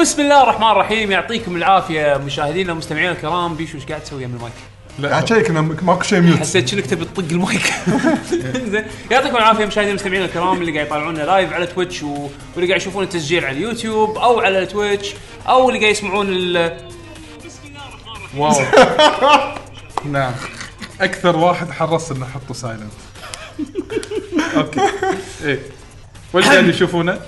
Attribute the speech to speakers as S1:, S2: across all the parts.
S1: بسم الله الرحمن الرحيم يعطيكم العافيه مشاهدينا ومستمعينا الكرام بيشو ايش قاعد تسوي امام المايك؟
S2: قاعد شيك انه ماكو شيء ميوت
S1: حسيت شنك تبي تطق المايك زين يعطيكم العافيه مشاهدينا ومستمعينا الكرام اللي قاعد يطالعونا لايف على تويتش و... واللي قاعد يشوفون التسجيل على اليوتيوب او على التويتش او اللي قاعد يسمعون ال...
S2: واو نعم اكثر واحد حرص انه احطه سايلنت اوكي ايه واللي قاعد يشوفونه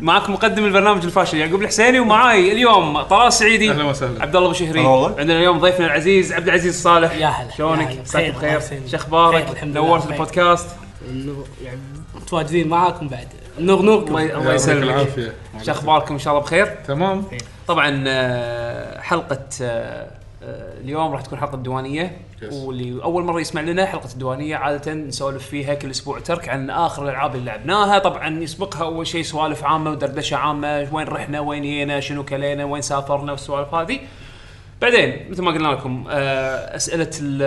S1: معاكم مقدم البرنامج الفاشل يعقوب الحسيني ومعاي اليوم طلال السعيدي
S2: أهلا وسهلا.
S1: عبد الله بشهري
S3: هلا والله.
S1: عندنا اليوم ضيفنا العزيز عبد العزيز الصالح
S4: يا هلا يا هلا.
S1: شلونك؟
S4: بخير،
S1: مساك
S4: الله
S1: بخير
S4: يسلمك.
S1: شخبارك
S4: بخير، الحمد لله،
S1: نورت
S4: بخير.
S1: البودكاست
S4: انه يعني متواجدين معاكم بعد نور نور
S1: الله الله
S2: يعطيك
S1: يسلمك
S2: العافيه
S1: شو اخباركم ان شاء الله بخير؟
S2: تمام
S1: طبعا آه، حلقه آه، آه، اليوم راح تكون حلقه دوانيه
S2: Yes.
S1: واللي اول مره يسمع لنا حلقه الديوانيه عاده نسولف فيها كل اسبوع ترك عن اخر الالعاب اللي لعبناها طبعا يسبقها اول شيء سوالف عامه ودردشه عامه وين رحنا وين جينا شنو كلينا وين سافرنا والسوالف هذه بعدين مثل ما قلنا لكم آه، اسئله ال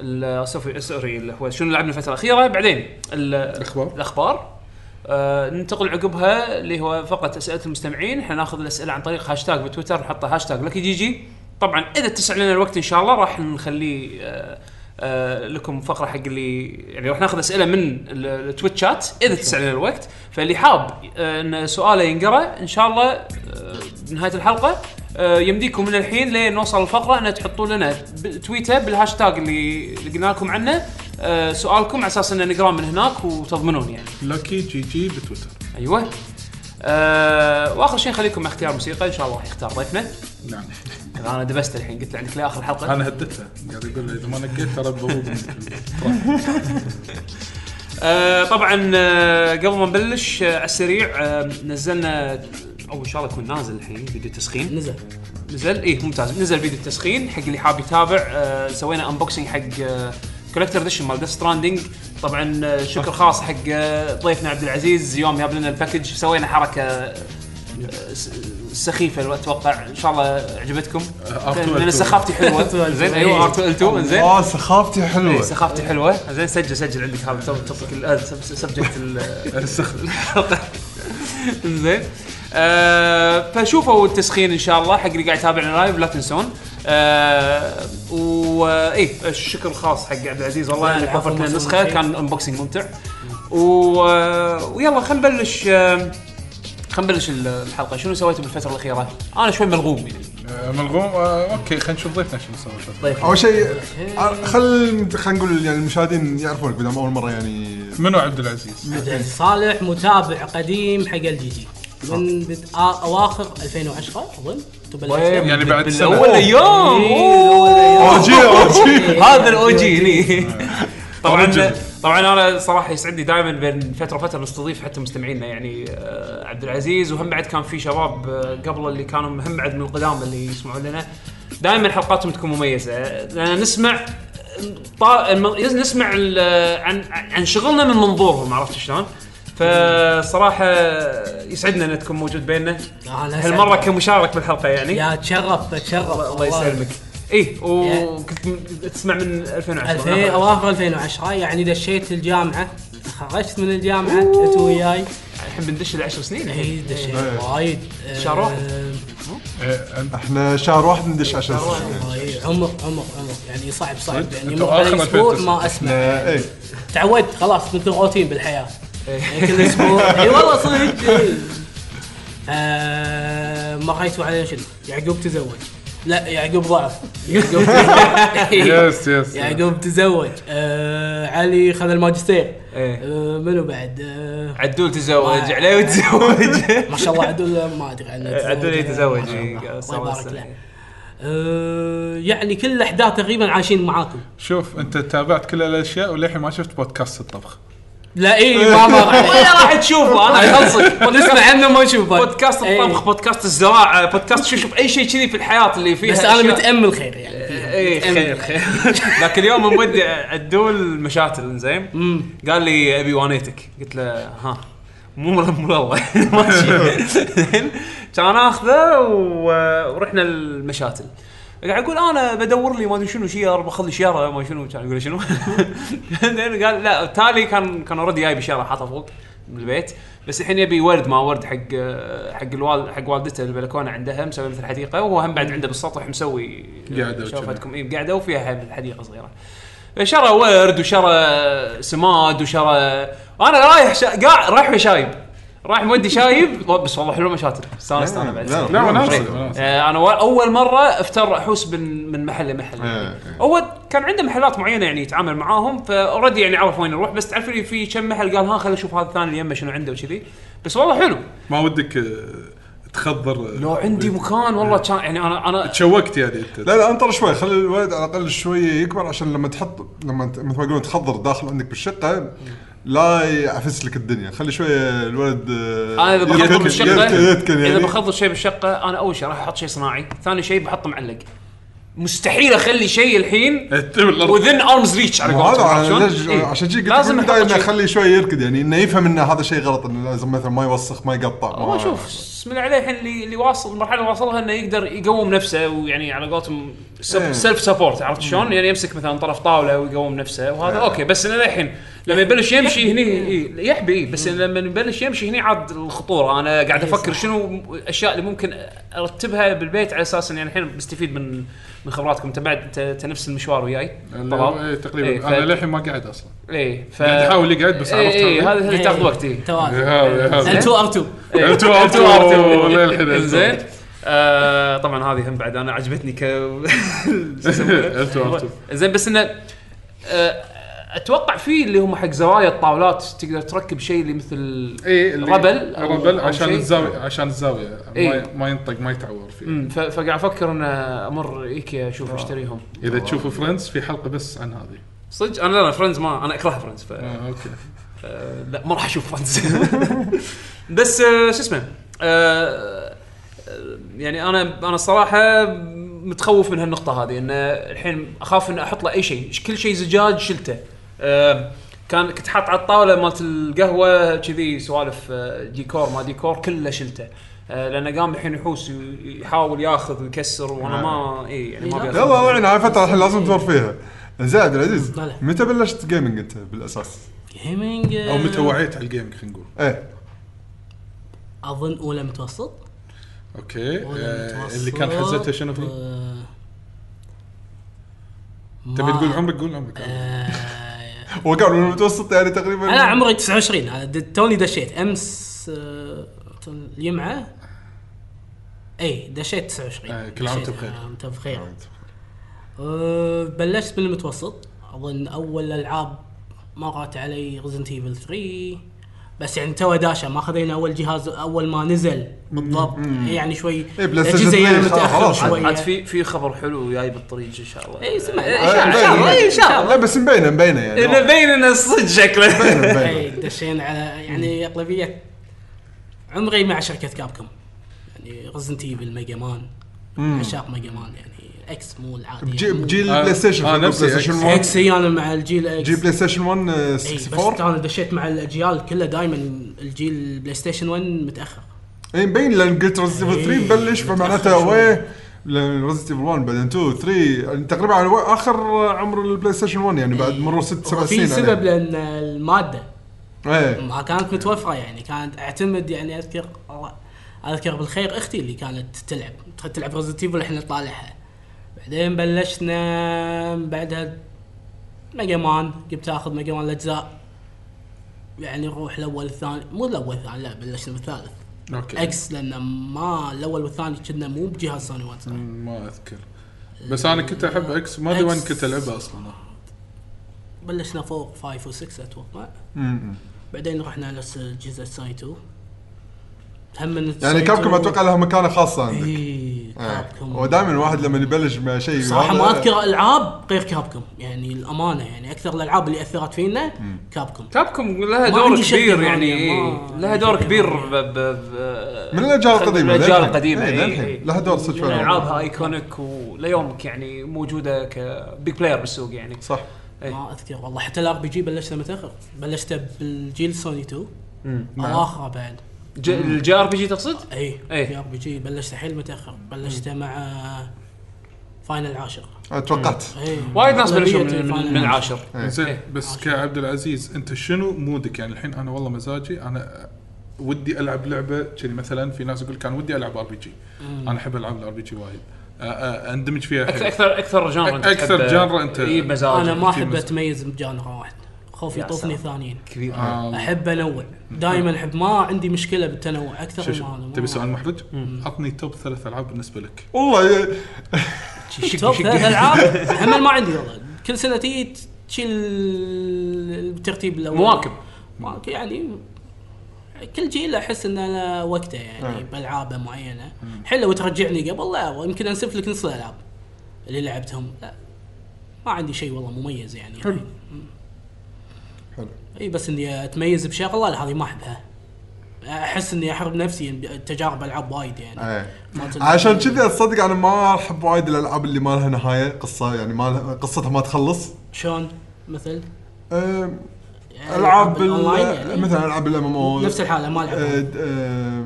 S1: ال- سوري- سوري اللي هو شنو لعبنا الفتره الاخيره بعدين ال-
S2: الأخبار.
S1: الاخبار آه ننتقل عقبها اللي هو فقط اسئله المستمعين احنا ناخذ الاسئله عن طريق هاشتاج بتويتر نحطه هاشتاج لكي جي جي طبعا اذا اتسع لنا الوقت ان شاء الله راح نخليه آه آه لكم فقره حق اللي يعني راح ناخذ اسئله من ال- التويت شات اذا اتسع لنا الوقت فاللي حاب آه ان سؤاله ينقرا ان شاء الله آه بنهايه الحلقه آه يمديكم من الحين لين نوصل الفقره ان تحطوا لنا ب- تويته بالهاشتاج اللي اللي قلنا لكم عنه آه سؤالكم على اساس ان نقراه من هناك وتضمنون يعني
S2: لوكي جي جي بتويتر
S1: ايوه آه واخر شيء خليكم مع اختيار موسيقى ان شاء الله راح يختار ضيفنا
S2: نعم
S1: انا دبست الحين قلت له عندك لي اخر حلقه
S2: انا هددته قاعد اقول له اذا ما نقيت ترى بضرب
S1: آه طبعا آه قبل ما نبلش آه على السريع آه نزلنا او ان شاء الله يكون نازل الحين فيديو تسخين
S4: نزل
S1: نزل اي ممتاز نزل فيديو التسخين حق اللي حاب يتابع آه سوينا انبوكسنج حق كولكتر اديشن مال ديث ستراندنج طبعا آه شكر خاص حق آه ضيفنا عبد العزيز يوم جاب لنا الباكج سوينا حركه آه، س- سخيفه لو اتوقع ان شاء الله عجبتكم
S2: آه، R2
S1: لان سخافتي حلوه زين ايوه ار 2 ال 2 زين
S3: اه سخافتي
S1: إيه،
S3: حلوه
S1: سخافتي حلوه زين سجل سجل عندك هذا توب- توبك ال- آه، سب- سبجكت ال-
S2: السخن
S1: زين آه فشوفوا التسخين ان شاء الله حق اللي قاعد يتابعنا لايف لا تنسون آه و ايه الشكر خاص حق عبد العزيز والله انك وفرت لنا النسخه كان انبوكسنج ممتع و... آه، ويلا خلينا نبلش آه، خلينا نبلش ال- الحلقه شنو سويتوا بالفتره الاخيره؟ انا شوي ملغوم يعني
S2: ملغوم آه، اوكي خلينا نشوف ضيفنا شو مسوي
S3: اول شيء آه، خل خلينا نقول يعني المشاهدين يعرفونك بدهم اول مره يعني
S2: منو عبد العزيز؟
S4: صالح متابع قديم حق الجي جي من بد... آ... اواخر 2010 اظن تبلشت
S2: يعني بعد سنة.
S1: بالاول ايام
S4: أوه.
S3: اوجي اوجي
S1: هذا الاو جي هني طبعا
S2: Original.
S1: طبعا انا صراحه يسعدني دائما بين فتره وفتره نستضيف حتى مستمعينا يعني آه، عبد العزيز وهم بعد كان في شباب آه، قبل اللي كانوا مهم بعد من القدام اللي يسمعون لنا دائما حلقاتهم تكون مميزه لان نسمع آه، طا... الم- نسمع ال- آه، عن عن شغلنا من منظورهم عرفت شلون؟ فصراحه يسعدنا ان تكون موجود بيننا
S4: أنا
S1: هالمره
S4: أسعد.
S1: كمشارك بالحلقه يعني
S4: يا تشرف بتشرف
S1: الله يسلمك اي إيه، وكنت م- تسمع من
S4: 2000
S1: 2010
S4: اواخر 2010 يعني دشيت الجامعه خرجت من الجامعه انت وياي
S1: الحين بندش ال 10 سنين الحين
S4: اي دشيت
S1: إيه.
S4: وايد آه،
S1: شهر واحد.
S2: آه، أنت-
S3: احنا شهر واحد ندش عشان
S4: وايد. عمر عمر عمر يعني صعب صعب يعني
S2: أنتوا
S4: مر علي
S2: آخر
S4: اسبوع
S2: 2009.
S4: ما اسمع
S3: ايه
S4: تعودت خلاص مثل روتين بالحياه
S1: إيه.
S4: يعني كل اسبوع اي والله صدق إي. آه، مريتوا على شنو؟ يعقوب تزوج لا يعقوب ضعف يعقوب تزوج.
S2: يس يس
S4: يعقوب تزوج آه، علي خذ الماجستير
S1: إيه.
S4: آه، منو بعد؟ آه،
S1: عدول تزوج
S4: ما-
S1: عليه وتزوج
S4: ما شاء الله عدول ما ادري عنه تزوج.
S1: عدول يتزوج
S4: ما شاء الله.
S1: إي،
S4: الله
S1: صار
S4: يبارك
S1: سنة.
S4: له آه، يعني كل الاحداث تقريبا عايشين معاكم
S2: شوف انت تابعت كل الاشياء وللحين ما شفت بودكاست الطبخ
S4: لا اي ما مر علي.
S1: ولا راح تشوفه انا
S4: إيه.
S1: خلصك
S4: نسمع عنه ما نشوفه
S1: بودكاست
S4: إي.
S1: الطبخ بودكاست الزراعه بودكاست شو شوف اي شيء كذي في الحياه اللي فيها
S4: بس انا
S1: أشياء.
S4: متامل خير
S1: إيه.
S4: يعني فيها.
S1: اي خير خير لكن اليوم مودي عدول مشاتل زين قال لي ابي وانيتك قلت له ها مو مر- مو والله ماشي زين كان اخذه و- ورحنا المشاتل قاعد اقول انا بدور لي ما ادري شنو شير باخذ لي شيره ما شنو كان يقول لي شنو بعدين قال لا تالي كان كان اوريدي جايب شيره حاطه فوق من البيت بس الحين يبي ورد ما ورد حق آه، حق الوال حق والدته البلكونه عندها مسوي مثل حديقه وهو هم بعد عنده بالسطح مسوي
S2: قاعدة وكذا.
S1: شوفتكم اي قاعده وفيها هب- حديقه صغيره شرى ورد وشرى سماد وشرى انا رايح شا... قاع... رايح ويا شايب رايح مودي شايب طيب، بس والله حلوه مشاتر استانست انا بعد
S3: إيه، لا،
S2: لا
S3: لا،
S2: مناسب
S3: شيء.
S2: مناسب.
S1: آه، انا و- اول مره افتر احوس من من محل لمحل
S3: إيه، إيه.
S1: اول كان عنده محلات معينه يعني يتعامل معاهم فاوريدي يعني عرف وين نروح بس تعرف اللي في كم محل قال ها خلينا نشوف هذا الثاني اللي يمه شنو عنده وكذي بس والله حلو
S2: ما ودك آه، تخضر
S1: لو عندي مكان والله كان يعني انا انا
S2: تشوقت يعني انت
S3: لا لا انطر شوي خلي الولد على الاقل شويه يكبر عشان لما تحط لما ت- مثل ما يقولون تخضر داخل عندك بالشقه لا يعفس لك الدنيا خلي شويه الولد
S1: انا اذا بخضر بالشقه
S3: يتكن يعني
S1: اذا بخضر شيء بالشقه انا اول شيء راح احط شيء صناعي ثاني شيء بحطه معلق مستحيل اخلي شيء الحين وذن ارمز ريتش على
S3: إيه. هذا
S1: قولتهم عرفت شلون؟
S3: على- ليش-
S1: إيه.
S3: عشان شي قلت
S1: لازم
S3: لازم
S1: احط
S3: دائما
S1: شيء.
S3: اخليه شويه يركض يعني انه يفهم ان هذا شيء غلط انه لازم مثلا ما يوسخ ما يقطع
S1: هو
S3: ما-
S1: شوف بسم الله عليه الحين اللي اللي واصل المرحله اللي واصلها انه يقدر يقوم نفسه ويعني على قولتهم
S3: إيه.
S1: سيلف سبورت عرفت شلون؟ يعني يمسك مثلا طرف طاوله ويقوم نفسه وهذا اوكي بس انه للحين لما يبلش يمشي هني إيه، يحبي إيه، بس لما يبلش يمشي هني عاد الخطوره انا قاعد
S4: إيه، صح.
S1: افكر شنو الاشياء اللي ممكن ارتبها بالبيت على اساس اني يعني الحين بستفيد من من خبراتكم انت بعد أنت- أنت نفس المشوار وياي
S2: يعني
S1: طلال. إيه،
S2: تقريبا
S1: ف-
S2: انا للحين ما قاعد اصلا
S1: ايه ف
S2: قاعد احاول يقعد بس عرفت
S1: اي
S2: هذه.
S1: هذا هذا تاخذ وقت إيه.
S4: توازن
S2: يا هذا- يا هذا.
S4: ال2 ار 2
S1: إيه.
S2: أنتوا عرفتوا
S1: عرفتوا.
S2: للحين عرفتوا.
S1: زين آه، طبعا هذه هم بعد انا عجبتني ك
S2: أنتوا عرفتوا.
S1: زين بس انه آه، اتوقع في اللي هم حق زوايا الطاولات تقدر تركب شيء اللي مثل
S2: اي إيه، اللي-
S1: ربل أو-
S2: ربل
S1: أو
S2: عشان
S1: شيء.
S2: الزاويه عشان الزاويه
S1: إيه.
S2: ما- ما ينطق ما يتعور فيه
S1: مم، ف- فقاعد افكر ان امر ايكيا اشوف
S2: آه.
S1: اشتريهم
S2: اذا تشوفوا فريندز في حلقه بس عن هذه
S1: صدق انا لا فريندز ما انا اكره فريندز ف...
S2: آه، اوكي
S1: آه، لا ما راح اشوف فريندز بس آه، شو اسمه آه، آه، يعني انا انا الصراحه متخوف من هالنقطه هذه ان الحين اخاف ان احط له اي شيء كل شيء زجاج شلته آه، كان كنت حاط على الطاوله مالت القهوه كذي سوالف آه، ديكور ما ديكور كله شلته آه، لانه قام الحين يحوس يحاول ياخذ ويكسر وانا ما اي يعني ما ابي
S3: يلا
S1: أخذ.
S3: الله يعين هاي فتره الحين لازم تدور فيها زين عبد العزيز
S4: طلع.
S3: متى بلشت جيمنج انت بالاساس؟
S4: جيمنج
S2: او متى وعيت على الجيمنج خلينا نقول
S3: ايه
S4: اظن اولى متوسط
S2: اوكي
S4: أولى
S2: آه،
S4: متوسط.
S2: اللي كان حزتها شنو فيه؟
S4: آه،
S2: تبي
S4: ما-
S2: تقول عمرك قول عمرك
S4: آه،
S3: وقع من المتوسط يعني تقريبا
S4: انا عمري 29 أنا د- توني دشيت امس آه، الجمعه اي دشيت 29
S2: آه، كل عام
S4: دشيت.
S2: وأنت بخير.
S4: آه، وأنت بخير أه، بلشت من المتوسط اظن اول العاب مرت علي ريزنت ايفل 3 بس يعني تو داشه ما خذينا اول جهاز اول ما نزل بالضبط يعني شوي
S3: إيه، بلاي
S4: الأجهزة
S3: ستيشن
S4: يعني
S3: 3
S4: متاخر
S3: خلاص.
S4: شوي
S1: عاد في في خبر حلو جاي بالطريق ان شاء الله
S4: اي سمع
S1: إيه،
S4: ان شاء الله، إن شاء الله ان شاء الله
S3: لا بس مبينه مبينه يعني
S1: انه باين انه صدق شكله
S3: مبينة، مبينة.
S4: إيه، دشينا على يعني اغلبيه عمري مع شركه كابكم يعني ريزنت ايفل ميجا مان عشاق ميجا مان يعني الاكس مو العادي
S3: بجي-
S4: مو-
S3: بجيل
S2: آه،
S3: بلاي ستيشن
S2: آه، نفسي
S3: بلاي ستيشن
S2: X.
S3: 1
S4: اكس إي انا مع الجيل اكس
S3: جيل بلاي ستيشن 1 آه،
S4: اي إيه، بس
S3: 64
S4: انا دشيت مع الاجيال كلها دائما الجيل البلاي ستيشن 1 متاخر
S3: اي مبين لان إيه، قلت ريزنت ايفل 3
S4: إيه،
S3: بلش فمعناته
S4: متأخر شوي.
S3: وين ريزنت ايفل 1 بعدين 2 3 يعني تقريبا على وين- اخر عمر البلاي ستيشن 1 يعني بعد مرور ست سبع سنين
S4: إيه. في سبب
S3: عليه.
S4: لان الماده
S3: ايه
S4: ما كانت متوفره يعني كانت اعتمد يعني اذكر الله- اذكر بالخير اختي اللي كانت تلعب تخ- تلعب ريزنت ايفل احنا نطالعها بعدين بلشنا بعدها ميجا مان جبت اخذ ميجا مان الاجزاء يعني نروح الاول الثاني مو الاول الثاني لا بلشنا بالثالث
S2: اوكي
S4: اكس لان ما الاول والثاني كنا مو بجهاز سوني وان صراحة.
S2: مم، ما اذكر بس انا كنت احب اكس ما ادري وين
S4: X.
S2: كنت العبها اصلا
S4: بلشنا فوق 5 و6 اتوقع
S3: مم.
S4: بعدين رحنا نفس الجزء سوني 2 هم من
S3: يعني كابكم اتوقع لها مكانه خاصه
S4: إيه.
S3: عندك
S4: اي
S1: إيه.
S4: كابكم
S3: ودائما الواحد لما يبلش مع شيء
S4: صراحه
S3: وهذا-
S4: ما اذكر العاب غير كابكم يعني الامانه يعني اكثر الالعاب اللي اثرت فينا كابكم
S1: كابكم لها
S4: ما
S1: دور
S4: عندي شك
S1: كبير
S4: ثانية،
S1: يعني
S4: ما-
S1: إيه، لها دور
S4: شك يعني.
S1: كبير
S4: ثانية.
S1: ب... ب... ب...
S3: من الأجيال القديمة،
S1: من الاجيال
S3: للحين.
S1: القديمه
S3: إيه،
S1: إيه،
S3: للحين.
S1: إيه.
S3: لها دور صدق فعلاً.
S1: العابها ايكونيك وليومك يعني موجوده كبيج بلاير بالسوق يعني
S3: صح
S1: إيه.
S4: ما اذكر والله حتى الار بي جي بلشنا متاخر بلشت بالجيل سوني 2
S1: مم.
S4: اواخره بعد
S1: ج- الجي ار بي جي تقصد؟
S4: اي
S1: إيه.
S4: ار بي جي بلشت حيل متاخر بلشت مع فاينل عاشر
S3: توقعت
S4: إيه.
S1: وايد ناس بلشوا
S4: أغلبية
S1: من, من,
S4: الفاينل.
S1: من عاشر
S2: زين
S1: إيه.
S2: بس كعبد العزيز انت شنو مودك يعني الحين انا والله مزاجي انا ودي العب لعبه كذي مثلا في ناس يقول كان ودي العب ار بي جي انا احب العب الار بي جي وايد أ- أ- اندمج فيها
S3: إيه.
S1: اكثر
S2: حيل.
S1: اكثر اكثر جانر انت
S2: أكثر
S1: تحبه.
S2: جانر أنت-
S1: اي مزاج
S4: انا ما
S2: في
S4: احب
S2: مزاج.
S4: اتميز بجانرا واحد خوف
S1: يا
S4: يطوفني
S1: سلام.
S4: ثانيين
S1: كبير
S2: آه،
S4: احب انوع دائما احب ما عندي مشكله بالتنوع اكثر
S2: شو-
S4: من
S2: شو-
S4: هذا ما-
S2: تبي سؤال محرج؟ عطني توب ثلاث العاب بالنسبه لك
S3: والله ي-
S4: توب ثلاث العاب هم ما عندي والله كل سنه تيجي تشيل الترتيب الاول
S1: مواكب.
S4: مواكب يعني كل جيل احس ان انا وقته
S3: نعم.
S4: يعني بالعابه معينه حلو وترجعني قبل لا ويمكن انسف لك نص الالعاب اللي لعبتهم لا ما عندي شيء والله مميز يعني
S3: حلو.
S4: مم.
S3: حلو.
S4: اي بس اني اتميز بشغله لا هذه ما احبها احس اني احرم نفسي بتجارب العاب وايد يعني
S3: إيه.
S4: ما تدري.
S3: عشان كذا اصدق انا ما احب وايد الالعاب اللي ما لها نهايه قصه يعني ما لها قصتها ما تخلص
S4: شلون مثل
S3: أم،
S4: يعني
S3: العاب ال-
S4: الأونلاين يعني؟
S3: مثلا العاب الام ام او
S4: نفس الحاله ما
S3: آه،
S4: العب
S3: إيه،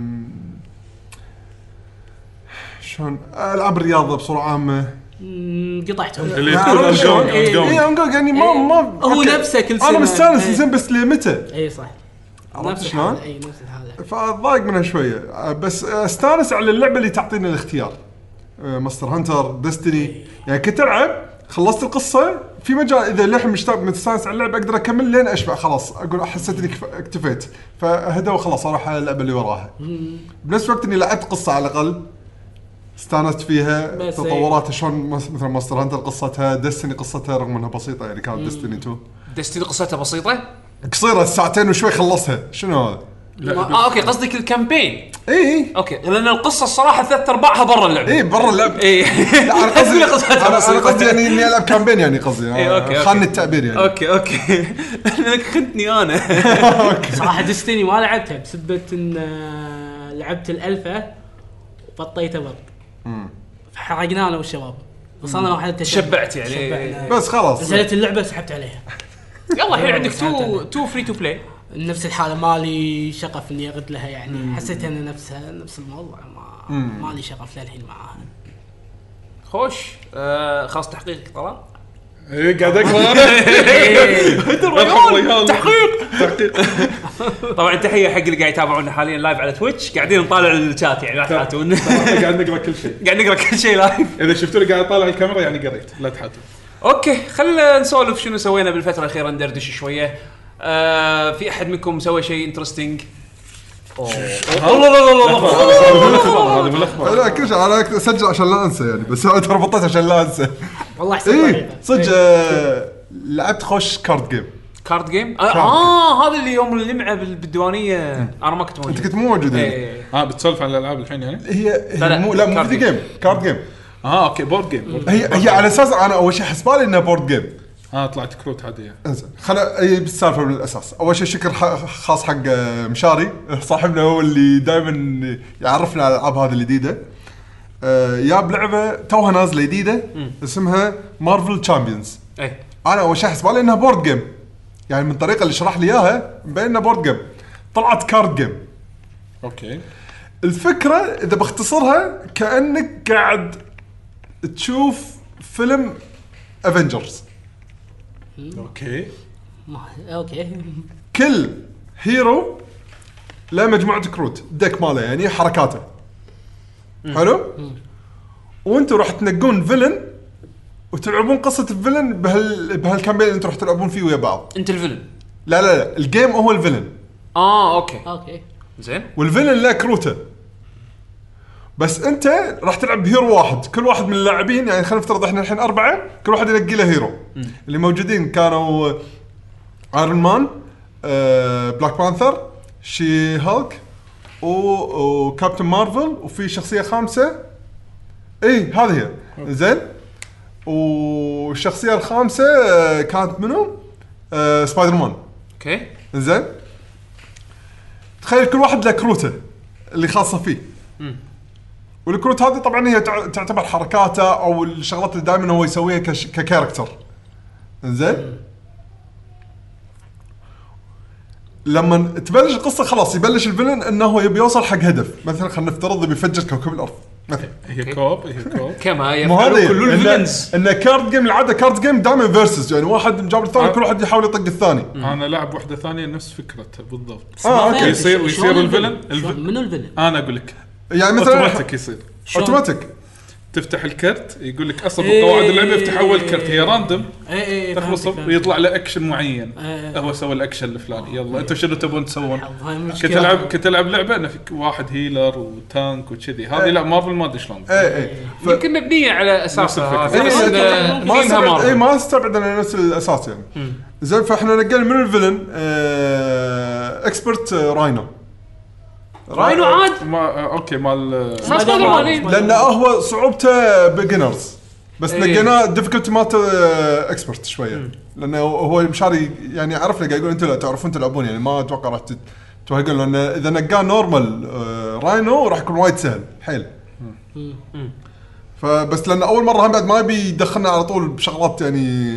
S3: شلون العاب الرياضه بصوره عامه
S4: مم، قطعتهم
S2: اللي
S3: لا،
S2: تكون
S3: عرفت شلون؟
S2: ongoing- ongoing.
S3: اي اونجوينج يعني ما
S4: إيه.
S3: ما
S4: هو
S3: أوكي.
S4: نفسه كل سنة.
S3: انا مستانس
S4: إيه.
S3: زين بس لمتى؟
S4: اي صح
S3: عرفت
S4: نفس
S3: شلون؟
S4: الحاله اي نفس الحاله
S3: فضايق منها شويه بس استانس على اللعبه اللي تعطينا الاختيار آه، ماستر هانتر ديستني يعني كنت العب خلصت القصه في مجال اذا للحين مشتاق مستانس على اللعبه اقدر اكمل لين اشبع خلاص اقول حسيت اني كف- اكتفيت فهدى وخلاص اروح على اللعبه اللي وراها بنفس الوقت اني لعبت قصه على الاقل استانست فيها
S4: بس
S3: تطوراتها شلون مس- مثلا ماستر هانتر قصتها ديستني قصتها رغم انها بسيطه يعني كانت ديستني 2
S1: دستي قصتها بسيطه
S3: قصيره ساعتين وشوي خلصها شنو هذا؟
S1: ما- اه اوكي قصدك الكامبين
S3: اي
S1: اوكي لان القصه الصراحه ثلاث ارباعها برا اللعبه
S3: اي إيه، برا اللعبه
S1: اي
S3: لا، انا قصدي
S1: أدري قصتها
S3: انا أنا
S1: بسيطة.
S3: قصدي يعني اني العب كامبين يعني قصدي
S1: إيه، أوكي، أوكي.
S3: خاني التعبير يعني
S1: اوكي اوكي لانك خنتني انا
S4: صراحه ديستني ما لعبتها بسبه ان آه، لعبت الالفا وبطيته برد حرقنا انا والشباب بس انا واحد
S1: تشبعت يعني.
S3: بس خلاص
S4: نزلت اللعبه سحبت عليها
S1: يلا الحين عندك تو
S4: ساعتين.
S1: تو فري تو بلاي
S4: نفس الحاله مالي شغف اني ارد لها يعني حسيت ان نفسها نفس الموضوع ما مالي شغف للحين معاها
S1: خوش آه خلاص تحقيقك طلع
S2: ايه قاعد اقرا
S1: إيه. ريال، تحقيق.
S2: تحقيق
S1: طبعا تحيه حق اللي قاعد يتابعونا حاليا لايف على تويتش قاعدين نطالع الشات يعني لا تحاتون
S2: احنا قاعد نقرا كل شيء
S1: قاعد نقرا كل شيء لايف
S2: اذا شفتوني قاعد اطالع الكاميرا يعني قريت لا تحاتوا
S1: اوكي خلينا نسولف شنو سوينا بالفتره الاخيره ندردش شويه آه في احد منكم سوى شيء انترستنج الله الله الله
S2: هذا من الاخبار
S3: لا كل شيء انا اسجل عشان لا انسى يعني بس انا تربطت عشان لا انسى
S4: والله حسيت
S3: اي
S4: طريقة.
S3: إيه،
S4: إيه،
S3: صدق آه، لعبت خوش كارد جيم
S1: كارد جيم آه, اه هذا اللي يوم اللمعه بال- بالديوانيه انا ما كنت موجود
S3: انت كنت مو موجود هنا
S1: إيه.
S2: ها آه، بتسولف عن الالعاب الحين يعني؟
S3: هي
S1: لا، لا،
S3: هي مو لا مو
S1: كارد
S3: فيديو
S1: جيم.
S3: جيم كارد جيم
S2: اه اوكي بورد جيم
S3: هي هي على اساس انا اول شيء حسبالي انها بورد جيم
S2: اه طلعت كروت عاديه
S3: انزين خلا اي بالسالفه من الاساس اول شيء شكر ح- خاص حق آه، مشاري صاحبنا هو اللي دائما يعرفنا على الالعاب هذه الجديده آه، جاب لعبه توها نازله جديده اسمها مارفل تشامبيونز
S1: إيه.
S3: انا اول شيء حسبالي انها بورد جيم يعني من الطريقه اللي شرح لي اياها مبين انها بورد جيم طلعت كارد جيم
S2: اوكي
S3: الفكره اذا بختصرها كانك قاعد تشوف فيلم افنجرز
S2: اوكي
S4: ما- اوكي
S3: كل هيرو له مجموعه كروت ديك ماله يعني حركاته حلو وانتم راح تنقون فيلن وتلعبون قصه الفيلن بهال بهالكامبين اللي انتم راح تلعبون فيه ويا بعض
S1: انت الفيلم
S3: لا لا لا الجيم هو الفيلن
S1: اه اوكي
S4: اوكي
S1: زين
S3: والفيلن له كروته بس انت راح تلعب بهيرو واحد كل واحد من اللاعبين يعني خلينا نفترض احنا الحين اربعه كل واحد ينقي له هيرو اللي موجودين كانوا ايرون مان آه، بلاك بانثر شي هالك و- وكابتن مارفل وفي شخصيه خامسه اي هذه هي زين والشخصيه الخامسه آه، كانت منو؟ آه، سبايدر مان
S1: اوكي
S3: زين تخيل كل واحد له كروته اللي خاصه فيه والكروت هذه طبعا هي تع- تعتبر حركاته او الشغلات اللي دائما هو يسويها كش... ككاركتر زين لما تبلش القصه خلاص يبلش الفيلن انه هو يبي يوصل حق هدف مثلا خلينا نفترض يبي يفجر كوكب الارض
S2: هي كوب هي كوب
S1: كما
S3: مو
S1: يفعل
S3: هذا
S1: كل
S3: إن-
S1: الفيلنز
S3: ان كارد جيم العاده كارد جيم دائما فيرسز يعني واحد مجاب الثاني كل واحد يحاول يطق الثاني
S2: انا لاعب واحده ثانيه نفس فكرته بالضبط
S4: بس ما
S3: آه، أوكي.
S4: فهمت
S2: يصير-
S4: شلون
S2: يصير الفيلن؟
S4: الفيلن؟ شلون-
S2: الفيلن.
S4: منو الفيلن؟
S2: انا اقول لك
S3: يعني مثلا
S2: اوتوماتيك يصير
S4: شلون؟
S3: اوتوماتيك
S2: تفتح الكرت يقول لك اصلا
S4: إيه.
S2: قواعد اللعبه يفتح اول كرت هي راندوم
S4: اي اي اي
S2: تخلص
S4: إيه، فهمتك،
S2: ويطلع له اكشن معين
S4: إيه.
S2: هو سوى الاكشن الفلاني يلا انتم شنو تبون تسوون؟
S4: فهمتك. هاي
S2: كنت
S4: مشكلة.
S2: العب كنت العب لعبه ان في واحد هيلر وتانك وكذي هذه
S3: إيه.
S2: لا مارفل ما ادري شلون
S3: اي اي ف-
S1: يمكن مبنيه على اساس
S2: نفس
S1: هذا،
S2: الفكرة.
S1: بس
S3: إيه،
S1: إن-
S4: إيه،
S3: ما
S1: فيها
S3: استبعد
S1: مارفل.
S3: اي ما استبعد انه نفس الاساس يعني زين فاحنا نقينا من الفيلن آه، اكسبرت آه، راينو
S1: راينو عاد
S2: ما آه، اوكي مال
S1: ما سبايدر مان إيه.
S4: لا،
S3: لانه هو صعوبته بيجنرز بس
S1: إيه.
S3: نقيناه الديفيكولتي مالته آه، اكسبرت شويه لانه هو مشاري يعني عرفنا قاعد يقول انتم لا تعرفون تلعبون يعني ما اتوقع راح تت- تتوهقون لان اذا نقاه نورمال آه، راينو راح يكون وايد سهل حيل فبس لان اول مره هم بعد ما يبي يدخلنا على طول بشغلات يعني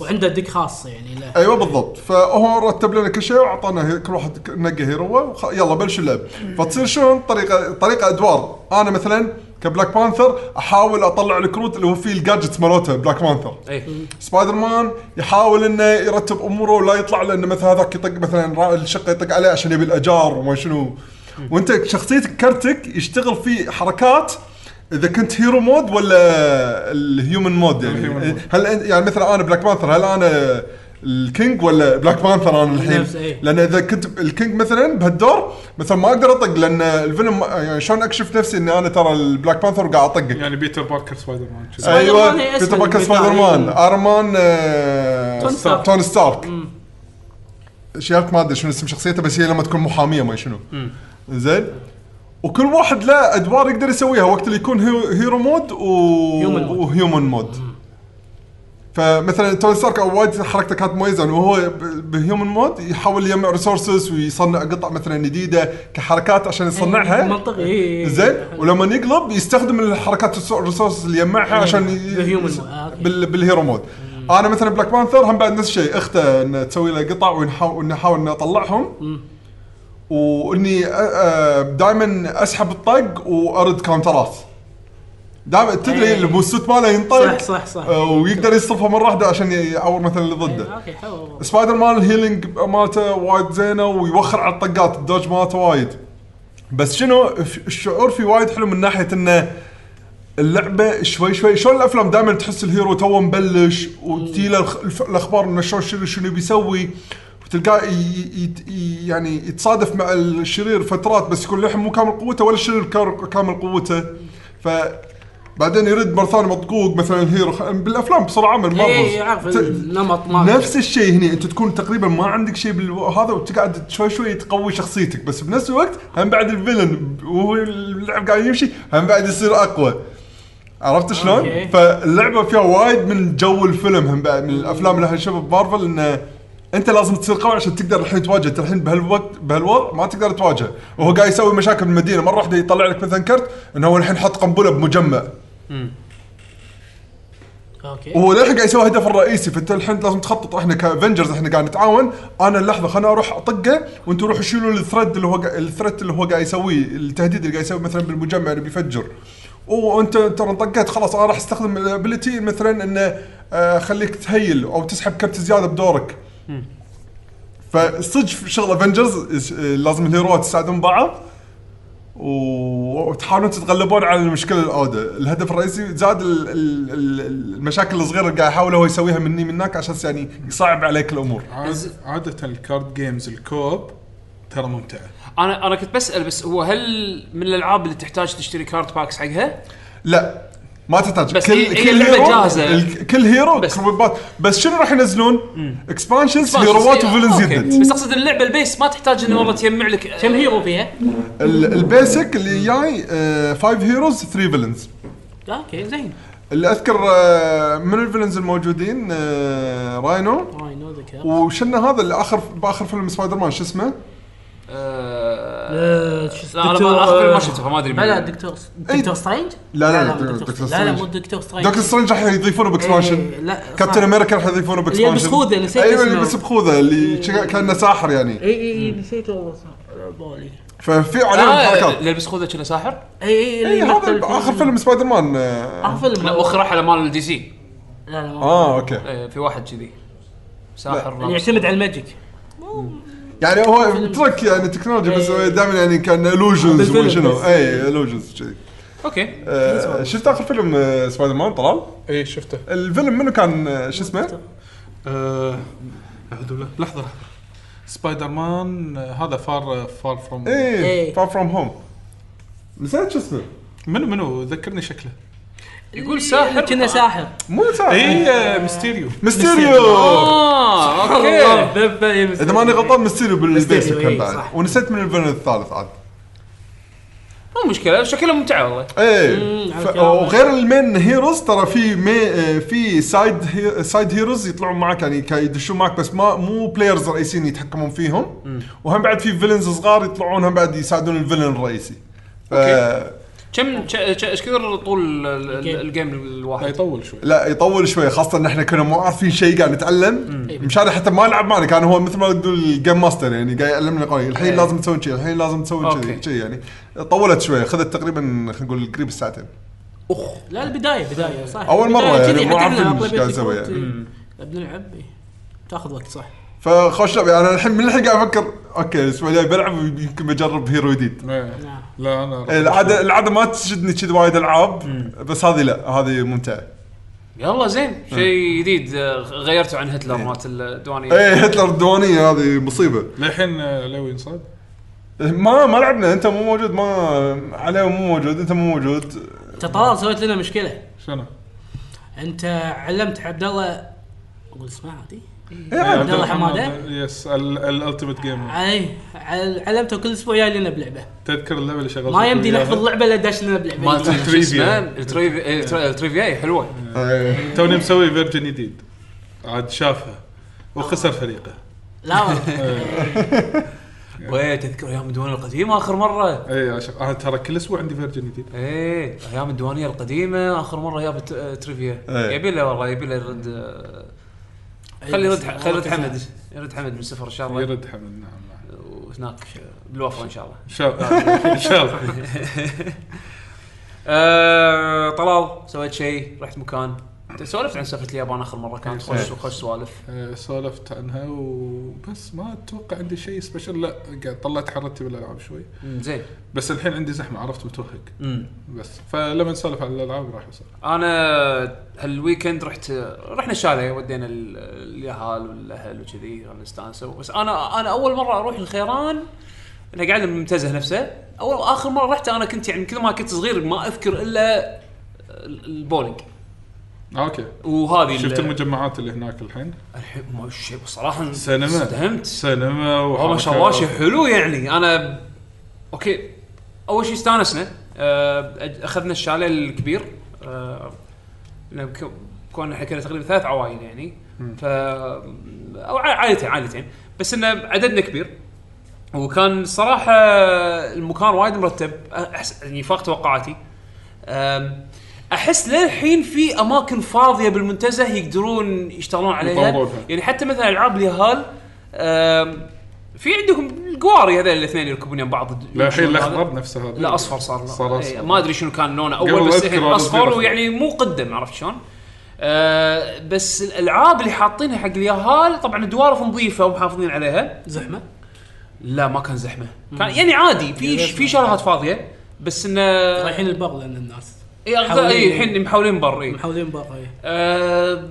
S4: وعنده ديك خاصه يعني له
S3: ايوه بالضبط فهو رتب لنا كل شيء واعطانا هي- كل واحد ك- نقى هيروه وخ... يلا بلش اللعب فتصير شلون طريقه طريقه ادوار انا مثلا كبلاك بانثر احاول اطلع الكروت اللي هو فيه الجادجتس مالته بلاك بانثر
S1: إيه.
S3: سبايدر مان يحاول انه يرتب اموره ولا يطلع لانه مثلا هذاك يطق مثلا را- الشقه يطق عليه عشان يبي الاجار وما شنو وانت شخصيتك كرتك يشتغل في حركات اذا كنت هيرو مود ولا الهيومن مود
S2: الهيومن
S3: يعني
S2: مود.
S3: هل أنت- يعني مثلا انا بلاك بانثر هل انا الكينج ولا بلاك بانثر انا الحين
S4: نفس- إيه.
S3: لان اذا كنت الكينج مثلا بهالدور مثلا ما اقدر اطق لان الفيلم ما- يعني شلون اكشف نفسي اني انا ترى البلاك بانثر وقاعد اطقك
S2: يعني بيتر باركر سبايدر مان كذي.
S4: سبايدر مان هي
S3: ايوه
S4: اسم
S3: بيتر باركر
S4: البتاع.
S3: سبايدر مان ايرون مان آه،
S4: توني ستارك.
S3: توني ستارك شيرك ما ادري شنو اسم شخصيته بس هي لما تكون محاميه ما شنو زين وكل واحد له ادوار يقدر يسويها وقت اللي يكون هيرو- هيرو مود و...
S4: هيومن مود.
S3: وهيومن مود فمثلا توني ستارك وايد حركته كانت مميزه انه هو ب- بهيومن مود يحاول يجمع ريسورسز ويصنع قطع مثلا جديده كحركات عشان يصنعها
S4: منطقي إيه.
S3: زين ولما يقلب يستخدم الحركات الس- الريسورسز اللي يجمعها عشان ي-
S4: بالهيومن
S3: يس-
S4: مود. آه، أوكي.
S3: بال بالهيرو مود انا مثلا بلاك بانثر هم بعد نفس الشيء اخته انه تسوي له قطع ونحاول ونحاول اني اطلعهم واني دائما اسحب آه، الطق وارد كاونترات دائما تدري
S4: إيه.
S3: اللي بالسوت ماله ينطق
S4: صح- صح- صح.
S3: آه، ويقدر يصرفه مره واحده عشان يعور مثلا اللي ضده
S4: إيه، اوكي حلو والله.
S3: سبايدر مان الهيلينج مالته وايد زينه ويوخر على الطقات الدوج مالته وايد بس شنو الش- الشعور فيه وايد حلو من ناحيه انه اللعبه شوي شوي شلون الافلام دائما تحس الهيرو تو مبلش وتجي له الخ- الف- الاخبار انه شلون شنو شنو بيسوي وتلقاه ي- ي- ي- يعني يتصادف مع الشرير فترات بس يكون للحين مو كامل قوته ولا الشرير كار- كامل قوته ف بعدين يرد مره ثانيه مطقوق مثلا الهيرو خ- بالافلام بسرعه من
S4: اي إيه، عارف
S3: ت-
S4: النمط ماله
S3: نفس الشيء هنا انت تكون تقريبا ما عندك شيء بالهذا وتقعد شوي شوي تقوي شخصيتك بس بنفس الوقت هم بعد الفيلن وهو اللعب قاعد يمشي هم بعد يصير اقوى عرفت شلون؟
S4: أوكي.
S3: فاللعبه فيها وايد من جو الفيلم هم بعد من الافلام اللي احنا نشوفها بمارفل انه انت لازم تصير قوي عشان تقدر الحين تواجه انت الحين بهالوقت بهالوضع ما تقدر تواجه وهو قاعد يسوي مشاكل بالمدينه مره واحده يطلع لك مثلا كرت انه هو الحين حط قنبله بمجمع
S4: اوكي
S3: وهو للحين قاعد يسوي هدف الرئيسي فانت الحين لازم تخطط احنا كافنجرز احنا قاعد نتعاون انا اللحظه خلنا اروح اطقه وانتم روحوا شيلوا الثريد اللي هو قا- الثريد اللي هو قاعد يسويه التهديد اللي قاعد يسويه مثلا بالمجمع اللي بيفجر وانت ترى انطقيت خلاص انا راح استخدم الابيلتي مثلا انه آه، خليك تهيل او تسحب كبت زياده بدورك فصدق في شغل افنجرز لازم الهيروات يساعدون بعض و- وتحاولون تتغلبون على المشكله الاوده، الهدف الرئيسي زاد ال- ال- ال- المشاكل الصغيره اللي قاعد يحاول هو يسويها مني منك عشان يعني يصعب عليك الامور.
S2: عاد- عاده الكارد جيمز الكوب ترى ممتعه
S1: انا انا كنت بسال بس هو هل من الالعاب اللي تحتاج تشتري كارت باكس حقها؟
S3: لا ما تحتاج
S1: بس هي- هي اللعبة جاهزة.
S3: ال- كل هيرو
S1: بس.
S3: بس, بس شنو راح ينزلون؟ اكسبانشنز هيروات وفيلنز
S1: أوكي.
S3: جدد.
S1: بس اقصد اللعبه البيس ما تحتاج انه والله تجمع لك
S4: كم هيرو فيها؟
S3: ال- البيسك اللي جاي آه، 5 هيروز 3 فيلنز.
S4: اوكي زين
S3: اللي اذكر آه، من الفيلنز الموجودين آه، راينو
S4: راينو ذكر
S3: وشلنا هذا اللي اخر باخر فيلم سبايدر مان شو اسمه؟
S1: آه،
S4: لا أه، شو اسمه؟
S1: لا، أنا ما-
S4: دكتور- أه،
S1: آخر فيلم ما شفته، فما أدري
S4: لا لا
S1: من-
S4: دكتور
S3: إي.
S4: دكتور سترينج؟
S3: إيه. لا، لا،
S4: مو
S3: دكتور-
S4: دكتور
S3: دكتور
S4: سترينج. لا لا
S3: سترينج.
S4: مو دكتور سترينج
S3: دكتور سترينج راح يضيفونه
S4: طيب. إيه،
S3: باكسبانشن
S4: لا،
S3: كابتن
S4: صح.
S3: امريكا راح يضيفونه
S4: اللي
S3: باكسبانشن
S4: يلبس خوذة، نسيت
S3: ايوه
S4: اسمه. إيه.
S3: اللي يلبس بخوذه اللي شكا- كانه ساحر يعني إيه،
S4: اي اي اي نسيت والله صح على بالي
S3: ففي عليهم
S1: آه
S3: حركات
S1: لبس خوذه كنا ساحر
S4: اي
S3: اي
S4: إيه، اللي يمثل
S3: هذا
S4: في-
S3: اخر فيلم سبايدر مان آه،
S4: اخر فيلم
S1: لا واخر على مال الدي سي
S4: لا لا ما-
S3: اه اوكي
S1: آه، في واحد كذي ساحر
S4: يعني
S1: لابس-
S4: يعتمد على الماجيك
S3: يعني هو ترك يعني تكنولوجيا بس
S4: إيه.
S3: دائما يعني كان الوجنز
S4: بالفيلم بس.
S3: وشنو اي الوجنز كذي
S1: اوكي
S3: إيه، آه، شفت اخر فيلم آه، سبايدر مان طلال
S2: اي شفته
S3: الفيلم منو كان آه، شو اسمه؟
S2: آه، اعوذ بالله لحظه لحظه سبايدر مان آه، هذا فار فار فروم
S3: اي
S4: إيه.
S3: فار فروم هوم نسيت شو اسمه
S2: منو منو ذكرني شكله
S1: يقول ساحر
S4: كنا ساحر
S3: مو ساعة.
S2: اي آه، ميستيريو
S3: ميستيريو
S1: اه
S4: الله،
S1: اوكي
S4: ببا يمثل.
S3: اذا ماني غلطان ميستيريو بالبيسك
S4: ميستيريو،
S3: كان
S4: إيه،
S3: بعد
S4: صح.
S3: ونسيت من الفيلم الثالث عاد
S1: مو مشكله شكلها ممتعه والله
S3: ايه
S4: مم،
S3: ف-
S4: على كلامك.
S3: وغير المين هيروز ترى في مي آه، في سايد هي سايد هيروز يطلعون معك يعني كا- يدشون معك بس ما مو بلايرز رئيسيين يتحكمون فيهم وهم بعد في فيلنز صغار يطلعون هم بعد يساعدون الفيلن الرئيسي آه، ف-
S1: أوكي. كم ش- ش- ايش كثر طول ال- ال-
S4: الجيم.
S1: الجيم
S2: لا
S1: الواحد؟
S2: يطول شوي
S3: لا يطول شوي خاصه ان احنا كنا مو عارفين شيء قاعد نتعلم مشان حتى ما لعب معنا كان هو مثل ما تقول الجيم ماستر يعني قاعد يعلمنا قوي الحين
S1: إيه.
S3: لازم تسوي شيء الحين لازم تسوي
S1: أوكي.
S3: كذي شيء يعني طولت شوي خذت تقريبا خلينا نقول قريب الساعتين
S1: اخ
S4: لا البدايه بدايه صح
S3: أول مرة
S4: بداية
S3: يعني
S4: كذي،
S3: مو
S4: حتى
S3: عارفين
S4: إحنا
S3: إيش قاعد نسوي
S4: أغلبية
S3: يعني.
S4: الوقت بنلعب إيه. تاخذ وقت صح
S3: فخوش لعب يعني أنا الحين من الحين قاعد افكر اوكي الاسبوع الجاي بلعب يمكن بجرب هيرو جديد
S2: إيه.
S4: نعم
S2: لا انا
S3: العاده العاده ما تشدني كذي وايد العاب بس هذه لا هذه ممتعه
S1: يلا زين شيء جديد آه، غيرته عن هتلر مالت
S3: اي
S1: الديوانيه
S3: هتلر الديوانيه إيه، هذه مصيبه
S2: للحين آه، لوي انصاب
S3: ما ما لعبنا انت مو موجود ما علي مو موجود انت مو موجود
S4: انت طلال سويت لنا مشكله
S2: شنو؟
S4: انت علمت عبد الله اقول اسمه عادي
S3: إيه،
S4: عبد
S3: عادي.
S4: الله حمادة.
S2: يس الالتيميت جيم
S4: اي عل- علمته كل اسبوع جاي لنا بلعبه
S2: تذكر اللعبه اللي شغال
S4: ما يمدي نحفظ لعبه الا داش لنا بلعبه
S1: مالت
S4: جديدة.
S1: شو اسمه؟ التريفيا إيه، التر- التريفيا إيه، حلوه
S3: إيه.
S2: توني مسوي فيرجن جديد عاد شافها وخسر فريقه إيه.
S4: لا والله.
S1: وي تذكر ايام الديوانيه القديمه اخر مره
S2: اي عشان انا ترى كل اسبوع عندي فيرجن جديد
S1: ايه ايام الديوانيه القديمه اخر مره جاب الت- آه، تريفيا
S3: إيه.
S1: يبي له والله يبي له يرد آه،
S4: إيه،
S1: خلي يرد ح- خلي يرد حمد يرد حمد من صفر ان شاء الله
S2: يرد حمد نعم نعم.
S1: وهناك آه، بالوفره ان شاء الله
S2: ان شاء الله ان شاء الله
S1: آه، طلال سويت شيء رحت مكان إيه، انت سولفت عن سفره اليابان اخر مره كانت خوش خوش سوالف
S2: آه، سولفت عنها وبس ما اتوقع عندي شيء سبيشل لا قاعد طلعت حرتي بالالعاب شوي
S1: مم، زين
S2: بس الحين عندي زحمه عرفت متوهق
S1: مم.
S2: بس فلما نسولف عن الالعاب راح يصير
S1: انا هالويكند رحت رحنا الشاليه ودينا ال- اليهال والاهل وكذي نستانسوا بس انا انا اول مره اروح الخيران انا قاعد المنتزه نفسه اول اخر مره رحت انا كنت يعني من كثر ما كنت صغير ما اذكر الا ال- البولينج
S2: آه، اوكي
S1: وهذه
S2: شفت
S1: ال-
S2: المجمعات اللي هناك الحين
S1: الحين ما شيء بصراحه
S2: سينما
S1: صدمت
S2: سينما
S1: والله ما شاء الله شيء حلو يعني انا اوكي اول شيء استانسنا آه، أج- اخذنا الشاليه الكبير آه، لأن ك- كون احنا كنا تقريبا ثلاث عوائل يعني ف او ع- عائلتين عائلتين بس انه عددنا كبير وكان صراحه المكان وايد مرتب احس يعني فاق توقعاتي أم، احس للحين في اماكن فاضيه بالمنتزه يقدرون يشتغلون عليها
S2: يطورونها.
S1: يعني حتى مثلا العاب اليهال أم، في عندكم القواري هذول الاثنين يركبون يم بعض
S2: لا الحين
S1: يمشون هذا.
S2: الاخضر نفسه هذا
S1: لا اصفر صار
S2: صار
S1: إيه،
S2: اصفر
S1: ما ادري شنو كان لونه
S2: قبل
S1: اول بس
S2: أذكر
S1: الحين
S2: هذا
S1: اصفر
S2: الزرق.
S1: ويعني مو قدم عرفت شلون؟ أه بس الالعاب اللي حاطينها حق اليهال طبعا الدوارف نظيفه ومحافظين عليها
S4: زحمه
S1: لا ما كان زحمه كان يعني عادي في
S4: يا طيب، بس
S1: في شاليهات فاضيه بس انه
S4: رايحين البر لان الناس
S1: إيه، أغلب-
S4: حاولين-
S1: إيه، الحين محاولين بر إيه.
S4: محاولين بر إيه.
S1: آه،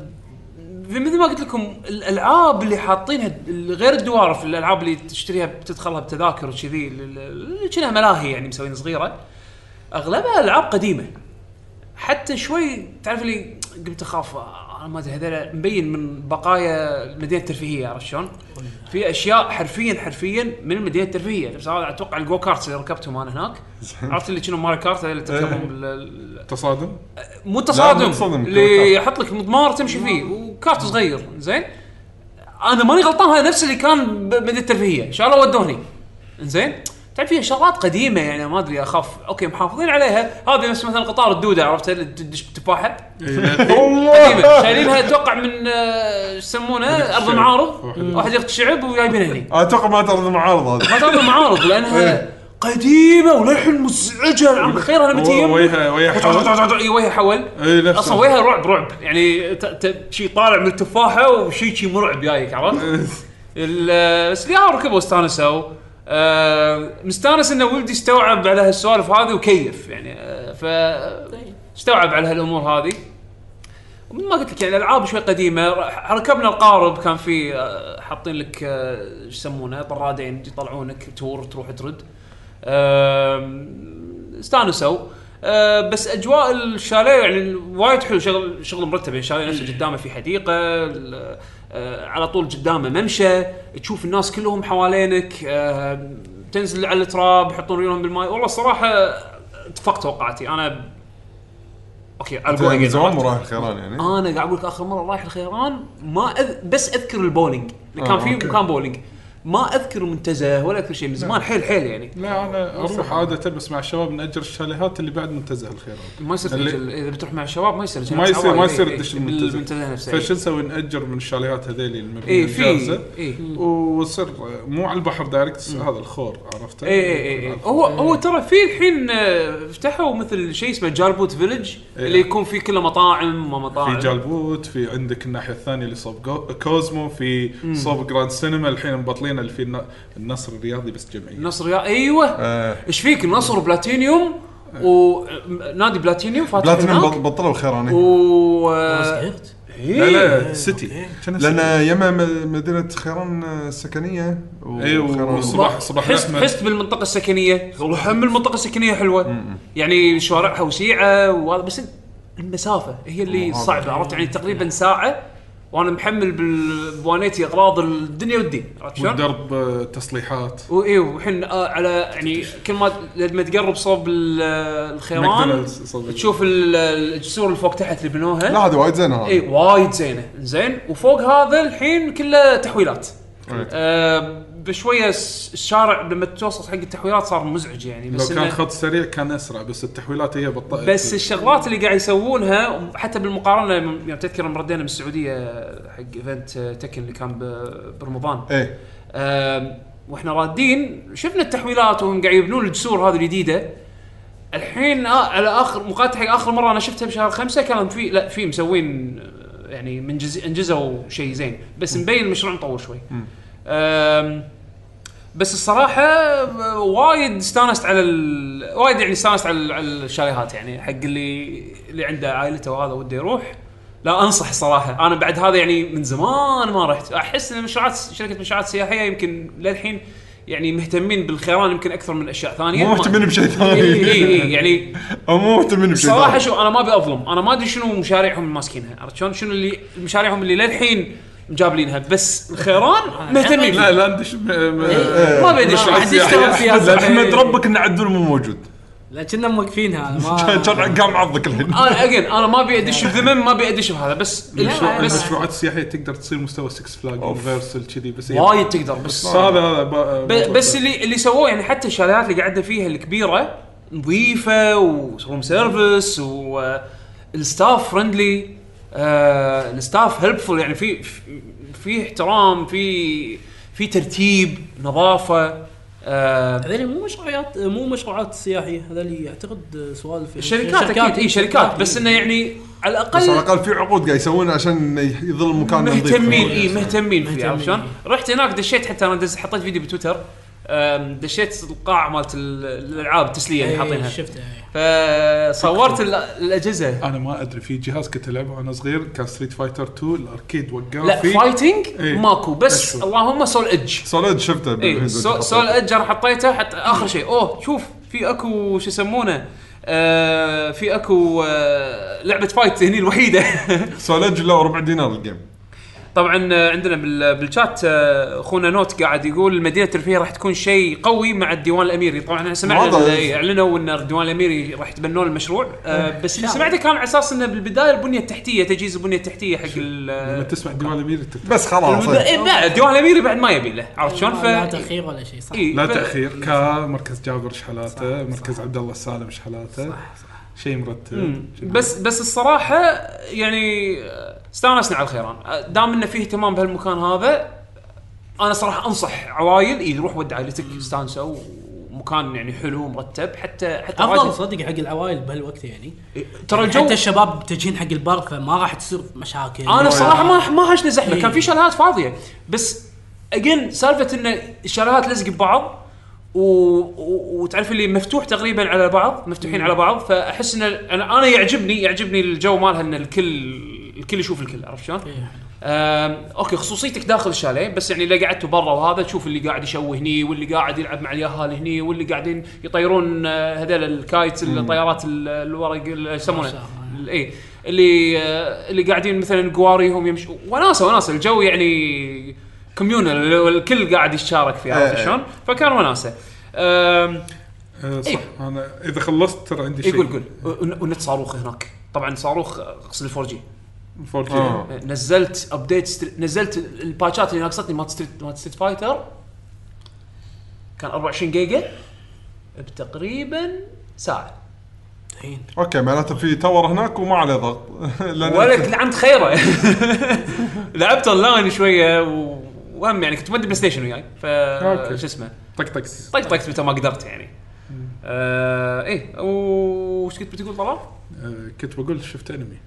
S1: مثل ما قلت لكم الالعاب اللي حاطينها غير الدوارف الالعاب اللي تشتريها بتدخلها بتذاكر وكذي ال- ال- اللي كأنها ملاهي يعني مسوين صغيره اغلبها العاب قديمه حتى شوي تعرف اللي قمت اخاف آه، انا ما ادري هذول مبين من بقايا المدينه الترفيهيه عرفت شلون؟ في اشياء حرفيا حرفيا من المدينه الترفيهيه نفس هذا اتوقع الجو كارتس اللي ركبتهم انا هناك عرفت اللي كانوا ماري كارت هذول اللي تركبهم بال- ال-
S2: تصادم
S1: مو
S3: لا، مو
S1: تصادم
S3: تصادم،
S1: اللي يحط لك مضمار تمشي فيه وكارت صغير زين انا ماني غلطان هذا نفس اللي كان بمدينه الترفيهيه ان شاء الله ودوني زين تعرف فيها شغلات قديمه يعني ما ادري اخاف اوكي محافظين عليها هذه نفس مثلا قطار الدوده عرفت اللي تدش بتفاحه قديمه شايلينها اتوقع من آه، شو يسمونه ارض المعارض
S2: واحد.
S1: واحد يقط شعب وجايبينها هني
S3: اتوقع ما ترى المعارضه هذه
S1: ما تعرف المعارض لانها قديمه وللحين مزعجه العم خير انا متى يم-
S2: وجهه وجهه حول
S1: اي وجهها حول
S3: إيه.
S2: اي نفس
S1: اصلا وجهها رعب رعب يعني ت- ت- شي طالع من التفاحه وشي شي مرعب جايك عرفت؟ ال- بس يا ركبوا استانسوا آه، مستانس انه ولدي استوعب على هالسوالف هذه وكيف يعني آه، ف استوعب على هالامور هذه ومثل ما قلت لك يعني الالعاب شوي قديمه راح- ركبنا القارب كان في آه، حاطين لك آه، ايش يسمونه طرادين يطلعونك تور تروح ترد آم، استانسوا آه، بس اجواء الشاليه يعني وايد حلو شغل شغل مرتب يعني الشاليه نفسه قدامه في حديقه ال- آه، على طول قدامه ممشى تشوف الناس كلهم حوالينك آه، تنزل على التراب يحطون رجلهم بالماي والله الصراحه فق توقعاتي انا اوكي I'll go
S3: من
S1: again.
S3: زمان مو رايح الخيران يعني
S1: انا قاعد اقول لك اخر مره رايح الخيران ما أذ... بس اذكر البولينج كان
S3: آه،
S1: في
S3: أوكي.
S1: مكان بولينج ما اذكر المنتزه ولا اذكر شيء
S2: نعم.
S1: من زمان حيل حيل يعني
S2: لا انا اروح عاده بس مع الشباب ناجر الشاليهات اللي بعد منتزه الخيرات
S1: ما يصير
S2: اللي-
S1: تنزل- اذا بتروح مع الشباب ما يصير
S2: ما يصير ما
S1: إيه،
S2: يصير
S1: إيه،
S2: تدش
S1: بالمنتزه
S2: المنتزه
S1: نفسها
S2: فشو نسوي ناجر من الشاليهات هذيلي المبنيه
S1: اي إيه، في إيه،
S2: الجاهزه
S1: اي
S2: ويصير مو على البحر دايركت هذا الخور عرفته؟
S1: اي اي اي إيه، هو
S2: آه.
S1: هو ترى في الحين آه، فتحوا مثل شيء اسمه جالبوت فيلج
S2: إيه.
S1: اللي يكون فيه كله مطاعم
S2: في
S1: ومطاعم
S2: جالبوت في عندك الناحيه الثانيه اللي صوب جو- كوزمو في صوب جراند سينما الحين مبطلين اللي في الن- النصر الرياضي بس جمعيه
S1: نصر يا ايوه
S3: آه،
S1: ايش فيك نصر بلاتينيوم
S2: آه.
S1: ونادي بلاتينيوم فاتح
S3: بلاتينيوم
S1: هناك.
S3: بط- بطلوا الخيراني
S1: آه. و آه،
S4: صغرت
S1: إيه.
S2: لا لا سيتي
S3: لان يمها م- مدينه خيران آه، سكنيه و-
S2: إيه،
S3: وخيران-
S2: وصباح- صباح
S1: حس
S2: الأحمر.
S1: حست بالمنطقه السكنيه والله هم المنطقه السكنيه حلوه يعني شوارعها وسيعه وهذا بس المسافه هي اللي صعبه عرفت يعني تقريبا ساعه وانا محمل بال- بوانيتي اغراض الدنيا والدين عرفت شلون؟
S2: والدرب آه، تصليحات
S1: واي والحين آه، على يعني كل ما لما تقرب صوب ال- الخيران
S2: ماكدونالدز صوب-
S1: تشوف ال- الجسور اللي فوق تحت اللي بنوها
S3: لا هذه وايد زينه
S1: اي
S3: هذه
S1: إيه، وايد زينه زين وفوق هذا الحين كله تحويلات
S3: أي.
S1: آه بشويه س- الشارع لما توصل حق التحويلات صار مزعج يعني
S2: لو
S1: بس
S2: كان
S1: إنه-
S2: خط سريع كان اسرع بس التحويلات هي بطأت
S1: بس الشغلات اللي قاعد يسوونها حتى بالمقارنه يعني تذكر لما ردينا من السعوديه حق ايفنت تكن اللي كان ب- برمضان
S3: ايه
S1: آم، واحنا رادين شفنا التحويلات وهم قاعد يبنون الجسور هذه الجديده الحين آه على اخر مقاطع حق اخر مره انا شفتها بشهر خمسة كان في لا في مسوين آه، يعني منجز انجزوا شيء زين بس مبين المشروع مطول شوي آم، بس الصراحه آه، وايد استانست على ال... وايد يعني استانست على, ال- على الشاليهات يعني حق اللي اللي عنده عائلته وهذا وده يروح لا انصح الصراحه انا بعد هذا يعني من زمان ما رحت احس ان مشروعات شركه مشروعات سياحيه يمكن للحين يعني مهتمين بالخيران يمككن اكثر من اشياء ثانيه
S3: مو
S1: ما-
S3: مهتمين بشيء
S1: اي اي
S3: ثاني
S1: إي، يعني
S3: او مو مهتمين بشيء
S1: صراحه
S3: ثاني
S1: شو انا ما ابي اظلم انا ما ادري شنو مشاريعهم اللي ماسكينها عرفت شلون شنو اللي مشاريعهم اللي للحين مجابلينها بس الخيران مهتمين
S2: لا
S1: فيه.
S2: لا ندش م- م-
S1: ما ابي ادري شنو
S4: آه، يعني ما حد يشتغل فيها
S3: أحمد-
S4: صحيح.
S3: احمد ربك ان عدول مو موجود
S4: لا كنا موقفينها انا
S1: آه.
S4: ما
S3: كان قام عضك الحين
S1: انا اجين انا ما ابي ادش بذمم ما ابي ادش بهذا بس
S2: المشروع-
S4: لا، بس-
S2: المشروعات السياحيه تقدر تصير مستوى 6 فلاج يونيفرسال كذي بس هي-
S1: وايد تقدر بس
S2: بس هذا هذا ب-
S1: ب- بس اللي اللي سووه يعني حتى الشاليهات اللي قعدنا فيها الكبيره نظيفه وروم سيرفيس والستاف فرندلي آه الستاف هيلبفول يعني في في- في احترام في في ترتيب نظافه آه
S4: هذول يعني مو مشروعات مو مشروعات سياحيه هذول اعتقد سوالف
S1: شركات اكيد اي شركات بس انه يعني على
S3: بس على
S1: الاقل
S3: الاقل في عقود قاعد يسوونها عشان يظل المكان نظيف.
S1: مهتمين اي مهتمين فيه
S4: مهتمين.
S1: عرفت شلون؟ رحت هناك دشيت حتى انا دز حطيت فيديو بتويتر آم، دشيت القاعه مالت ال- الالعاب التسليه اللي حاطينها
S4: حاطينها شفتها إيه.
S1: فصورت ال- الاجهزه
S2: انا ما ادري في جهاز كنت العبه وانا صغير كان ستريت فايتر 2 الاركيد وقع
S1: لا
S2: فيه
S1: فايتنج
S2: إيه.
S1: ماكو بس
S2: أشوف.
S1: اللهم سول ايدج
S3: سوليد شفته
S1: اي
S3: بالفيديو
S1: إيه، سو-
S3: اللي
S1: سول
S3: حطيته.
S1: ايدج انا حطيته حتى اخر شيء اوه شوف في اكو شو يسمونه آه في اكو آه لعبه فايت هني الوحيده
S3: سوليد لا ربع دينار الجيم
S1: طبعا آه، عندنا بال- بالشات آه، اخونا نوت قاعد يقول المدينه الترفيهيه راح تكون شيء قوي مع الديوان الاميري طبعا احنا سمعنا
S3: واضح.
S1: إن- إيه، اعلنوا ان الديوان الاميري راح يتبنون المشروع آه، بس اللي
S4: شاء
S1: سمعته كان على اساس انه بالبدايه البنيه التحتيه تجهيز البنيه التحتيه حق ال-
S2: لما تسمع ديوان الامير
S3: بس خلاص
S1: البدا-
S3: إيه.
S1: إيه، لا الديوان الاميري بعد ما يبي له عرفت شلون ف
S4: لا تاخير ولا شيء صح
S1: إيه،
S2: لا
S1: ف-
S2: تاخير كا مركز جابر ايش حالاته مركز عبد الله السالم ايش حالاته شيء مرتب
S1: مم. بس بس الصراحه يعني آه، استانسنا على الخيران آه، دام انه فيه اهتمام بهالمكان هذا انا صراحه انصح عوائل إيه، روح ودع عائلتك استانسوا مكان يعني حلو مرتب حتى حتى
S4: افضل
S1: واجد-
S4: صدق حق العوائل بهالوقت يعني
S1: ترى الجو
S4: حتى الشباب تجين حق البر فما راح تصير مشاكل
S1: انا بصراحه ما ما هاشنا زحمه
S4: إيه.
S1: كان في شاليهات فاضيه بس اجين سالفه ان الشاليهات لزق ببعض و... و... وتعرف اللي مفتوح تقريبا على بعض مفتوحين على بعض فاحس ان انا انا يعجبني يعجبني الجو مالها ان الكل الكل يشوف الكل عرفت شلون؟
S4: إيه.
S1: أم، اوكي خصوصيتك داخل الشاليه بس يعني اذا قعدتوا برا وهذا تشوف اللي قاعد يشوي هني واللي قاعد يلعب مع اليهال هني واللي قاعدين يطيرون آه، هذول الكايتس الطيارات ال- الورق ال- إيش يسمونه
S4: عشاء.
S1: اي اللي آه، اللي قاعدين مثلا قواريهم يمشوا وناسه وناسه الجو يعني كوميونال الكل قاعد يتشارك فيه عرفت
S3: إيه.
S1: شلون؟ فكان وناسه أم،
S2: آه، صح
S1: إيه.
S2: انا اذا خلصت ترى عندي
S1: اي
S2: شيء
S1: قول قول ون- ونت صاروخ هناك طبعا صاروخ آه، اقصد الفور جي
S2: قول
S3: آه.
S1: نزلت ابديت ستري... نزلت الباتشات اللي ناقصتني مالت ستريت مالت ستريت فايتر كان 24 جيجا بتقريبا ساعه
S4: الحين
S3: اوكي معناته في تور هناك وما عليه ضغط لأن-
S1: ولك لعنت خيره لعبت اونلاين شويه و... وهم يعني كنت مودي بلاي ستيشن وياي ف
S2: أوكي.
S1: شو اسمه
S2: طق طق
S1: طقطقت متى ما قدرت يعني آه ايه وش كنت بتقول طلال؟
S2: آه، كنت بقول شفت انمي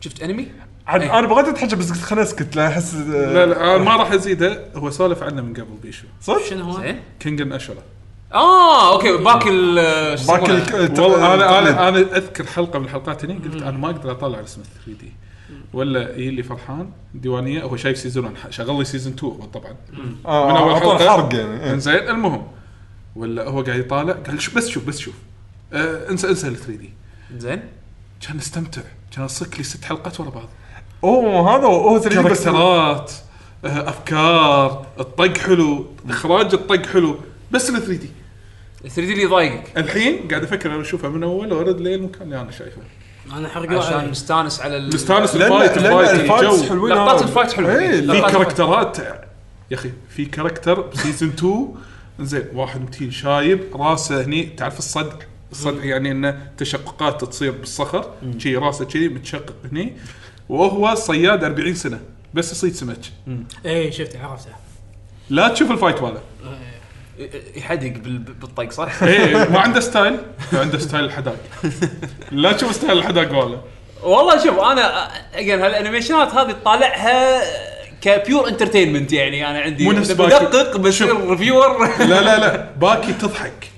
S1: شفت انمي؟
S3: عاد
S1: إيه.
S3: انا بغيت اتحجب بس قلت خليني اسكت لا احس
S2: لا لا آه، ما راح ازيده هو سولف عنه من قبل بيشو
S3: صح؟
S4: شنو هو؟
S1: زين
S2: كينج ان اشرا
S1: اه اوكي باك ال آه، شو يسمونه؟
S3: باك الك- الت-
S2: والله انا انا
S3: التقليد.
S2: انا اذكر حلقه من الحلقات هني قلت انا ما اقدر اطلع رسم 3 دي ولا يجي لي فرحان ديوانيه هو شايف سيزون 1 شغل لي سيزون 2 هو طبعا
S3: آه،
S2: من اول
S3: على طول
S2: حلقه
S3: حرق يعني إيه.
S2: انزين المهم ولا هو قاعد يطالع قال شوف بس شوف بس شوف آه انسى انسى ال 3 دي
S1: زين
S2: كان استمتع كان الصك لي ست حلقات ورا بعض
S3: اوه هذا هو 3 دي بس
S2: كاركترات آه، افكار الطق حلو اخراج الطق حلو بس ال 3 دي
S1: 3 دي اللي يضايقك
S2: الحين قاعد افكر انا اشوفها من اول وارد لين المكان اللي انا شايفه
S4: انا حرق
S1: عشان
S4: عشان
S1: مستانس على ال...
S2: مستانس
S3: لأن-
S2: الفايت
S3: لأن
S2: الفايت
S3: الفايتس
S2: الجو
S3: حلوين
S1: لقطات
S3: هذا.
S1: الفايت حلوة.
S3: إيه،
S2: في
S1: لقطات-
S2: كاركترات يا اخي في كاركتر بسيزون 2 زين واحد متين شايب راسه هني تعرف الصدع الصدع يعني انه تشققات تصير بالصخر شي راسه شي متشقق هني وهو صياد 40 سنه بس يصيد سمك
S4: اي شفت إيه، عرفته
S2: لا تشوف الفايت ماله
S1: يحدق بال- بالطق صح؟
S2: ايه ما عنده ستايل عنده ستايل الحداق لا تشوف ستايل الحداق ماله
S1: والله شوف انا اجين هالانيميشنات هذه طالعها كبيور انترتينمنت يعني انا عندي
S2: مو نفس باكي.
S1: بدقق بصير ريفيور
S2: لا لا لا باكي تضحك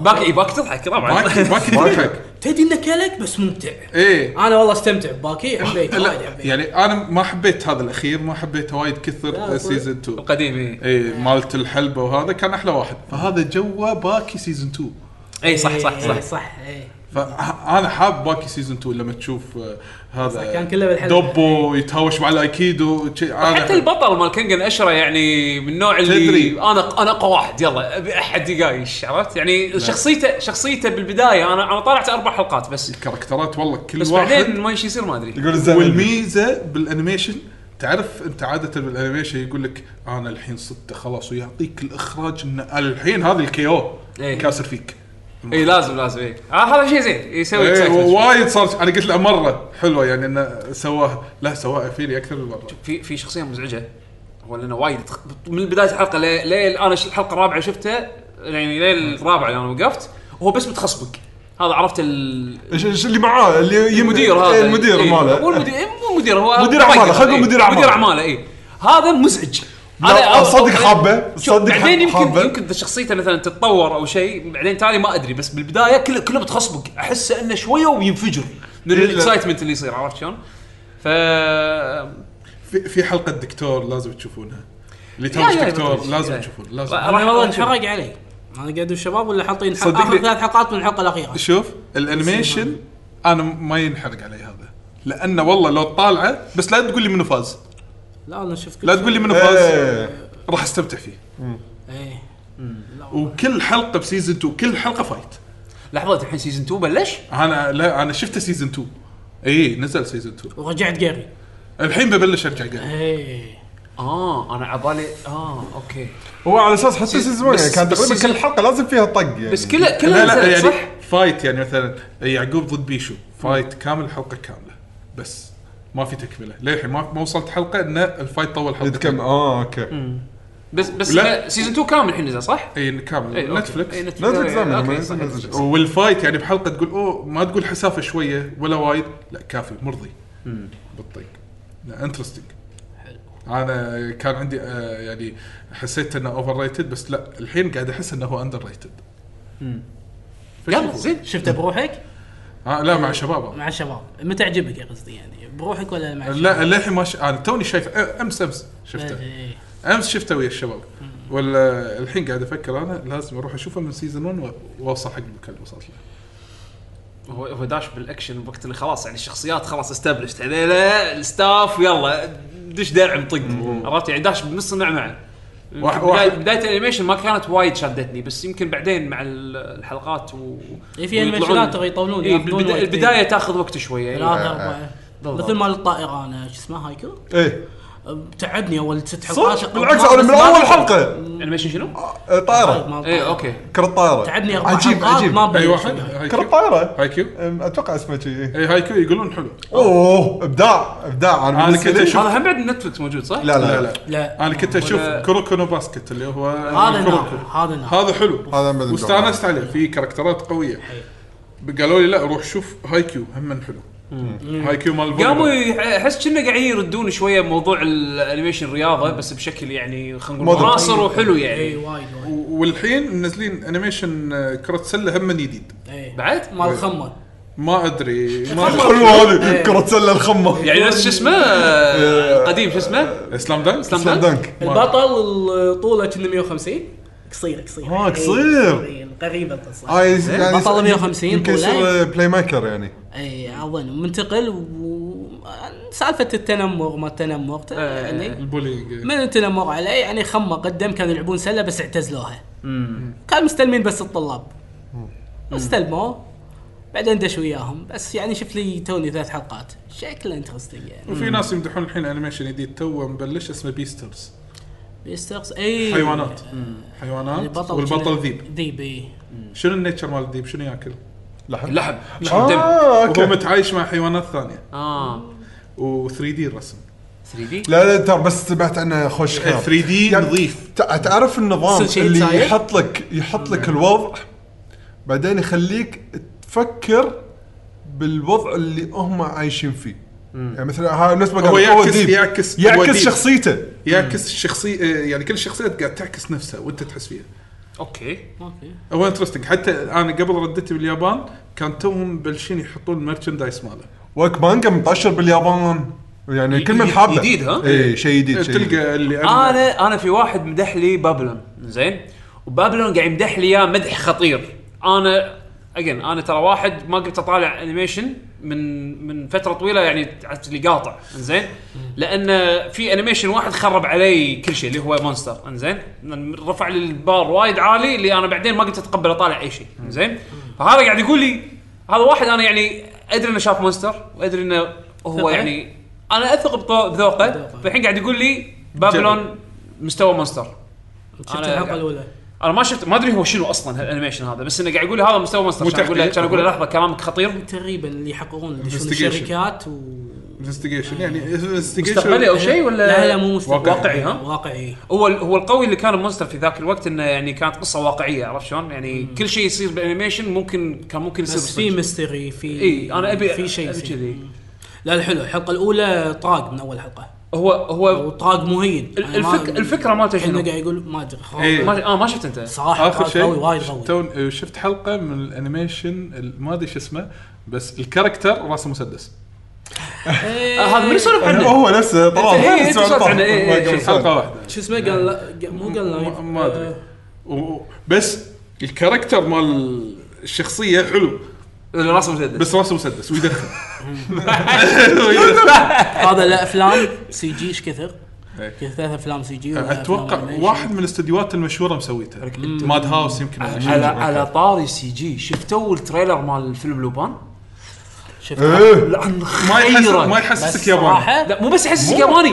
S1: باكي إيه، باكي تضحك
S2: باكي
S1: طبعا
S2: باكي تضحك
S4: تدري انه كلك بس ممتع
S1: إيه.
S2: ايه
S4: انا والله استمتع بباكي حبيت
S2: لا
S4: وايد حبيت
S2: يعني انا ما حبيت هذا الاخير ما حبيته وايد كثر
S4: لا،
S2: سيزون 2
S1: القديم إيه. إي.
S2: اي إيه، مالت الحلبه وهذا كان احلى واحد فهذا جوه باكي سيزون 2
S1: اي صح صح
S4: إيه،
S1: صح
S4: صح اي
S2: فانا حاب باكي سيزون 2 لما تشوف آه،
S4: صح،
S2: هذا
S4: كان كله بالحلبة.
S2: دوبو يتهاوش مع الايكيدو شي- أنا
S1: حتى البطل مال كينج الاشرة يعني من النوع اللي
S2: تدري.
S1: انا انا اقوى واحد يلا ابي احد يقايش عرفت
S2: نعم.
S1: يعني شخصيته شخصيته بالبدايه انا انا طالعت اربع حلقات بس
S2: الكاركترات والله كل
S1: بس
S2: واحد
S1: بعدين ما ايش يصير ما ادري
S3: يقول الزلمه
S2: والميزه بالانيميشن تعرف انت عاده بالانيميشن يقول لك انا الحين صدت خلاص ويعطيك الاخراج ان الحين هذا الكيو
S1: إيه.
S2: كاسر فيك
S1: اي لازم لازم اي آه هذا شيء زين يسوي
S2: ايه
S1: excitement.
S2: وايد صار انا قلت له مره حلوه يعني انه سواها لا سواها فيني اكثر من مره
S1: في في شخصيه مزعجه هو لانه وايد تخ... من بدايه الحلقه ليه ليه الان ش- الحلقه الرابعه شفتها يعني ليه الرابعه اللي انا وقفت وهو بس بتخصبك هذا عرفت ال...
S3: إيش- إيش اللي معاه اللي يم-
S1: المدير هذا
S3: إيه، المدير
S1: إيه، مو
S3: ماله
S1: المدير إيه، مو مدير هو
S3: مدير أعماله،
S1: فايتر،
S3: خلينا نقول
S1: إيه،
S3: مدير أعماله.
S1: مدير اعماله اي هذا مزعج
S3: لا، آه،
S1: أو-
S3: صدق
S1: أو-
S3: حابه،
S1: شوف،
S3: صدق
S1: بعدين يمكن
S3: حابه.
S1: يمكن شخصيته مثلا تتطور او شيء بعدين تالي ما ادري بس بالبدايه كله كله بتخصبك احسه انه شويه وينفجر من
S2: إيه، لا.
S1: الاكسايتمنت اللي يصير عرفت شلون؟ ف
S2: في, في حلقه الدكتور لازم تشوفونها اللي
S1: يا-
S2: توش
S1: يا-
S2: دكتور
S1: بتمشي.
S2: لازم
S1: يا-
S2: تشوفون لازم
S1: راح-
S4: انا والله
S1: راح أشوف.
S4: انحرق علي انا قاعد الشباب ولا حاطين حق
S2: صدقني.
S4: اخر ثلاث حلقات من الحلقه الاخيره
S2: شوف الانيميشن انا ما ينحرق علي هذا لانه والله لو طالعه بس لا تقول لي منو فاز
S4: لا انا شفت كل
S2: لا
S4: شيء.
S2: تقول لي منو فاز
S3: إيه.
S2: راح استمتع فيه
S4: ايه
S2: وكل حلقه بسيزون 2 كل حلقه فايت
S1: لحظه الحين سيزون 2 بلش؟
S2: انا لا انا شفته سيزون 2 اي نزل سيزون 2
S4: ورجعت جاري
S2: الحين ببلش ارجع قبل
S4: ايه
S1: اه انا عبالي اه اوكي
S3: هو على اساس حتى سيزون
S1: بس-
S3: يعني كان
S1: بس
S3: تقريبا
S1: سيزون-
S3: كل حلقه لازم فيها طق يعني
S1: بس كله
S2: لا
S1: كله
S2: لا
S1: نزلت
S2: يعني
S1: صح؟
S2: فايت يعني مثلا يعقوب ضد بيشو فايت كامل حلقه كامله بس
S3: آه،
S2: ما في تكمله للحين ما ما وصلت حلقه ان الفايت طول حلقه
S3: يتكلم اه اوكي
S1: بس بس
S2: لا.
S1: سيزون 2 كامل الحين نزل صح؟
S2: اي إيه، كامل
S4: إيه،
S1: أي، أوكي.
S2: نتفلكس
S1: أي، نتفلكس
S3: لا
S1: أوكي،
S3: تتزامن،
S1: أوكي،
S3: ما
S1: صح،
S3: ينزل.
S1: نتفلكس.
S2: والفايت يعني بحلقه تقول اوه ما تقول حسافه شويه ولا وايد لا كافي مرضي بالطيق لا انترستنج انا كان عندي آه، يعني حسيت انه اوفر ريتد بس لا الحين قاعد احس انه هو اندر ريتد
S1: يلا زين
S4: شفته بروحك
S2: آه لا مع شباب
S4: إيه. مع الشباب متى عجبك يا قصدي يعني بروحك ولا مع الشباب؟
S2: لا للحين ما ش... انا توني شايف آه، امس امس شفته
S4: إيه.
S2: امس شفته ويا الشباب ولا الحين قاعد افكر انا لازم اروح اشوفه من سيزون 1 و- واوصل حق المكان اللي وصلت له
S1: هو هو داش بالاكشن وقت اللي خلاص يعني الشخصيات خلاص يعني استبلشت هذيلا الستاف يلا دش درع طق عرفت يعني داش بنص المعمعه
S2: واحد-
S1: بداية,
S2: واحد-
S1: بدايه الانيميشن ما كانت وايد شدتني بس يمكن بعدين مع ال- الحلقات و
S4: إيه، في أنيميشنات يطولون،
S1: إيه
S4: ياخذون
S1: بالبدا-
S4: وقت.
S1: البدايه تاخذ وقت شويه يعني
S4: ثلاثة أربعة
S1: بالضبط.
S4: مثل مال الطائرة أنا شو اسمها هايكو
S3: ايه
S4: تعبني أول ست حلقات
S3: صدق بالعكس انا من اول حلقه
S1: انيميشن أه. شنو؟ إيه،
S3: آه، طائره
S1: اي اوكي
S3: كره طائره
S4: طيب، تعبني أربع
S3: عجيب،
S4: حلقات
S3: عجيب.
S4: ما
S2: اي
S4: بلش.
S2: واحد
S3: كره
S2: هايكيو
S3: طائره
S2: هايكيو
S3: أم، اتوقع اسمه شيء إيه.
S2: اي هايكيو يقولون حلو
S3: اوه ابداع ابداع
S2: أنا
S3: بالنسبة
S2: كنت
S3: لي-
S2: أشوف-
S1: هذا هم بعد نتفلكس موجود صح؟
S2: لا
S3: لا
S2: لا
S3: لا, لا.
S4: لا
S2: انا كنت اشوف
S1: ولا-
S2: كروكونو باسكت اللي هو
S4: هذا
S2: كروكونو.
S4: نار هذا نار
S2: هذا حلو
S3: هذا أبداً
S2: واستانست عليه في كاركترات قويه قالوا لي لا روح شوف هاي كيو هم حلو هاي كيو مال الفوليبول.
S1: قاموا يح- احس كنا قاعدين يردون شويه موضوع الانيميشن رياضه بس بشكل يعني خلينا نقول
S3: مودرن.
S1: معاصر وحلو
S4: اي
S1: يعني
S4: إيه، وايد وايد
S2: و- والحين منزلين انيميشن آه، كره سله هم جديد
S4: إيه.
S1: بعد؟
S4: مال الخمة
S2: ما ادري ما أدري.
S3: حلوه هذه كره سله الخمه
S1: يعني نفس شو اسمه آه، القديم شو اسمه؟
S2: اسلام دانك
S1: إسلام
S3: سلام دنك
S4: البطل ال- طوله كنا 150 قصير قصير
S3: آه،
S4: إيه،
S3: قصير.
S4: إيه، غريبة القصة
S3: آه، يس- يعني
S4: بطل
S3: يس-
S4: 150
S3: يمكن
S4: طوله.
S3: يصير بلاي ميكر يعني
S4: اي اظن منتقل و سالفة التنمر ما التنمر ت-
S1: إيه.
S4: يعني
S2: البولينج
S4: من التنمر عليه يعني خمة قدم كانوا يلعبون سلة بس اعتزلوها كانوا مستلمين بس الطلاب استلموه بعدين دش وياهم بس يعني شفت لي توني ثلاث حلقات شكله انترستنج يعني
S2: وفي ناس يمدحون الحين انيميشن جديد تو مبلش اسمه بيسترز
S4: بيسترس اي
S2: حيوانات حيوانات والبطل ذيب
S4: ذيب اي
S2: شنو النيتشر مال الذيب شنو ياكل؟
S3: لحم
S1: اللحم لحم دم
S3: اه
S2: هو
S3: اوكي
S2: متعايش مع حيوانات ثانيه
S1: اه
S2: و 3 دي الرسم
S1: 3 دي
S3: لا لا ترى بس سمعت عنه خوش خير
S2: 3 دي
S3: يعني-
S2: نظيف نعم.
S3: تع- تعرف النظام
S4: تصير شيء
S3: اللي
S4: تسايد؟
S3: يحط لك يحط لك الوضع بعدين يخليك تفكر بالوضع اللي هم عايشين فيه يعني مثلا ها نفس ما
S2: هو
S3: قال،
S2: يعكس-
S3: ديب.
S2: يعكس- هو
S3: يعكس
S2: ديب.
S3: شخصيته
S2: يعكس الشخصيه يعني كل الشخصيات قاعد تعكس نفسها وانت تحس فيها
S1: اوكي
S4: اوكي
S2: هو انترستنج حتى انا قبل ردتي باليابان كان توهم بلشين يحطون المرشندايز ماله
S3: وك مانجا منتشر باليابان يعني كل من
S1: جديد-
S3: حابه
S1: جديد، ها؟
S3: اي شيء جديد شيء جديد.
S2: إيه، تلقى اللي أنا-
S1: انا انا في واحد مدح لي بابلون زين وبابلون قاعد يمدح لي اياه مدح خطير انا اجين انا ترى واحد ما قمت اطالع انيميشن من من فتره طويله يعني عرفت اللي قاطع زين لان في انيميشن واحد خرب علي كل شيء اللي هو مونستر انزين رفع لي البار وايد عالي اللي انا بعدين ما قمت اتقبل اطالع اي شيء زين فهذا قاعد يقول لي هذا واحد انا يعني ادري انه شاف مونستر وادري انه هو
S4: ثقة.
S1: يعني انا اثق بطو- بذوقه
S4: بذوقه.
S1: فالحين قاعد يقول لي بابلون مستوى مونستر
S4: شفت
S1: أنا-
S4: الحلقه الاولى
S1: انا ما شفت ما ادري هو شنو اصلا هالانيميشن هذا بس انه قاعد يقول لي هذا مستوى مونستر
S2: مو
S1: كان اقول له
S2: تحقيق.
S1: كان اقول له لحظه كلامك خطير
S4: تقريبا اللي يحققون يدشون
S2: Investigation.
S4: الشركات و
S2: انفستيجيشن يعني انفستيجيشن
S1: مستقبلي او شيء ولا
S4: لا لا مو مستقبل.
S1: واقعي ها
S4: واقعي إيه.
S1: هو هو القوي اللي كان مونستر في ذاك الوقت انه يعني كانت قصه واقعيه عرفت شلون؟ يعني كل شيء يصير بالانيميشن ممكن كان ممكن يصير
S4: بس في
S1: بالصدق.
S4: ميستري في
S1: اي انا ابي
S4: في شيء
S1: إيه، أبي
S4: يصير.
S1: كذي
S4: لا الحلو الحلقه الاولى طاق من اول حلقه
S1: هو هو
S4: وطاق مهين
S1: ال-
S4: أنا ما-
S1: الفك الفكره مالته
S4: كأنه
S1: شنو؟
S4: قاعد يقول ما ادري خلاص.
S2: إيه.
S1: ما- اه ما شفت انت
S4: صراحه
S2: اخر
S4: طاق قوي وايد
S2: شيء
S4: قوي
S2: تو شفت حلقه من الانيميشن ال- ما ادري شو اسمه بس الكاركتر راسه مسدس
S1: آه، هذا من يسولف عنه؟
S3: يعني هو نفسه طلع
S1: إيه، إيه، تسولف عنه، إيه، إيه،
S3: ما قبل سنة.
S2: حلقه واحده
S4: شو اسمه قال لا- آه، مو قال لايف
S2: ما- ما ادري و- و- بس الكاركتر مال الشخصيه حلو
S1: راسه مسدس
S2: بس راسه مسدس ويدخن
S4: هذا لا افلام سي جي ايش كثر؟
S2: إيه.
S4: كثر ثلاث افلام سي جي ولا
S2: اتوقع
S4: أفلام animation.
S2: واحد من الاستديوهات المشهوره مسويته ماد هاوس يمكن ولا شيء.
S1: على على طاري سي جي شفتوا التريلر مال فيلم لوبان؟
S4: شفت
S3: إيه.
S1: لعن
S2: ما يحس ما
S1: خيرك
S4: بس
S2: يحسسك ياباني
S4: صراحه
S1: لا مو بس يحسسك ياباني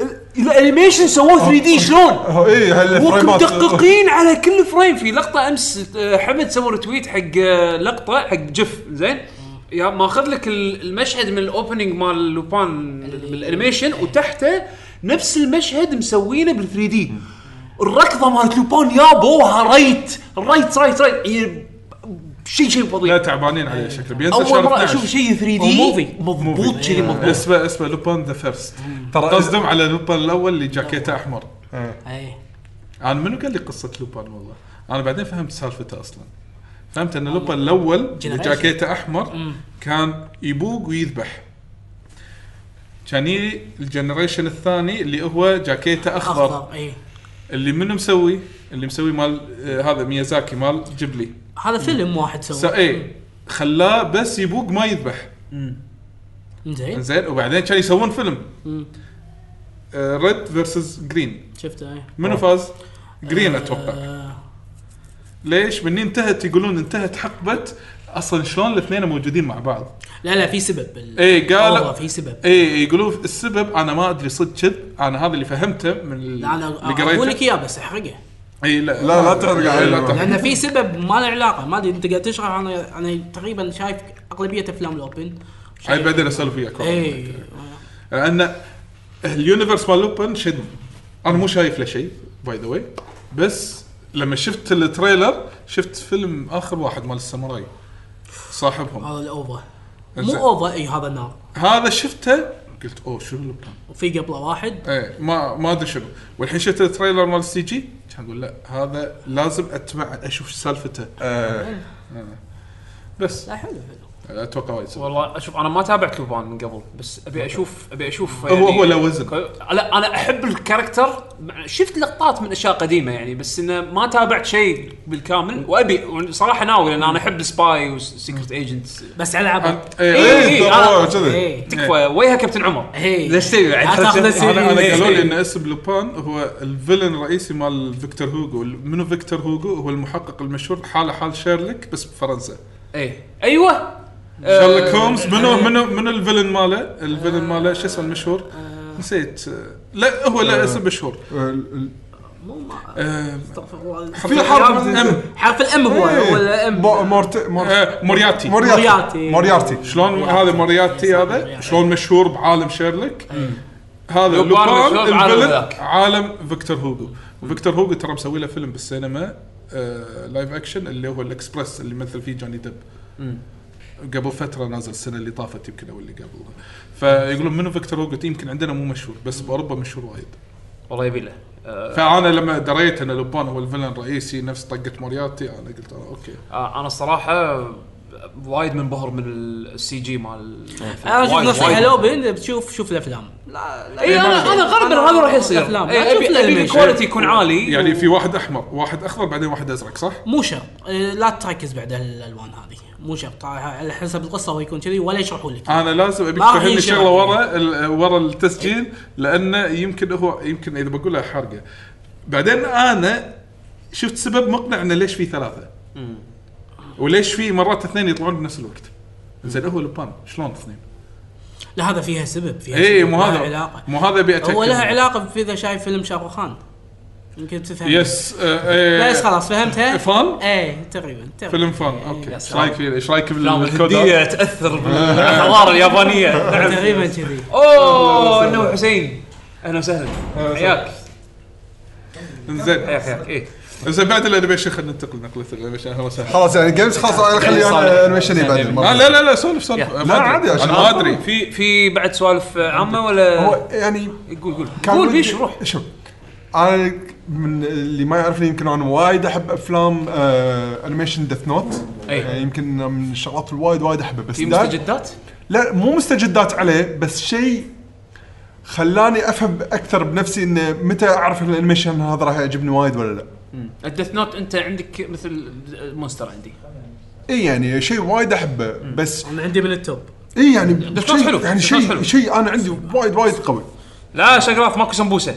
S1: ال- الانيميشن سووه
S2: آه.
S1: 3 دي شلون؟
S3: هو اي
S1: وكم
S3: هالفريمات
S1: مدققين على كل فريم في لقطه امس آه، حمد سوى رتويت حق آه، لقطه حق جف زين يا ماخذ لك ال- المشهد من الاوبننج مال لوبان بالانيميشن وتحته نفس المشهد مسوينه بال 3 دي الركضه مالت لوبان يا ابوها ريت ريت ريت ريت يعني شيء شيء
S2: لا
S1: فظيع
S2: تعبانين
S1: إيه.
S2: عليه شكله بينزل
S1: اول
S2: شهر
S1: مره
S2: 12
S1: اشوف شيء 3
S2: أو موفي.
S1: دي مضبوط كذي مضبوط
S2: اسمه اسمه لوبان ذا فيرست
S3: ترى-
S2: قصدهم على لوبان الاول اللي جاكيته احمر
S4: اي
S2: انا منو قال لي قصه لوبان والله؟ انا بعدين فهمت سالفته اصلا. فهمت ان لوبان الاول اللي
S4: Generation.
S2: جاكيته احمر كان يبوق ويذبح. كان يجي الجنريشن الثاني اللي هو جاكيته اخضر
S4: اخضر اي
S2: اللي منو مسوي؟ اللي مسوي مال آه هذا ميازاكي مال جبلي.
S4: هذا فيلم واحد
S2: س- إيه.
S4: سوى
S2: اي خلاه بس يبوق ما يذبح.
S4: زين
S2: زين وبعدين كانوا يسوون فيلم آه،
S4: مم.
S2: ريد فيرسز جرين
S4: شفته اي
S2: منو فاز؟ جرين اتوقع.
S4: آه،
S2: ليش؟ مني انتهت يقولون انتهت حقبه اصلا شلون الاثنين موجودين مع بعض؟
S4: لا لا في سبب بال-
S2: إيه، قال-
S4: والله في سبب
S2: اي يقولون السبب انا ما ادري صدق كذب انا هذا اللي فهمته من ال-
S4: لا، انا اقول لك اياه بس احرقه
S2: اي لا
S3: لا، لا تحرق
S2: إي، لا
S3: علينا.
S2: تحرق.
S4: لان في سبب ما له علاقه ما ادري انت قاعد تشرح انا انا تقريبا شايف اغلبيه افلام الاوبن
S2: هاي بعدين اسولف وياك
S4: اي
S2: لان اليونيفرس مال لوبن شدني انا مو شايف له شيء باي ذا واي بس لما شفت التريلر شفت فيلم اخر واحد مال الساموراي صاحبهم
S4: هذا الاوفر
S2: إنزين.
S4: مو اوفر اي هذا النار
S2: هذا شفته قلت اوه شنو لوبن
S4: وفي قبله واحد
S2: ايه ما ما ادري شنو والحين شفت التريلر مال السي جي كان اقول لا هذا لازم اتبع اشوف شو سالفته
S3: آه،
S2: بس
S4: لا حلو حلو
S2: اتوقع وايد سبب.
S1: والله اشوف انا ما تابعت لوبان من قبل بس ابي اشوف ابي اشوف
S2: هو هو له وزن
S1: لا انا احب الكاركتر شفت لقطات من اشياء قديمه يعني بس انه ما تابعت شيء بالكامل وابي صراحه ناوي لان انا احب سباي وسيكرت ايجنتس
S4: بس على عبط
S2: أنت- إيه،
S1: إيه،
S2: إيه،
S1: إيه.
S3: ترى
S1: أنا-
S3: كذي
S4: اي
S1: تكفى ويها كابتن عمر
S4: إيه.
S1: ليش تبي
S2: يعني
S1: بعد؟
S4: لا تاخذ
S1: حسيت-
S2: انا انا
S4: إيه.
S2: قالوا لي ان اسم لوبان هو الفيلن الرئيسي مال فيكتور هوجو منو فيكتور هوجو هو المحقق المشهور حاله حال شيرلوك بس بفرنسا
S1: ايه ايوه
S2: شيرلوك
S1: أه،
S2: هومز منو منو منو الفيلن ماله الفيلن ماله شو اسمه المشهور نسيت آه، لا هو له اسم مشهور
S3: ال- ال-
S4: مو ما
S2: آه،
S4: استغفر الله
S3: في حرف
S2: أم.
S4: حرف الام هو
S3: إيه.
S4: هو الام
S3: مو- مورت مور-
S1: إيه.
S2: آه، مورياتي
S3: مورياتي
S4: مورياتي.
S3: مورياتي
S2: شلون هذا مورياتي هذا
S4: مورياتي.
S2: شلون مشهور بعالم شيرلوك هذا
S1: لوبان
S2: لوبان
S1: مشهور بعالم
S2: الفيلن
S1: ذاك.
S2: عالم فيكتور هوجو وفيكتور هوجو ترى مسوي له فيلم بالسينما آه، لايف اكشن اللي هو الاكسبرس اللي مثل فيه جوني ديب قبل فتره نازل السنه اللي طافت يمكن او اللي قبلها فيقولون منو فيكتور هوجو يمكن عندنا مو مشهور بس باوروبا مشهور وايد
S1: والله يبي له آه،
S2: فانا لما دريت ان لوبان هو الفيلن الرئيسي نفس طقه مورياتي انا قلت آه، اوكي
S1: آه، انا الصراحه وايد منبهر من السي جي مال
S4: انا اشوف
S1: وايد-
S4: إيه. نفسي
S1: وايد. إيه،
S4: حلو بين بتشوف شوف إيه، الافلام لا لا
S1: اي انا انا غالبا هذا راح يصير
S4: الافلام
S1: إيه،
S4: أشوف
S1: ابي ابي
S4: الأنمي.
S1: الكواليتي يكون عالي
S2: يعني في واحد احمر واحد اخضر بعدين واحد ازرق صح؟
S4: مو شرط إيه، لا تركز بعد الالوان هذه مو شرط طبعاً على حسب القصه هو يكون كذي ولا يشرحوا لك
S2: انا لازم ابيك
S4: ما في
S2: تفهمني
S4: شغل.
S2: شغله ورا ال- ورا التسجيل لانه يمكن هو يمكن اذا بقولها حرقه بعدين انا شفت سبب مقنع انه ليش في ثلاثه وليش في مرات اثنين يطلعون بنفس الوقت زين هو لبان شلون اثنين؟
S4: لا هذا فيها سبب فيها
S2: اي
S4: سبب،
S2: إيه، مو
S4: لها
S2: هذا
S4: علاقه
S2: مو هذا ابي اتاكد
S4: هو لها علاقه في اذا شايف فيلم شاروخان يمكن تفهم
S2: يس
S4: بس
S2: آه آه
S4: خلاص إيه، فهمتها
S2: فان؟
S4: ايه تقريبا تقريبا
S2: فيلم فان اوكي
S1: يا
S2: ايش
S1: سلام.
S2: رايك فيه ايش رايك
S1: الافلام
S2: بالكود
S1: الهنديه تاثر بالحضاره اليابانيه نعم.
S4: تقريبا كذي
S1: اوه انه حسين اهلا وسهلا حياك
S2: زين
S4: إيه.
S1: حياك حياك ايه
S2: زين بعد الانيميشن خلينا ننتقل نقله الانيميشن اهلا وسهلا
S3: خلاص يعني جيمز خلاص انا خلي انا انيميشن بعدين
S1: يعني
S2: آه،
S3: المرة.
S2: لا لا لا سولف سولف
S1: يا.
S2: ما
S3: لا،
S2: أدري.
S3: عادي يا
S2: انا
S3: شباب.
S2: ما ادري
S1: في في بعد سوالف عامه ولا
S3: هو يعني
S1: قول قول
S3: كان
S1: قول
S3: ودي-
S1: بيش روح
S3: شوف انا من اللي ما يعرفني يمكن انا وايد احب افلام آه انيميشن ديث نوت
S1: أي.
S3: يعني يمكن من الشغلات الوايد وايد احبها بس
S1: في
S3: دا-
S1: مستجدات
S3: لا مو مستجدات عليه بس شيء خلاني افهم اكثر بنفسي انه متى اعرف ان الانيميشن هذا راح يعجبني وايد ولا لا
S1: الديث نوت انت عندك مثل مونستر عندي
S3: اي يعني شيء وايد احبه بس
S4: انا عندي من التوب
S3: اي يعني
S1: Death Note
S3: شيء-
S1: حلو.
S3: يعني
S1: Death Note
S3: شيء
S1: حلو.
S3: شيء انا عندي وايد وايد قوي
S1: لا شقراف ماكو سمبوسه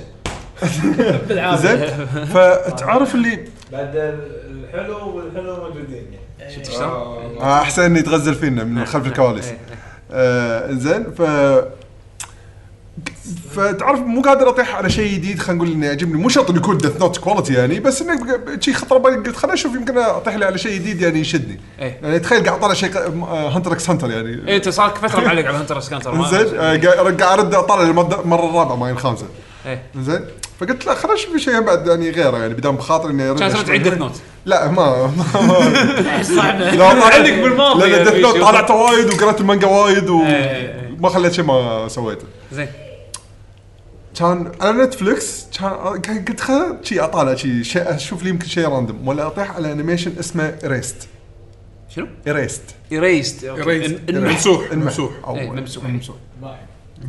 S3: زين فتعرف اللي
S5: بعد الحلو والحلو موجودين يعني
S1: شفت شلون؟
S3: آه، احسن اني يتغزل فينا من خلف الكواليس
S1: إيه، إيه.
S3: آه زين ف فتعرف مو قادر اطيح على شيء جديد خلينا نقول انه يعجبني مو شرط انه يكون ديث نوت كواليتي يعني بس انه شيء خطر بالي قلت خليني اشوف يمكن اطيح لي على شيء جديد يعني يشدني
S1: إيه.
S3: يعني تخيل قاعد اطالع شيء هنتر اكس هنتر يعني آه،
S1: إيه، انت صار لك فتره معلق على هنتر سكانتر إيه.
S3: زين قاعد ارد اطالع المره الرابعه ما الخامسه زين فقلت لا خلينا نشوف شيء بعد يعني غيره يعني بدام بخاطري اني ارد
S1: كان
S3: أشوف
S1: صرت عيد
S3: الحين.
S1: ديث نوت
S3: لا ما ما- ما
S4: صعبه
S3: لا طلعت-
S1: علق بالماضي
S3: لان
S1: يا
S3: ديث نوت
S1: بيشو.
S3: طالعت وايد وقرأت المانجا وايد
S1: إيه.
S3: وما خليت شيء ما سويته
S1: زين
S3: كان على نتفلكس كان قلت خل شي اطالع شي شيء اشوف لي يمكن شيء راندوم ولا اطيح على انيميشن اسمه ريست
S1: شنو؟
S3: ريست
S1: ايريست
S2: ممسوح ممسوح
S1: ممسوح.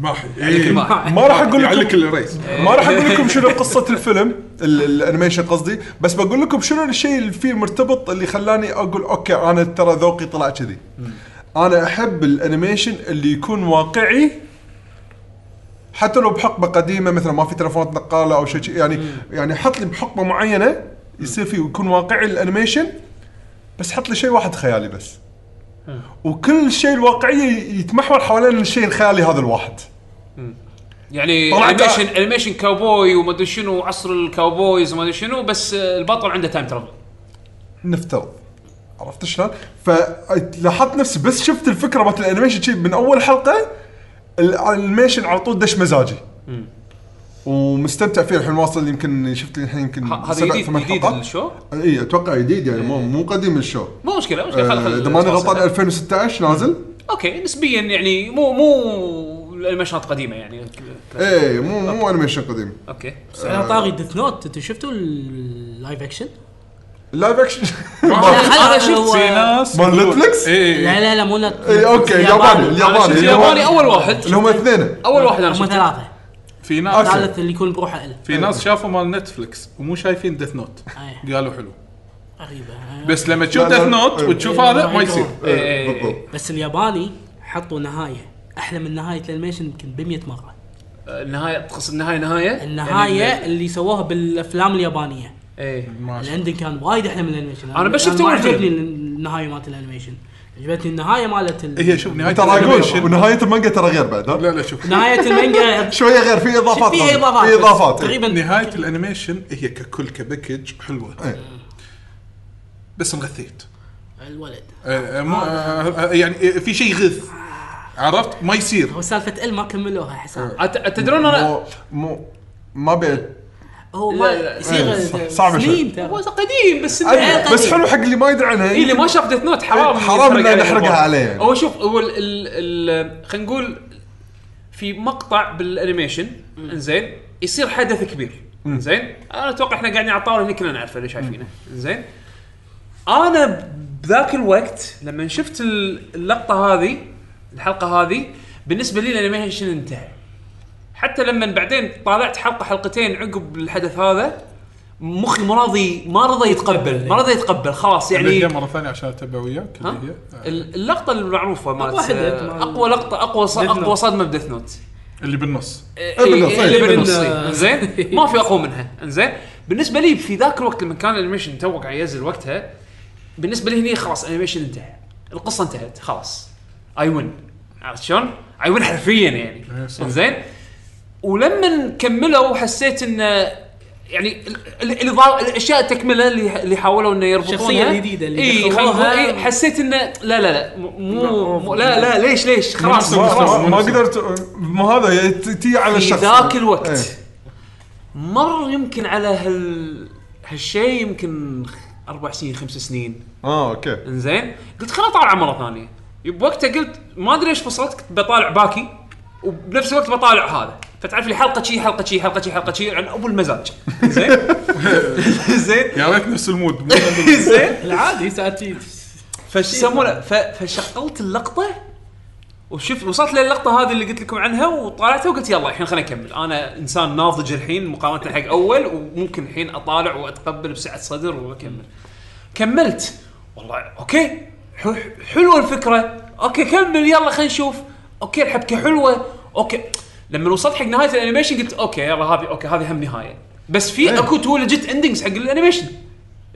S2: ماحي
S1: إيه، ما
S3: ما راح اقول
S2: يعلق
S3: لكم
S2: الرئيس
S3: ما راح اقول لكم شنو قصه الفيلم ال- الانيميشن قصدي بس بقول لكم شنو الشيء اللي فيه مرتبط اللي خلاني اقول اوكي انا ترى ذوقي طلع كذي انا احب الانيميشن اللي يكون واقعي حتى لو بحقبه قديمه مثلا ما في تلفونات نقاله او شيء شي- يعني يعني حط لي بحقبه معينه يصير فيه يكون واقعي الانيميشن بس حط لي شيء واحد خيالي بس وكل شيء الواقعيه يتمحور حوالين الشيء الخيالي هذا الواحد
S1: يعني
S3: طلعت-
S1: انيميشن انيميشن كاوبوي وما ادري شنو عصر الكاوبويز وما ادري شنو بس آه، البطل عنده تايم ترافل
S3: نفترض عرفت شلون؟ فلاحظت نفسي بس شفت الفكره مالت الانيميشن شي من اول حلقه الانيميشن على طول دش مزاجي ومستمتع فيه الحين واصل يمكن شفت لي الحين يمكن
S1: ه- هذا جديد جديد الشو
S3: اي اتوقع جديد يعني مو مو قديم الشو
S1: مو مشكله مو مشكله خل- خل-
S3: اذا ماني
S1: خل-
S3: آه، غلطان 2016 نازل
S1: اوكي نسبيا يعني مو مو الانيميشنات قديمه يعني
S3: اي إيه، مو مو انيميشن قديم
S1: اوكي
S4: بس على طاري ديث نوت انتوا شفتوا اللايف اكشن؟
S3: لايف اكشن
S4: أنا شفت
S2: في ناس
S3: مال
S2: يقولون-
S3: نتفلكس؟
S2: إيه،
S4: لا
S2: إيه.
S4: لا لا مو نت
S3: اي اوكي الياباني
S1: انا
S3: الياباني
S1: شفت
S3: اللي هو-
S1: الياباني اول واحد
S3: اللي هم اثنين
S1: اول واحد انا
S4: هم
S1: شفته
S4: ثلاثه
S2: في ناس
S3: أوكي.
S4: الثالث اللي يكون بروحه اله
S2: في ناس شافوا مال نتفلكس ومو شايفين ديث نوت
S4: أيه.
S2: قالوا حلو
S4: غريبة
S2: بس لما تشوف
S3: آه. لا، لا.
S2: ديث نوت
S3: إيه.
S2: وتشوف هذا ما يصير
S1: إيه.
S3: بالضبط
S4: بس الياباني حطوا نهايه احلى من نهايه الانيميشن يمكن ب 100 مره
S1: آه، النهايه تقصد النهايه نهايه
S4: النهايه
S1: يعني-
S4: اللي سووها بالافلام اليابانيه
S1: ايه
S2: ما شاء
S4: الاندنج كان وايد احلى من الانيميشن
S1: أنا بس
S4: ما
S1: شفت أول
S4: عجبني
S1: فيلم.
S4: النهايه مالت الانيميشن عجبتني النهايه مالت ال...
S2: هي إيه، شوف نهايه
S3: ترى اقول
S2: الأنيميشن-
S3: ونهايه المانجا ترى غير بعد ها؟
S2: يعني لا لا شوف
S4: نهايه المانجا
S3: شويه غير في اضافات
S4: فيها
S3: طبعاً.
S4: اضافات
S3: في
S4: بس
S3: اضافات
S1: طيب.
S3: إيه.
S4: تقريبا
S2: نهايه الانيميشن هي ككل كباكج حلوه
S3: إيه.
S2: بس انغثيت
S4: الولد
S2: آه، آه، مو- آه، آه، يعني آه، في شيء يغث عرفت ما يصير
S4: هو سالفه ال ما كملوها
S2: إيه.
S4: حساب
S1: أت- تدرون انا
S3: مو مو ما بي
S4: هو ما
S1: لا، لا.
S4: يصير
S3: إيه، صع- صعبة شوي.
S4: سنين ترى
S1: هو قديم بس إنه-
S4: أنا-
S3: أيوة، بس حلو حق اللي ما يدري عنها
S1: اي طيب. إيه، اللي ما شاف ديث نوت حرام
S3: إيه، حرام
S1: يتفرج
S3: إنه نحرقها
S1: الأخبار.
S3: عليه يعني.
S1: هو شوف هو ال ال خلينا نقول في مقطع بالانيميشن انزين يصير حدث كبير انزين انا اتوقع احنا قاعدين على الطاوله هنا كلنا نعرفه اللي شايفينه انزين انا بذاك الوقت لما شفت ال- اللقطه هذه الحلقه هذه بالنسبه لي الانيميشن انتهى حتى لما بعدين طالعت حلقه حلقتين عقب الحدث هذا مخي ما راضي ما رضى يتقبل ما رضى يتقبل خلاص يعني
S2: يعني مره ثانيه عشان اتبع وياك
S1: ها؟
S2: اللي هي آه،
S1: ال- اللقطه المعروفه
S4: أقوى
S1: مالت
S4: حدث
S1: آه،
S4: مال-
S1: اقوى لقطه اقوى ص-
S4: Death
S1: اقوى
S4: Note.
S1: صدمه بديث نوت
S2: اللي بالنص
S3: بالنص، إيه،
S1: اللي بالنص
S4: بالنص.
S1: آه، زين ما في اقوى منها انزين بالنسبه لي في ذاك الوقت لما كان الانيميشن تو قاعد ينزل وقتها بالنسبه لي هني خلاص الانيميشن انتهى القصه انتهت خلاص اي وين عرفت شلون؟ اي وين حرفيا يعني
S2: إيه، صح.
S1: زين ولما كملوا حسيت انه يعني ال- ال- الإضاءة- الاشياء التكمله اللي اللي حاولوا انه يربطونها
S4: الشخصية الجديدة اللي
S1: اي
S4: دخلوها.
S1: اي حسيت انه لا لا لا مو- مو, مو لا لا ليش ليش خلاص
S3: ما-
S1: خلاص
S3: ما- ما قدرت ما هذا هي ت- تي على
S1: في
S3: الشخص
S1: ذاك الوقت
S3: إيه.
S1: مر يمكن على هال هالشيء يمكن اربع سنين خمس سنين
S3: اه اوكي
S1: انزين قلت خليني اطالع مره ثانيه بوقتها قلت ما ادري ايش فصلت كنت بطالع باكي وبنفس الوقت بطالع هذا فتعرف لي حلقه شي حلقه شي حلقه شي حلقه شي عن ابو المزاج زين زين
S2: يا ريت نفس المود مو
S1: زين
S4: العادي ساعات
S1: فش يسمونه ف- فشغلت اللقطه وشفت وصلت للقطه هذه اللي قلت لكم عنها وطالعتها وقلت يلا الحين خليني اكمل انا انسان ناضج الحين مقارنه حق اول وممكن الحين اطالع واتقبل بسعه صدر واكمل كملت والله اوكي ح- حلوه الفكره اوكي كمل يلا خلينا نشوف اوكي الحبكه حلوه اوكي لما وصلت حق نهايه الانيميشن قلت اوكي يلا هذه اوكي هذه هم نهايه بس
S3: إيه.
S1: في اكو تو ليجيت اندنجز حق الانيميشن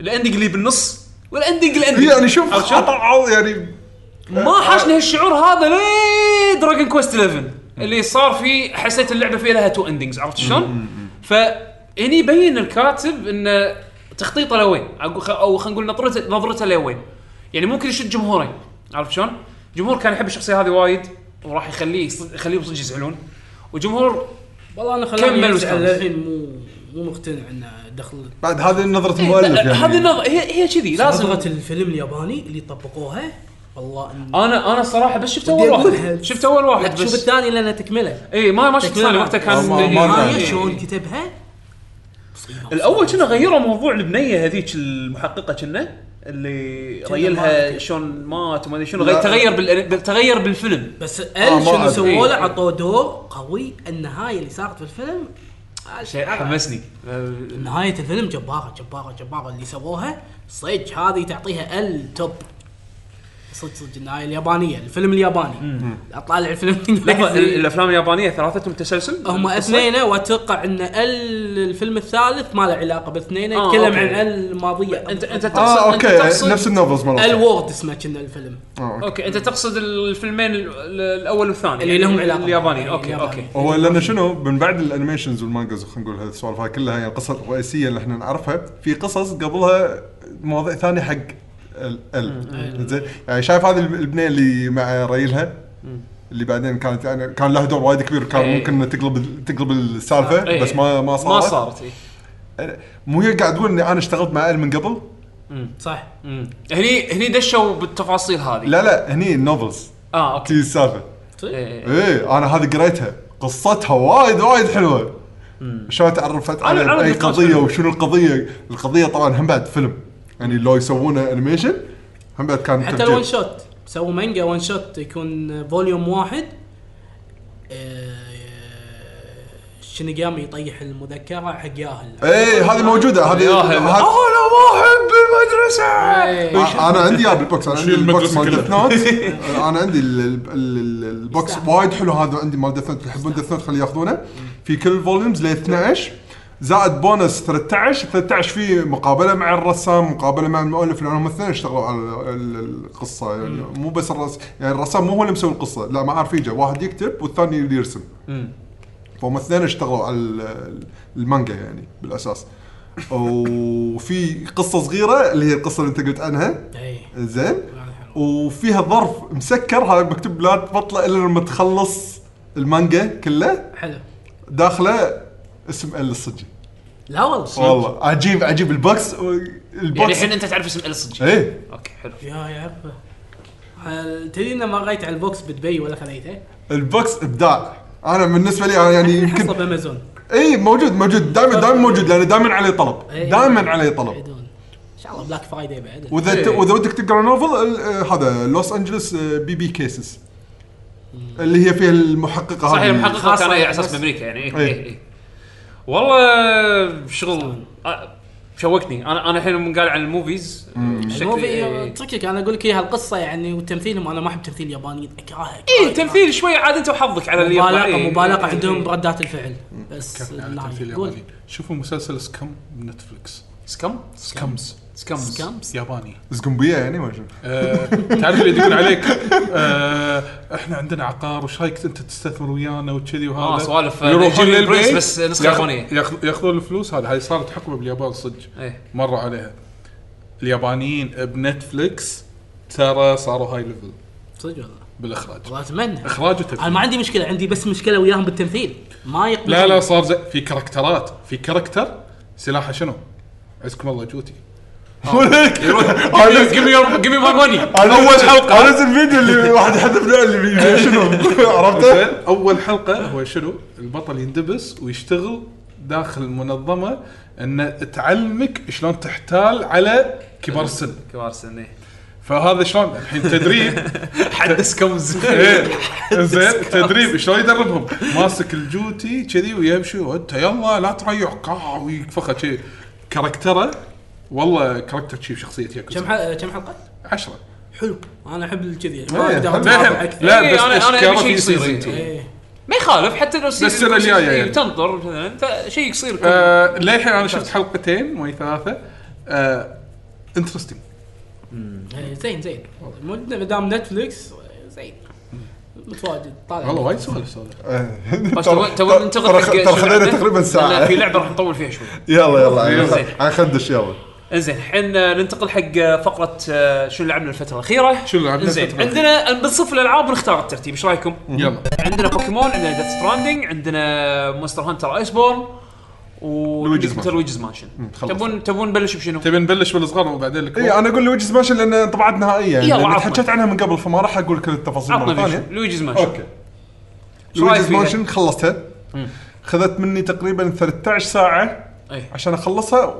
S1: الاندنج اللي بالنص والاندنج الاندنج
S3: يعني شوف
S1: عرفت شلون؟
S3: قطعوا يعني
S1: ما حاشني هالشعور هذا ليه دراجون كويست 11 اللي صار فيه حسيت اللعبه فيها لها تو اندنجز عرفت شلون؟ فهني يبين الكاتب انه تخطيطه لوين أقو- او خلينا نقول نظرته نظرته لوين يعني ممكن يشد جمهورين عرفت شلون؟ جمهور كان يحب الشخصيه هذه وايد وراح يخليه يصد- يخليهم صدق يزعلون وجمهور
S4: والله انا
S1: كمل
S4: خلاني ازعل
S1: أستاذ.
S4: الحين مو مو مقتنع انه دخل
S3: بعد هذه نظره
S1: إيه،
S3: المؤلف
S1: لا،
S3: يعني
S1: هذه النظره هي هي كذي لازم
S4: نظرة الفيلم الياباني اللي طبقوها والله إن-
S1: انا انا الصراحه بس شفت
S4: ودي
S1: اول واحد
S4: أقولها.
S1: شفت اول
S4: لا
S1: واحد
S4: تشوف
S1: بس
S4: الثاني لانه تكمله
S1: اي ما ما شفت
S4: تكملة.
S1: الثاني وقتها كان
S3: ما- ما- ما-
S1: إيه.
S4: هاي شلون كتبها مصيبة.
S1: الاول كنا غيروا موضوع البنيه هذيك المحققه كنا اللي
S4: كنا
S1: ريلها
S4: مات.
S1: شلون مات وما ادري شنو
S3: لا.
S1: غير- تغير بال- بال- تغير بالفيلم
S4: بس
S3: آه،
S4: ال
S3: ما
S4: شنو
S3: أدري.
S4: سووا له
S1: إيه.
S4: عطوه دور قوي النهايه اللي صارت في الفيلم آه،
S1: شيء حمسني
S4: نهاية الفيلم جبارة جبارة جبارة اللي سووها صدق هذه تعطيها التوب صدق صدق النهاية اليابانية الفيلم الياباني اطالع الفيلم
S1: لحظه
S4: الإنجليزي.
S1: الافلام اليابانيه ثلاثتهم تسلسل
S4: هم
S1: القصة؟
S4: اثنين واتوقع ان ال- الفيلم الثالث ما له علاقه باثنين
S1: آه،
S4: يتكلم عن
S1: أوكي.
S4: ال الماضيه
S1: انت انت تقصد
S3: اه
S1: أنت
S3: اوكي
S1: تقصد-
S3: نفس آه، النوفلز مالت
S4: الورد اسمه كنا الفيلم
S1: اوكي انت تقصد الفيلمين ال- ال- الاول والثاني
S4: اللي لهم علاقة.
S1: الياباني
S4: إيه،
S1: اوكي
S4: الياباني.
S1: اوكي
S3: هو لان شنو من بعد الانيميشنز والمانجاز خلينا نقول هالسوالف هاي كلها يعني القصص الرئيسيه اللي احنا نعرفها في قصص قبلها مواضيع ثانيه حق ال ال زين يعني شايف هذه الب- البنيه اللي مع ريلها اللي بعدين كانت يعني كان لها دور وايد كبير كان
S1: إيه.
S3: ممكن إنها تقلب تقلب السالفه
S1: إيه.
S3: بس ما ما صارت
S1: ما صارت إيه.
S3: مو هي قاعد تقول اني انا اشتغلت مع ال من قبل
S4: صح
S1: مم. هني هني دشوا بالتفاصيل هذه
S3: لا لا هني النوفلز
S1: اه اوكي
S3: تي السالفه
S4: طيب.
S1: إيه.
S3: ايه انا هذه قريتها قصتها وايد وايد حلوه شلون تعرفت
S1: على-
S3: على
S1: على
S3: اي
S1: النقاش
S3: قضيه
S1: حلو.
S3: وشنو القضيه القضيه طبعا هم بعد فيلم يعني لو يسوونه انيميشن هم بعد كان
S4: حتى
S3: تفجير.
S4: الون شوت سووا مانجا ون شوت يكون فوليوم واحد آه، شينيجامي يطيح المذكره حق ياهل
S3: ايه هذه موجوده هذه
S1: يا هلا.
S3: هذه-
S2: انا ما احب المدرسه
S4: إيه.
S3: آه، انا عندي يا بالبوكس انا عندي
S2: شيل
S3: البوكس
S2: المدرسة
S3: مال ديث
S2: كلها.
S3: نوت انا عندي ال- ال- ال- البوكس
S4: يستاهل.
S3: وايد حلو هذا عندي مال ديث نوت يحبون ديث نوت خليه ياخذونه في كل فوليومز ل 12 زائد بونس 13 13 في مقابله مع الرسام مقابله مع المؤلف لان هم الاثنين اشتغلوا على ال- ال- القصه يعني مو بس الرسام يعني الرسام مو هو اللي مسوي القصه لا ما اعرف يجي واحد يكتب والثاني اللي يرسم فهم الاثنين اشتغلوا على ال- المانجا يعني بالاساس وفي قصه صغيره اللي هي القصه اللي انت قلت عنها
S4: ايه
S3: زين
S4: هذا حلو.
S3: وفيها ظرف مسكر هذا مكتوب لا تبطله الا لما تخلص المانجا كله
S4: حلو
S3: داخله اسم ال الصجي
S4: لا والله
S3: والله عجيب عجيب البوكس و-
S1: يعني
S3: البوكس
S1: الحين انت تعرف اسم ال صدق
S3: ايه
S1: اوكي حلو
S4: يا يا عبه هل تدري انه ما غيت على البوكس بدبي ولا خليته؟
S3: البوكس ابداع انا بالنسبه لي أنا يعني
S4: حصه
S3: يمكن
S4: بامازون
S3: اي موجود موجود دائما دائما موجود لانه دائما عليه طلب
S4: إيه.
S3: دائما عليه طلب
S4: يبعدون ان شاء الله بلاك فرايداي بعد
S3: واذا
S1: إيه.
S3: ت- واذا ودك تقرا نوفل ال- آه، هذا لوس انجلس آه، بي بي كيسز اللي هي فيها المحققه
S1: صحيح
S3: هذه.
S1: المحقق
S4: آه، خاصة
S1: كان على اساس
S4: بس-
S1: بامريكا يعني اي
S3: إيه.
S1: اي اي والله شغل آه، شوقتني انا انا الحين من قال عن الموفيز
S4: يعني
S1: شكلي-
S4: الموفي آه،
S1: إيه.
S4: تركك انا اقول لك اياها القصه يعني وتمثيلهم انا ما احب تمثيل ياباني طيب، آه، اكرهه
S2: إيه،
S1: اي إيه، تمثيل شوي عاد انت وحظك على اليابان.
S4: مبالغه
S1: إيه.
S4: مبالغه
S1: إيه.
S2: يعني
S4: عندهم بردات الفعل بس لا، قول.
S2: شوفوا مسلسل سكم بنتفلكس
S1: سكم
S2: سكمز
S1: سكمز
S4: سكامس
S2: ياباني
S3: زقنبيه يعني ما شنو
S2: آه، تعرف اللي يدقون عليك آه، احنا عندنا عقار وش رايك انت تستثمر ويانا وكذي وهذا
S1: آه، سوالف، آه،
S2: يروحون
S1: نيجيريان برنس
S2: للبيت،
S1: بس نسخة
S2: ياخ-
S1: يابانية.
S2: ياخ- ياخذون الفلوس هذه هاي صارت حقبه باليابان صدق
S1: إيه.
S2: مر عليها اليابانيين بنتفلكس ترى صاروا هاي ليفل
S4: صدق والله
S2: بالاخراج
S4: والله اتمنى
S2: اخراج
S4: انا
S2: وتمثيل
S4: ما عندي مشكله عندي بس مشكله وياهم بالتمثيل ما يقبل
S2: لا لا صار زي في كاركترات في كاركتر سلاحه شنو؟ عزكم الله جوتي
S1: Give me your- give me my money.
S3: انا اول حلقه انا نزل الفيديو اللي واحد يحذف له اللي بي- شنو عرفته؟
S2: زين، اول حلقه هو شنو؟ البطل يندبس ويشتغل داخل المنظمه ان تعلمك شلون تحتال على كبار السن
S1: كبار سن إيه.
S2: فهذا شلون الحين تدريب
S1: حد سكمز
S2: إيه، زين تدريب شلون يدربهم ماسك الجوتي كذي ويمشي وانت يلا لا تريح كا ويفخه كذي كاركتره والله كاركتر شيف شخصيه
S4: كم
S2: ياكوزا
S4: حلقه كم حلقه؟
S2: 10
S4: حلو انا احب كذي ما
S3: إيه،
S4: اقدر
S3: حلو.
S4: أتابع أكثر.
S2: لا
S1: إيه،
S2: بس
S1: أنا- أنا
S2: أشكاله
S1: أبي شيء
S2: في
S1: يصير،
S2: season two.
S1: إيه.
S4: إيه.
S1: ما يخالف حتى لو سيزون-
S2: السنة الجاية
S1: إيه،
S2: يعني.
S1: تنطر مثلا أنت شيء يصير كل-
S2: آه، للحين انا شفت حلقتين آه، وي ثلاثه انترستنج
S4: إيه، زين زين ما دام نتفلكس آه، زين متواجد طالع
S2: والله وايد سوالف هذا
S1: بس تو تو ننتقل حق
S3: ترى
S1: شنو
S3: خذينا
S1: عندنا؟
S3: تقريبا
S1: لأن
S3: ساعه
S1: في لعبه راح نطول فيها شوي
S3: يلا يلا
S1: زين.
S3: يلا، خندش يلا
S1: انزين الحين آه، ننتقل حق آه، فقره آه، شنو لعبنا الفتره الاخيره
S2: شنو لعبنا
S1: انزين
S2: الفترة
S1: عندنا بنصف الالعاب ونختار الترتيب ايش رايكم؟
S2: يلا
S1: عندنا بوكيمون عندنا ديث ستراندنج عندنا مونستر هانتر ايس بورن و
S2: لويجيز
S1: دكتور
S2: مانشن.
S1: ويجز مانشن
S3: خلص.
S1: تبون تبون نبلش بشنو؟
S2: تبي نبلش بالصغار وبعدين الكبار
S3: اي انا اقول لويجي سماشن لان طبعات نهائيه
S1: يلا،
S3: يعني
S1: عطنا.
S3: حكيت عنها من قبل فما راح اقول كل التفاصيل مره
S1: عطنا
S3: ثانيه
S1: بيشو. لويجيز مانشن
S3: اوكي
S1: شو رايك
S3: لويجيز
S1: فيها؟
S3: مانشن خلصتها خذت مني تقريبا 13 ساعه
S1: اي
S3: عشان اخلصها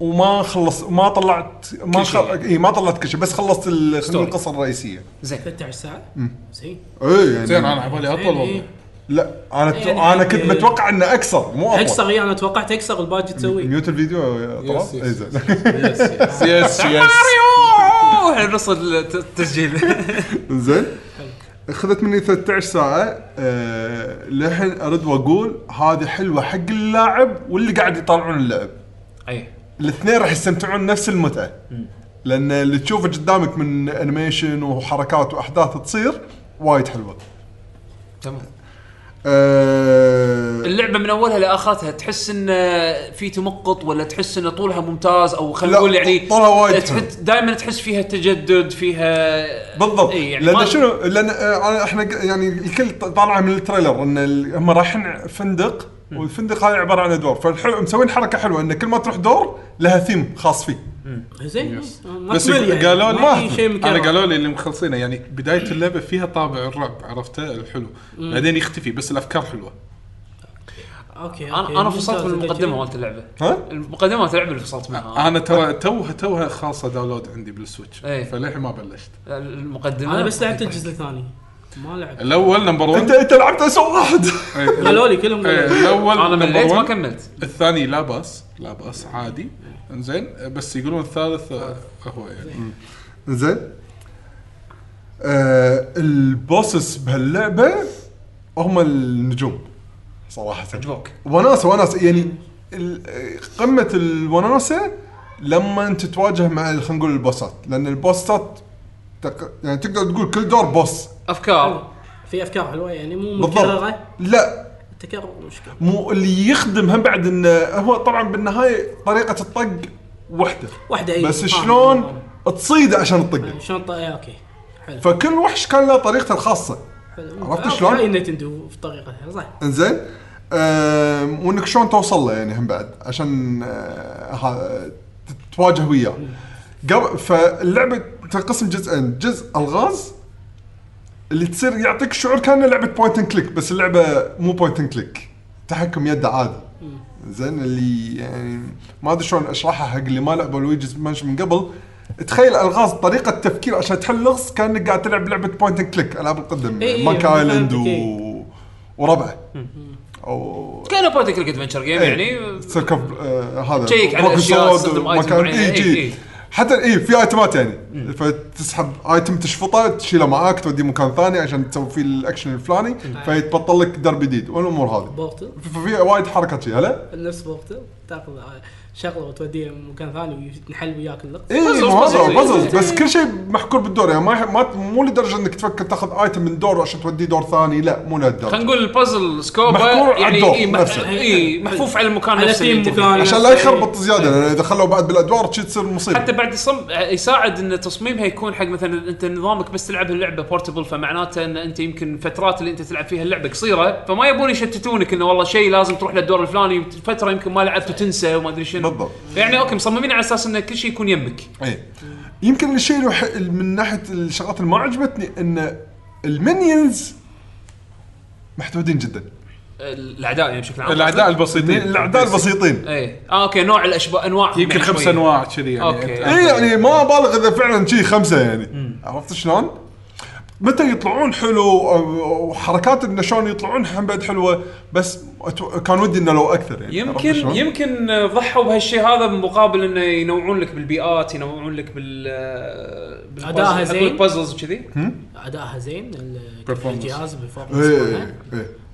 S3: وما خلص ما طلعت ما
S1: كل شيء.
S3: خل... اي ما طلعت كل شيء بس خلصت ال- خلينا نقول
S1: ستوري.
S3: القصه الرئيسيه
S4: 13 ساعه زين
S3: اي يعني
S2: زين انا على بالي اطول
S1: إيه.
S4: يعني
S2: والله
S3: لا انا ت...
S4: يعني-
S3: انا كنت متوقع انه اكثر مو اطول
S4: اكسر إيه، انا توقعت اكسر الباقي تسويه
S3: ميوت الفيديو يا طلال؟
S2: يس، يس.
S3: اي إيه، زين
S2: يس يس يس
S1: ماريو نص التسجيل
S3: زين اخذت مني 13 ساعه أه... للحين ارد واقول هذه حلوه حق اللاعب واللي قاعد يطالعون اللعب
S1: اي
S3: الاثنين راح يستمتعون نفس المتعه لان اللي تشوفه قدامك من انيميشن وحركات واحداث تصير وايد حلوه
S1: تمام
S3: أه...
S1: اللعبه من اولها لاخرتها تحس ان في تمقط ولا تحس ان طولها ممتاز او خلينا
S3: لا،
S1: نقول يعني
S3: طولها وايد
S1: دائما تحس فيها تجدد فيها
S3: بالضبط
S1: اي يعني ما-
S3: لان شنو لان آه، احنا ق- يعني الكل ط- طالعه من التريلر ان ال- هم رايحين فندق والفندق هذا عباره عن ادوار فالحلو مسوين حركه حلوه ان كل ما تروح دور لها ثيم خاص فيه
S4: زين ما
S2: بس
S4: تمل يعني.
S2: قالوا
S4: ما في
S2: لي
S4: شيء
S2: انا
S4: مكرر.
S2: قالوا لي اللي مخلصينه يعني بدايه اللعبه فيها طابع الرعب عرفته الحلو بعدين يختفي بس الافكار حلوه
S4: اوكي أوكي.
S1: انا انا فصلت من
S4: ممتاز،
S1: المقدمه مالت اللعبه
S3: ها؟
S1: المقدمه مالت اللعبه اللي فصلت
S4: آه.
S1: منها
S2: انا ترى توها توها خاصه داونلود عندي بالسويتش
S1: إيه.
S2: فللحين ما بلشت
S1: المقدمه
S4: انا بس لعبت الجزء الثاني ما لعبت
S2: الاول نمبر 1
S3: انت انت لعبت اسوء واحد
S4: قالوا لي كلهم قالوا لي.
S2: الاول
S1: انا
S2: إيه، number
S1: مليت ما
S2: one.
S1: كملت
S2: الثاني لا باس لا باس عادي انزين بس يقولون الثالث آه، هو يعني
S3: زين آه البوسس بهاللعبه هم النجوم صراحه
S1: عجبوك
S3: وناسه وناسه يعني ال- قمه الوناسه لما انت تتواجه مع ال- خلينا نقول البوسات لان البوسات تق... يعني تقدر تقول كل دور بوس
S1: افكار
S4: في افكار حلوه يعني مو
S3: بالضبط
S4: مكرره
S3: لا
S4: التكرر مشكله
S3: مو اللي يخدم هم بعد انه هو طبعا بالنهايه طريقه الطق وحده
S4: واحده اي
S3: بس شلون تصيده عشان تطقه
S4: إيه، شلون طيب اوكي حلو
S3: فكل وحش كان له طريقته الخاصه
S4: حلو
S3: عرفت
S4: آه،
S3: شلون؟
S4: هاي نتندو في طريقتها صح
S3: انزين أم، وانك شلون توصل له يعني هم بعد عشان أه، ها- تتواجه وياه قبل فاللعبه تنقسم جزئين جزء الغاز اللي تصير يعطيك شعور كانه لعبه بوينت اند كليك بس اللعبه مو بوينت اند كليك تحكم يده عادي زين اللي يعني ما ادري شلون اشرحها حق اللي ما لعبوا لويجيز مانشن من قبل تخيل الغاز طريقه تفكير عشان تحل لغز كانك قاعد تلعب لعبه بوينت اند كليك العاب القدم
S4: إي إي،
S3: ماك ايلاند
S4: فهمتك،
S3: و... وربعه او
S1: كان بوتيكل ادفنشر جيم
S3: إيه.
S1: يعني
S3: سيركب آه هذا
S1: تشيك على
S3: روك
S1: أشياء،
S3: سود
S1: تستخدم
S3: وما
S1: item إيه،
S3: كان-
S1: معينة.
S3: إي،
S1: إي،
S3: إي.
S1: إي.
S3: حتى اي في ايتمات يعني فتسحب ايتم تشفطه تشيله معاك توديه مكان ثاني عشان تسوي فيه الاكشن الفلاني
S1: نعم.
S3: فيتبطل لك درب جديد والامور هذه
S4: بورتل
S3: ففي وايد حركات فيها لا
S4: نفس بورتل تاخذ آه، شغله وتوديها مكان ثاني ونحل وياك اللغز
S3: اي
S1: puzzles، إيه. puzzles،
S3: بزل
S1: puzzles.
S3: بزل بس كل شيء محكور بالدور يعني ما ما- مو لدرجه انك تفكر تاخذ ايتم من دور عشان توديه دور ثاني لا مو
S1: خلينا
S3: لهالدرجه
S1: نقول البازل سكوبه
S3: محكور على
S1: يعني
S3: الدور
S1: اي م-
S3: نفسه.
S1: إي، محفوف على المكان
S4: على
S1: نفسه اللي
S4: ثيم
S1: أنت فيه.
S4: مكان.
S3: عشان لا يخربط زياده لان اذا خلوا بعد بالادوار شي تصير مصيبه
S1: إيه. حتى بعد صم... يساعد ان تصميمها يكون حق مثلا انت نظامك بس تلعب اللعبه بورتبل فمعناته ان انت يمكن الفترات اللي انت تلعب فيها اللعبه قصيره فما يبون يشتتونك انه والله شيء لازم تروح للدور الفلاني فتره يمكن ما لعبت وتنسى وما ادري شنو
S3: بالضبط.
S1: يعني اوكي مصممين على اساس ان كل شيء يكون يمك
S3: اي إيه. يمكن الشيء الوح... من ناحيه الشغلات اللي ما عجبتني ان المنيونز محدودين جدا
S1: الاعداء يعني بشكل عام
S2: الاعداء
S3: من
S2: البسيطين
S3: الاعداء يعني البسيطين
S1: اي آه اوكي نوع يعني الاشباه انواع
S2: يمكن خمس انواع كذي يعني
S1: أوكي.
S2: أنت-
S3: اي يعني ما بالغ اذا فعلا شيء خمسه يعني عرفت شلون؟ متى يطلعون حلو أو- وحركات انه شلون يطلعون هم بعد حلوه بس أتو... كان ودي انه لو اكثر يعني عرفت
S1: يمكن
S3: شلون؟
S1: يمكن ضحوا بهالشيء هذا مقابل انه ينوعون لك بالبيئات ينوعون لك بال آه،
S4: أداءها زين.
S1: بازلز وكذي
S4: ادائها زين ال-
S2: Performance.
S4: الجهاز
S3: ايه
S4: بالفورمانس
S3: ايه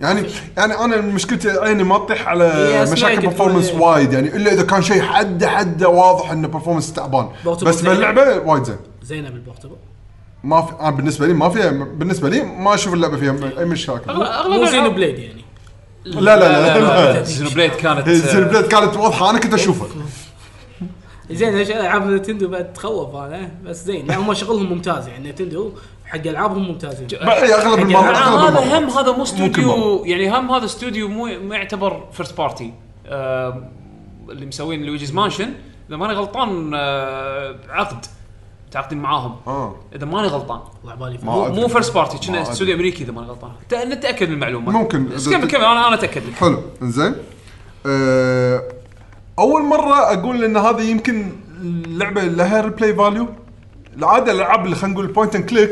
S3: يعني يعني انا مشكلتي عيني ما تطيح على
S4: إيه، أسمعك
S3: مشاكل
S4: تقول
S3: برفورمانس
S4: إيه.
S3: وايد يعني الا اذا كان شيء حده حده واضح انه برفورمانس تعبان
S4: بوتو
S3: بس
S4: زين.
S3: باللعبه وايد زين
S4: زينه بالبورتبل
S3: ما في انا بالنسبه لي ما فيها بالنسبه لي ما اشوف اللعبه فيها اي مشاكل
S1: أغلب- أغلب
S4: مو
S1: الألعاب-
S4: زينو بليد يعني
S3: لا لا لا, لا, لا.
S1: زينوبليد كانت
S3: البلاد كانت واضحه انا كنت اشوفها
S1: إيه.
S4: زين ايش العاب نتندو بعد تخوف انا بس زين لا هم شغلهم ممتاز يعني نتندو حق يعني. العابهم ممتازين
S3: إي، اغلب المرات
S1: مع
S3: اغلب
S1: آه، يعني هذا هم
S3: المرات
S1: هذا مو
S3: ممكن
S1: استوديو يعني هم هذا استوديو مو ما يعتبر فيرست بارتي آه، اللي مسوين لويجيز مانشن اذا ماني غلطان آه، عقد متعاقدين معاهم
S3: اه
S1: اذا ماني غلطان
S4: طلع بالي
S3: ما
S1: مو-
S3: أدري.
S1: مو فيرست بارتي
S3: ما
S1: كنا
S3: أدري.
S1: استوديو امريكي اذا ماني غلطان ت- نتاكد من المعلومه
S3: ممكن.
S1: بس كمل كمل انا انا اتاكد لك
S3: حلو انزين أه اول مره اقول ان هذه يمكن اللعبه لها ريبلاي فاليو العاده الالعاب اللي خلينا نقول بوينت اند كليك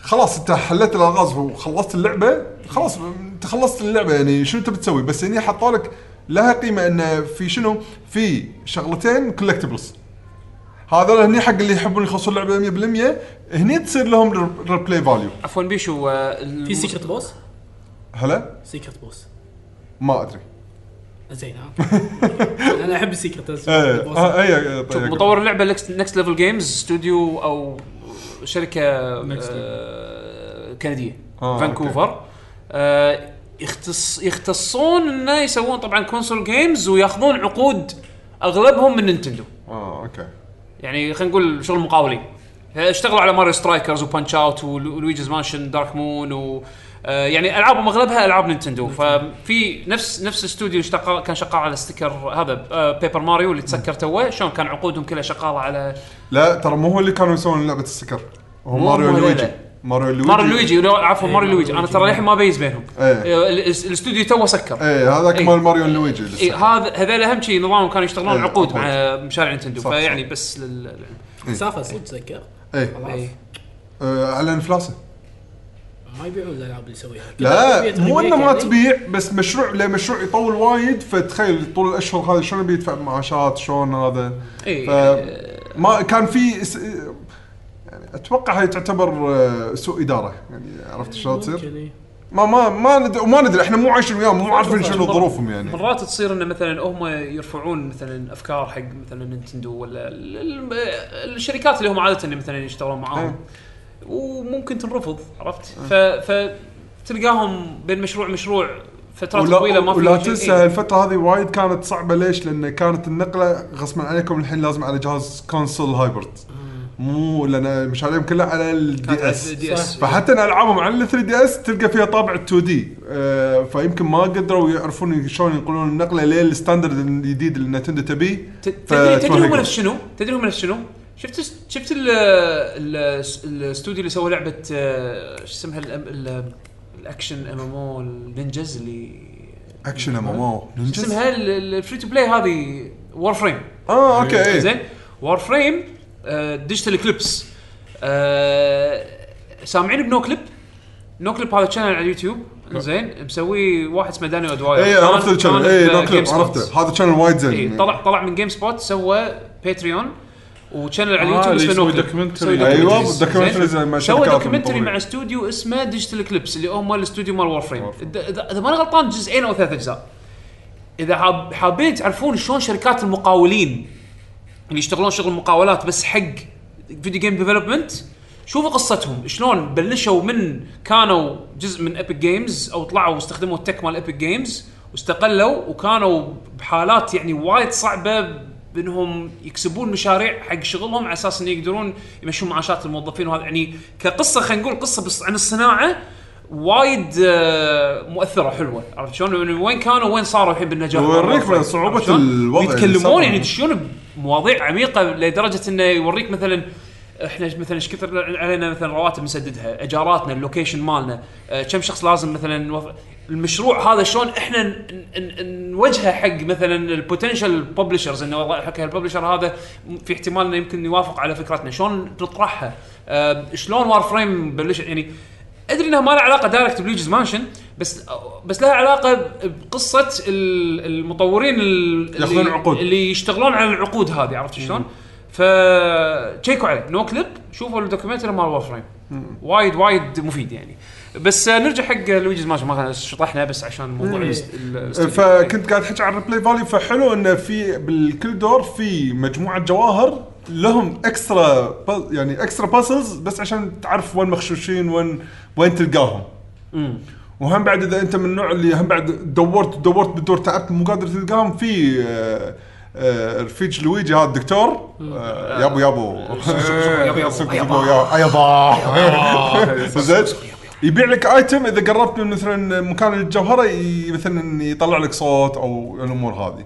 S3: خلاص انت حليت الالغاز وخلصت اللعبه خلاص انت خلصت اللعبه يعني شنو تبي تسوي بس هني حطوا لك لها قيمه ان في شنو في شغلتين كولكتبلز هذا هني حق اللي يحبون يخلصون اللعبه 100% هني تصير لهم ريبلاي فاليو
S1: عفوا بيشو آه، ال-
S4: في سيكرت بوس
S3: هلا
S4: سيكرت بوس
S3: ما ادري
S4: زين ها انا احب السيكرت بوس
S3: ايه آه، ايه آه،
S1: طيب، شوف،
S3: طيب.
S1: مطور اللعبه نكست ليفل جيمز استوديو او شركه
S2: Next
S1: آه، كنديه
S3: آه،
S1: فانكوفر آه، يختص يختصون انه يسوون طبعا كونسول جيمز وياخذون عقود اغلبهم من نينتندو
S3: اه اوكي
S1: يعني خلينا نقول شغل مقاولين اشتغلوا على ماريو سترايكرز وبانش اوت ولويجز مانشن دارك مون و آه، يعني العابهم اغلبها العاب نينتندو ففي نفس نفس الاستوديو اللي اشتغل- كان شغال على ستيكر هذا آه، بيبر ماريو اللي تسكر توه شلون كان عقودهم كلها شغاله على
S3: لا ترى مو هو اللي كانوا يسوون لعبه السكر هو
S1: مو
S3: ماريو
S1: هو
S3: لويجي
S1: لا.
S3: ماريو لويجي
S1: ماريو لويجي لو- عفوا
S4: إيه،
S1: ماريو لويجي انا
S4: ماريو
S1: ترى
S4: لويجي.
S1: للحين ما بيز بينهم
S3: إيه.
S1: آه، ال- الاستوديو توه سكر
S3: ايه هذاك
S1: إيه.
S3: مال ماريو لويجي اللي
S1: اي
S3: سكر.
S1: هذا هذول اهم شيء نظامهم كانوا يشتغلون
S3: إيه،
S1: عقود
S3: عقود.
S1: مع مشاريع نينتندو
S3: صح، صح.
S1: فيعني بس لل
S4: سافا صدق تذكر
S3: ايه
S1: إيه.
S3: آه، اعلن فلاسه
S4: ما يبيعون الالعاب اللي يسويها
S3: لا
S4: كلها
S3: مو
S4: ريميك
S3: انه ما
S4: يعني.
S3: تبيع بس مشروع لمشروع يطول وايد فتخيل طول الاشهر هذا شلون بيدفع معاشات شلون هذا
S1: إيه.
S3: ف ما كان في اس- يعني اتوقع هاي تعتبر آه، سوء اداره يعني عرفت شلون تصير؟
S4: ممكن إيه.
S3: ما ما ما ندري وما ندري احنا مو عايشين وياهم مو عارفين شنو
S1: مرات-
S3: ظروفهم يعني
S1: مرات تصير انه مثلا هم يرفعون مثلا افكار حق مثلا نينتندو ولا ال- ال- الشركات اللي هم عاده مثلا يشتغلون معاهم
S3: إيه.
S1: وممكن تنرفض عرفت؟ ف فتلقاهم بين مشروع مشروع فترات
S3: ولا,
S1: طويله ما في
S3: ولا
S1: شيء.
S3: تنسى
S1: إيه.
S3: الفترة هذه وايد كانت صعبة ليش؟ لأن كانت النقلة غصبا عليكم الحين لازم على جهاز كونسول هايبرد مو لأن مشاريعهم كلها على
S1: كانت
S3: الدي اس
S1: دي اس
S3: فحتى إن العابهم على 3 دي اس تلقى فيها طابع 2 دي آه فيمكن ما قدروا يعرفون شلون ينقلون النقله للستاندرد الجديد اللي نتندو تبيه
S1: ت- تدري تدري هم
S3: فتوهقوا.
S1: نفس شنو؟ تدري هم نفس شنو؟ شفت شفت ال- ال- الاستوديو اللي سوى لعبه آه، شو اسمها ال- ال- الاكشن ام ام او النينجز اللي
S3: اكشن ام ام او
S1: إيه. اسمها الفري تو بلاي هذه وور فريم
S3: اه اوكي إيه.
S1: زين آه، وور فريم ديجيتال كليبس آه، سامعين بنو كليب نو كليب هذا شانل على اليوتيوب زين مسوي واحد اسمه داني ادواير
S3: اي
S1: كان-
S3: إيه، عرفت الشانل
S1: كان
S3: اي
S1: ب
S3: نو كليب
S1: Game Spot.
S3: عرفته هذا شانل وايد
S1: إيه،
S3: زين
S1: طلع طلع من جيم سبوت سوى باتريون وشانل على
S2: آه،
S1: اليوتيوب اسمه
S2: اللي يسوي
S1: نو كليب
S2: documentary.
S1: يسوي
S3: أيوة،
S1: documentaries.
S3: documentaries
S1: زين؟
S3: مع
S1: سوى
S3: شركات
S1: دوكيومنتري
S3: مطورين.
S1: مع استوديو اسمه ديجيتال كليبس اللي هم الاستوديو مال وور فريم اذا إذا ماني غلطان جزئين او ثلاث اجزاء اذا حاب- حابين تعرفون شلون شركات المقاولين اللي يشتغلون شغل مقاولات بس حق فيديو جيم ديفلوبمنت شوفوا قصتهم شلون بلشوا من كانوا جزء من ايبك جيمز او طلعوا واستخدموا التك مال ايبك جيمز واستقلوا وكانوا بحالات يعني وايد صعبه بانهم يكسبون مشاريع حق شغلهم على اساس انه يقدرون يمشون معاشات الموظفين وهذا يعني كقصه خلينا نقول قصه بس عن الصناعه وايد آه، مؤثره حلوه عرفت شلون؟ يعني وين كانوا وين صاروا الحين بالنجاح
S3: ويوريك
S1: عرفت
S3: صعوبة
S1: شلون؟
S3: الوضع اللي صار.
S1: ويتكلمون يعني يدشون بمواضيع عميقه لدرجه انه يوريك مثلا احنا مثلا ايش كثر علينا مثلا رواتب نسددها، اجاراتنا، اللوكيشن مالنا، آه، كم شخص لازم مثلا نوف- المشروع هذا شلون احنا ن- ن- ن- نوجهه حق مثلا البوتنشال ببلشرز انه والله حق الببلشر هذا م- في احتمال انه يمكن يوافق على فكرتنا، شلون نطرحها؟ آه، شلون وار فريم بلش يعني ادري انها ما لها علاقه دايركت بليجز مانشن بس بس لها علاقه بقصه ال- المطورين ال-
S3: ياخذون
S1: اللي-
S3: عقود.
S1: اللي يشتغلون على العقود هذه عرفت شلون؟ ف تشيكوا عليه نو كليب شوفوا الدوكيومنتري مال وور فريم وايد وايد مفيد يعني بس آه، نرجع حق لويجيز ماشي ما شطحنا بس عشان موضوع
S4: إيه.
S1: الست- ال- الاستوديو.
S3: فكنت قاعد احكي عن الريبلاي فاليو فحلو انه في بالكل دور في مجموعه جواهر لهم اكسترا باز- يعني اكسترا بازلز بس عشان تعرف وين مخشوشين وين وين تلقاهم.
S1: مم.
S3: وهم بعد اذا انت من النوع اللي هم بعد دورت دورت بالدور تعبت مو قادر تلقاهم في آه، آه، رفيج لويجي هذا الدكتور آه، يابو يابو إيه،
S1: شوف- شوف- شوف- يابا- يابا-
S3: سوق- سوق-
S1: يابا.
S3: يا- يابا أيوة. زين يبيع لك ايتم اذا قربت من مثلا مكان الجوهره ي- مثلا يطلع لك صوت او الامور هذه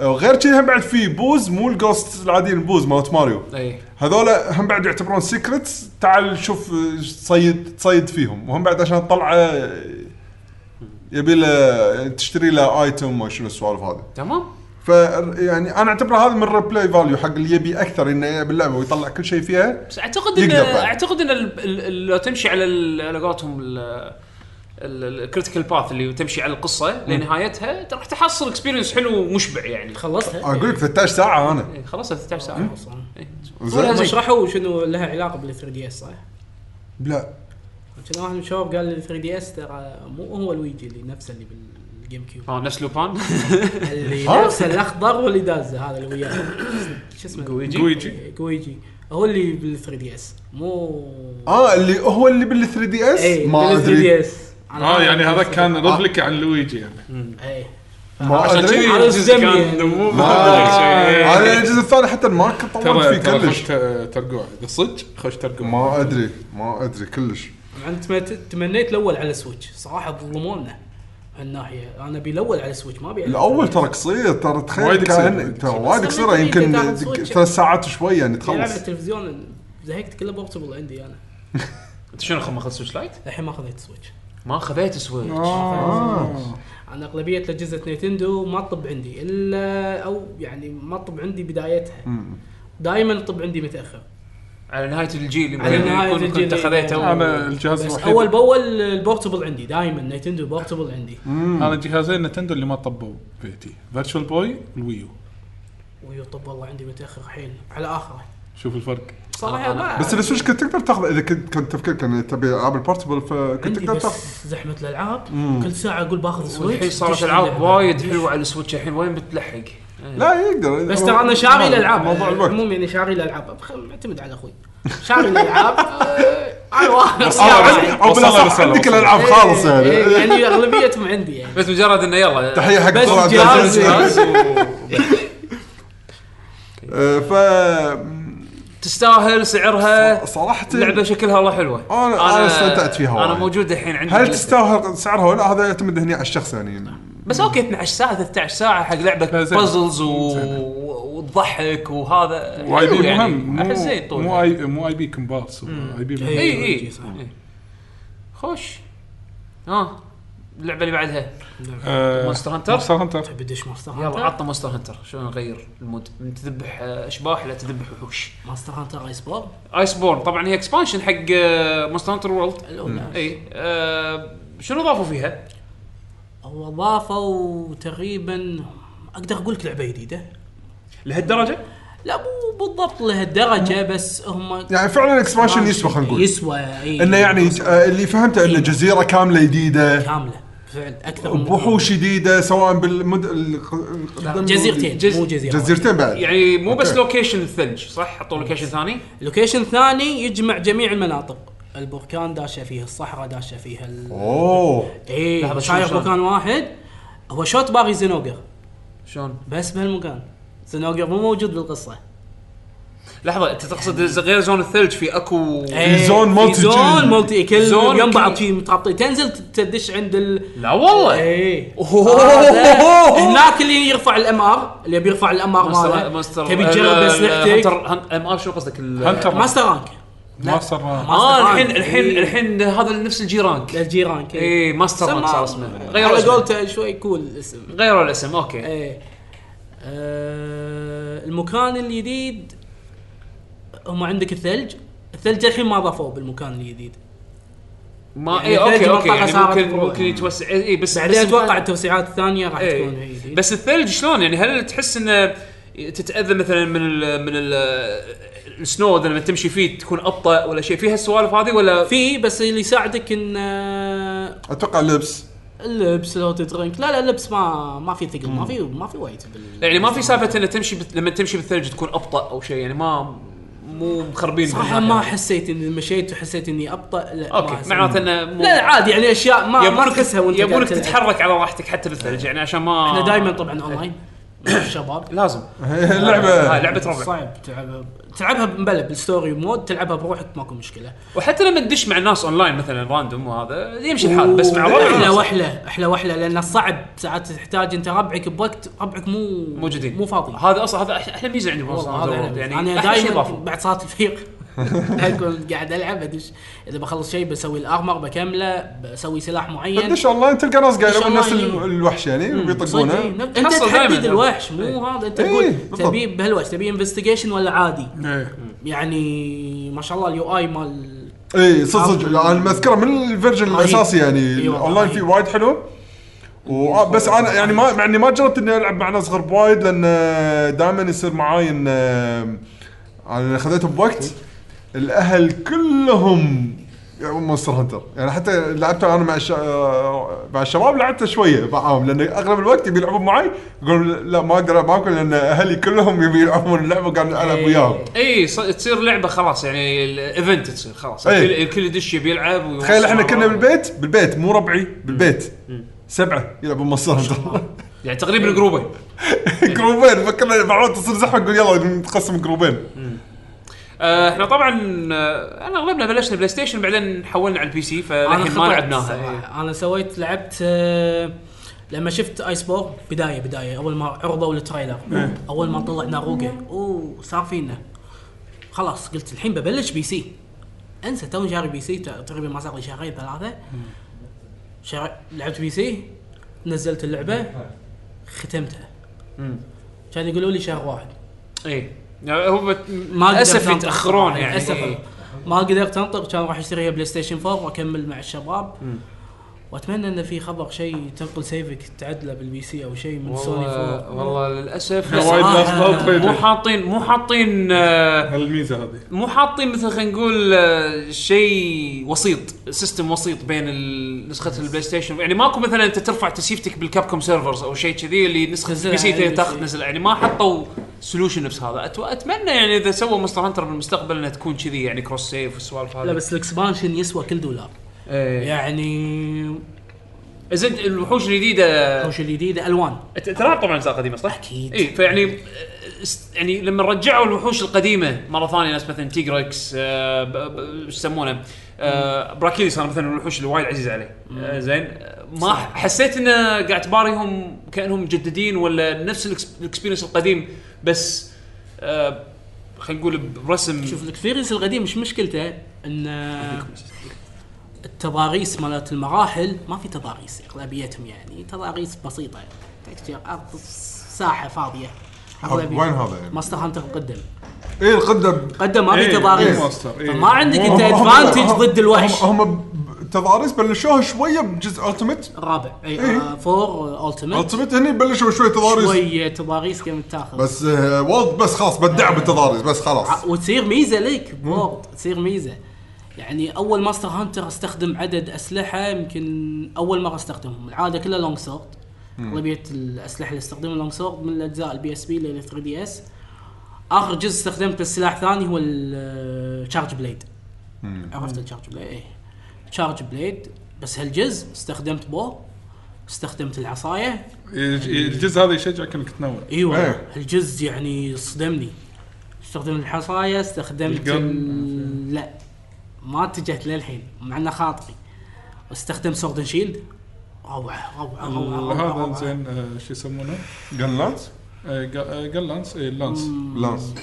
S3: أه، غير كذي هم بعد في بوز مو الجوست العاديين البوز مالت ماريو
S1: اي
S3: هذولا هم بعد يعتبرون سيكرتس تعال شوف آه، تصيد تصيد فيهم وهم بعد عشان تطلعه آه، يبي له تشتري له ايتم وشنو السوالف هذه
S1: تمام
S3: ف يعني انا اعتبرها هذا من الريبلاي فاليو حق اللي يبي اكثر انه باللعبه ويطلع كل شيء فيها
S1: بس اعتقد ان
S3: يقدر بعد.
S1: اعتقد ان ال- ال- لو تمشي على ال- على قولتهم الكريتيكال باث اللي تمشي على القصه لنهايتها راح تحصل اكسبيرينس حلو ومشبع يعني
S4: خلصتها
S3: اقول لك 13 ساعه انا
S1: إيه، خلصت 13 ساعه
S4: خلصتها.
S1: إيه.
S3: زين.
S1: ولا
S4: هم
S1: زين.
S4: شرحوا شنو لها علاقه بال 3 دي اس صح؟
S3: لا
S4: كان واحد من الشباب قال لي 3 دي اس ترى مو هو لويجي اللي نفسه اللي بالجيم كيوب
S1: اه نفس لوبان
S4: اللي
S3: ها؟
S4: نفسه الاخضر واللي دازه هذا اللي وياه شو اسمه؟
S1: جويجي.
S2: جويجي.
S4: جويجي هو اللي بال 3 دي اس مو
S3: اه اللي هو اللي بال 3 دي اس
S4: اي
S3: ما
S4: بال 3 إيه، دي
S3: ادري
S4: اس
S2: اه يعني هذا كان ريبليكا عن لويجي يعني
S4: اي
S3: ما
S1: عشان
S3: ادري
S1: كذي
S4: على
S1: الجزء
S4: الزمن
S1: كان
S4: يعني.
S1: دموه
S3: ما
S1: بدل شيء.
S3: أدري. انا الجزء الثاني حتى ما كنت طولت
S2: ترى
S3: فيه
S2: ترى خوش
S3: كلش
S2: ت- ترقوع اذا صدق خوش ترقوع
S3: ما ادري ما ادري كلش
S4: انت تمنيت الاول على سويتش صراحه ظلمونا هالناحيه انا ابي الاول على سويتش ما ابي على
S3: الاول
S4: 3DS.
S3: ترى قصير ترى
S2: وايد قصير.
S3: تخيل كان ترى وايد
S4: بس
S3: قصيره
S4: لما تجي
S3: يمكن
S4: تاخذ سويتش.
S3: ثلاث ساعات وشوي يعني
S4: يلعب
S3: تخلص
S4: على التلفزيون زهقت كله بورتبل عندي انا
S1: انت شنو خ- ما اخذت سويتش لايت؟
S4: الحين ما خذيت سويتش
S1: ما خذيت سويتش
S3: آه.
S4: انا اغلبيه اجهزه نينتندو ما تطب عندي الا او يعني ما تطب عندي بدايتها
S3: مم.
S4: دائما تطب عندي متاخر
S1: على نهايه الجيل
S4: على
S1: يمكن
S4: نهاية
S1: يكون
S4: الجيل،
S1: كنت خذيته
S4: إيه.
S2: انا الجهاز
S4: بس
S2: الوحيد
S4: اول باول البورتبل عندي دائما نينتندو بورتبل عندي
S2: انا جهازين نتندو اللي ما طبوا بيتي فيرتشوال بوي والويو
S4: ويطب والله عندي متاخر حيل على اخره
S2: شوف الفرق
S4: صراحه ما
S3: بس السويتش كنت تقدر تاخذ اذا كنت كان تفكيرك انه تبي العاب البورتبل فكنت
S4: عندي
S3: تقدر تاخذ
S4: بس زحمه الالعاب كل ساعه اقول باخذ سويتش
S1: والحين صارت
S4: دش
S1: العاب
S4: اللعبة.
S1: وايد حلوه على السويتش الحين وين بتلحق؟ إيه.
S3: لا يقدر
S4: بس ترى انا شاري الالعاب
S3: موضوع الوقت
S4: عموما يعني شاري الالعاب بخ- معتمد على اخوي شاري الالعاب آه، انا واحد
S3: أو عندك- او
S2: وصلنا
S3: بالاصح
S2: وصلنا
S3: عندك
S2: وصلنا.
S3: الالعاب خالص
S4: إيه،
S3: يعني
S4: إيه، يعني اغلبيتهم عندي يعني
S1: بس مجرد انه يلا
S3: تحيه حق
S4: بس
S3: طلعت
S4: جهاز-
S3: جاسوس.
S4: جهاز.
S3: آه، ف
S1: تستاهل سعرها
S3: صراحه
S1: اللعبه شكلها والله حلوه
S3: أنا- أنا استمتعت فيها
S1: انا
S3: وايد.
S1: موجود الحين عندي
S3: هل
S1: باللستة.
S3: تستاهل سعرها ولا لا؟ هذا يعتمد هنا على الشخص يعني
S4: نعم.
S1: بس اوكي 12 ساعه 13 ساعه حق لعبه
S2: لا، زين.
S1: بازلز و... وتضحك وهذا
S2: واي
S1: حلو
S2: بي مهم
S1: احس يعني زين
S2: مو
S1: طول يعني. إيه.
S2: مو اي مو اي بي كومبارس اي بي مهم.
S1: اي
S4: إي،
S1: اي
S4: صح.
S1: خوش اه اللعبه اللي بعدها
S2: آه،
S1: مونستر هانتر؟
S2: مونستر هانتر
S4: تبي تدش ماستر
S1: يلا
S4: هانتر
S1: عطنا مونستر هانتر شلون نغير المود من تذبح آه، اشباح لا تذبح وحوش
S4: ماستر هانتر ايس بور
S1: ايس بورن طبعا هي اكسبانشن حق آه، مونستر هانتر وورلد
S4: الأولى.
S3: إيه.
S1: اي آه، شنو ضافوا فيها؟
S4: هو ضافوا تقريبا اقدر اقول لك لعبه جديده
S1: لهالدرجه؟
S4: لا مو بالضبط لهالدرجه بس هم
S3: يعني فعلا الاكسبانشن يسوى خلينا نقول
S4: يسوى إيه، اي
S3: انه يعني ج- آه، اللي فهمته انه
S4: إيه.
S3: جزيره كامله جديده
S4: كامله فعلا اكثر من-
S3: بوحوش جديده سواء بالمد الق- القدم-
S4: نعم، جزيرتين
S1: جز-
S4: مو جزيره
S3: جزيرتين بعد
S1: يعني مو بس
S3: أوكي.
S1: لوكيشن الثلج صح؟ حطوا لوكيشن ثاني؟
S4: لوكيشن ثاني يجمع جميع المناطق البركان داشه فيها الصحراء داشه فيها ال...
S3: اوه
S1: لحظة،
S4: اي
S1: شلون-
S4: شايف
S1: شلون؟
S4: مكان واحد هو شوت باغي زنوجر
S1: شلون؟
S4: بس بهالمكان زنوجر مو موجود بالقصه
S1: لحظه انت تقصد غير زون الثلج في اكو
S4: إيه،
S3: زون مالتي
S4: في
S3: جيم.
S4: زون مالتي كل
S1: زون
S4: يم
S1: كل-
S4: بعض شي مترابطين تنزل ت- تدش عند ال
S1: لا والله
S4: ايه
S1: أوه.
S4: هذا- هناك اللي يرفع الام ار اللي بيرفع الام ار
S1: مونستر
S4: ماله
S1: مونستر
S4: تبي تجرب اسلحتك
S1: ام ار شو قصدك؟ ال-
S2: هانتر
S4: ماستر رانك
S2: مونستر هانتر.
S4: ماستر
S1: اه
S4: رانك.
S1: الحين الحين
S4: إيه.
S1: الحين هذا نفس الجيرانك
S4: الجي رانك إيه.
S1: اي ماستر رانك
S4: سماه-
S1: صار اسمه غيروا
S4: على
S1: اسمه
S4: قولته شوي كول الاسم
S1: غيروا الاسم اوكي
S4: ايه آه، المكان الجديد هم عندك الثلج الثلج الحين ما ضافوه بالمكان الجديد
S1: ما
S4: يعني
S1: اي
S4: الثلج
S1: اوكي اوكي
S4: منطقة
S1: يعني
S4: صارت
S1: ممكن
S4: برو.
S1: ممكن يتوسع اي بس
S4: بعدين
S1: بس-
S4: اتوقع التوسيعات الثانيه راح
S1: إيه.
S4: تكون هي جديد.
S1: بس الثلج شلون يعني هل تحس انه تتاذى مثلا من ال من ال السنو إذا لما تمشي فيه تكون ابطا ولا شيء فيها السوالف هذه ولا
S4: في بس اللي يساعدك ان آه،
S3: اتوقع لبس
S4: اللبس لو تدرنك لا لا اللبس ما ما في ثقل ما في ما في وايد بال...
S1: يعني ما في سالفه انه تمشي بت- لما تمشي بالثلج تكون ابطا او شيء يعني ما مو مخربين
S4: صراحه ما حسيت اني مشيت وحسيت اني ابطا لا ما
S1: اوكي
S4: حسيت.
S1: معناته انه مو-
S4: لا لا، عادي يعني اشياء ما ما
S1: يبونك
S4: تحسها وانت
S1: يبونك
S4: قاعد تلعب.
S1: تتحرك على راحتك حتى بالثلج يعني عشان ما
S4: احنا دائما طبعا اونلاين الشباب
S1: لازم هاي
S3: لعبه
S1: لعبه آه، ربع
S4: صعب تلعبها تلعبها بمبلى بالستوري مود تلعبها بروحك ماكو مشكله
S1: وحتى لما تدش مع ناس اونلاين مثلا راندوم وهذا يمشي الحال بس مع ربع
S4: احلى
S1: ناس.
S4: وحله احلى وحله لان الصعب ساعات تحتاج انت ربعك بوقت ربعك مو
S1: موجودين
S4: مو فاضي
S1: هذا اصلا هذا أح- احلى ميزه عندي بوسط
S4: والله هذا
S1: يعني
S4: يعني انا
S1: أحلى شيء
S4: دائما
S1: إضافي.
S4: بعد صلاه الفيق اكون قاعد العب ادش اذا بخلص شيء بسوي الارمر بكمله بسوي سلاح معين
S3: دش اونلاين تلقى ناس قاعد
S4: دش
S3: يلعبون نفس
S4: أونلاين.
S3: ال- الوحش يعني
S4: صدق
S3: ويطقونه
S4: إيه، نب- انت
S1: حصل
S4: تحدد
S1: دايماً.
S4: الوحش مو هذا انت
S3: إيه،
S4: تقول
S3: بالضبط.
S4: تبي بهالوحش تبي انفستيجيشن ولا عادي
S2: إيه.
S4: يعني ما شاء الله اليو اي مال
S3: اي إيه، صدق صدق انا مذكره من الفيرجن
S4: رهيب.
S3: الاساسي يعني
S4: إي والله
S3: الاونلاين فيه
S4: رهيب.
S3: وايد حلو و- بس انا يعني ما مع اني ما جربت اني العب مع ناس غرب وايد لان دائما يصير معاي ان انا خذيته بوقت الاهل كلهم يلعبون مونستر هانتر يعني حتى لعبته انا مع الش... آه، مع الشباب لعبته شويه معاهم لان اغلب الوقت يبي يلعبون معي يقول لا ما اقدر العب معاكم لان اهلي كلهم يبي يلعبون اللعبه قاعد العب
S4: إيه.
S3: وياهم
S1: اي ص- تصير لعبه خلاص يعني الايفنت تصير خلاص
S3: إيه.
S1: الكل الكل يدش يبي يلعب ويوصل
S3: تخيل احنا
S1: مرة.
S3: كنا بالبيت بالبيت مو ربعي بالبيت سبعه يلعبون مصر
S1: يعني تقريبا جروبين
S3: جروبين فكرنا بعض تصير زحمه نقول يلا نتقسم جروبين
S1: آه، احنا طبعا آه، انا اغلبنا بلشنا بلاي ستيشن بعدين حولنا على البي سي فللحين ما
S4: خطرت
S1: لعبناها إيه.
S4: صراحة. انا سويت لعبت آه، لما شفت ايس بور بدايه بدايه اول ما عرضوا التريلر اول ما طلع ناروجا اوه صار فينا خلاص قلت الحين ببلش بي سي انسى تو شاري بي سي تقريبا ما صار لي شهرين ثلاثه شار... لعبت بي سي نزلت اللعبه ختمتها كان يقولوا لي شهر واحد
S1: اي يعني هو بت...
S4: ما قدرت
S1: للاسف
S4: أنطق.
S1: يتاخرون يعني
S4: للاسف
S1: إيه.
S4: ما قدرت انطق كان راح اشتريها بلاي ستيشن 4 واكمل مع الشباب واتمنى انه في خبر شيء تنقل سيفك تعدله بالبي سي او شيء من سوني
S1: والله
S4: 4
S1: والله للاسف
S2: إحنا وايد ناس
S4: آه.
S2: ضابطين.
S1: مو حاطين مو حاطين آه،
S2: هالميزه هذه
S1: مو حاطين مثل خلينا نقول آه، شيء وسيط سيستم وسيط بين ال- نسخه البلاي ستيشن يعني ماكو مثلا انت ترفع تسيفتك بالكاب كوم سيرفرز او شيء كذي اللي نسخه
S4: تنزلها
S1: البي
S4: على
S1: سي
S4: البي
S1: تاخذ
S4: سي.
S1: نزل يعني ما حطوا سولوشن نفس هذا أت- اتمنى يعني اذا سووا مستر هانتر بالمستقبل انها تكون كذي يعني كروس سيف والسوالف هذه
S4: لا بس الاكسبانشن يسوى كل دولار
S1: ايه
S4: يعني
S1: زين الوحوش الجديده
S4: وش الجديده الوان
S1: أنت- انت لاعب طبعا اجزاء قديمه صح؟
S4: أكيد.
S1: اي فيعني آه، است- يعني لما رجعوا الوحوش القديمه مره ثانيه ناس مثلا تيجركس آه، ب- ب- ايش يسمونه؟ آه، براكيلي صار مثلا من الوحوش اللي وايد عزيز عليه آه، زين آه، ما
S4: صح.
S1: ح- حسيت انه قاعد تباريهم كانهم مجددين ولا نفس الإكس- الاكسبيرينس القديم بس آه، خلينا نقول برسم
S4: شوف الاكسبيرينس القديم مش مشكلته ان التضاريس مالت المراحل ما في تضاريس اغلبيتهم يعني تضاريس بسيطه تكتير ارض ساحه فاضيه أغلبية.
S3: وين هذا يعني؟
S4: ماستر هانتر قدم
S3: اي القدم
S4: قدم ما في
S2: إيه،
S4: تضاريس
S2: مو ماستر، إيه.
S4: فما عندك
S3: إيه، هم-
S4: انت
S3: هم-
S4: ادفانتج
S3: هم-
S4: ضد الوحش
S3: هم هم ب- تضاريس بلشوها شويه بجزء التمت
S4: الرابع اي
S3: إيه.
S4: آه، فور التمت
S3: التمت هني بلشوا شويه تضاريس
S4: شويه تضاريس كانت تاخذ
S3: بس آه، والد بس خلاص بدع بالتضاريس بس خلاص
S4: ع- وتصير ميزه لك بورد تصير ميزه يعني اول ماستر هانتر استخدم عدد اسلحه يمكن اول مره استخدمهم العاده كلها لونج سورد اغلبيه الاسلحه اللي استخدمها لونج سورد من الاجزاء البي اس بي لل 3 دي اس اخر جزء استخدمت السلاح ثاني هو الشارج بليد عرفت الشارج بليد ايه تشارج بليد بس هالجزء استخدمت بو استخدمت العصايه
S2: الجزء هذا يشجعك انك تنوع
S4: ايوه
S3: إيه.
S4: الجزء يعني صدمني استخدمت الحصايه استخدمت
S2: القن.
S4: ال... لا ما اتجهت للحين مع انه خاطري استخدم سورد شيلد روعه روعه روعه روعه
S2: وهذا
S4: روعه
S2: زين آه، شو يسمونه؟
S3: جنلات
S2: آه، ق- آه، قال لانس اي لانس
S3: لانس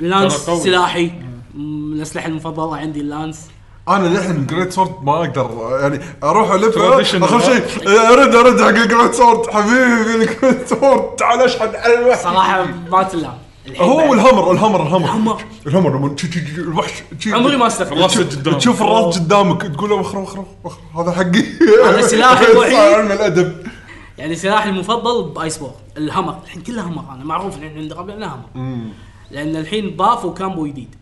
S4: اللانس
S2: ترى قوي.
S4: سلاحي من الاسلحه المفضله عندي اللانس
S3: انا للحين جريت سورد ما اقدر يعني اروح الف
S2: Traditional.
S3: اخر شيء ارد ارد حق الجريت سورد حبيبي الجريت سورد تعال اشحن على الوحش
S4: صراحه ما تلام الحين بعد.
S3: هو الهمر الهمر الهمر
S4: الهمر.
S3: الهمر لما تشي- تشي- تشي- الوحش تشي-
S4: عمري ما استخدمت
S2: الراس
S3: تشوف-
S2: قدامك.
S3: تشوف الراس قدامك تقول له وخر وخر وخر هذا حقي
S4: هذا سلاحي الوحيد.
S3: صار علم الادب
S4: يعني سلاحي المفضل بايس بور الهمر الحين كله همر انا معروف الحين عند ربعنا همر لان الحين ضافوا كامبو جديد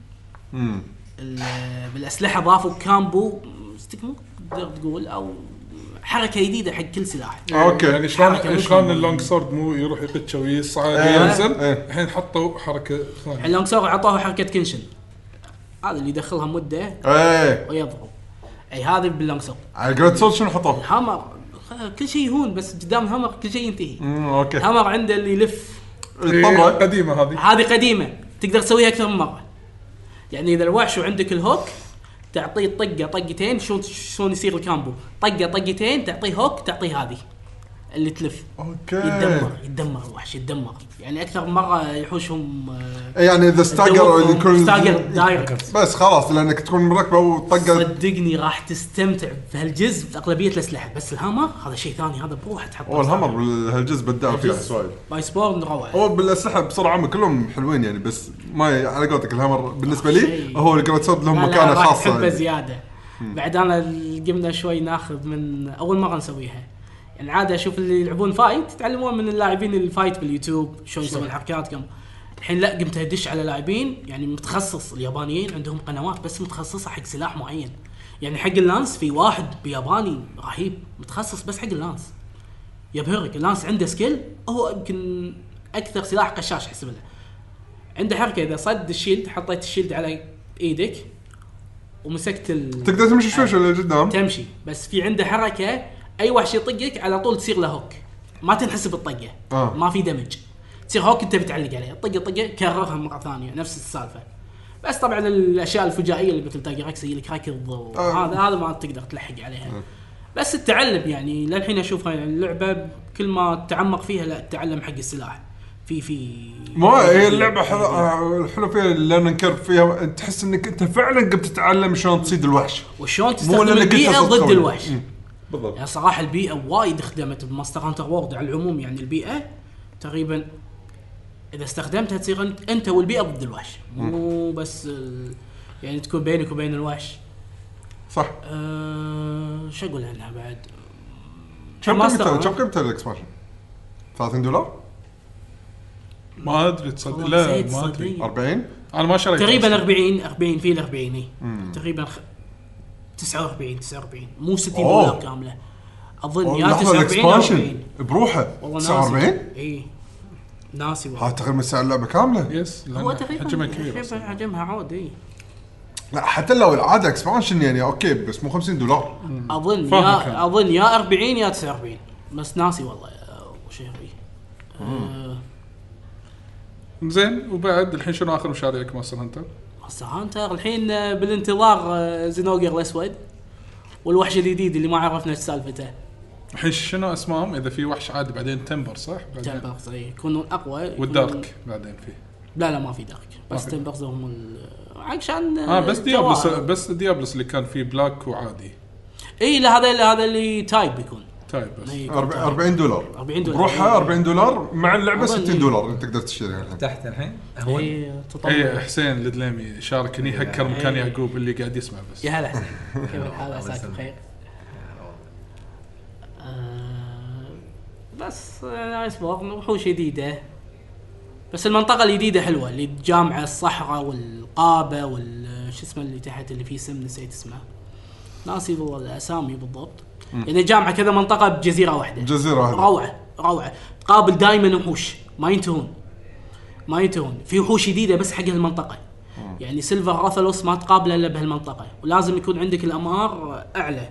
S4: ال- بالاسلحه ضافوا كامبو ستيك مو تقدر تقول او حركه جديده حق كل سلاح
S3: اوكي.
S2: يعني شلون
S4: حركة
S2: شلون
S4: ممكن.
S2: اللونج سورد مو يروح يقتش ويصعد
S3: إيه.
S2: وينزل
S3: إيه.
S2: الحين حطوا حركه ثانيه
S4: اللونج سور عطوها حركه كنشن هذا اللي يدخلها مده
S3: ايه
S4: ويضرب اي هذا باللونج سور
S3: على الجريت سورد شنو حطوه؟
S4: الهمر خ- كل شيء يهون بس قدام الهمر كل شيء ينتهي
S3: أمم، اوكي
S4: الهمر عنده اللي يلف
S2: إيه،
S3: الطمره
S2: قديمه هذه
S4: هذه قديمه تقدر تسويها اكثر من مره يعني اذا الوحش وعندك الهوك تعطيه طقه طقتين شلون شلون يصير الكامبو طقه طقتين تعطيه هوك تعطيه هذه اللي تلف
S3: اوكي
S4: يتدمر يتدمر الوحش يتدمر يعني اكثر من مره يحوشهم آه،
S3: يعني اذا استاجر اللي يكون
S4: استاجر دايركت
S3: بس خلاص لانك تكون مركبه وطقه
S4: صدقني راح تستمتع بهالجزء باغلبيه الاسلحه بس الهامر هذا شيء ثاني هذا بروحه تحطه
S3: هو الهمر بال- هالجزء بدعوا فيها
S4: الجزء.
S3: سوالف
S4: بايس بورن روعه
S3: هو بالاسلحه بصراحه عامة كلهم حلوين يعني بس ما ي- على قولتك الهامر بالنسبه لي
S4: شيء.
S3: هو الجراد سورد
S4: لا،
S3: لهم
S4: لا،
S3: مكانه
S4: راح
S3: خاصه
S4: تحبه
S3: يعني.
S4: زياده بعد انا قمنا شوي ناخذ من اول مره نسويها يعني عاده اشوف اللي يلعبون فايت يتعلمون من اللاعبين الفايت باليوتيوب شلون يسوون الحركات كم الحين لا قمت ادش على لاعبين يعني متخصص اليابانيين عندهم قنوات بس متخصصه حق سلاح معين يعني حق اللانس في واحد بياباني رهيب متخصص بس حق اللانس يبهرك اللانس عنده سكيل هو يمكن اكثر سلاح قشاش حسب له عنده حركه اذا صد الشيلد حطيت الشيلد على ايدك ومسكت ال...
S3: تقدر تمشي شوي شوي لقدام
S4: تمشي بس في عنده حركه اي وحش يطقك على طول تصير له هوك ما تنحسب الطقه
S3: آه.
S4: ما في دمج تصير هوك انت بتعلق عليه الطقه طقه كررها مره ثانيه نفس السالفه بس طبعا الاشياء الفجائيه اللي مثل تاجر اكس يجي لك ركض
S3: آه.
S4: وهذا هذا ما تقدر تلحق عليها بس التعلم يعني للحين اشوفها يعني اللعبه كل ما تعمق فيها لا تتعلم حق السلاح في في
S3: ما هي اللعبه حلو آه، الحلو فيها الليرنينج كيرف فيها تحس انك انت فعلا قمت تتعلم شلون تصيد الوحش
S4: وشلون
S3: لأنك
S4: تستخدم
S3: أنت
S4: البيئه
S3: صوت
S4: ضد
S3: قوي.
S4: الوحش
S3: مم. بالضبط
S4: يعني صراحه البيئه وايد خدمت بماستر هانتر وورد على العموم يعني البيئه تقريبا اذا استخدمتها تصير انت, انت والبيئه ضد الوحش مو بس ال- يعني تكون بينك وبين الوحش
S3: صح
S4: أه شو اقول عنها بعد؟
S3: كم
S4: ماستر
S3: قيمتها
S4: هانتر.
S3: كم قيمتها الاكسبانشن؟ 30 دولار؟
S2: ما ادري تصدق
S4: والله
S2: لا
S4: نسيت
S2: ما ادري
S4: صدق.
S3: 40
S2: انا ما شريت
S4: تقريبا
S2: أصلاً.
S4: 40 40 في ال 40 إي. تقريبا خ- 49 49 مو 60
S3: أوه.
S4: دولار كامله اظن يا
S3: لحظه
S4: 49 يا 40
S3: الاكسبانشن بروحه
S4: والله ناسي
S3: 49
S4: اي ناسي والله
S3: هذا تقريبا سعر اللعبه كامله
S2: يس
S4: هو
S2: لأن
S4: تقريبا
S2: حجمها كبير
S4: تقريباً
S2: أصلاً.
S4: حجمها عود اي
S3: لا حتى لو العاده اكسبانشن يعني اوكي بس مو 50 دولار
S4: اظن
S2: فاهم كان.
S4: يا اظن يا 40 يا 49 بس ناسي والله آه، شهري آه،
S2: زين وبعد الحين شنو اخر مشاريع لك ماستر هانتر؟
S4: ماستر هانتر الحين آه، بالانتظار آه، زنوجر الاسود والوحش الجديد اللي ما عرفنا ايش سالفته
S2: الحين شنو اسمهم اذا في وحش عادي بعدين تمبر صح؟ بعدين
S4: تمبرز إي، إيه، يكونون اقوى يكونون-
S2: والدارك بعدين فيه
S4: لا لا ما في دارك بس
S2: ما في.
S4: تمبرز هم ال- عشان آه،
S2: اه بس ديابلس
S4: الجوائز.
S2: بس ديابلس اللي كان فيه بلاك وعادي
S4: اي إيه، لا هذا لا، هذا اللي تايب يكون
S2: تايب طيب، بس
S4: إي، يكون
S3: أرب-
S4: تايب.
S3: 40 دولار
S4: 40 دولار.
S3: بروحها 40 دولار مع اللعبه
S4: أظن
S3: 60
S4: إيه.
S3: دولار انت تقدر تشتريها الحين
S5: تحت الحين هو
S2: إيه،
S4: إي، تطور.
S2: اي حسين الدليمي شاركني هكر مكان
S4: إي.
S3: إيه.
S2: يعقوب اللي قاعد يسمع بس
S4: يا هلا حسين كيف الحال
S5: الله
S4: عساك
S5: يسلمك.
S4: بخير آه، بس آه، نايس بورن وحوش جديده بس المنطقه الجديده حلوه اللي جامعه الصحراء والقابه وال آه، شو اسمه اللي تحت اللي فيه سم نسيت اسمه ناسي والله الاسامي بالضبط يعني جامعه كذا منطقه بجزيره واحده
S3: جزيرة واحدة.
S4: روعه روعه تقابل دائما وحوش ما ينتهون ما ينتهون في وحوش جديده بس حق هالمنطقه يعني سيلفر راثلوس ما تقابله الا بهالمنطقه ولازم يكون عندك الام ار اعلى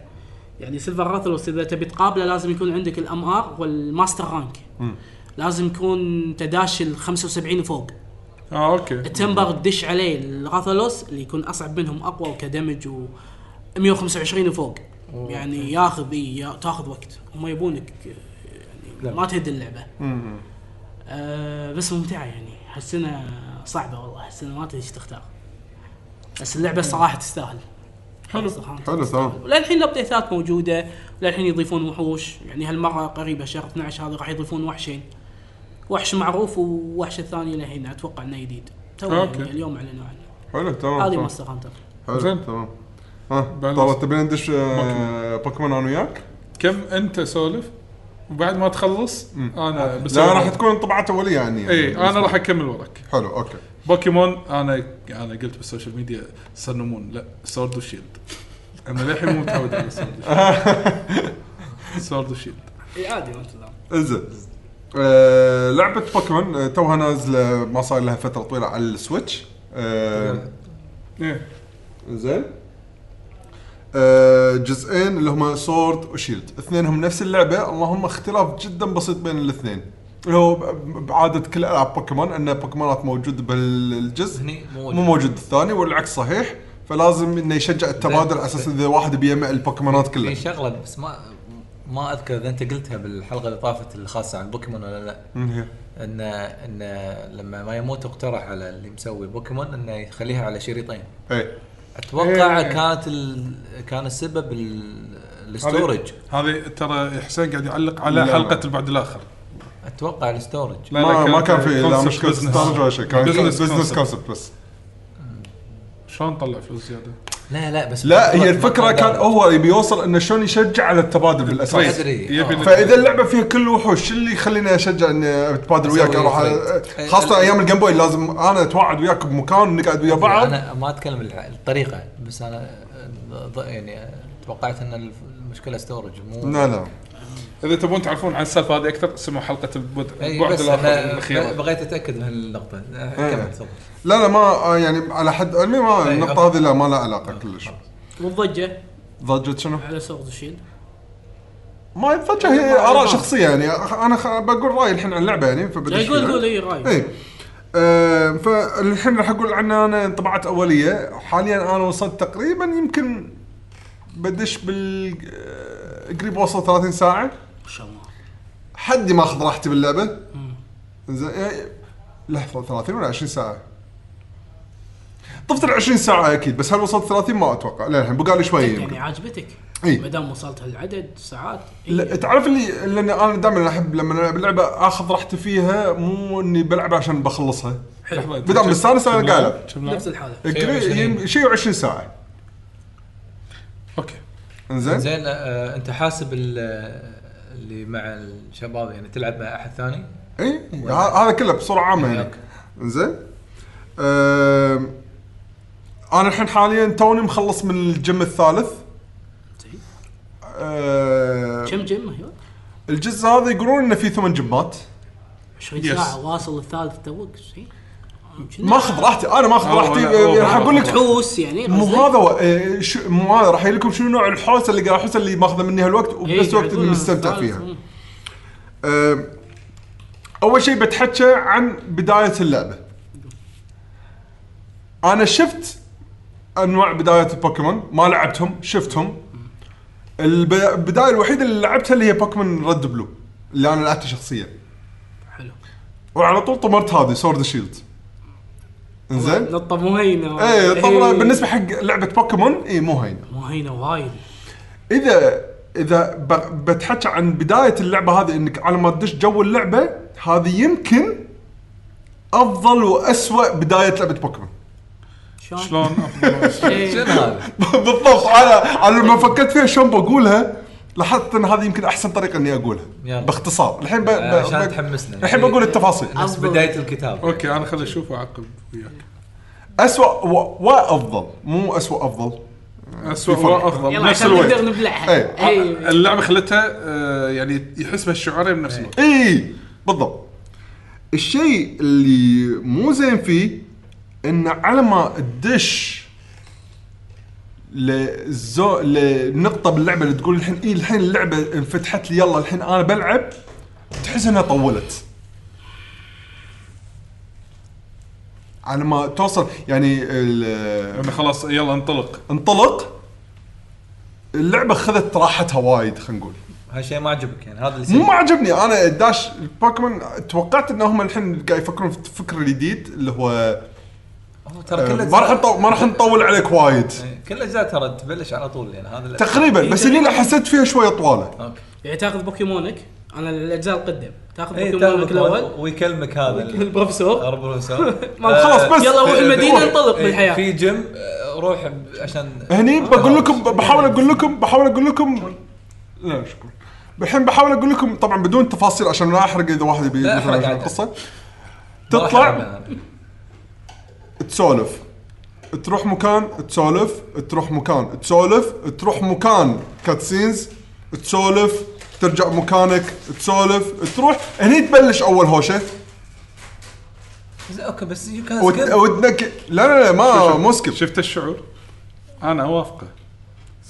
S4: يعني سيلفر راثلوس اذا تبي تقابله لازم يكون عندك الام ار والماستر رانك لازم يكون تداشي ال 75 وفوق
S2: اه اوكي
S4: التمبر تدش عليه الراثلوس اللي يكون اصعب منهم اقوى وكدمج و 125 وفوق يعني ياخذ اي يا- تاخذ وقت هم يبونك آه، يعني ما تهد اللعبه آه بس ممتعه يعني حسنا صعبه والله حسنا ما تدري ايش تختار بس اللعبه صراحه تستاهل
S2: حلو.
S3: حلو تمام
S4: وللحين الابديتات موجوده وللحين يضيفون وحوش يعني هالمره قريبه شهر 12 هذا راح يضيفون وحشين وحش معروف ووحش الثاني للحين اتوقع انه جديد تو
S2: أوكي.
S4: يعني اليوم اعلنوا عنه
S3: حلو تمام
S4: هذه
S3: تمام.
S4: ماستر هانتر
S3: حلو
S2: زين.
S3: تمام ها
S2: بعد
S3: ترى
S2: نفس-
S3: تبي ندش آه، بوكيمون انا وياك؟
S2: كم انت سولف وبعد ما تخلص انا بس
S3: آه. لا راح تكون انطباعات اوليه عني
S2: اي انا راح
S3: بالنسبة
S2: اكمل وراك
S3: لي. حلو اوكي
S2: بوكيمون انا انا قلت بالسوشيال ميديا سنمون لا سورد وشيلد انا للحين مو متعود على سورد وشيلد سورد وشيلد
S4: اي إيه، عادي ما تلام
S3: انزين آه، لعبة بوكيمون آه، توها نازلة ما صار لها فترة طويلة على السويتش آه،
S2: ايه
S3: زين آه، جزئين اللي هما سورد وشيلد اثنينهم نفس اللعبة اللهم اختلاف جدا بسيط بين الاثنين هو ب- بعاده كل العاب بوكيمون ان بوكيمونات موجود بالجزء
S6: هني مو موجود.
S3: مو موجود الثاني والعكس صحيح فلازم انه يشجع التبادل على اساس اذا واحد بيجمع البوكيمونات
S6: في
S3: كلها
S6: شغله بس ما ما اذكر اذا انت قلتها بالحلقه اللي طافت الخاصه عن بوكيمون ولا لا
S3: مم، هي.
S6: ان ان لما ما يموت اقترح على اللي مسوي بوكيمون انه يخليها على شريطين
S3: اي
S6: اتوقع
S2: إيه.
S6: كانت ال... كان السبب ال... الستورج
S2: هذه ترى حسين قاعد يعلق على
S3: لا.
S2: حلقه البعد الاخر
S6: اتوقع الستورج
S2: لا، لا،
S3: ما ما
S2: كانت
S3: كان في لا
S2: concept
S3: مشكله
S2: business.
S3: ستارج ولا شيء كان
S2: Business
S3: بزنس
S2: concept.
S3: كونسبت بس
S2: شلون طلع فلوس زياده؟
S6: لا لا بس
S3: لا هي
S6: ما-
S3: الفكره
S6: ما-
S3: كان هو يبي يوصل انه شلون يشجع على التبادل
S6: ما
S3: بالاساس
S6: ادري
S2: يبي
S6: آه.
S3: فاذا اللعبه فيها كل وحوش شو اللي يخليني اشجع اني اتبادل
S6: أسوي
S3: وياك اروح على-
S6: فايت.
S3: خاصه ايام الجيم بوي لازم انا اتوعد وياك بمكان نقعد ويا بعض
S6: انا إيه، ما اتكلم الع- الطريقه بس انا آه، ض- يعني آه، توقعت ان الف- المشكله ستورج مو
S3: لا لا
S2: اذا تبون تعرفون عن السالفه هذه اكثر اسمعوا حلقه البعد
S6: اي
S2: البعد
S6: إيه، بس
S2: الاخر
S6: انا
S2: الاخيره
S6: بغيت اتاكد من هالنقطه آه،
S3: إيه.
S6: كمل تفضل
S3: لا لا ما يعني على حد علمي ما
S6: أي،
S3: النقطه هذه لا ما لها علاقه كلش
S4: والضجه
S3: ضجت شنو؟
S4: على سورد الشيلد
S3: ما الضجه هي اراء شخصيه يعني أخ- انا خ- بقول رايي الحين عن اللعبه يعني إيه. فبدش
S4: إيه، قول
S3: فيها.
S4: قول اي راي
S3: اي آه، فالحين راح اقول عنها انا انطباعات اوليه حاليا انا وصلت تقريبا يمكن بدش بال آه، قريب وصل 30 ساعه
S4: ما شاء الله
S3: حدي ما اخذ راحتي باللعبه زين يعني لحظه 30 ولا 20 ساعه طفت ال 20 ساعه اكيد بس هل وصلت 30 ما اتوقع لا الحين بقى لي شوي
S4: يعني
S3: يمكن
S4: عجبتك
S3: إي.
S4: ما دام وصلت هالعدد ساعات إيه. إي.
S3: إيه. لا، إيه. تعرف اللي لان انا دائما احب لما العب لعبه اخذ راحتي فيها مو اني بلعبها عشان بخلصها
S4: حلو
S3: بدام مستانس انا قاعد ألعب.
S2: كم لعب؟
S4: نفس الحاله
S3: قريب- شيء 20 ساعه
S2: اوكي
S3: انزين
S6: زين آه انت حاسب ال- آه، اللي مع الشباب يعني تلعب مع احد ثاني
S3: اي إيه؟ هذا كله بصوره عامه يعني
S6: أوكي.
S3: انزين أم، انا الحين حاليا توني مخلص من الجيم الثالث
S4: زين.
S3: أم،
S4: كم جيم أيوة. هيو؟
S3: الجزء هذا يقولون انه فيه ثمان جيمات
S4: 20
S2: Yes.
S4: ساعه واصل الثالث توك زين.
S3: ما اخذ راحتي انا ما اخذ
S2: أوه،
S3: راحتي
S2: لا، أوه،
S3: أه، راح اقول لك
S4: تحوس يعني
S3: مو
S4: قصدك؟
S3: هذا هو، أه، شو- مو هذا راح يقول لكم شنو نوع الحوسه اللي قاعد احس اللي ماخذه مني هالوقت
S4: إي،
S3: وبنفس الوقت
S4: يقولون
S3: اللي مستمتع
S4: إيه، الثالث.
S3: فيها
S4: مم.
S3: أم، اول شيء بتحكى عن بدايه اللعبه انا شفت انواع بدايه البوكيمون ما لعبتهم شفتهم الب- البدايه الوحيده اللي لعبتها اللي هي بوكيمون رد بلو اللي انا لعبتها شخصيا
S4: حلو
S3: وعلى طول طمرت هذه سورد شيلد انزين
S4: نطه مو هينه
S3: ايه طبعا
S4: إيه.
S3: بالنسبه حق لعبه بوكيمون اي مو هينه
S4: مو هينه وايد
S3: اذا اذا ب- بتحكى عن بدايه اللعبه هذه انك على ما تدش جو اللعبه هذه يمكن افضل واسوأ بدايه لعبه بوكيمون
S4: شلون؟
S2: شلون افضل
S4: إيه.
S6: شنو هذا؟
S3: بالضبط انا انا لما فكرت فيها شلون بقولها لاحظت ان هذه يمكن احسن طريقه اني اقولها
S6: يلا. آه،
S3: باختصار الحين ب... ب...
S6: عشان
S3: ب...
S6: تحمسنا
S3: الحين
S6: يعني
S3: بقول التفاصيل
S6: نفس
S4: أفضل.
S6: بدايه الكتاب
S2: اوكي انا خليني اشوف واعقب وياك
S3: اسوأ و... وافضل مو اسوأ افضل
S2: اسوء
S3: في فرق.
S2: وافضل
S4: يلا
S2: نفس
S4: عشان
S2: الوقت
S4: نقدر نبلعها
S3: إيه.
S4: اي
S2: اللعبه آه، خلتها آه، يعني يحس بهالشعورين بنفس الوقت
S3: اي إيه، بالضبط الشيء اللي مو زين فيه ان على ما تدش لزو لنقطه باللعبه اللي تقول الحين اي الحين اللعبه انفتحت لي يلا الحين انا بلعب تحس انها طولت على ما توصل يعني ال-
S2: انا خلاص يلا انطلق
S3: انطلق اللعبه خذت راحتها وايد خلينا نقول
S6: هالشيء ما عجبك يعني هذا اللي
S3: مو
S6: سيء.
S3: ما عجبني انا الداش البوكيمون توقعت انهم الحين قاعد يفكرون في الفكر الجديد اللي هو
S6: هو ترى كل
S3: آه، ما راح نطو- ما راح نطول عليك وايد
S6: إيه، كل الاجزاء ترى تبلش على طول يعني هذا ال-
S3: تقريبا بس اللي
S6: إيه.
S3: حسيت فيها شويه طواله
S6: اوكي
S4: يعني تاخذ بوكيمونك انا الاجزاء القدم إيه، تاخذ
S6: اي
S4: بوكيمونك الاول
S6: إيه، ويكلمك هذا ال-
S4: البروفيسور
S6: أربعة بروفيسور
S4: ما
S3: خلاص بس
S4: يلا روح المدينه انطلق
S6: إيه،
S4: بالحياه
S6: في جيم آه، روح ب- عشان
S3: هني بقول لكم بحاول اقول لكم بحاول اقول لكم لا شكرا الحين بحاول اقول لكم طبعا بدون تفاصيل عشان لا احرق اذا واحد يبي
S6: لا،
S3: مثلا
S6: أحرق
S3: عشان
S6: عادي.
S3: القصه
S6: ما راح
S3: تطلع
S6: ألعبها أنا.
S3: تسولف تروح مكان تسولف تروح مكان تسولف تروح مكان كاتسينز تسولف ترجع مكانك تسولف تروح هني تبلش اول هوشه
S6: زين، اوكي بس يو كان
S3: وت... وتنك لا لا لا ما مو سكيب
S2: شفت الشعور انا اوافقه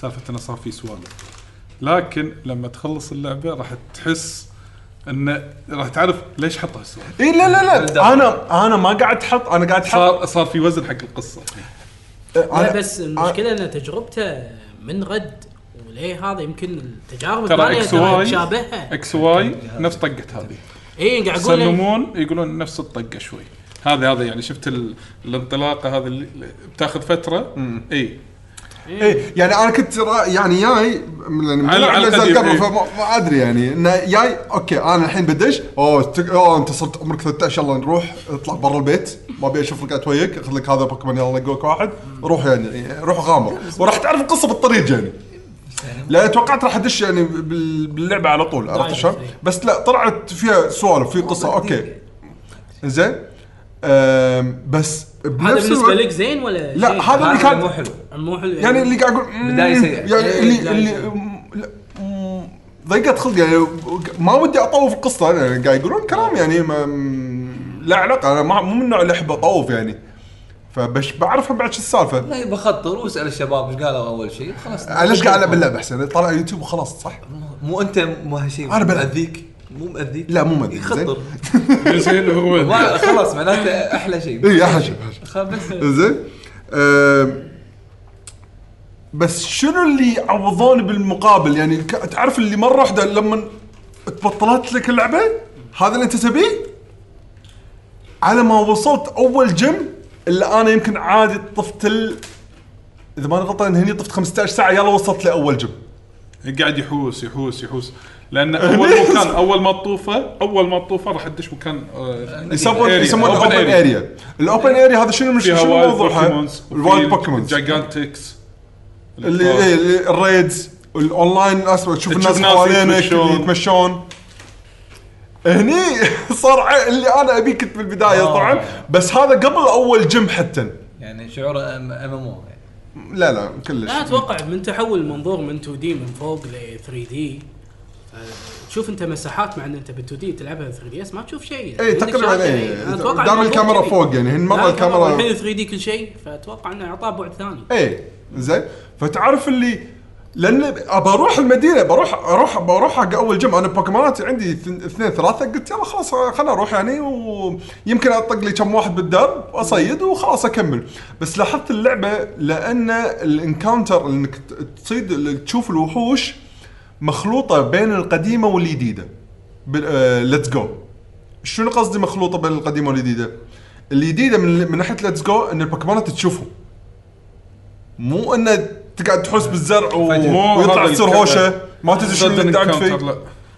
S2: سالفه انه صار في سوالف لكن لما تخلص اللعبه راح تحس انه راح تعرف ليش حطها السؤال
S3: اي إيه، لا لا لا انا انا ما قاعد احط انا قاعد احط
S2: صار صار في وزن حق القصه
S4: لا
S3: أنا-
S4: بس المشكله ان تجربته من رد وليه هذا يمكن التجارب
S2: ترى
S4: الثانيه
S2: اكس واي
S4: ترى تشابهها
S2: اكس واي نفس طقه هذه
S4: اي قاعد إيه. اقول لك
S2: سلمون يقولون نفس الطقه شوي هذا هذا يعني شفت ال... الانطلاقه هذه اللي بتاخذ إيه. فتره اي
S3: اي يعني انا كنت را- يعني جاي من يعني لأن
S2: على- على
S3: نزل
S2: القديم،
S3: قبل
S2: إيه.
S3: فما ما ادري يعني انه جاي اوكي انا الحين بدش اوه تك... اوه انت صرت عمرك 13 يلا نروح اطلع برا البيت ما ابي اشوف رقات وياك اخذ لك هذا بوكيمون يلا نقولك واحد روح يعني روح غامر وراح تعرف القصه بالطريق يعني لا توقعت راح ادش يعني بال- باللعبه على طول عرفت
S4: دايركت،
S3: شلون؟
S4: إيه.
S3: بس لا طلعت فيها سوالف في قصه اوكي زين أم، بس
S4: هذا
S3: بنفس
S4: بالنسبه
S3: الوقت
S4: لك زين ولا
S3: لا
S4: شيء؟
S3: هذا اللي كان
S5: مو حلو
S4: مو حلو
S3: يعني اللي قاعد اقول مم،
S6: بداية سيئة.
S3: يعني
S4: إيه،
S3: اللي
S4: بداية
S3: اللي
S4: سيئة.
S3: مم، لا، مم، ضيقت خلقي يعني ما ودي اطوف القصه انا يعني قاعد يقولون كلام يعني ما مم، لا علاقه انا ما- مو من النوع اللي احب اطوف يعني فبش بعرفها بعد شو السالفه
S6: والله بخطر واسال الشباب ايش قالوا اول شيء خلاص
S3: ليش قاعد العب باللعبه احسن طالع يوتيوب وخلاص صح؟
S6: مو انت مو هالشيء
S3: أنا بلعب.
S6: مأذيك مو مأذيك
S3: لا، مو مأذيك،
S6: يخطر
S2: زين هو
S6: ما- خلاص معناته احلى شيء
S3: اي احلى شيء أحلى شيء.
S6: خلاص بس
S3: زين أم، بس شنو اللي عوضوني بالمقابل يعني ك- تعرف اللي مره واحده لما تبطلت لك اللعبه هذا اللي انت تبيه على ما وصلت اول جيم اللي انا يمكن عادي طفت ال... اذا ماني غلطان هني طفت 15 ساعه يلا وصلت لاول جيم
S2: قاعد يحوس يحوس يحوس لان اول مكان اول ما تطوفه اول ما تطوفه راح تدش مكان آه،
S3: يسمون
S2: area.
S3: يسمون
S2: Open
S3: الاوبن
S2: area.
S3: اريا الاوبن اريا هذا شنو مش
S2: فيها
S3: شنو
S2: وايلد
S3: موضوعها؟
S2: بوكيمونز
S3: الوايلد بوكيمونز
S2: جايجانتكس
S3: اللي إيه، اللي- الريدز الاونلاين اسوء تشوف
S2: آه. تشوف
S3: الناس
S2: ناس
S3: حوالينك
S2: يتمشون.
S3: يتمشون هني صار ع- اللي انا ابيه كنت بالبدايه
S6: آه.
S3: طبعا بس هذا قبل اول جيم حتى
S6: يعني شعور ام ام او
S3: لا لا كلش
S4: لا اتوقع من تحول المنظور من 2 دي من فوق ل 3 دي تشوف انت مساحات مع ان انت بال 2 دي تلعبها 3 دي اس ما تشوف شيء يعني.
S3: اي تقريبا اي دام إيه. الكاميرا فوق يعني هن مره
S4: الحين
S3: الكاميرا
S4: 3 دي كل شيء فاتوقع انه اعطاه بعد ثاني
S3: اي زين إيه، فتعرف اللي لان بروح المدينه بروح اروح بروح حق اول جيم انا بوكيمونات عندي اثن- اثنين ثلاثه قلت يلا خلاص خلنا اروح يعني ويمكن اطق لي كم واحد بالدرب واصيد وخلاص اكمل بس لاحظت اللعبه لان الانكاونتر انك ت- تصيد تشوف الوحوش مخلوطه بين القديمه والجديده ليتس جو شنو قصدي مخلوطه بين القديمه والجديده الجديده من من ناحيه ليتس جو ان البوكيمونات تشوفهم مو انه تقعد
S4: آه.
S3: تحوس بالزرع و...
S2: مو
S3: ويطلع
S2: هذا
S3: تصير
S2: الكفر.
S3: هوشه ما تدري شنو اللي دعك
S2: Encounter،
S3: فيه
S2: لا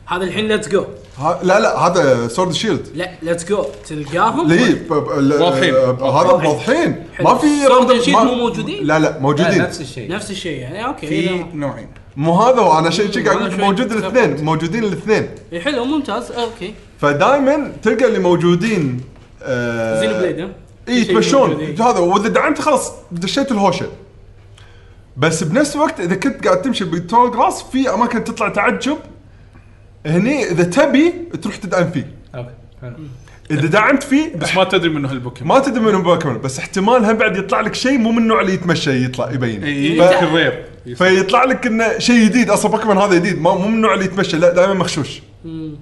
S4: هذا الحين ليتس جو
S3: ها- لا لا هذا سورد شيلد
S4: لا ليتس جو تلقاهم
S3: ليه ب- ب- ل-
S2: واضحين.
S3: هذا واضحين ما في
S4: Sword
S3: random-
S4: and Shield
S3: ما-
S4: مو موجودين؟
S3: لا لا موجودين
S6: نفس الشيء
S4: نفس الشيء يعني اوكي
S2: في
S4: إذا-
S2: نوعين
S3: مو هذا وانا شيء شيء قاعد
S4: ولا
S3: أقول لك
S4: شيء
S3: موجود
S4: تفرق.
S3: الاثنين موجودين الاثنين
S4: إيه، حلو ممتاز اوكي
S3: فدائما تلقى اللي موجودين آه،
S4: زين بليد ها؟
S3: اي
S4: شيء
S3: يتمشون
S4: موجود، إيه.
S3: هذا واذا دعمت خلاص دشيت الهوشه بس بنفس الوقت اذا كنت قاعد تمشي بالتول جراس في اماكن تطلع تعجب هني اذا تبي تروح تدعم فيه
S6: اوكي حلو
S3: اذا دعمت فيه
S2: بس ما تدري منه هالبوكيمون
S3: ما تدري منهم بوكيمون بس احتمال هم بعد يطلع لك شيء مو من النوع اللي يتمشى يطلع يبين
S2: اي
S3: ف-
S2: إيه، يمكن رير
S3: فيطلع لك انه شيء جديد اصلا بوكيمون هذا جديد ما- مو من النوع اللي يتمشى لا دائما مغشوش
S4: مم.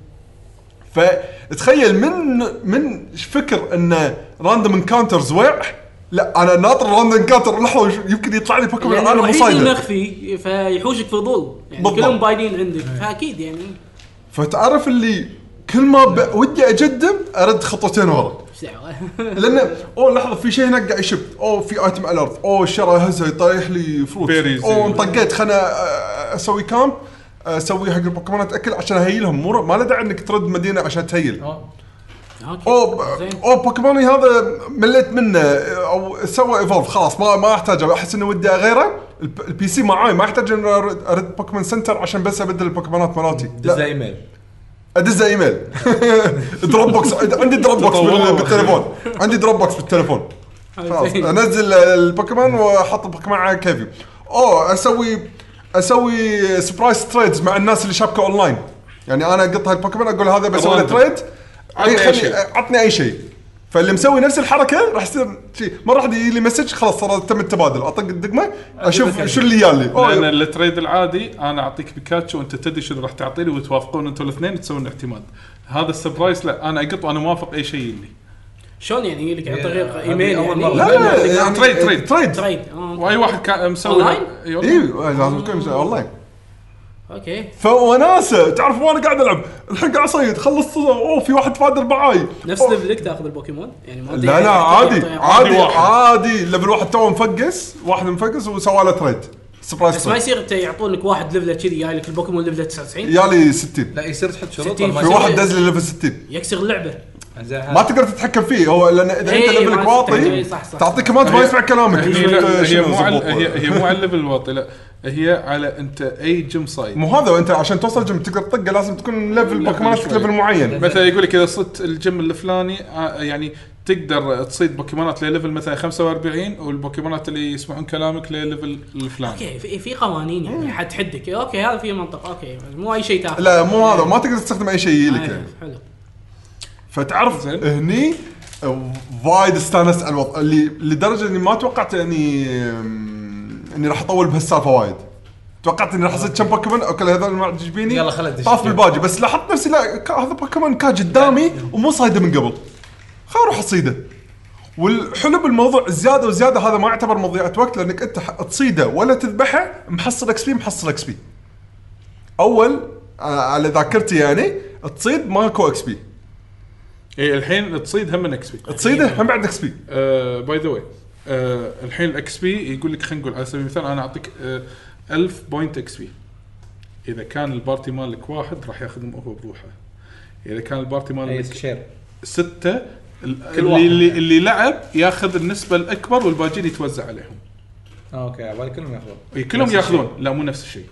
S3: فتخيل من من فكر انه راندوم انكاونترز وع لا انا ناطر راندوم انكاونتر لحظه وش- يمكن يطلع لي بوكيمون
S4: لأن
S3: انا
S4: الوحيد
S3: مصايده
S4: المخفي فيحوشك فضول يعني
S3: بالضبط.
S4: كلهم باينين عندك فاكيد يعني
S3: فتعرف اللي كل ما ب... ودي اجدم ارد خطوتين ورا
S4: ايش دعوه
S3: لان اوه لحظه في شيء هناك قاعد يشب اوه في ايتم الارت اوه الشرى هزه يطيح لي فروت
S2: Berries.
S3: اوه انطقيت خلنا آه، اسوي كامب اسوي حق البوكيمونات اكل عشان اهيلهم مو ما له داعي انك ترد مدينه عشان تهيل
S6: أوه.
S4: اوكي
S3: اوه
S4: زين.
S3: ب- اوه بوكيموني هذا مليت منه او سوى ايفولف خلاص ما ما احتاج احس اني ودي اغيره الب- البي سي معاي ما احتاج اني ارد, أرد بوكيمون سنتر عشان بس ابدل البوكيمونات مالتي
S6: دز
S3: لا
S6: ايميل
S3: ادز ايميل دروب بوكس عندي دروب بوكس بال- بالتليفون عندي دروب بوكس بالتليفون خلاص
S4: زين.
S3: انزل البوكيمون واحط البوكيمون على كيفي اوه اسوي اسوي سبرايز تريدز مع الناس اللي شابكه اونلاين يعني انا اقط هالبوكيمون اقول هذا بسوي له
S2: Random.
S3: تريد
S2: عطني أي
S3: اي خلي
S2: شيء.
S3: عطني اي شيء فاللي مسوي نفس الحركه راح يصير شيء مره واحده يجي لي مسج خلاص صار تم التبادل اطق الدقمه اشوف شو اللي يالي
S2: لان
S3: أوه،
S2: التريد العادي انا اعطيك بيكاتشو وانت تدري شنو راح تعطيني وتوافقون انتم الاثنين تسوون اعتماد هذا السبرايز لا انا اقط وانا موافق اي شيء يجي
S4: شلون يعني يجي لك عن طريق
S6: هذه
S4: ايميل
S6: أول
S4: يعني
S6: مرة.
S3: لا لا
S2: لا،
S3: يعني
S2: تريد- تريد.
S3: تريد
S4: تريد آه،
S2: واي واحد كان مسوي
S4: أونلاين؟
S2: إي والله.
S3: اي إيه، لازم تكون اونلاين
S4: اوكي
S3: فوناسه تعرف وانا قاعد العب الحين قاعد اصيد خلص اوه في واحد فادر معاي
S4: نفس طيب،
S3: أوه.
S4: ليفلك تاخذ البوكيمون يعني ما
S3: لا لا عادي عادي
S2: واحد.
S3: عادي ليفل واحد تو مفقس واحد مفقس وسوى له تريد سبرايز
S4: بس ما
S3: تريد
S4: يصير انت يعطونك واحد ليفله كذي جاي لك البوكيمون ليفله 99
S3: يالي 60
S6: لا يصير تحط شروط
S4: ستين.
S6: ولا ما
S3: في
S6: يصير؟ إيه،
S3: واحد دز لي ليفل 60
S4: يكسر اللعبه
S6: زين،
S3: ما
S6: هذا-
S3: تقدر تتحكم فيه هو لان اذا انت
S4: إيه،
S3: ليفلك
S4: ما
S3: واطي
S4: تتحكم، صح، صح.
S3: تعطيك كمان ما
S2: هي-
S3: يسمع كلامك
S2: هي لا، هي
S3: شنو
S2: مو
S3: زبوط.
S2: على هي هي مو على الليفل الواطي لا هي على انت اي جيم سايد
S3: مو هذا انت عشان توصل جيم تقدر تطقه لازم تكون ليفل
S2: ليفل
S3: بوكيموناتك
S2: شوي.
S3: ليفل معين
S2: مثلا يقول لك اذا صرت الجيم الفلاني آه، يعني تقدر تصيد بوكيمونات لليفل مثلا 45 والبوكيمونات اللي يسمعون كلامك لليفل الفلاني
S4: اوكي في في قوانين يعني حد حدك اوكي هذا في منطق اوكي مو اي شيء تاخذ
S3: لا مو هذا ما تقدر تستخدم اي شيء يجيلك يعني
S4: آه، حلو
S3: فتعرف
S2: زين.
S3: هني وايد استانست على الوضع اللي لدرجه اني ما توقعت اني أم، اني راح اطول بهالسالفه وايد توقعت اني راح اصيد كم بوكيمون اوكي هذول ما عجبيني
S6: يلا خلنا ندش.
S3: طاف بالباجي بس لاحظت نفسي لا كا- هذا بوكيمون كان قدامي ومو صايده من قبل خل اروح اصيده والحلو بالموضوع زياده وزياده هذا ما يعتبر مضيعه وقت لانك انت ح- تصيده ولا تذبحه محصل اكس بي محصل اكس بي اول آه، على ذاكرتي يعني تصيد ماكو اكس بي
S2: اي إيه، الحين تصيد هم آه، من اكس بي
S3: تصيده هم بعد اكس بي
S2: باي ذا واي آه، الحين الاكس بي يقول لك خلينا نقول على سبيل المثال انا اعطيك آه، 1000 بوينت اكس بي اذا كان البارتي مالك واحد راح ياخذهم هو بروحه اذا كان البارتي
S6: أي
S2: مالك
S6: شير
S2: سته ال-
S6: كل واحد
S2: اللي, اللي,
S6: يعني.
S2: اللي لعب ياخذ النسبه الاكبر والباقيين يتوزع عليهم
S6: آه، اوكي على بالي كلهم ياخذون
S2: إي، كلهم
S6: نفس الشيء. آه.
S2: ياخذون لا مو نفس الشيء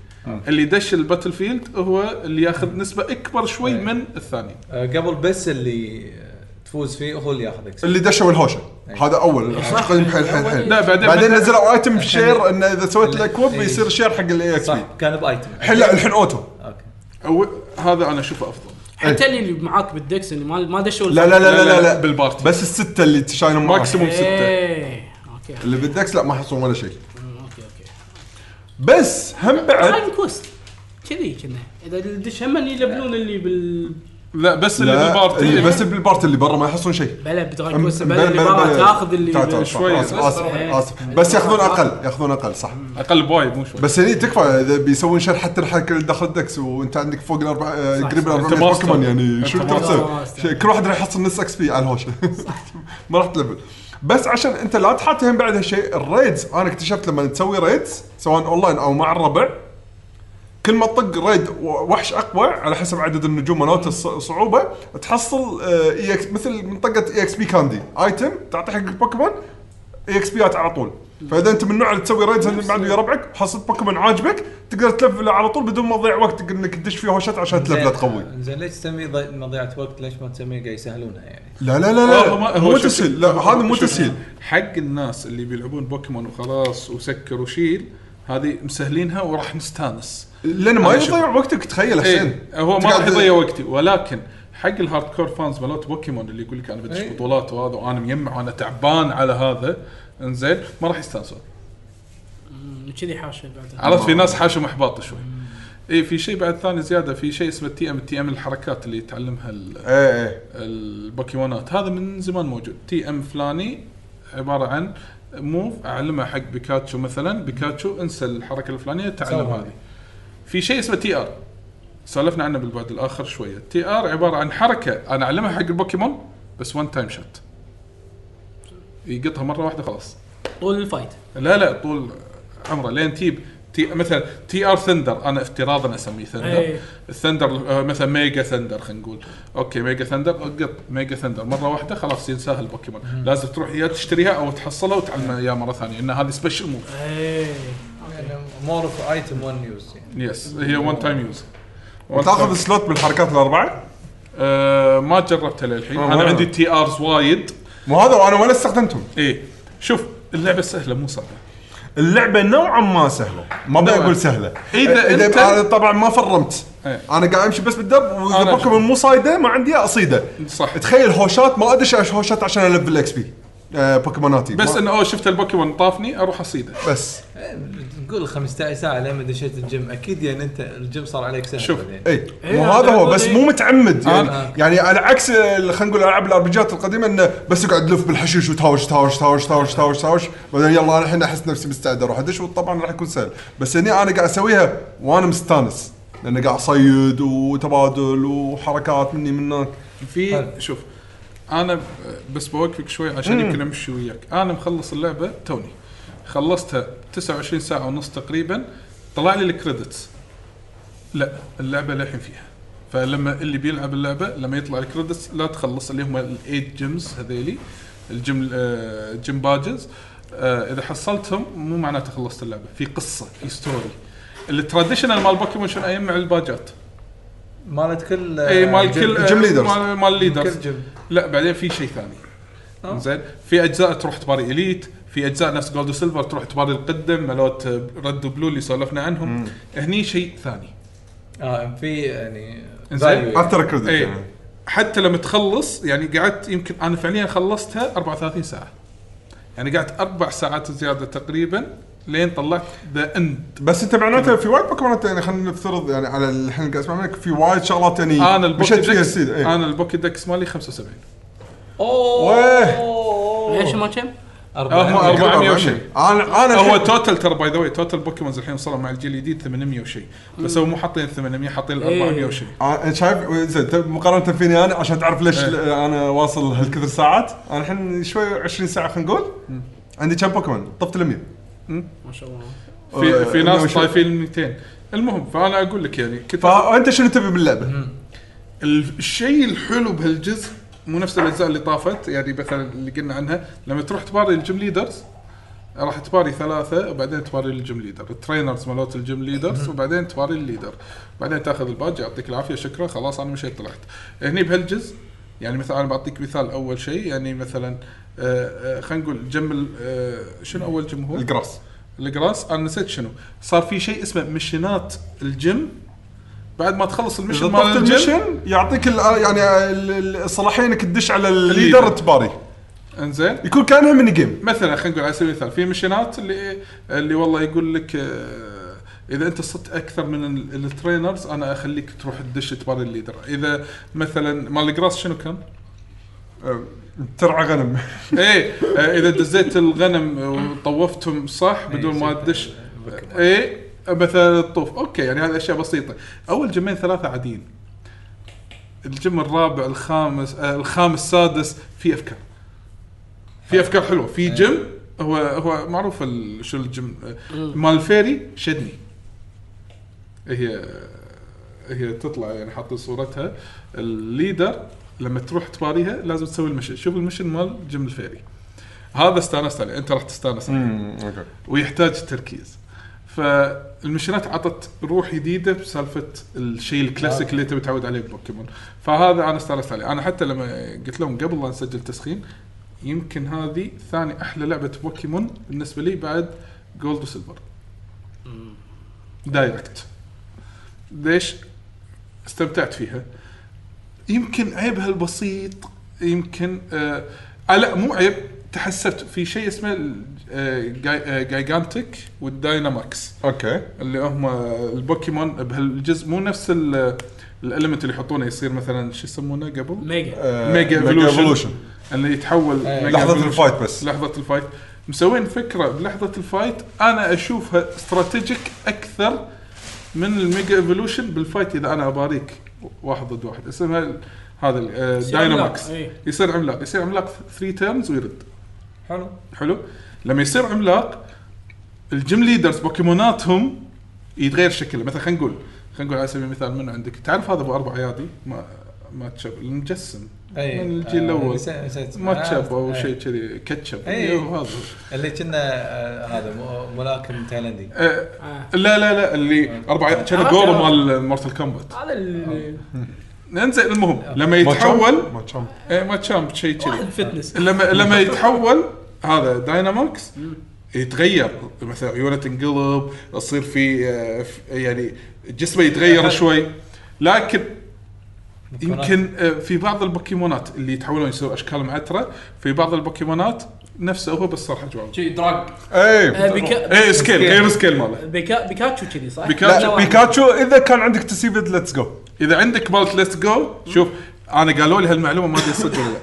S2: اللي دش الباتل فيلد هو اللي ياخذ نسبه اكبر شوي
S6: إيه.
S2: من الثاني
S6: آه، قبل بس اللي آه، تفوز فيه هو اللي ياخذ اكس
S3: اللي دشوا الهوشه
S6: أي.
S3: هذا اول قديم حيل حيل حيل
S2: لا بعدين
S3: بعدين
S2: مثلاً-
S3: نزلوا ايتم شير انه اذا سويت
S6: اللي-
S3: لك كوب
S6: إي.
S3: يصير شير حق الاي اكس بي
S6: صح كان بايتم
S3: الحين لا الحين اوتو
S6: اوكي
S2: أو- هذا انا اشوفه افضل
S4: حتى اللي اللي معاك بالدكس اللي ما ما دشوا
S3: لا لا لا لا لا, لا.
S2: بالبارتي
S3: بس السته اللي تشاينهم معك
S2: ماكسيموم سته
S4: ايه اوكي
S3: اللي بالدكس لا ما يحصلون ولا شيء
S4: أمم، اوكي اوكي
S3: بس هم بعد
S4: تايم كويست كذي كنا اذا تدش هم يلبلون اللي بال
S2: لا بس اللي
S3: لا
S2: بالبارتي
S3: اللي بس بالبارت اللي برا ما يحصلون شيء
S4: بلا بدراجون
S3: أم-
S4: كويست
S3: بلا-
S4: بلا اللي
S3: بلا-
S4: برا
S3: بلا-
S4: تاخذ اللي
S3: تعال تعال
S2: شوي.
S3: آسف، آسف،
S4: بس-
S3: آسف.
S4: إيه.
S3: بس ياخذون اقل ياخذون اقل صح
S2: اقل يعني. بوايد مو شوي
S3: بس هني تكفى اذا بيسوون شر حتى الحركه اللي داخل الدكس وانت عندك فوق الاربع آه،
S4: صح،
S3: قريب
S4: صح.
S3: الاربع
S2: أنت ماستر.
S3: بوكيمون يعني
S2: أنت
S3: شو تبغى
S2: ماستر.
S3: تسوي؟
S4: ماستر.
S3: شي- كل واحد راح يحصل نص اكس بي على الهوشه ما راح تلفل بس عشان انت لا تحط هم بعد هالشيء الريدز انا اكتشفت لما تسوي ريدز سواء اونلاين او مع الربع كل ما تطق ريد و- وحش اقوى على حسب عدد النجوم مالته الص- الصعوبه تحصل آه، اي اكس مثل منطقه اي اكس بي كاندي ايتم تعطي حق البوكيمون اي اكس بيات على طول فاذا انت من النوع اللي تسوي ريدز بعد ويا ربعك حصلت بوكيمون عاجبك تقدر تلفله على طول بدون ما تضيع وقتك انك تدش فيه هوشات عشان تلفله تقوي
S6: زين ليش تسميه ضي- مضيعه وقت ليش ما تسميه قاعد يسهلونها يعني
S3: لا لا لا
S2: هو ما-
S3: لا
S2: هو
S3: مو
S2: شوف-
S3: تسهيل لا
S2: شوف-
S3: هذا مو
S2: شوف،
S3: تسهيل
S2: حق الناس اللي بيلعبون بوكيمون وخلاص وسكر وشيل هذه مسهلينها وراح نستانس
S3: لان ما
S2: أنا شوف-
S3: يضيع وقتك تخيل حسين
S2: ايه هو ما راح
S3: تقعد-
S2: يضيع وقتي ولكن حق الهارد كور فانز مالت بوكيمون اللي يقول لك انا بدش
S6: إيه.
S2: بطولات وهذا وانا مجمع وانا تعبان على هذا انزين ما راح يستانسون
S4: أمم، كذي حاشه بعدين
S2: عرفت في ناس حاشم احباط شوي اي في شيء بعد ثاني زياده في شيء اسمه التي ام التي ام الحركات اللي يتعلمها ال-
S3: ايه ايه
S2: البوكيمونات هذا من زمان موجود تي ام فلاني عباره عن موف اعلمها حق بيكاتشو مثلا بيكاتشو انسى الحركه الفلانيه تعلم
S6: سوها.
S2: هذه في شيء اسمه تي ار سولفنا عنه بالبعد الاخر شويه تي ار عباره عن حركه انا اعلمها حق البوكيمون بس وان تايم شوت يقطها مره واحده خلاص
S4: طول الفايت
S2: لا لا طول عمره لين تجيب تي مثلا تي ار ثندر انا افتراضا اسميه ثندر
S4: أي.
S2: الثندر آه، مثلا ميجا ثندر خلينا نقول اوكي ميجا ثندر قط ميجا ثندر مره واحده خلاص ينساها البوكيمون لازم تروح يا تشتريها او تحصلها وتعلمها اياها مره ثانيه ان هذه سبيشل موف
S4: ايه
S6: يعني مور اوف ايتم وان يوز يعني
S2: يس هي وان تايم يوز
S3: وتاخذ سلوت بالحركات الاربعه
S2: آه، ما جربتها للحين
S3: آه،
S2: انا
S3: ولا.
S2: عندي تي ارز وايد
S3: مو هذا وانا ولا استخدمتهم
S2: ايه شوف اللعبه سهله مو صعبه
S3: اللعبه نوعا ما سهله ما ابي
S2: نوعاً.
S3: اقول سهله
S2: إذا أنت-
S3: انا طبعا ما فرمت
S2: إيه.
S3: انا قاعد امشي بس بالدب واذا
S2: أنا-
S3: بوكيمون مو صايده ما عندي إياه اصيده
S2: صح
S3: تخيل هوشات ما ادش على هوشات عشان الف الاكس بي آه، بوكيموناتي
S2: بس
S3: ما-
S2: انه اوه شفت البوكيمون طافني اروح اصيده
S3: بس
S6: تقول 15 ساعه لين دشيت الجيم اكيد يعني انت الجيم صار عليك سهل
S2: شوف.
S6: بعدين.
S3: اي
S4: إيه،
S3: مو هذا هو
S4: هذا
S3: بس
S4: هو
S3: مو متعمد يعني
S6: آه.
S3: يعني على عكس ال- خلينا نقول العاب الاربجات القديمه انه بس اقعد لف بالحشيش وتهاوش تهاوش تهاوش تهاوش تهاوش تهاوش بعدين يلا انا الحين احس نفسي مستعد اروح ادش وطبعا راح يكون سهل بس هني انا قاعد اسويها وانا مستانس لان قاعد اصيد وتبادل وحركات مني من هناك
S2: في
S6: حلو.
S2: شوف انا ب- بس بوقفك شوي عشان يمكن امشي وياك انا مخلص اللعبه توني خلصتها 29 ساعه ونص تقريبا طلع لي الكريدتس لا اللعبه للحين فيها فلما اللي بيلعب اللعبه لما يطلع الكريدتس لا تخلص اللي هم الايت جيمز هذيلي الجيم آه، جيم باجز آه، اذا حصلتهم مو معناته خلصت اللعبه في قصه في ستوري التراديشنال مال بوكيمون شنو يجمع الباجات
S6: مالت كل
S2: اي مال كل آه،
S3: جيم leaders.
S2: مال, مال
S6: آه، كل
S2: ليدرز
S6: جيم
S2: لا بعدين في شيء ثاني
S6: آه.
S2: زين في اجزاء تروح تباري اليت في اجزاء نفس جولد وسيلفر تروح تباري القدم مالوت رد بلو اللي سولفنا عنهم هني شيء ثاني
S6: اه في يعني
S2: إنزين.
S6: value.
S3: افتر كريدت
S2: اي
S3: يعني
S2: إيه، حتى لما تخلص يعني قعدت يمكن انا فعليا خلصتها 34 ساعه يعني قعدت اربع ساعات زياده تقريبا لين طلعت ذا اند
S3: بس انت معناته في وايد بوكيمونات يعني خلينا نفترض يعني على الحين قاعد اسمع منك في وايد شغلات يعني
S2: انا
S3: مشيت
S2: البوكي
S3: فيها
S2: دكس
S3: السيد إيه. اي.
S2: انا البوكي دكس مالي 75
S6: اوه
S4: ليش ما كم؟
S2: هم
S6: أربعة.
S2: 400 وشيء.
S3: انا انا
S2: هو
S3: الحين-
S2: توتال ترى باي ذا واي توتال بوكيمونز الحين وصلوا مع الجيل الجديد 800 وشيء بس هو مو حاطين 800 حاطين ال 400
S4: إيه.
S2: وشيء
S3: آه، شايف زين طيب مقارنه فيني انا عشان تعرف ليش
S2: إيه.
S3: انا واصل هالكثر ساعات انا الحين شوي 20 ساعه خلينا نقول عندي كم بوكيمون طفت ال 100
S4: ما شاء الله
S2: في في
S3: آه،
S2: ناس
S3: وش-
S2: طايفين 200 المهم فانا اقول لك يعني كنت
S3: فانت شنو تبي باللعبه؟
S2: ال- الشيء الحلو بهالجزء مو نفس الاجزاء اللي طافت يعني مثلا اللي قلنا عنها لما تروح تباري الجيم ليدرز راح تباري ثلاثة وبعدين تباري الجيم ليدر، الترينرز مالوت الجيم ليدرز وبعدين تباري الليدر، بعدين تاخذ الباج يعطيك العافية شكرا خلاص انا مشيت طلعت. هني بهالجزء يعني مثلا انا بعطيك مثال اول شيء يعني مثلا آه، آه، خلينا نقول جم ال- آه، شنو اول جم هو؟
S3: الجراس
S2: الجراس انا نسيت شنو صار في شيء اسمه مشينات الجيم بعد ما تخلص
S3: اذا
S2: المشن مال
S3: طفت
S2: الجيم
S3: المشن يعطيك ال يعني ال- ال- الصلاحيه انك تدش على
S2: الليدر.
S3: الليدر تباري
S2: انزين
S3: يكون كانها ميني جيم
S2: مثلا خلينا نقول على سبيل المثال في مشينات اللي اللي والله يقول لك آه، اذا انت صرت اكثر من ال- الترينرز انا اخليك تروح تدش تباري الليدر اذا مثلا مال الجراس شنو كان؟
S3: آه، ترعى غنم
S2: ايه آه، اذا دزيت الغنم وطوفتهم صح
S6: إيه،
S2: بدون ما تدش ايه مثلا الطوف اوكي يعني هذه اشياء بسيطه اول جيمين ثلاثه عاديين الجيم الرابع الخامس آه الخامس السادس في افكار في افكار حلوه في جيم هو هو معروف ال- شو الجيم آه، مال الفيري شدني هي هي تطلع يعني حاطين صورتها الليدر لما تروح تباريها لازم تسوي المشن شوف المشن مال جيم الفيري هذا استانست عليه انت راح تستانس عليه
S3: اوكي
S2: ويحتاج تركيز فالمشينات عطت روح جديده بسالفه الشيء الكلاسيك اللي انت متعود عليه ببوكيمون فهذا انا استانست عليه انا حتى لما قلت لهم قبل لا نسجل تسخين يمكن هذه ثاني احلى لعبه بوكيمون بالنسبه لي بعد جولد وسيلفر دايركت ليش استمتعت فيها يمكن عيبها البسيط يمكن آه آه، لا مو عيب تحسبت في شيء اسمه ال- آه، جاي- آه، جايجانتيك والدايناماكس
S3: اوكي
S2: اللي هم البوكيمون بهالجزء مو نفس ال- الاليمنت اللي يحطونه يصير مثلا شو يسمونه قبل
S4: ميجا
S3: آه،
S2: ميجا
S3: Evolution.
S2: ايفولوشن اللي يتحول
S6: إيه.
S2: ميجا
S3: لحظه
S2: Evolution.
S3: الفايت بس
S2: لحظه الفايت مسوين فكره بلحظه الفايت انا اشوفها استراتيجيك اكثر من الميجا ايفولوشن بالفايت اذا انا اباريك واحد ضد واحد اسمها ال- هذا ال- آه، دايناماكس
S4: إيه.
S2: يصير عملاق يصير عملاق 3 تيرنز ويرد
S6: حلو
S2: حلو لما يصير عملاق الجيم ليدرز بوكيموناتهم يتغير شكله مثلا خلينا نقول خلينا نقول على سبيل المثال من عندك تعرف هذا ابو اربع ايادي ما ما تشب المجسم
S6: اي
S2: من الجيل الاول
S6: آه، نسيت
S2: ما تشب او
S6: آه،
S2: شيء
S6: إيه.
S2: كذي كاتشب
S6: إيه.
S2: ايوه هذا
S6: اللي كنا آه، هذا مو- ملاكم تايلندي
S2: آه،
S4: آه.
S2: لا لا لا
S6: آه.
S2: اللي اربع كان
S4: عرفت،
S2: جورو
S4: عرفت.
S2: مال مورتال كومبات
S4: هذا ال-
S2: انزين المهم
S6: آه.
S2: لما
S3: ما
S2: يتحول
S3: تشامب؟ ما تشامب.
S2: إيه، ما تشامب شيء
S4: واحد
S2: كذي
S4: فتنس
S2: لما لما يتحول هذا داينامكس يتغير مثلا عيونه تنقلب يصير في آه، في- يعني جسمه يتغير شوي لكن يمكن آه، في بعض البوكيمونات اللي يتحولون يصير اشكالهم عتره في بعض البوكيمونات نفسه هو بس صار حجمه
S7: شي دراج
S3: اي
S4: آه، بيكا...
S2: اي سكيل غير سكيل ماله
S4: بيكا... بيكاتشو كذي صح؟
S2: بيكاتشو-
S3: لا بيكاتشو اذا كان عندك تسيب ليتس جو
S2: اذا عندك مالت ليتس جو شوف انا قالوا لي هالمعلومه ما ادري صدق ولا لا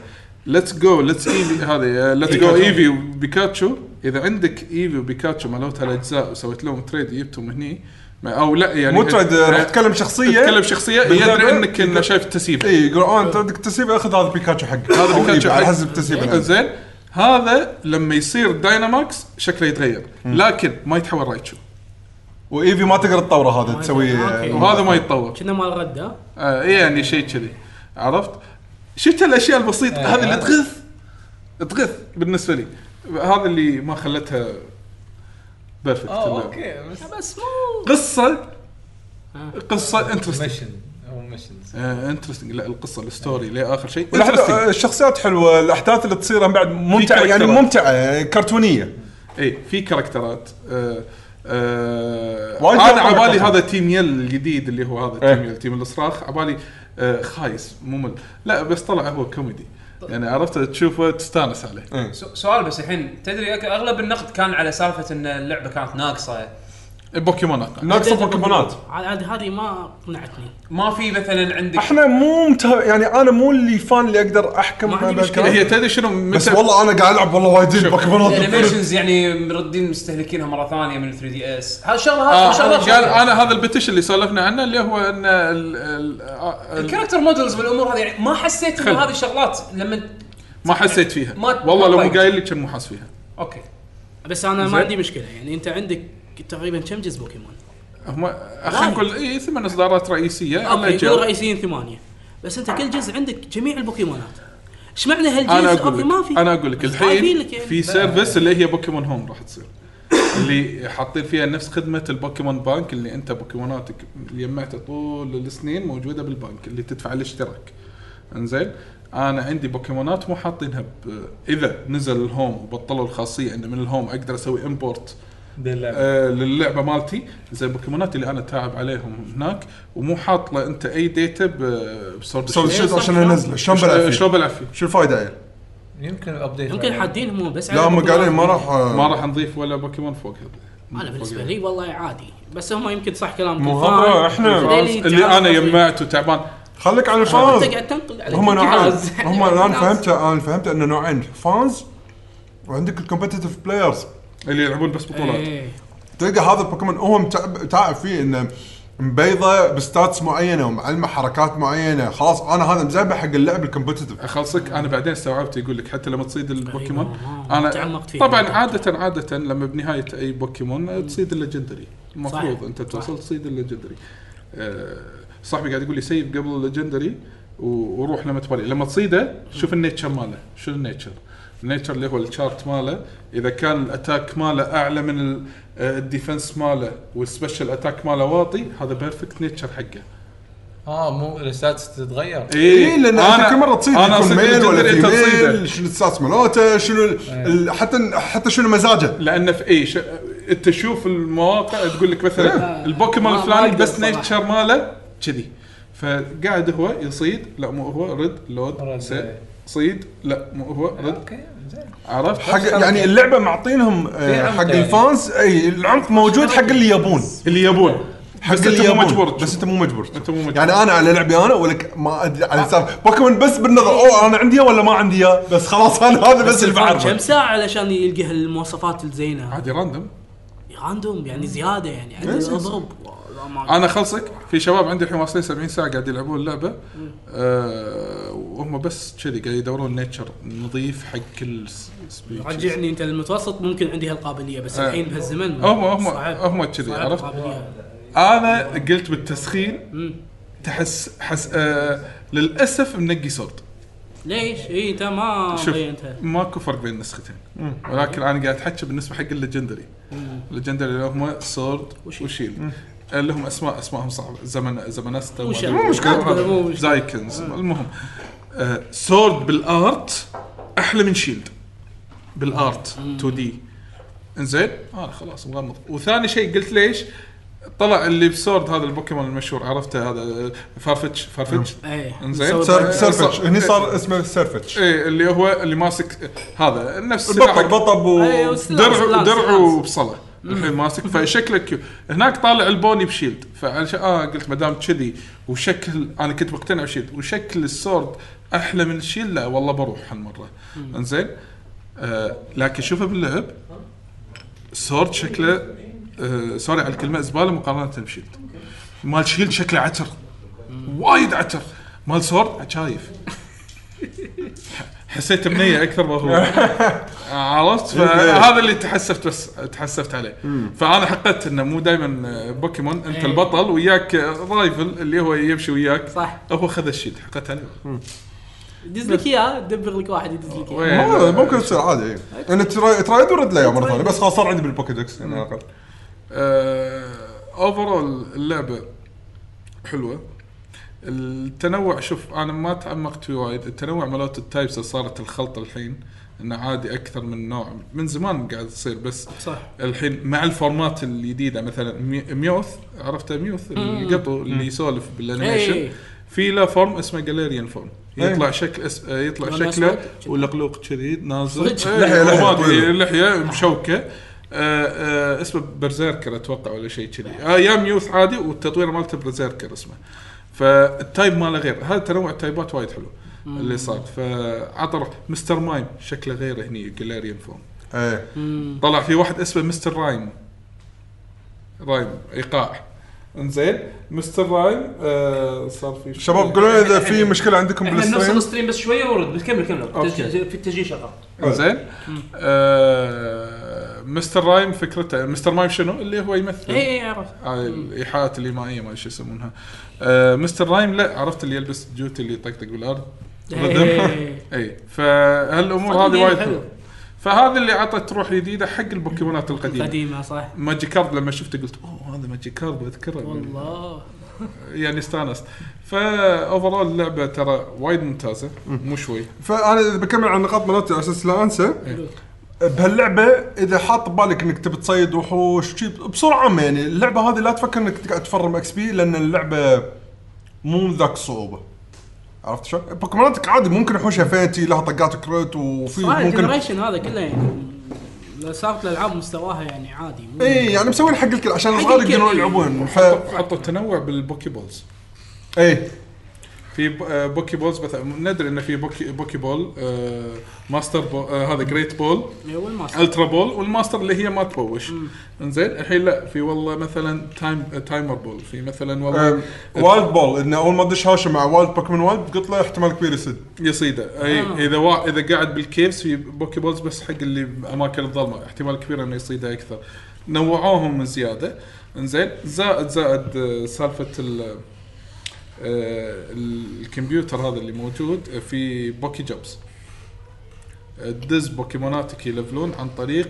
S2: ليتس جو ليتس ايفي هذه uh, ليتس جو ايفي وبيكاتشو اذا عندك ايفي وبيكاتشو مالوتها الاجزاء وسويت لهم تريد جبتهم هني ما- او لا يعني
S3: مو ترد
S2: تتكلم
S3: راح تتكلم شخصيه
S2: تتكلم شخصيه يدري
S3: باللعبة.
S2: انك انه شايف التسييف
S3: اي يقول اه انت عندك تسيب اخذ هذا بيكاتشو حقك
S2: هذا
S3: أو
S2: بيكاتشو
S3: إيه، على
S2: حق-
S3: حسب تسيبه
S2: زين هذا لما يصير دايناماكس شكله يتغير لكن ما يتحول رايتشو
S3: وايفي ما تقدر تطوره هذا تسوي
S4: أوكي.
S2: وهذا ما يتطور
S4: كنا مال رد ها؟
S2: آه يعني شيء كذي عرفت؟ شفت الاشياء البسيطه هذه اللي تغث تغث بالنسبه لي هذا اللي ما خلتها بيرفكت
S6: أوه، اوكي آه، بس
S4: بس مو
S2: قصه قصه انترستنج
S6: ميشن او ميشنز
S2: انترستنج آه، لا القصه الستوري لاخر شيء
S3: والأحداث-
S2: interesting.
S3: آه، الشخصيات حلوه الاحداث اللي تصير هم بعد ممتعه يعني
S2: كاركترات.
S3: ممتعه يعني كرتونيه
S2: اي إيه، في كاركترات آه آه
S3: وايد
S2: انا
S3: كاركترات.
S2: عبالي هذا تيم يل الجديد اللي هو هذا
S3: إيه.
S2: تيم يل تيم الصراخ عبالي آه خايس ممل لا بس طلع هو كوميدي يعني عرفت تشوفه تستانس عليه
S7: سو- سؤال بس الحين تدري أك- اغلب النقد كان على سالفه ان اللعبه كانت ناقصه
S2: بوكيمون
S3: ناقصه بوكيمونات
S4: عاد هذه ما قنعتني
S7: ما في مثلا عندك
S3: احنا مو مته... يعني انا مو اللي فان اللي اقدر احكم
S4: ما عندي
S3: على
S4: مشكلة.
S3: الكلام.
S2: هي تدري شنو متى
S3: بس والله انا قاعد العب والله وايدين بوكيمونات
S7: الانيميشنز يعني مردين مستهلكينها مره ثانيه من 3 دي اس هذا شغله هذا
S2: آه قال
S7: شغله
S2: انا هذا البتش اللي سولفنا عنه اللي هو ان ال- ال- آه، ال-
S7: الكاركتر مودلز والامور هذه يعني ما حسيت ان
S2: خل-
S7: هذه الشغلات لما
S2: ما حسيت فيها
S7: ما-
S2: والله
S7: ما
S2: لو مو
S7: طايق.
S2: قايل لي كان مو حاس فيها
S7: اوكي
S4: بس انا
S2: زين.
S4: ما عندي مشكله يعني انت عندك تقريبا كم جزء بوكيمون؟
S2: هم خلينا نقول اي ثمان اصدارات رئيسيه
S4: اوكي
S2: الله
S4: يقول
S2: يجاوب.
S4: رئيسيين ثمانيه بس انت كل جزء عندك جميع البوكيمونات ايش معنى
S2: انا
S4: هالجزء
S2: اقول
S4: اوكي ما
S2: لك
S4: في
S2: انا اقول لك
S4: بس عايبين
S2: الحين
S4: لك يعني.
S2: في سيرفيس اللي هي بوكيمون هوم راح تصير اللي حاطين فيها نفس خدمه البوكيمون بانك اللي انت بوكيموناتك اللي جمعتها طول السنين موجوده بالبنك اللي تدفع الاشتراك انزين انا عندي بوكيمونات مو حاطينها ب... اذا نزل الهوم وبطلوا الخاصيه ان من الهوم اقدر اسوي امبورت آه للعبه مالتي زي البوكيمونات اللي انا تاعب عليهم هناك ومو حاط له انت اي ديتا ب- بسورد
S3: سوي
S2: شيلد.
S3: شيء عشان انزله
S2: آه،
S3: شلون بلعب فيه؟
S2: شلون بلعب فيه؟
S3: شو الفائده يعني؟
S6: يمكن ابديت
S4: يمكن حادين هم بس على
S3: لا هم
S4: البوكيمونات.
S3: قاعدين ما راح
S2: يعني ما راح نضيف ولا بوكيمون فوقها
S4: انا بالنسبه لي والله عادي بس هم يمكن صح كلامك
S3: مو
S4: الفان
S3: هذا إحنا
S4: الفان
S2: اللي انا جمعته تعبان
S3: خليك على
S4: انت
S3: الفانز
S4: قاعد تنقل على
S3: هم نوعين
S4: الجهاز.
S3: هم الان فهمته انا فهمت انه نوعين فانز وعندك الكومبتتف بلايرز
S2: اللي يلعبون بس بطولات
S4: إيه.
S3: تلقى هذا البوكيمون هو متعب تعب فيه انه مبيضه بستاتس معينه ومعلمه حركات معينه خلاص انا هذا مزبح حق اللعب الكومبتتف
S2: اخلصك انا بعدين استوعبت يقول لك حتى لما تصيد البوكيمون
S4: أيوة،
S2: انا
S4: تعمقت فيه.
S2: طبعا عاده عاده لما بنهايه اي بوكيمون تصيد الليجندري المفروض
S4: صح.
S2: انت توصل تصيد الليجندري آه، صاحبي قاعد يقول لي سيف قبل الليجندري و- وروح لما تبالي لما تصيده شوف النيتشر ماله شنو النيتشر النيتشر اللي هو الشارت ماله اذا كان الاتاك ماله اعلى من ال- آه، الديفنس ماله والسبيشل اتاك ماله واطي هذا بيرفكت نيتشر حقه إيه،
S6: اه مو الستاتس تتغير
S3: اي لان انت إيه، كل مره تصيد
S2: انا
S3: يكون
S2: اصيد
S3: ميل ولا
S2: الليجندري تصيده إيه.
S3: فيميل شنو الستاتس مالته شنو ال- ال- حتى حتى شنو مزاجه
S2: لان في اي ش... انت تشوف المواقع تقول لك مثلا البوكيمون
S4: آه. ما- ما
S2: الفلاني
S4: أقدر
S2: بس
S4: صراحة.
S2: نيتشر ماله كذي فقاعد هو يصيد لا مو هو رد لود
S6: رد،
S2: س-
S6: إيه.
S2: صيد لا مو هو رد
S6: اوكي زين
S2: عرفت
S3: حق يعني اللعبه معطينهم آه،
S6: في عمق
S3: حق
S6: يعني.
S3: الفانز اي العمق موجود حق اللي يبون
S2: اللي يبون
S3: حق
S2: بس
S3: اللي
S2: انت مو
S3: يبون
S2: مجبور
S3: بس انت مو مجبور
S2: انت مو مجبور.
S3: يعني انا على لعبي انا ولك ما ادري على حساب بوكيمون بس بالنظر اوه انا عندي إياه ولا ما عندي إياه بس خلاص انا هذا بس اللي بعرفه
S4: كم ساعه علشان يلقى هالمواصفات الزينه
S2: عادي راندوم
S4: راندوم يعني زياده يعني عدد
S3: إيه،
S4: اضرب والله ما-
S2: انا خلصك في شباب عندي الحين واصلين 70 ساعه قاعد يلعبون اللعبه آه وهم بس كذي قاعد يدورون نيتشر نظيف حق كل س- species.
S4: رجعني انت المتوسط ممكن عندي هالقابليه بس
S3: إيه.
S2: آه.
S4: الحين بهالزمن
S2: هم- هم-
S4: صعب.
S2: هم كذي،
S4: صعب
S2: عرفت؟
S4: القابلية.
S2: انا قلت بالتسخين
S4: مم.
S2: تحس حس آه للاسف منقي صوت
S4: ليش؟ اي انت ما
S2: شوف
S4: بينتها
S2: ماكو فرق بين النسختين ولكن انا قاعد احكي بالنسبه حق الليجندري الليجندري اللي هم سورد وشيل اللي هم اسماء اسمائهم صعبه زمن زمنستا
S4: مو
S2: وما
S4: شغل.
S2: أدري
S4: مو مشكلة.
S2: وش.
S4: مو مشكلة.
S2: زايكنز المهم آه سورد بالارت احلى من شيلد آه، بالارت 2 دي انزين انا خلاص مغمض وثاني شيء قلت ليش طلع اللي بسورد هذا البوكيمون المشهور عرفته هذا آه، فارفتش فارفتش
S3: نعم.
S4: ايه
S2: انزين
S3: سر- سرفتش هني صار اسمه سرفتش
S2: ايه اللي هو اللي ماسك آه، هذا نفس سلاح
S3: البطل بطب
S4: أيوة،
S3: و
S4: سلاح،
S2: درع
S4: سلاح،
S2: درع
S4: سلاح.
S2: وبصله الحين ماسك فشكله كيو هناك طالع البوني بشيلد فعلش اه قلت ما دام كذي وشكل انا كنت مقتنع بشيلد وشكل السورد احلى من الشيلد لا والله بروح هالمره انزين آه لكن شوفه باللعب سورد شكله آه سوري على الكلمه زباله مقارنه بشيلد مال شيلد شكله عتر وايد عتر مال سورد عشايف حسيت بنيه اكثر ما هو عرفت فهذا اللي تحسفت بس تحسفت عليه فانا حققت انه مو دائما بوكيمون انت
S4: إيه.
S2: البطل وياك رايفل اللي هو يمشي وياك
S4: صح
S2: هو خذ الشيلد حققت عليه
S4: دز لك اياه دبر لك واحد يدز لك اياه
S2: وين؟
S3: آه، ممكن تصير عادي اي انا ترا- ترايد ورد له إياه مره ثانيه بس خلاص صار عندي بالبوكيدكس يعني على الاقل
S2: آه، اوفرول اللعبه حلوه التنوع شوف انا ما تعمقت فيه وايد التنوع مالت التايبس اللي صارت الخلطه الحين انه عادي اكثر من نوع من زمان قاعد تصير بس
S4: صح.
S2: الحين مع الفورمات الجديده مثلا مي- ميوث عرفته ميوث القطو اللي يسولف بالانيميشن
S4: إيه.
S2: في له فورم اسمه جاليريان فورم
S3: إيه.
S2: يطلع شكل أس... يطلع شكله
S4: لونه أسود كذي.
S2: ولقلوق كذي نازل
S4: صدق؟
S2: إيه،
S3: لحية- لحية
S2: ما أدري،
S3: طويلة.
S2: لحيه مشوكه آه آه اسمه برزيركر اتوقع ولا شيء كذي آه يا ميوث عادي والتطوير مالته برزيركر اسمه فالتايب ماله غير هذا تنوع التايبات وايد حلو اللي صار فعطر مستر مايم شكله غير هني جاليريان فوم
S3: ايه
S2: طلع في واحد اسمه مستر رايم رايم ايقاع انزين مستر رايم آه صار في
S3: شباب قولوا لي اذا في مشكله عندكم
S7: احنا بنفصل
S3: بالستريم
S7: الستريم بس شويه ورد بس كمل كمل التسجيل- في التسجيل شغال
S2: انزين آه مستر رايم فكرته مستر مايم شنو اللي هو يمثل
S4: اي اي عرفت
S2: هاي الايحاءات الايمائيه ما أدري شو يسمونها آه مستر رايم لا عرفت اللي يلبس جوت اللي يطقطق بالارض
S4: إيه.
S2: اي فهالامور
S4: صدق
S2: هذه
S4: إيه،
S2: وايد
S4: حلو.
S2: حلوه فهذا اللي عطت روح جديده حق البوكيمونات القديمه
S4: قديمه صح
S2: ماجيك كارد لما شفته قلت اوه هذا ماجيك كارد اذكره
S4: والله
S2: يعني استانست فاوفرول اللعبه ترى وايد ممتازه مو شوي
S3: فانا اذا بكمل عن النقاط مالتي على اساس لا انسى بهاللعبه اذا حاط ببالك انك تبي تصيد وحوش شي بسرعه عامه يعني اللعبه هذه لا تفكر انك قاعد تفرم اكس بي لان اللعبه مو ذاك صعوبه عرفت شلون؟ بوكيموناتك عادي ممكن وحوشها فيتي لها طقات كروت وفي
S4: صراحه
S3: ممكن
S4: الجنريشن هذا كله يعني لو صارت الالعاب مستواها يعني عادي مو-
S3: اي يعني مسوين حق الكل عشان
S4: حق
S3: الصغار
S4: الكل.
S3: يقدرون يلعبون ف
S2: حطوا تنوع بالبوكي بولز
S3: اي
S2: في ب- آه، بوكي بولز مثلا ندري انه في بوكي بوكي بول آه، ماستر بول آه، هذا جريت بول
S4: إيه، والماستر
S2: الترا بول والماستر اللي هي ما تبوش انزين الحين لا في والله مثلا تايم تايمر بول في مثلا
S3: آه.
S2: والله
S3: وايلد بول انه اول ما تدش هاشه مع وايلد بوكيمون وايلد قلت له احتمال كبير يسد
S2: يصيده اي اذا وا... اذا قاعد بالكيفز في بوكي بولز بس حق اللي باماكن الظلمه احتمال كبير انه يصيده اكثر نوعوهم زياده انزين زائد زائد آه، سالفه ال آه، الكمبيوتر هذا اللي موجود آه، في بوكي جوبز تدز بوكيموناتك يلفلون عن طريق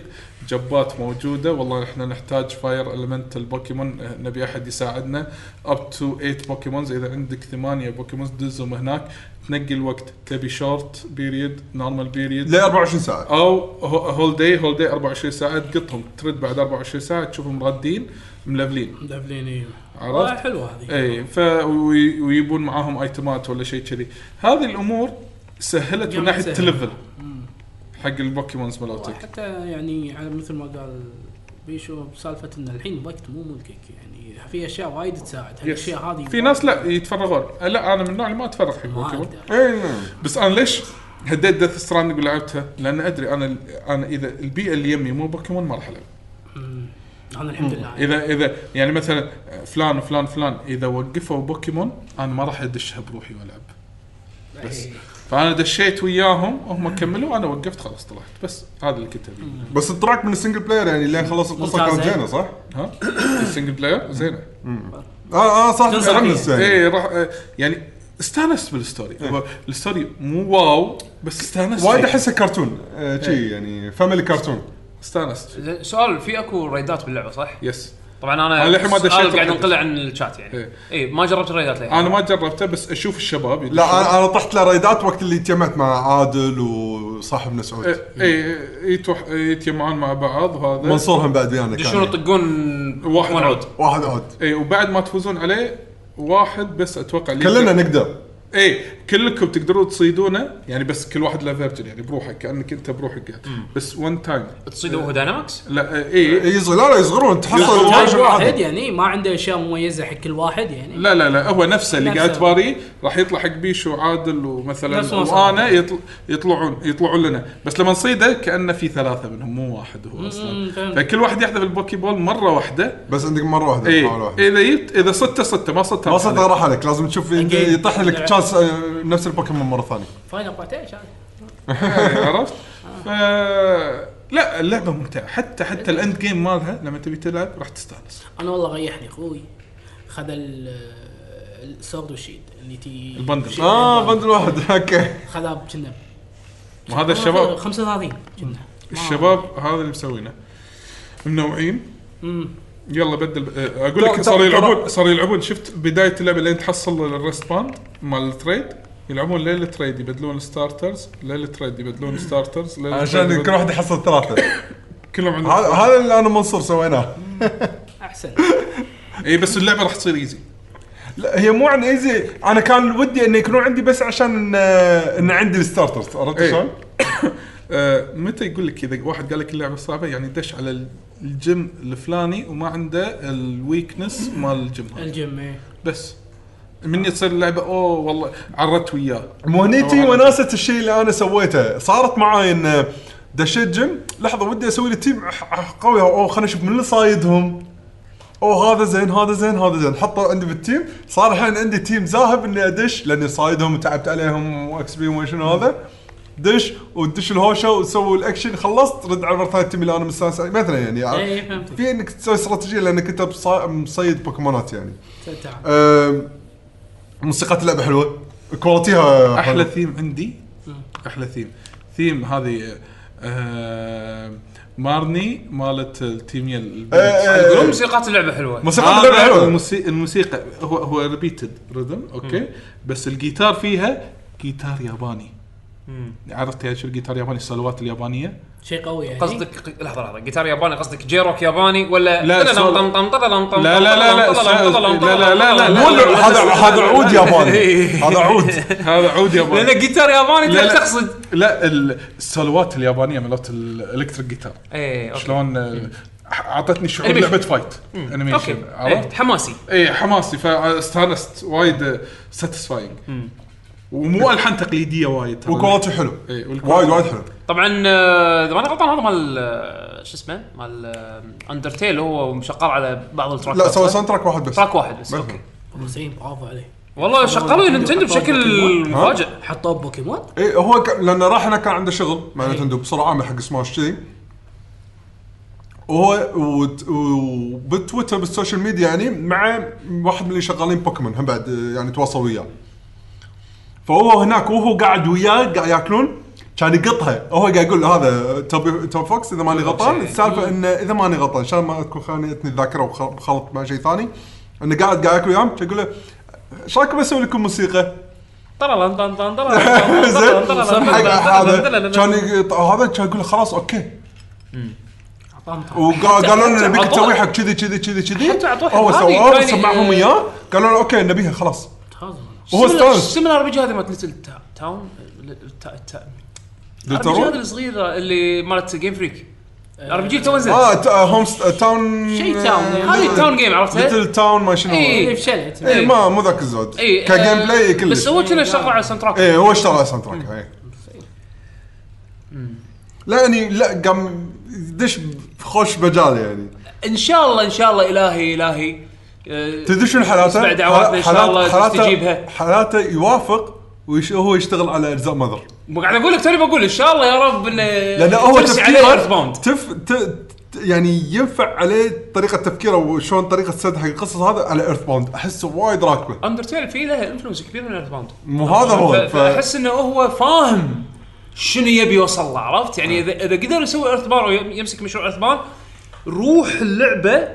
S2: جبات موجوده والله احنا نحتاج فاير المنتال بوكيمون اه، نبي احد يساعدنا اب تو 8 بوكيمونز اذا عندك ثمانيه بوكيمونز دزهم هناك تنقي الوقت تبي شورت بيريد نورمال بيريد
S3: ل 24 ساعه
S2: او هول داي هول داي 24 ساعه تقطهم ترد بعد 24 ساعه تشوفهم رادين ملفلين
S4: مدبلين ايوه
S2: عرفت؟
S4: آه، حلوه هذه
S2: اي ف وي- ويبون معاهم ايتمات ولا شيء كذي هذه الامور سهلت من
S4: جميل،
S2: ناحيه
S4: سهل.
S2: الليفل حق البوكيمونز مالتك
S4: حتى يعني على مثل ما قال بيشو بسالفه ان الحين وقت مو ملكك يعني في اشياء وايد تساعد هالاشياء هذه
S2: في ناس لا يتفرغون أه لا انا من النوع اللي ما اتفرغ حق
S4: ما
S2: بوكيمون
S4: اقدر
S3: اي
S2: بس انا ليش هديت ديث ستراندنج ولعبتها؟ لان ادري انا انا اذا البيئه اللي يمي مو بوكيمون ما راح العب
S4: انا الحمد لله يعني.
S2: اذا اذا يعني مثلا فلان وفلان فلان اذا وقفوا بوكيمون انا ما راح ادشها بروحي والعب بس فانا دشيت وياهم وهم كملوا انا وقفت خلاص طلعت بس هذا اللي كنت ابيه
S3: بس التراك من السنجل بلاير يعني لين خلص القصه كانت
S4: ممتازة.
S3: زينه صح؟
S2: ها السنجل بلاير زينه
S3: اه اه صح
S4: تنصح
S3: تحمس يعني
S2: اي راح آه، يعني استانست بالستوري هو الستوري مو واو بس إيه. استانست
S3: وايد
S2: فيه.
S3: احسه كرتون آه، شي يعني فاميلي كرتون
S2: استانست فيه.
S7: زين، سؤال في اكو ريدات باللعبه صح؟
S2: يس
S1: طبعا انا
S2: أنا للحين ما دشيت
S1: سؤال قاعد
S2: رحلة.
S1: انقله عن الشات يعني
S2: إيه.
S1: اي ما جربت الريدات للحين
S2: انا ما جربته بس اشوف الشباب
S3: لا انا انا طحت له ريدات وقت اللي تجمعت مع عادل وصاحبنا سعود
S2: اي يتجمعون إيه، مع بعض وهذا
S3: منصور هم بعد ويانا
S1: يدشون
S3: كان
S1: يطقون
S2: واحد
S1: بوكيمون عود
S3: واحد عود
S2: اي إيه، وبعد ما تفوزون عليه واحد بس اتوقع اللي
S3: كلنا نقدر
S2: اي كلكم تقدرون تصيدونه يعني بس كل واحد له فيرجن يعني بروحك كانك انت بروحك قاعد بس ون تايم
S1: تصيد
S2: إيه.
S1: هو داينامكس
S2: لا إيه، اي
S3: يصغر إيه، لا لا يصغرون تحصل
S2: يصغرون.
S3: الجيش
S4: واحد,
S3: واحد.
S4: واحد يعني ما عنده اشياء مميزه حق كل واحد يعني
S2: لا لا لا هو نفسه اللي
S4: نفسه.
S2: قاعد تباري راح يطلع حق بيشو وعادل ومثلا
S4: نفس ما
S2: وانا يطل... يطلعون يطلعون لنا بس لما نصيده كانه في ثلاثه منهم مو واحد هو اصلا
S4: مم، فهمت.
S2: فكل واحد يحذف البوكي بول مره واحده
S3: بس عندك مره واحده
S2: اي
S3: محاولة واحدة.
S2: اذا إيه، جبت اذا صدته صدته ما صدته
S3: ما صدق راح عليك لازم تشوف
S4: Again.
S3: يطيح لك تشانس آه، نفس البوكيمون مره ثانيه
S4: فاينل 14 هذا
S2: إيه، عرفت؟ ف لا اللعبه ممتعه حتى حتى الاند جيم مالها لما تبي تلعب راح تستانس
S4: انا والله ريحني اخوي خذ ال- السورد والشيد اللي تي
S2: البندل.
S4: شيء-
S3: اه
S2: آه،
S4: البندل.
S3: بندل واحد اوكي
S4: خذها آه، كنا
S2: وهذا الشباب
S4: 35 كنا
S2: الشباب هذا اللي مسوينه منوعين
S4: أمم.
S2: يلا بدل آه، اقول
S3: ترى-
S2: لك صاروا
S3: ترى-
S2: يلعبون صاروا يلعبون شفت بدايه اللعبه لين تحصل الريست باند مال التريد يلعبون ليل التريد يبدلون ستارترز ليل التريد يبدلون ستارترز ليل التريد
S3: عشان كل
S2: يبدلون-
S3: واحد يحصل ثلاثه
S2: كلهم عندهم
S3: هذا هذا اللي انا منصور سويناه
S4: احسن
S2: اي إيه، بس اللعبه راح تصير ايزي
S3: لا هي مو عن ايزي انا كان ودي انه يكونون عندي بس عشان ان ان عندي الستارترز عرفت
S2: إيه.
S3: شلون؟
S2: آه، متى يقول لك اذا واحد قال لك اللعبه صعبه يعني دش على ال- الجيم الفلاني وما عنده الويكنس مال الجيم هذا
S4: الجيم إيه.
S2: بس مني تصير اللعبه اوه والله عرضت وياه
S3: مو هني تي وناسه الشيء اللي انا سويته صارت معاي ان دشيت جيم لحظه ودي اسوي لي تيم ح- قوي او خليني اشوف من اللي صايدهم او هذا زين هذا زين هذا زين حطه عندي بالتيم صار الحين عندي تيم ذاهب اني ادش لاني صايدهم وتعبت عليهم واكس بي وما شنو هذا دش وتدش الهوشه وتسوي الاكشن خلصت رد على مره ثانيه التيم اللي انا مستانس عليه. مثلا يعني
S2: آه،
S4: إيه، فهمتك.
S3: في انك تسوي استراتيجيه لانك انت بصا- مصيد بوكيمونات يعني
S4: تعال.
S3: أم، موسيقى اللعبه حلوه كواليتيها
S2: احلى
S3: حلوة.
S2: ثيم عندي احلى ثيم ثيم هذه آه مارني مالت التيم يل البنت.
S3: آه،
S2: إيه.
S1: يقولون موسيقات اللعبه حلوه
S3: موسيقى
S2: هذا
S3: اللعبه حلوه
S2: الموسي- الموسيقى هو هو ريبيتد ريذم اوكي بس الجيتار فيها جيتار ياباني عرفت يعني شو الجيتار الياباني السلوات اليابانيه
S4: شيء قوي يعني
S1: قصدك لحظه لحظه جيتار ياباني قصدك جيروك ياباني ولا
S2: لا، سول- لا، لا، لا، لا، لا، لا، لا، لا،
S3: مو اللي- هذا هذا عود ياباني هذا عود
S2: هذا عود ياباني
S1: لان جيتار ياباني
S2: لا، لا.
S1: تقصد
S2: لا ال- السلوات اليابانيه مالت الالكتريك جيتار
S1: ايه اوكي
S2: شلون آه، اعطتني شعور
S1: أنيميشن.
S2: لعبه فايت انيميشن
S1: اوكي إيه،
S2: عرفت؟
S1: حماسي
S2: اي حماسي فاستانست وايد ساتيسفاينج ومو الحان تقليديه وايد ترى.
S3: وكواليتي حلو
S2: إيه، والكواليتي-
S3: وايد وايد حلو
S1: طبعا آه، اذا ماني غلطان هذا مال آه، شو اسمه مال اندرتيل هو مشغل على بعض التراكات
S3: لا سوى
S1: صح؟
S3: ساوند تراك واحد بس
S1: تراك واحد بس
S3: ما
S1: اوكي
S4: زين برافو عليه
S1: والله شغلوا نينتندو
S4: حطوه
S1: بشكل
S4: بوكيمون.
S1: مفاجئ
S4: حطوه بوكيمون
S3: اي إيه، هو ك... لانه راح هناك كان عنده شغل مع نتندو بسرعه عامل حق سماش كذي وهو وت- وبتويتر بالسوشيال ميديا يعني مع واحد من اللي شغالين بوكيمون هم بعد آه، يعني تواصل وياه فهو هناك وهو قاعد وياه قاعد ياكلون كان يقطها هو قاعد يقول له هذا توب توب فوكس اذا ماني غلطان السالفه انه اذا ماني غلطان عشان ما تكون خانتني الذاكره وخلط مع شيء ثاني انه قاعد قاعد ياكل وياهم كان يقول له ايش رايكم اسوي لكم موسيقى؟
S1: طلالان طلالان طلالان
S3: زين
S1: طلالان طلالان
S3: حق
S1: طلالان
S3: هذا
S1: طلالان
S3: كان يقط- هذا كان يقول خلاص اوكي
S4: اعطاهم طعم.
S3: وقالوا لنا نبيك
S1: عطوه-
S3: تسوي حق كذي كذي كذي كذي
S1: حتى عطوه
S3: هو
S1: هذه
S3: سواه
S1: كان-
S3: سمعهم اياه قالوا له اوكي نبيها خلاص
S4: تفضل.
S3: وهو استانس
S1: سمي الار بي جي هذه مالت ليتل تا- تاون تا- تا- الار بي جي هذه
S3: ديترو
S1: الصغيره اللي مالت جيم فريك الار بي جي تو نزل
S3: اه تا- هوم ست- تاون
S4: شيء تاون.
S1: هذه تاون جيم عرفتها؟
S3: ليتل تاون ما شنو
S1: إيه.
S4: اللي بشلت
S3: اي ما مو ذاك الزود
S1: اي
S3: كجيم
S1: آه،
S3: بلاي كلش إيه.
S1: بس هو كنا شغال على الساوند تراك
S3: اي هو اشترى ساوند تراك اي لا يعني لا قام دش خوش بجال يعني
S1: ان شاء الله ان شاء الله الهي الهي آه،
S3: تدري شنو حالاته؟
S1: اسمع دعواتنا ان شاء
S3: حالات-
S1: الله
S3: حالاته-
S1: تستجيبها
S3: حالاته يوافق وهو يشتغل على اجزاء ماذر
S1: مو قاعد اقول لك توني بقول ان شاء الله يا رب انه
S3: لان هو
S1: ترسي إيه، عليه ايرث
S3: تفكيره
S1: باوند
S3: تف ت... ت- يعني ينفع عليه طريقه تفكيره وشلون طريقه السرد حق القصص هذا على ايرث باوند احسه وايد راكبه
S1: اندرتيل في له انفلونس كبير من ايرث باوند
S3: مو هذا هو
S1: ف-
S3: ف...
S1: فاحس انه هو فاهم شنو يبي يوصل له عرفت يعني اذا اذا قدر يسوي ايرث بان ويمسك مشروع ايرث بان روح اللعبه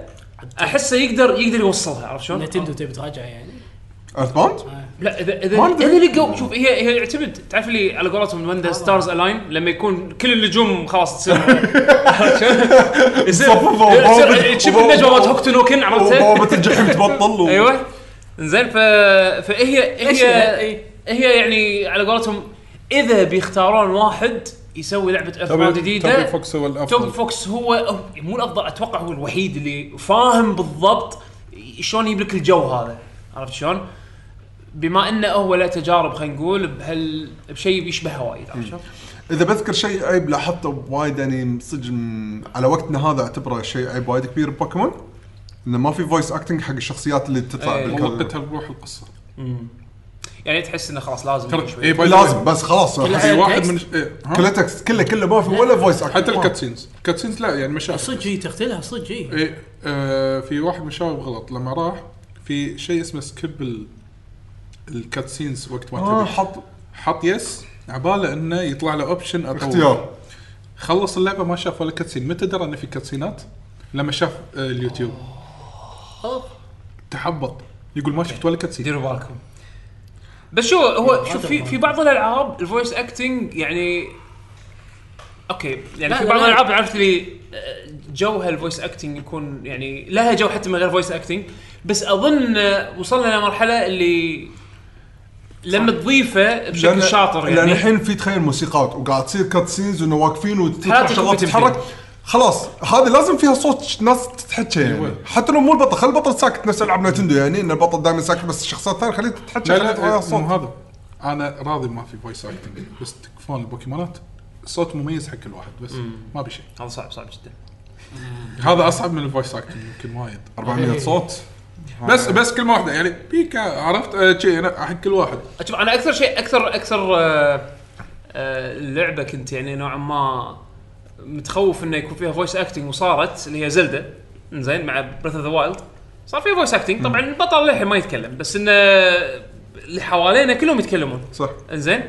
S1: احسه يقدر يقدر يوصلها عرفت شلون؟
S4: نتندو تبي تراجع يعني
S3: ايرث باوند؟
S1: لا اذا اذا
S3: ما أدري.
S1: اذا لقوا شوف هي هي يعتمد تعرف اللي على قولتهم وين ستارز الاين لما يكون كل النجوم خلاص تصير يصير
S3: صفوا
S1: يصير تشوف النجمه مالت هوكتو نوكن عرفت؟
S3: بوابة الجحيم تبطل و-
S1: ايوه زين ف... فهي هي
S4: إيه.
S1: هي يعني على قولتهم اذا بيختارون واحد يسوي لعبه ايرث باوند جديده
S2: توبي فوكس هو
S1: توم
S2: الافضل
S1: فوكس هو هو- مو الافضل اتوقع هو الوحيد اللي فاهم بالضبط شلون يجيب لك الجو هذا عرفت شلون؟ بما انه هو له تجارب خلينا نقول بهال بشيء بيشبهها وايد عرفت شلون؟
S3: اذا بذكر شيء عيب لاحظته وايد يعني صدق من- على وقتنا هذا اعتبره شيء عيب وايد كبير ببوكيمون انه ما في فويس اكتنج حق الشخصيات اللي تطلع
S1: إيه.
S2: والله
S3: بالكلام
S2: قتل روح القصه
S1: يعني تحس انه خلاص لازم
S2: ترى إيه،
S1: شوي
S2: اي باي ذا
S3: لازم
S2: واي،
S3: بس خلاص
S4: كلها-
S2: في واحد
S4: تكست.
S2: من إيه، ها؟
S3: كله تكست كله كله ما في ولا فويس اكتنج
S2: حتى الكاتسينز الكاتسينز لا يعني مشاهد
S4: صدق هي تختلها صدق هي
S2: ايه آه في واحد من الشباب غلط لما راح في شيء اسمه سكيب ال الكاتسينز وقت ما
S3: اه
S2: تبي
S3: حط
S2: حط يس عباله انه يطلع له اوبشن اطول
S3: اختيار
S2: خلص اللعبه ما شاف ولا كاتسين متى درى انه في كاتسينات؟ لما شاف آه اليوتيوب تحبط يقول ما شفت ولا كاتسين
S1: ديروا بالكم بس شو هو شوف في في بعض الالعاب الفويس اكتنج يعني اوكي يعني
S4: لا،
S1: في
S4: لا،
S1: بعض
S4: لا.
S1: الالعاب عرفت لي آه، جوها الفويس اكتنج يكون يعني لها جو حتى من غير فويس اكتنج بس اظن آه، وصلنا لمرحله اللي لما تضيفه بشكل
S3: لأن-
S1: شاطر
S3: لان
S1: يعني
S3: الحين في تخيل موسيقات وقاعد تصير كات سينز انه واقفين وتطلع
S1: حالات
S3: شغلات
S1: الكمبيوتر
S3: تتحرك خلاص هذه لازم فيها صوت ناس تتحكى يعني
S2: أيوة.
S3: حتى لو مو البطل خلي البطل ساكت نفس العاب نتندو يعني ان البطل دائما ساكت بس الشخصيات الثانيه خليه تتحكى
S2: لا
S3: خليه
S2: لا
S3: تغير
S2: آه، مو
S3: صوت
S2: هذا انا راضي ما في فويس اكتنج بس تكفون البوكيمونات صوت مميز حق كل واحد بس ما بشيء
S1: هذا صعب صعب جدا
S2: هذا اصعب من الفويس اكتنج يمكن وايد
S1: إيه.
S3: 400 صوت
S2: بس بس كلمه واحده يعني بيكا عرفت آه، شي انا حق كل واحد
S1: شوف انا اكثر شيء اكثر اكثر آه، آه، اللعبه كنت يعني نوعا ما متخوف انه يكون فيها فويس اكتنج وصارت اللي هي زلدة زين مع بريث اوف ذا وايلد صار فيها فويس اكتنج طبعا البطل للحين ما يتكلم بس انه اللي حوالينا كلهم يتكلمون
S3: صح
S1: زين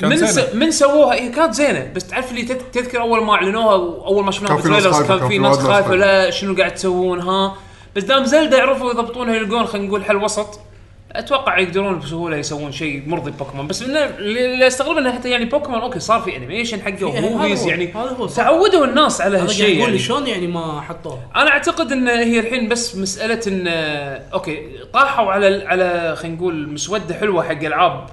S2: كانت
S1: من س...
S2: زينة.
S1: من سووها هي كانت زينه بس تعرف اللي تذ- تذكر اول ما اعلنوها واول ما شفناها
S3: كان في ناس
S1: بالتريلرز
S3: خايفة،
S1: كان في ناس خايفه لا شنو قاعد تسوون ها بس دام زلدا يعرفوا يضبطونها يلقون خلينا نقول حل وسط اتوقع يقدرون بسهوله يسوون شيء مرضي بوكيمون بس إنه اللي اللي استغرب انه حتى يعني بوكيمون اوكي صار في انيميشن حقه
S4: إيه، هذا هو-
S1: وموفيز يعني
S4: هذا هو صح.
S1: تعودوا الناس على
S4: هذا قاعد
S1: هالشيء
S4: يقول لي
S1: يعني.
S4: شلون يعني ما حطوها
S1: انا اعتقد ان هي الحين بس مساله ان اوكي طاحوا على على خلينا نقول مسوده حلوه حق العاب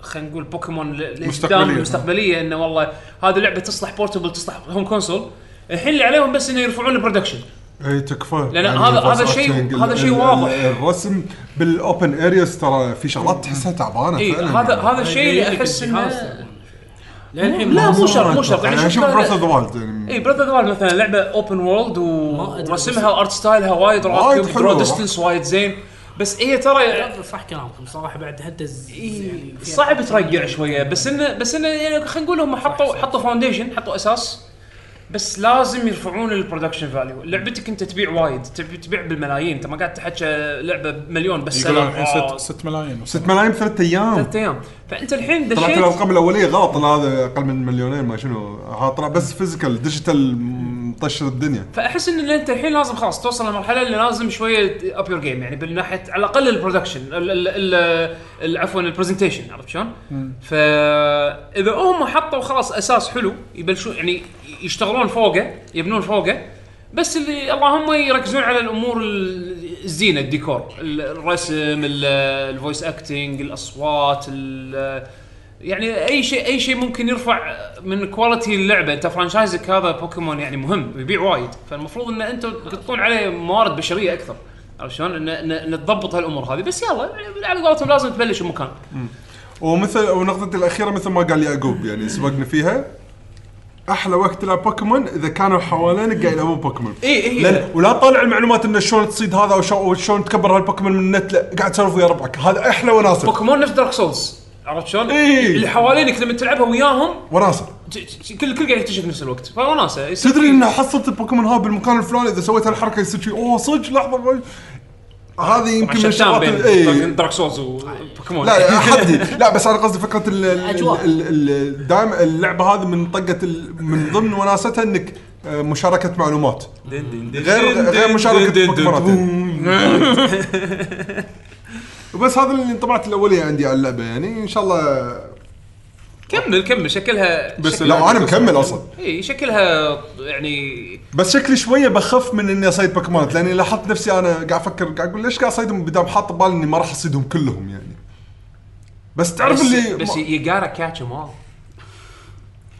S1: خلينا نقول بوكيمون ل- لقدام
S2: مستقبلية.
S1: المستقبليه انه والله هذه لعبه تصلح بورتبل تصلح هوم كونسول الحين اللي عليهم بس انه يرفعون البرودكشن
S3: اي إيه، تكفى
S1: لا، هذا-
S3: الفويس
S1: هذا شيء-
S3: أكتنج،
S1: هذا
S3: ال-
S1: شيء
S3: ال-
S1: واضح.
S3: الرسم بالاوبن ارياز ترى في شغلات تحسها يعني. تعبانه
S1: اي
S3: فعلا
S1: إيه، هذا هذا الشيء اللي
S4: يجيك
S1: احس
S4: الجهاز
S1: انه
S4: طبعاً. للحين
S1: لا،
S4: ما
S1: مو
S4: صار.
S1: شرط، مو شرط.
S3: يعني
S1: يعني
S3: اشوف
S1: شفنا-
S3: براس ذا وايلد يعني
S1: اي براذر دوال مثلا لعبه اوبن وورلد
S4: ما أدري
S1: ورسمها
S4: بس-
S1: وارت ستايلها وايد
S3: وايد
S1: راكب
S3: حلوة،
S1: درو
S3: راح.
S1: ديستنس وايد زين بس هي ترى
S4: لا، صح كلامكم صراحه بعد حتى الز- يعني فيها-
S1: إيه، صعب ترجع شويه بس انه بس انه يعني خلينا نقول هم حطوا حطوا فاونديشن حطوا اساس بس لازم يرفعون البرودكشن فاليو لعبتك انت تبيع وايد تبي تبيع بالملايين انت ما قاعد تحكي لعبه بمليون بس
S2: يقولون الحين
S1: سلام. آه،
S2: 6 ملايين
S3: 6 ملايين بثلاث ايام
S1: ثلاث ايام فانت الحين
S3: طلعت
S1: دشيت
S3: الارقام الاوليه غلط لا، هذا اقل من مليونين ما شنو ها طلع بس فيزيكال ديجيتال مطشر الدنيا
S1: فاحس ان انت الحين لازم خلاص توصل لمرحله اللي لازم شويه اب يور جيم يعني بالناحيه على الاقل البرودكشن ال- ال- ال- ال- عفوا البرزنتيشن عرفت شلون؟ فاذا هم حطوا خلاص اساس حلو يبلشون يعني يشتغلون فوقه يبنون فوقه بس اللي اللهم يركزون على الامور ال- الزينه الديكور ال- الرسم ال- الفويس اكتنج الاصوات ال- يعني اي شيء اي شيء ممكن يرفع من كواليتي اللعبه انت فرانشايزك هذا بوكيمون يعني مهم ويبيع وايد فالمفروض ان انتم تقطون عليه موارد بشريه اكثر عرفت شلون؟ ان إن- إن تضبط هالامور هذه بس يلا يعني على قولتهم لازم تبلش بمكان
S3: ومثل ونقطتي الاخيره مثل ما قال يعقوب يعني سبقنا فيها احلى وقت تلعب بوكيمون اذا كانوا حوالينك قاعد يلعبون بوكيمون
S1: إي إي.
S3: لأن- ولا تطالع المعلومات انه شلون تصيد هذا وشو- وشلون تكبر هالبوكيمون من النت لا قاعد تسولف ويا ربعك هذا احلى وناسه
S1: بوكيمون نفس دارك سولز عرفت شلون؟
S3: إي.
S1: اللي حوالينك لما تلعبها وياهم
S3: وناسه
S1: ت- ت- كل كل قاعد يكتشف نفس الوقت فوناسه يصير
S3: تدري ان حصلت البوكيمون هذا بالمكان الفلاني اذا سويت هالحركه يصير شيء اوه صدق لحظه ما- هذه يمكن من
S1: شتان
S3: الشغلات
S1: بين
S3: ال- إيه. إي.
S1: دارك سولز وبوكيمون
S3: لا لا حدي لا بس انا قصدي فكره ال- ال-
S4: الأجواء.
S3: ال- ال- دائما اللعبه هذه من طقه ال- من ضمن وناستها انك آه، مشاركه معلومات
S1: دين دين دين.
S3: غير غير مشاركه بوكيمونات وبس هذا اللي انطباعات الاوليه عندي على اللعبه يعني ان شاء الله
S1: كمل كمل شكلها
S2: بس
S3: لو انا مكمل اصلا
S1: اي شكلها يعني
S3: بس شكلي شويه بخف من اني اصيد بوكيمونات لاني لاحظت نفسي انا قاعد افكر قاعد اقول ليش قاعد اصيدهم بدام حاط ببالي اني ما راح اصيدهم كلهم يعني بس تعرف
S1: بس,
S3: اللي
S1: بس
S3: ما-
S1: يو جارا كاتش ام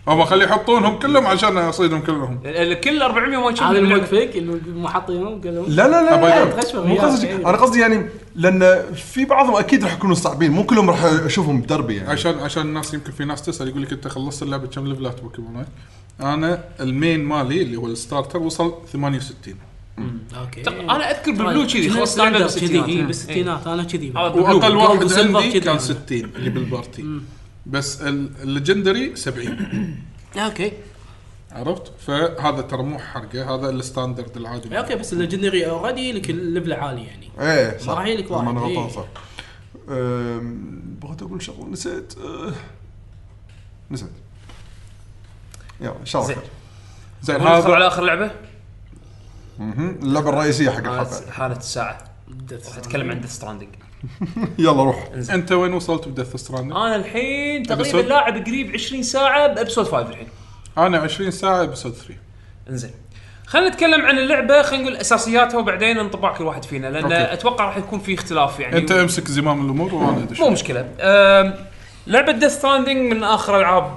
S2: هم خلي يحطونهم كلهم عشان اصيدهم كلهم
S1: كل 400 ما
S4: هذا
S1: تشوف
S4: الموق
S1: باللعبة.
S4: فيك اللي مو حاطينهم قالوا
S3: لا لا لا,
S2: أبغى
S3: لا,
S2: أجرب.
S4: تغش
S3: مو
S4: بالغياب.
S3: قصدي
S4: إيه.
S3: انا قصدي يعني لان في بعضهم اكيد راح يكونوا صعبين مو كلهم راح اشوفهم بدربي يعني
S2: عشان عشان الناس يمكن في ناس تسال يقول لك انت خلصت اللعبه كم ليفلات بوكيمونات؟ انا المين مالي اللي هو الستارتر وصل 68
S4: اوكي
S1: تق- انا اذكر بالبلو طيب، كذي خلص اللعبه بالستينات
S4: طيب. كذي
S1: إيه.
S4: بالستينات انا كذي بعد.
S1: هذا
S2: واقل
S4: بالبلو.
S2: واحد
S4: جولد وسيلفر
S2: عندي
S4: كذي
S2: كان
S4: يعني.
S2: 60 اللي بالبارتي بس ال- الليجندري 70
S4: اوكي
S2: عرفت؟ فهذا ترى مو حرقه هذا الستاندرد العادي
S4: اوكي بس الليجندري اوريدي لك الليفل عالي يعني
S3: ايه
S4: ما راح يجيلك واحد،
S3: لما انا
S4: إيه.
S3: غلطان صح أم، بغيت اقول شغله نسيت أه، نسيت يلا ان شاء الله خير
S2: زين
S1: ندخل
S2: هذا
S1: على اخر لعبه
S3: مهم. اللعبه الرئيسيه حق
S4: آه،
S3: الحلقه
S1: حالة- حاله الساعه راح اتكلم عن ديث ستراندنج
S3: يلا روح
S2: انت وين وصلت بدث ستراند؟
S1: انا الحين تقريبا
S2: Episode؟
S1: لاعب قريب 20 ساعه بابسود 5 الحين
S2: انا 20 ساعه ابسود 3
S1: انزين خلينا نتكلم عن اللعبه خلينا نقول اساسياتها وبعدين انطباع كل واحد فينا لان
S2: أوكي.
S1: اتوقع راح يكون في اختلاف يعني
S2: انت امسك زمام الامور وانا ادش
S1: مو مشكله أم، لعبه ديث ستراندنج من اخر العاب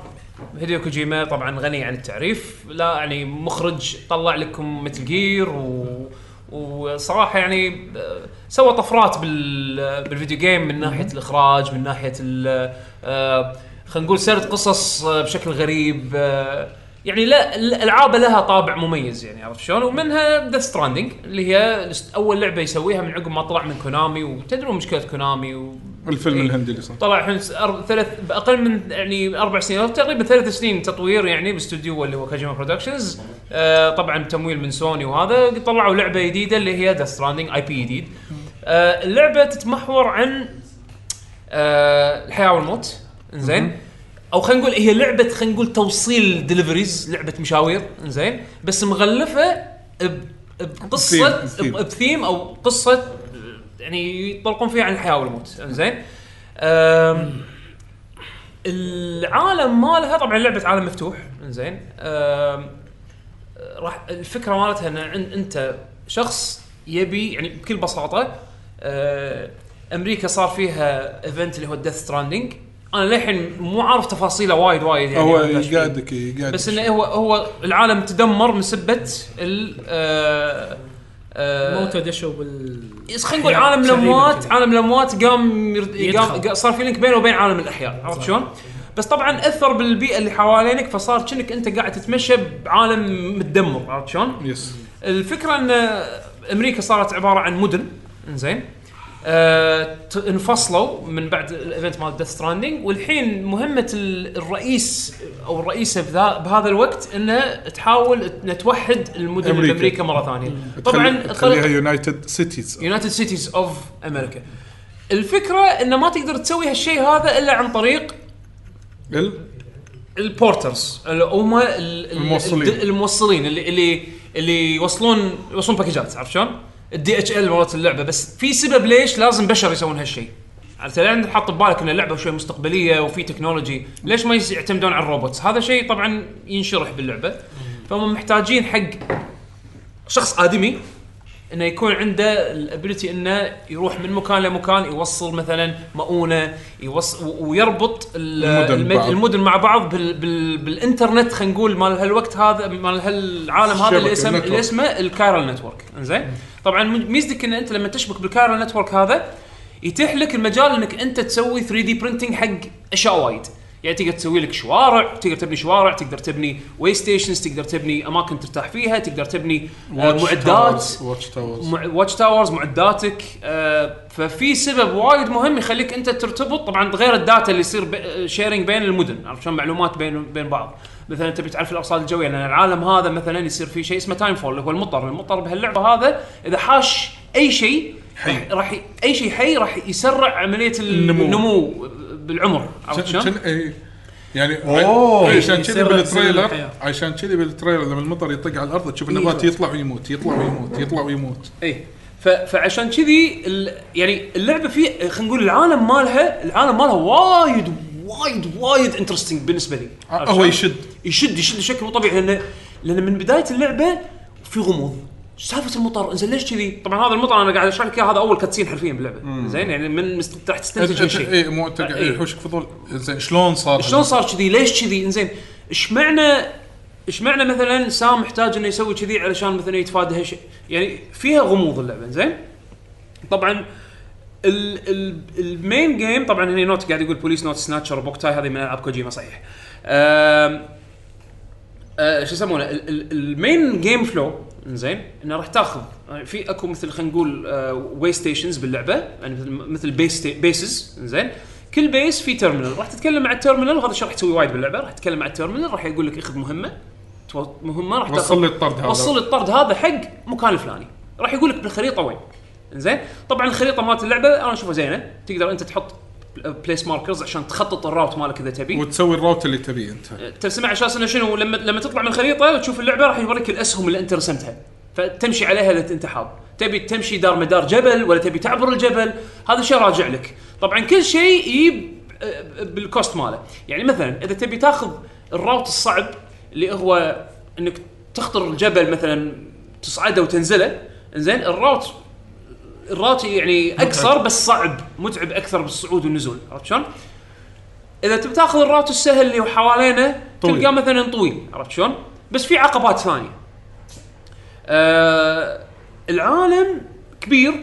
S1: هيديو كوجيما طبعا غني عن التعريف لا يعني مخرج طلع لكم مثل جير و... وصراحه يعني أه، سوى طفرات بال... بالفيديو جيم من ناحيه الاخراج من ناحيه ال... أه، خلينا نقول سرد قصص أه، بشكل غريب أه، يعني لا ال- العابه لها طابع مميز يعني عرفت شلون ومنها ذا ستراندنج اللي هي الاست- اول لعبه يسويها من عقب ما طلع من كونامي وتدرون مشكله كونامي و...
S2: الفيلم
S1: إيه.
S2: الهندي اللي صار
S1: طلع الحين س- أر- ثلاث باقل من يعني اربع سنين أو تقريبا ثلاث سنين تطوير يعني باستوديو اللي هو كاجيما برودكشنز آه طبعا تمويل من سوني وهذا طلعوا لعبه جديده اللي هي ذا ستراندنج اي بي جديد آه اللعبه تتمحور عن آه الحياه والموت انزين او خلينا نقول هي لعبه خلينا نقول توصيل دليفريز لعبه مشاوير انزين بس مغلفه ب- بقصه
S2: بثيم- بثيم.
S1: ب- بثيم او قصه يعني يطلقون فيها عن الحياه والموت انزين أم، العالم مالها طبعا لعبه عالم مفتوح انزين أم، راح الفكره مالتها ان عن- انت شخص يبي يعني بكل بساطه آه، امريكا صار فيها ايفنت اللي هو الديث ستراندنج انا للحين مو عارف تفاصيله وايد وايد يعني
S2: هو
S1: ما أدري إيش فيه.
S2: يقعدك يقعدك
S1: بس انه هو هو العالم تدمر من سبه ال آه، آه،
S4: موتى دشوا بال
S1: يس خلينا نقول عالم الاموات عالم الاموات قام يرد-
S4: يدخل.
S1: قام صار في لينك بينه وبين عالم الاحياء عرفت شلون؟ بس طبعا اثر بالبيئه اللي حوالينك فصار كأنك انت قاعد تتمشى بعالم متدمر عرفت شلون؟
S2: يس
S1: الفكره ان امريكا صارت عباره عن مدن انزين آه، ت- انفصلوا من بعد الايفنت مال ديث ستراندنج والحين مهمه ال- الرئيس او الرئيسه بذا- بهذا الوقت انه تحاول انها توحد المدن
S2: أمريكا.
S1: أمريكا. بامريكا مره ثانيه
S2: طبعا تخليها
S1: الطريقة-
S2: يونايتد سيتيز
S1: يونايتد سيتيز اوف امريكا الفكره انه ما تقدر تسوي هالشيء هذا الا عن طريق البورترز اللي هم ال- ال-
S2: الموصلين.
S1: الد- الموصلين اللي اللي اللي يوصلون يوصلون باكجات عرفت شلون؟ الدي اتش ال مرات اللعبه بس في سبب ليش لازم بشر يسوون هالشيء عرفت لان حاط ببالك ان اللعبه شوي مستقبليه وفي تكنولوجي ليش ما يس- يعتمدون على الروبوتس هذا شيء طبعا ينشرح باللعبه فهم محتاجين حق شخص ادمي انه يكون عنده الابيلتي انه يروح من مكان لمكان يوصل مثلا مؤونه يوصل ويربط ال-
S2: المدن
S1: المد-
S2: ببعض.
S1: المدن مع بعض بال بال بالانترنت خلينا نقول مال هالوقت هذا مال هالعالم هذا
S2: شبكة،
S1: اللي اسمه
S2: network.
S1: اللي اسمه الكايرال نتورك انزين طبعا م- ميزتك ان انت لما تشبك بالكايرال نتورك هذا يتيح لك المجال انك انت تسوي 3 دي برنتنج حق اشياء وايد يعني تقدر تسوي لك شوارع تقدر تبني شوارع تقدر تبني واي ستيشنز تقدر تبني اماكن ترتاح فيها تقدر تبني آه، معدات
S2: واتش تاورز
S1: مع- واتش تاورز معداتك آه، ففي سبب وايد مهم يخليك انت ترتبط طبعا غير الداتا اللي يصير بي- شيرنج بين المدن عرفت شلون معلومات بين بين بعض مثلا تبي تعرف الارصاد الجويه لان العالم هذا مثلا يصير فيه شيء اسمه تايم فول اللي هو المطر المطر بهاللعبه هذا اذا حاش اي شيء
S2: حي.
S1: راح ي- اي شيء حي راح يسرع عمليه النمو
S2: النمو.
S1: النمو بالعمر عرفت شلون؟
S2: يعني
S3: أوه.
S2: ع-
S1: إيه،
S2: عشان كذي
S4: يصير- يصير
S2: بالتريلر
S4: الحياة.
S2: عشان كذي بالتريلر لما المطر يطق على الارض تشوف
S1: أيوة.
S2: النبات يطلع ويموت يطلع ويموت يطلع ويموت
S1: اي إيه. ف- فعشان كذي ال- يعني اللعبه في خلينا نقول العالم مالها العالم مالها وايد وايد وايد انترستنج بالنسبه لي
S2: ع- آه، هو يشد
S1: يشد يشد بشكل مو طبيعي لانه لان من بدايه اللعبه في غموض سالفه المطر انزين ليش كذي؟ طبعا هذا المطر انا قاعد اشرح لك اياه هذا اول كاتسين حرفيا باللعبه زين يعني من مست- راح تستنتج كل شيء
S2: اي مو أنت قاعد-
S1: إيه.
S2: يحوشك فضول زين شلون صار
S1: شلون صار كذي؟ ليش كذي؟ انزين ايش معنى ايش معنى مثلا سام محتاج انه يسوي كذي علشان مثلا يتفادى هالشيء؟ يعني فيها غموض اللعبه زين؟ طبعا ال ال المين جيم طبعا هنا نوت قاعد يقول بوليس نوت سناتشر بوكتاي هذه من العاب كوجيما صحيح. أم أه شو يسمونه ال- ال- المين جيم فلو زين انه راح تاخذ يعني في اكو مثل خلينا نقول آه، واي ستيشنز باللعبه يعني مثل- مثل بيس بيسز زين كل بيس في تيرمينال راح تتكلم مع التيرمينال وهذا الشيء راح تسوي وايد باللعبه راح تتكلم مع التيرمينال راح يقول لك اخذ مهمه تو- مهمه راح
S2: وصل لي الطرد هذا.
S1: وصل الطرد هذا حق مكان الفلاني راح يقول لك بالخريطه وين زين طبعا الخريطه مالت اللعبه انا اشوفها زينه تقدر انت تحط بليس ماركرز عشان تخطط الراوت مالك اذا تبي
S2: وتسوي الراوت اللي تبيه انت
S1: ترسمها على اساس انه شنو لما لما تطلع من الخريطه وتشوف اللعبه راح يوريك الاسهم اللي انت رسمتها فتمشي عليها اذا انت حاب تبي تمشي دار مدار جبل ولا تبي تعبر الجبل هذا شيء راجع لك طبعا كل شيء يجيب بالكوست ماله يعني مثلا اذا تبي تاخذ الراوت الصعب اللي هو انك تخطر الجبل مثلا تصعده وتنزله زين الراوت الراوت يعني اقصر بس صعب متعب اكثر بالصعود والنزول عرفت شلون؟ اذا تبي تاخذ الراوت السهل اللي حوالينا
S2: طويل.
S1: تلقاه مثلا طويل عرفت شلون؟ بس في عقبات ثانيه. آه العالم كبير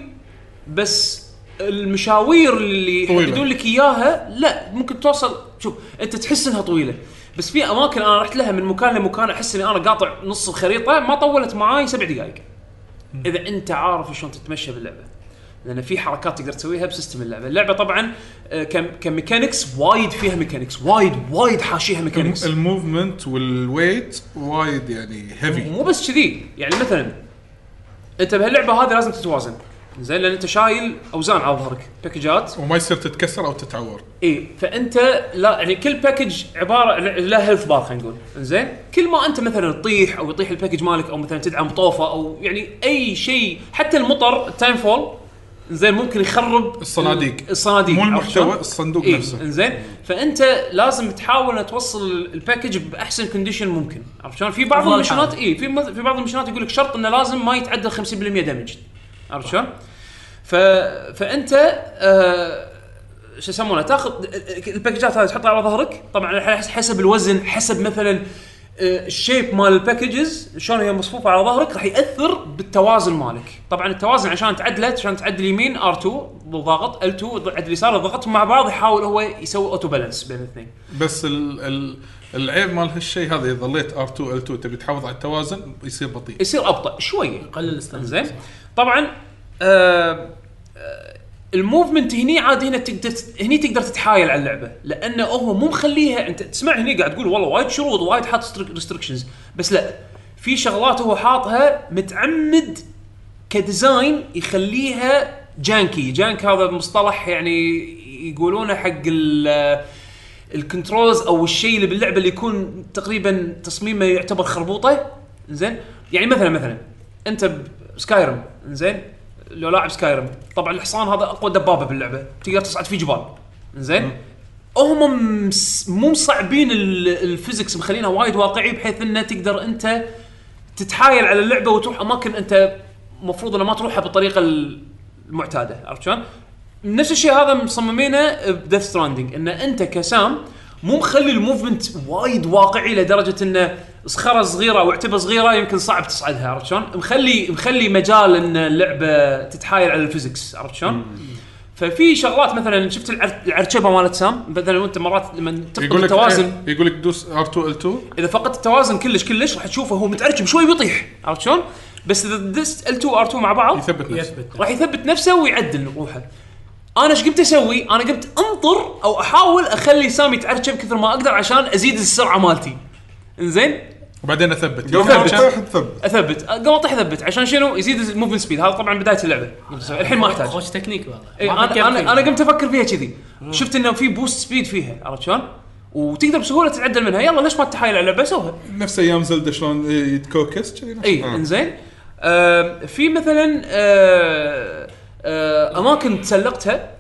S1: بس المشاوير اللي
S2: طويلة.
S1: يحددون لك اياها لا ممكن توصل شوف انت تحس انها طويله بس في اماكن انا رحت لها من مكان لمكان احس اني انا قاطع نص الخريطه ما طولت معاي سبع دقائق. اذا انت عارف شلون تتمشى باللعبه لان في حركات تقدر تسويها بسيستم اللعبه اللعبه طبعا آه، كم كميكانكس وايد فيها ميكانكس وايد وايد حاشيها ميكانكس
S2: الموفمنت والويت وايد يعني هيفي
S1: مو بس كذي يعني مثلا انت بهاللعبه هذه لازم تتوازن زين لان انت شايل اوزان على ظهرك باكجات
S2: وما يصير تتكسر او تتعور
S1: اي فانت إيه، لا يعني كل باكج عباره له هيلث بار خلينا نقول زين كل ما انت مثلا تطيح او يطيح الباكج مالك او مثلا تدعم طوفه او يعني اي شيء حتى المطر التايم فول زين ممكن يخرب
S2: الصناديق.
S1: ال- الصناديق
S2: مو
S1: عرفت شلون؟
S2: المحتوى الصندوق
S1: إيه،
S2: نفسه
S1: انزين فانت لازم تحاول ان توصل الباكج باحسن كونديشن ممكن عرفت شلون؟ في بعض
S4: أفضل
S1: المشنات
S4: حال.
S1: اي في مز- في بعض المشنات يقول لك شرط انه لازم ما يتعدى 50% دمج عرفت شلون؟ ف... فانت آه... شو يسمونه تاخذ الباكجات هذه تحطها على ظهرك طبعا حس- حسب الوزن حسب مثلا آه، الشيب مال الباكجز شلون هي مصفوفه على ظهرك راح ياثر بالتوازن مالك طبعا التوازن عشان تعدله عشان تعدل يمين ار2 بالضغط ال2 عدل يسار الضغط مع بعض يحاول هو يسوي اوتو بالانس بين الاثنين
S2: بس ال ال العيب مال هالشيء هذا اذا ظليت ار2 ال2 تبي تحافظ على التوازن يصير بطيء
S1: يصير ابطا شويه
S4: قلل الاستهلاك
S1: زين طبعا آه آه، الموفمنت هني عاد هنا تقدر هني تقدر تتحايل على اللعبه لانه هو مو مخليها انت تسمع هني قاعد تقول والله وايد شروط وايد حاط ريستركشنز بس لا في شغلات هو حاطها متعمد كديزاين يخليها جانكي جانك هذا مصطلح يعني يقولونه حق ال- الكنترولز او الشيء اللي باللعبه اللي يكون تقريبا تصميمه يعتبر خربوطه زين يعني مثلا مثلا انت بسكايرم زين لو لاعب سكايرم طبعا الحصان هذا اقوى دبابه باللعبه تقدر تصعد فيه جبال زين هم مس- مو مصعبين ال- الفيزكس مخلينها وايد واقعي بحيث انه تقدر انت تتحايل على اللعبه وتروح اماكن انت المفروض انه ما تروحها بالطريقه المعتاده عرفت شلون؟ نفس الشيء هذا مصممينه بديث ستراندنج ان انت كسام مو مخلي الموفمنت وايد واقعي لدرجه انه صخره صغيره او عتبه صغيره يمكن صعب تصعدها عرفت شلون؟ مخلي مخلي مجال ان اللعبه تتحايل على الفيزكس عرفت شلون؟ ففي شغلات مثلا شفت العر- العرشبه مالت سام مثلا وانت مرات لما تفقد
S2: يقول لك
S1: التوازن
S2: إيه، يقول لك دوس ار2 ال2
S1: اذا فقدت التوازن كلش كلش راح تشوفه هو متعرجم شوي بيطيح عرفت شلون؟ بس اذا دست ال2 ار2 مع بعض
S2: يثبت نفسه
S4: يثبت
S1: راح يثبت نفسه ويعدل روحه. انا ايش قمت اسوي؟ انا قمت انطر او احاول اخلي سامي يتعرجم كثر ما اقدر عشان ازيد السرعه مالتي. انزين؟
S2: وبعدين اثبت
S3: قبل ما
S2: يثبت.
S3: تطيح تثبت
S1: اثبت قبل اطيح اثبت عشان شنو؟ يزيد الموفمنت سبيد هذا طبعا بدايه اللعبه الحين ما احتاج.
S4: خوش تكنيك والله
S1: إيه
S4: ما
S1: انا
S4: فكرت
S1: انا
S4: فيه.
S1: انا قمت افكر فيها كذي شفت انه في بوست سبيد فيها عرفت شلون؟ وتقدر بسهوله تتعدل منها يلا ليش ما تحايل على لعبه سوها
S2: نفس ايام زلدة شلون إيه، يتكوكس كذي نفس
S1: اي
S2: آه.
S1: انزين إيه، آم، في مثلا آه، آه، اماكن تسلقتها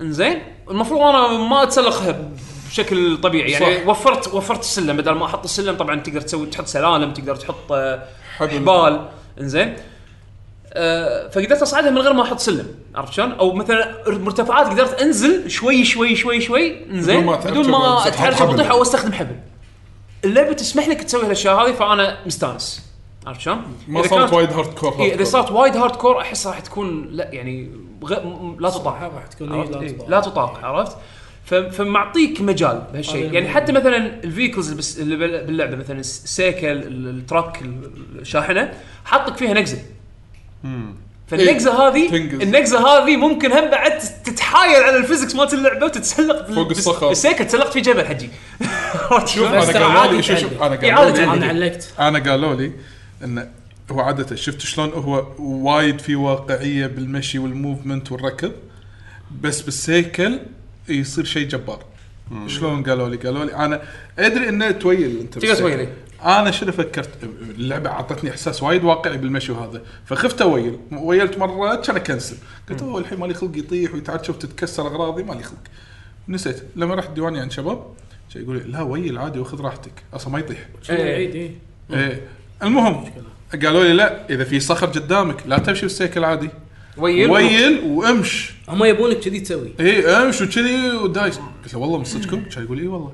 S1: انزين المفروض انا ما اتسلقها بشكل طبيعي يعني
S2: صح.
S1: وفرت وفرت السلم بدل ما احط السلم طبعا تقدر تسوي تحط سلالم تقدر تحط آه،
S2: حبل.
S1: حبال انزين آه، فقدرت اصعدها من غير ما احط سلم عرفت شلون؟ او مثلا مرتفعات قدرت انزل شوي شوي شوي شوي انزين
S2: بدون ما
S1: بدون
S2: أتحرك.
S1: ما اتحرك
S3: حبل.
S1: بطيحه او استخدم حبل. اللعبه تسمح لك تسوي هالاشياء هذه فانا مستانس عرفت شلون؟
S2: ما
S1: إذا
S2: صارت
S1: كانت-
S2: وايد هارد كور
S1: إيه، اذا صارت وايد هارد كور احس راح تكون لا يعني غ... م- لا تطاق
S4: راح تكون إيه،
S1: عرفت؟
S4: لا
S1: إيه،
S4: تطاق.
S1: لا تطاق عرفت؟ ف... فمعطيك مجال بهالشيء
S4: هذا
S1: يعني
S4: المهم.
S1: حتى مثلا الفيكلز اللي, بس... اللي بال- باللعبه مثلا الس- السيكل ال- التراك ال- الشاحنه حاطك فيها نقزه فالنقزه هذه
S2: تنقز.
S1: النقزه هذه ممكن هم بعد تتحايل على الفيزكس مالت اللعبه وتتسلق بال-
S2: فوق
S1: بس-
S2: الصخر.
S1: السيكل تسلقت في جبل حجي
S2: شوف
S4: بس ترى
S2: انا قالوا
S4: عادي
S2: لي شوف شوف
S4: تعدل.
S2: انا
S1: إيه،
S2: قالوا
S1: عادي
S2: لي
S4: انا
S1: تعدل.
S4: علقت
S2: انا قالوا لي انه هو عاده شفت شلون هو وايد في واقعيه بالمشي والموفمنت والركض بس بالسيكل يصير شيء جبار شلون قالوا لي قالوا لي انا ادري انه تويل انت
S1: تقدر تويل،
S2: بالسيكل. انا شنو فكرت اللعبه اعطتني احساس وايد واقعي بالمشي وهذا فخفت اويل ويلت مره كان اكنسل قلت اوه الحين مالي خلق يطيح ويتعاد شوف تتكسر اغراضي مالي خلق نسيت لما رحت ديواني عند شباب جاي يقول لي لا ويل عادي واخذ راحتك اصلا ما يطيح
S1: إيه.
S4: عيد إيه.
S2: ايه المهم قالوا لي لا اذا في صخر قدامك لا تمشي بالسيكل عادي
S1: ويل
S2: ويل وامش
S4: هم يبونك كذي تسوي
S2: اي امش وكذي ودايس قلت له والله من صدقكم؟ كان يقول اي والله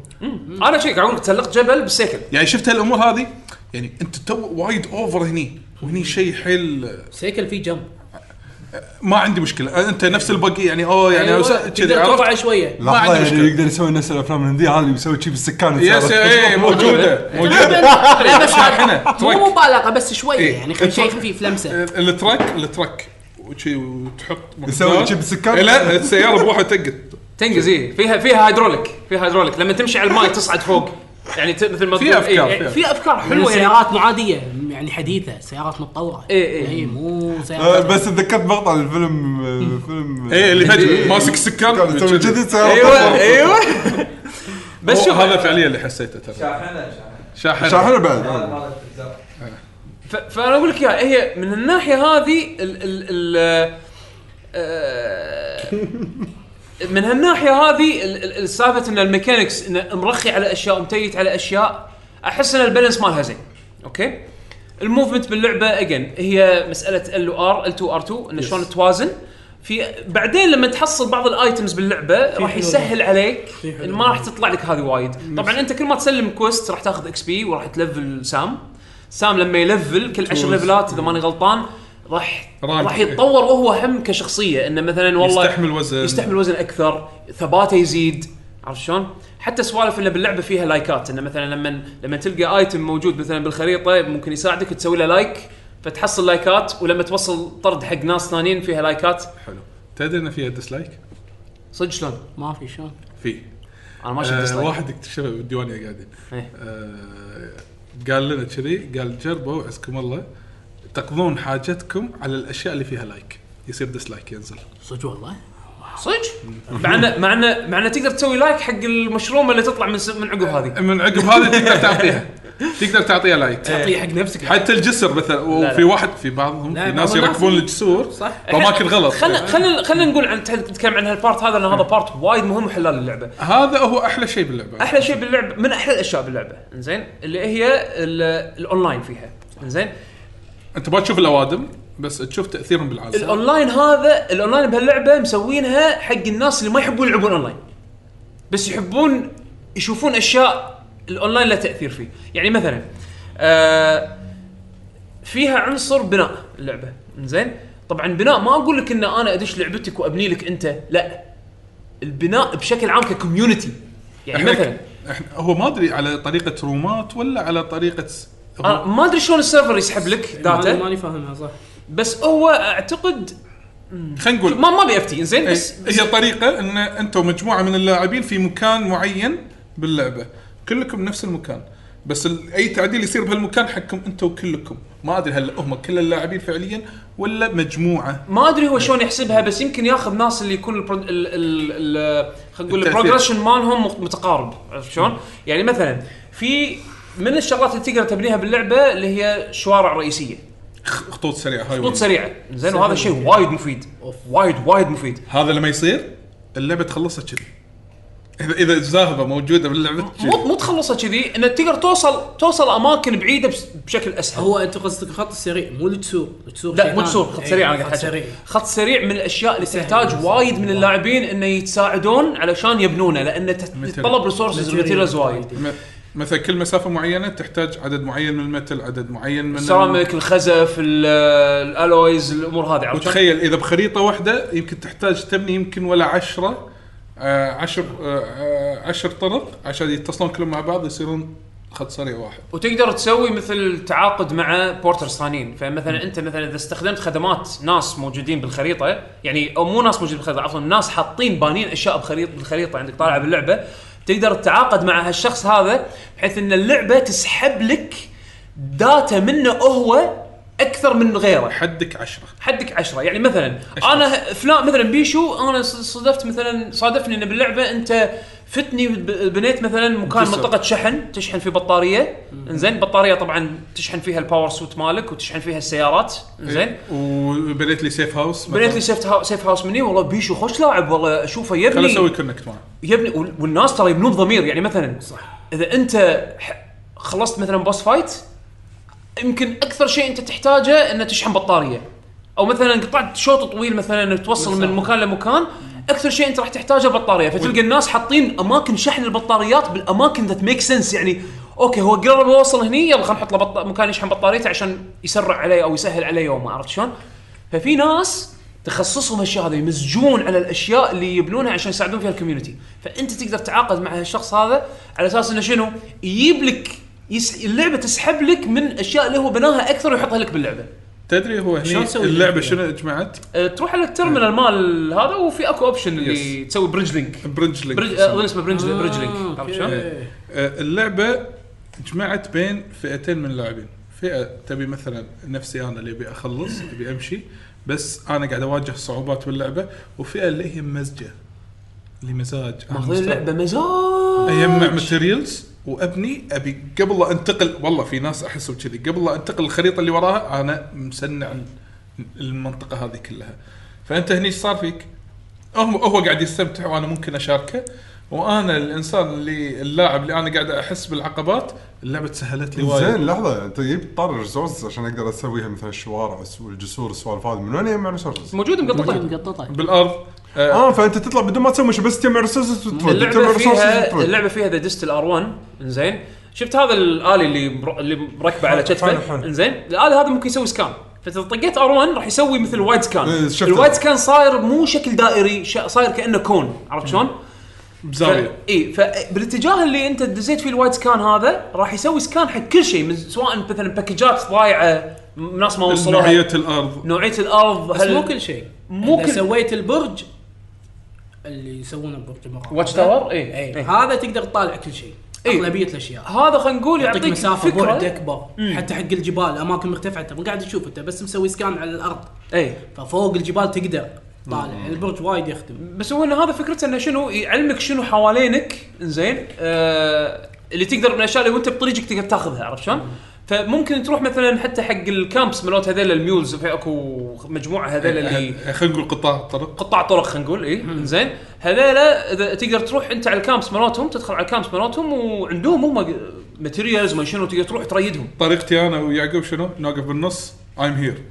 S1: انا شيء قاعد أقول لك تسلقت جبل بالسيكل
S2: يعني شفت هالامور هذه يعني انت تو وايد اوفر هني وهني شيء حيل
S4: سيكل فيه جنب
S2: ما عندي مشكله انت نفس البقيه يعني اوه يعني
S4: أيوة،
S2: أوسا- كذي
S4: تقدر ترفعه
S2: عرفت؟
S4: شويه
S2: ما عندي
S3: لحظه يعني
S2: مشكلة.
S3: يقدر يسوي نفس الافلام الهنديه هذا اللي يسوي شي بالسكان
S2: يس إيه، اي موجوده موجوده
S4: لا بس
S2: شاحنة،
S4: مو
S2: ترك.
S4: مبالغه بس شويه
S2: إيه.
S4: يعني خل شيء خفيف لمسه
S2: الترك الترك وشي وتحط
S3: يسوي شي بالسكان.
S2: إيه، لا السياره بروحها تقد
S1: تنقز اي فيها فيها هيدروليك فيها هيدروليك لما تمشي على الماي تصعد فوق يعني ت- مثل ما
S2: في
S1: تقول،
S2: أفكار،
S1: إيه،
S2: في
S1: إيه، في افكار
S4: حلوه
S1: حلوه يعني
S4: سيارات مو عاديه يعني حديثه سيارات متطوره
S1: إيه، إيه.
S4: يعني مو
S3: آه،
S4: سيارات
S3: بس تذكرت مقطع الفيلم آه، فيلم
S2: اي اللي فجاه
S1: إيه.
S2: ماسك السكان
S3: كان يسوي كذي سيارة
S1: ايوه
S4: أيوة،
S3: تطلع.
S1: ايوه بس
S2: بس
S1: شوف
S2: هذا فعليا اللي حسيته ترى
S5: شاحنه شاحنه
S2: شاحن
S3: شاحنه إيه. بعد
S5: هذا مال التجار.
S1: ف- فانا اقول لك اياها هي من الناحيه هذه ال ال ال آه، من هالناحيه هذه ال- ال- السالفه ان الميكانكس انه مرخي على اشياء ومتيت على اشياء احس ان البالانس مالها زين اوكي الموفمنت باللعبه اجين هي مساله ال ار ال 2 ار 2 انه شلون توازن في بعدين لما تحصل بعض الايتمز باللعبه راح
S4: حلول.
S1: يسهل عليك
S4: حلول.
S1: إن ما راح تطلع لك هذه وايد طبعا انت كل ما تسلم كويست راح تاخذ اكس بي وراح تلفل سام سام لما يلفل كل عشر ليفلات اذا ماني غلطان راح
S2: راجع.
S1: راح يتطور وهو هم كشخصيه انه مثلا والله
S2: يستحمل وزن.
S1: يستحمل وزن اكثر ثباته يزيد عرفت شلون؟ حتى سوالف انه باللعبه فيها لايكات انه مثلا لما لما تلقى ايتم موجود مثلا بالخريطه ممكن يساعدك تسوي له لايك فتحصل لايكات ولما توصل طرد حق ناس ثانيين فيها لايكات
S2: حلو تدري ان فيها ديسلايك؟
S1: صدق شلون؟
S4: ما في شلون
S2: في
S1: انا ما شفت
S2: آه
S1: dislike.
S2: واحد اكتشفه بالديوانيه قاعدين
S1: إيه.
S2: آه قال لنا كذي قال جربوا عزكم الله تقضون حاجتكم على الاشياء اللي فيها لايك يصير ديسلايك ينزل
S4: صدق والله
S1: صدق مع انه مع انه مع انه تقدر تسوي لايك حق المشروم اللي تطلع من س- من عقب هذه
S2: من عقب هذه تقدر تعطيها تقدر تعطيها لايك
S4: تعطيه حق نفسك
S2: حتى الجسر مثلا وفي واحد في بعضهم
S4: لا،
S2: في
S4: بعض
S2: ناس
S4: الناس
S2: يركبون الجسور
S4: صح.
S2: باماكن غلط
S1: خلينا خلينا خلينا نقول عن نتكلم عن هالبارت هذا لان هذا بارت وايد مهم وحلال اللعبه
S2: هذا هو احلى شيء باللعبه
S1: احلى شيء باللعبه من احلى الاشياء باللعبه انزين اللي هي ال- الاونلاين فيها انزين
S2: انت ما تشوف الاوادم بس تشوف تاثيرهم بالعالم
S1: الاونلاين هذا الاونلاين بهاللعبه مسوينها حق الناس اللي ما يحبون يلعبون اونلاين بس يحبون يشوفون اشياء الاونلاين له تاثير فيه يعني مثلا آه فيها عنصر بناء اللعبه زين طبعا بناء ما اقول لك ان انا ادش لعبتك وابني لك انت لا البناء بشكل عام ككوميونتي يعني
S2: احنا
S1: مثلا
S2: احنا هو ما ادري على طريقه رومات ولا على طريقه س- هو
S1: أنا ما ادري شلون السيرفر يسحب لك
S4: ماني
S1: داتا
S4: ماني فاهمها صح
S1: بس هو اعتقد
S2: خلينا نقول
S1: ما ما ابي افتي زين
S2: إيه،
S1: بس بس-
S2: هي طريقه ان انتم مجموعه من اللاعبين في مكان معين باللعبه كلكم نفس المكان بس ال- اي تعديل يصير بهالمكان حقكم انتم كلكم ما ادري هل هم كل اللاعبين فعليا ولا مجموعه
S1: ما ادري هو شلون يحسبها بس يمكن ياخذ ناس اللي يكون البرو- ال ال ال خلينا نقول
S2: التأثير.
S1: البروجريشن مالهم مت- متقارب عرفت شلون؟ يعني مثلا في من الشغلات اللي تقدر تبنيها باللعبه اللي هي شوارع رئيسيه
S2: خ- خطوط سريعه هاي
S1: خطوط سريعه زين وهذا شيء وايد مفيد وايد وايد مفيد
S2: هذا لما يصير اللعبه تخلصها كذي اذا اذا الزاهبه موجوده باللعبه
S1: مو
S2: كذي
S1: مو تخلصها كذي انك تقدر توصل توصل اماكن بعيده بس- بشكل اسهل
S4: هو انت قصدك الخط السريع مو اللي تسوق اللي تسوق
S1: لا
S4: شيء
S1: مو
S4: ثاني.
S1: تسوق خط
S4: إيه،
S1: سريع انا
S4: خط
S1: قاعد أحكي.
S4: سريع.
S1: خط سريع من الاشياء اللي
S4: سهل.
S1: تحتاج وايد من اللاعبين انه يتساعدون علشان يبنونه لانه تت- تتطلب ريسورسز وماتيريالز وايد
S4: آه،
S2: م- مثلا كل مسافه معينه تحتاج عدد معين من المتل عدد معين من
S1: السيراميك الخزف ال- الالويز الامور هذه عرفت شلون؟
S2: وتخيل اذا بخريطه واحده يمكن تحتاج تبني يمكن ولا عشرة آه عشر آه آه، عشر طرق عشان يتصلون كلهم مع بعض يصيرون خط سريع واحد
S1: وتقدر تسوي مثل تعاقد مع بورترز ثانيين فمثلا انت مثلا اذا استخدمت خدمات ناس موجودين بالخريطه يعني او مو ناس موجودين بالخريطه عفوا ناس حاطين بانين اشياء بخريطه بالخريطه عندك طالعه باللعبه تقدر تتعاقد مع هالشخص هذا بحيث ان اللعبه تسحب لك داتا منه هو اكثر من غيره
S2: حدك عشرة
S1: حدك عشرة يعني مثلا انا فلان مثلا بيشو انا ص- صدفت مثلا صادفني انه باللعبه انت فتني ب- بنيت مثلا مكان
S2: جسر.
S1: منطقه شحن تشحن فيه بطاريه انزين بطاريه طبعا تشحن فيها الباور سوت مالك وتشحن فيها السيارات انزين
S2: وبنيت لي سيف هاوس مثلاً.
S1: بنيت لي سيف هاو- سيف هاوس مني والله بيشو خوش لاعب والله اشوفه
S2: خل
S1: يبني
S2: اسوي كونكت معه
S1: يبني وال- والناس ترى يبنون بضمير يعني مثلا صح اذا انت ح- خلصت مثلا بوس فايت يمكن اكثر شيء انت تحتاجه انه تشحن بطاريه او مثلا قطعت شوط طويل مثلا إنك توصل من مكان لمكان اكثر شيء انت راح تحتاجه بطاريه فتلقى الناس حاطين اماكن شحن البطاريات بالاماكن ذات ميك سنس يعني اوكي هو قرب يوصل هني يلا خلينا نحط له بط... مكان يشحن بطاريته عشان يسرع عليه او يسهل عليه يومه عرفت شلون؟ ففي ناس تخصصهم هالشيء هذا يمزجون على الاشياء اللي يبنونها عشان يساعدون فيها الكوميونتي، فانت تقدر تعاقد مع هالشخص هذا على اساس انه شنو؟ يجيب لك يس... اللعبه تسحب لك من الاشياء اللي هو بناها اكثر ويحطها لك باللعبه.
S2: تدري هو
S4: شلون
S2: هني
S4: تسوي
S2: اللعبه
S4: كذا؟
S2: شنو جمعت؟
S1: أه تروح على الترمينال مال هذا وفي اكو اوبشن اللي تسوي بريدج لينك
S2: برنج لينك
S1: بريدج
S2: يسمونه.
S1: اظن اسمه بريدج
S4: آه،
S1: بريدج لينك
S4: أوكي.
S1: عرفت شلون؟
S4: إيه.
S2: آه، اللعبه جمعت بين فئتين من اللاعبين فئه تبي مثلا نفسي انا اللي ابي اخلص ابي امشي بس انا قاعد اواجه صعوبات باللعبه وفئه اللي هي مزجه اللي مزاج أنا
S1: ماخذين
S2: مستعد.
S1: اللعبه مزاج
S2: اجمع ماتيريالز وابني ابي قبل لا انتقل والله في ناس احس بكذي قبل لا انتقل الخريطه اللي وراها انا مسنع المنطقه هذه كلها فانت هني ايش صار فيك؟ هم هو قاعد يستمتع وانا ممكن اشاركه وانا الانسان اللي اللاعب اللي انا قاعد احس بالعقبات اللعبه تسهلت لي وايد
S3: زين لحظه انت جبت طار الريسورسز عشان اقدر اسويها مثل الشوارع والجسور السوالف هذه من وين يجمع ريسورسز؟
S1: موجود مقطع
S4: مقططه
S2: بالارض آه
S3: اه فانت تطلع بدون ما تسوي شيء بس تجمع ريسورسز وترد تجمع
S1: اللعبه
S3: ريسورسز
S1: فيها
S3: وترد
S1: اللعبه فيها ذا ديستل ار 1 انزين شفت هذا الالي اللي مر- اللي مركبه على
S3: حلو،
S1: كتفه
S3: حلو.
S1: انزين الالي هذا ممكن يسوي سكان فاذا طقيت ار 1 راح يسوي مثل وايد سكان
S3: إيه، شفت
S1: الوايد سكان صاير مو شكل دائري شا- صاير كانه كون عرفت شلون؟
S2: بزاويه
S1: اي فبالاتجاه اللي انت دزيت فيه الوايد سكان هذا راح يسوي سكان حق كل شيء من سواء مثلا باكجات ضايعه م- ناس ما وصلوها
S2: نوعيه الارض
S1: نوعيه الارض
S4: بس مو كل شيء
S1: مو
S4: اذا
S1: كل-
S4: سويت البرج اللي يسوونه برج المراه
S1: واتش تاور اي
S4: اي
S1: اي
S4: إيه. هذا تقدر تطالع كل شيء
S1: إيه.
S4: اغلبيه الاشياء
S1: هذا خلينا نقول
S4: يعطيك
S1: يعطيك
S4: مسافه بعد
S1: فكره
S4: اكبر
S1: مم.
S4: حتى حق الجبال اماكن مرتفعه انت مو قاعد تشوف انت بس مسوي سكان على الارض
S1: اي
S4: ففوق الجبال تقدر طالع البرج وايد يخدم
S1: بس هو ان هذا فكرته انه شنو يعلمك شنو حوالينك زين آه اللي تقدر من الاشياء اللي وانت بطريقك تقدر تاخذها عرفت شلون؟ فممكن تروح مثلا حتى حق الكامبس مالت هذيل الميولز في اكو مجموعه هذيل اللي
S2: آه، خلينا نقول قطاع الطرق
S1: قطاع طرق خلينا نقول اي زين هذيلا اذا تقدر تروح انت على الكامبس مالتهم تدخل على الكامبس مالتهم وعندهم هم ماتيريالز ما شنو تقدر تروح تريدهم
S2: طريقتي انا ويعقوب شنو؟ نوقف بالنص ايم هير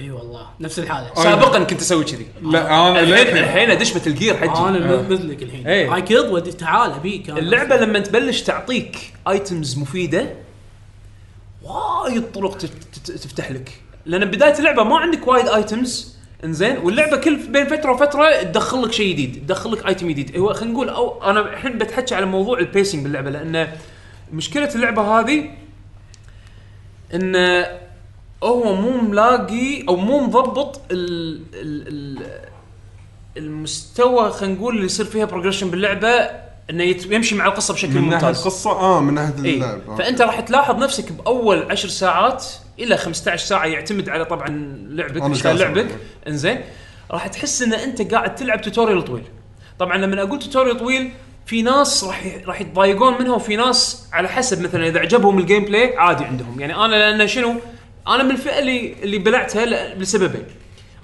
S4: اي والله نفس الحاله
S2: آه.
S1: سابقا كنت اسوي كذي
S2: لا انا
S1: الحين
S2: للحين-
S1: الحين ادش مثل جير حجي
S4: انا مثلك الحين
S1: إيه.
S4: هاي كض ودي تعال ابيك أنا.
S1: اللعبه آه، لما تبلش تعطيك ايتمز مفيده وايد طرق تت- تت- تفتح لك لان بدايه اللعبه ما عندك وايد ايتمز انزين واللعبه كل بين فتره وفتره تدخل لك شيء جديد تدخل لك ايتم جديد هو خلينا نقول او انا الحين بتحكي على موضوع البيسنج باللعبه لان مشكله اللعبه هذه ان هو مو ملاقي او مو مضبط ال ال ال المستوى خلينا نقول اللي يصير فيها بروجريشن باللعبه انه يت- يمشي مع القصه بشكل
S3: من ناحيه
S1: ممتاز إيه.
S3: القصه اه من ناحيه
S1: اي
S3: اللعب آه.
S1: فانت راح تلاحظ نفسك باول عشر ساعات الى 15 ساعه يعتمد على طبعا لعبك
S3: أنا
S1: مشتاق
S3: جالس
S1: لعبك
S3: أقول.
S1: انزين راح تحس ان انت قاعد تلعب توتوريال طويل طبعا لما اقول توتوريال طويل في ناس راح ي- راح يتضايقون منها وفي ناس على حسب مثلا اذا عجبهم الجيم بلاي عادي عندهم يعني انا لان شنو انا من الفئه اللي اللي بلعتها ل- لسببين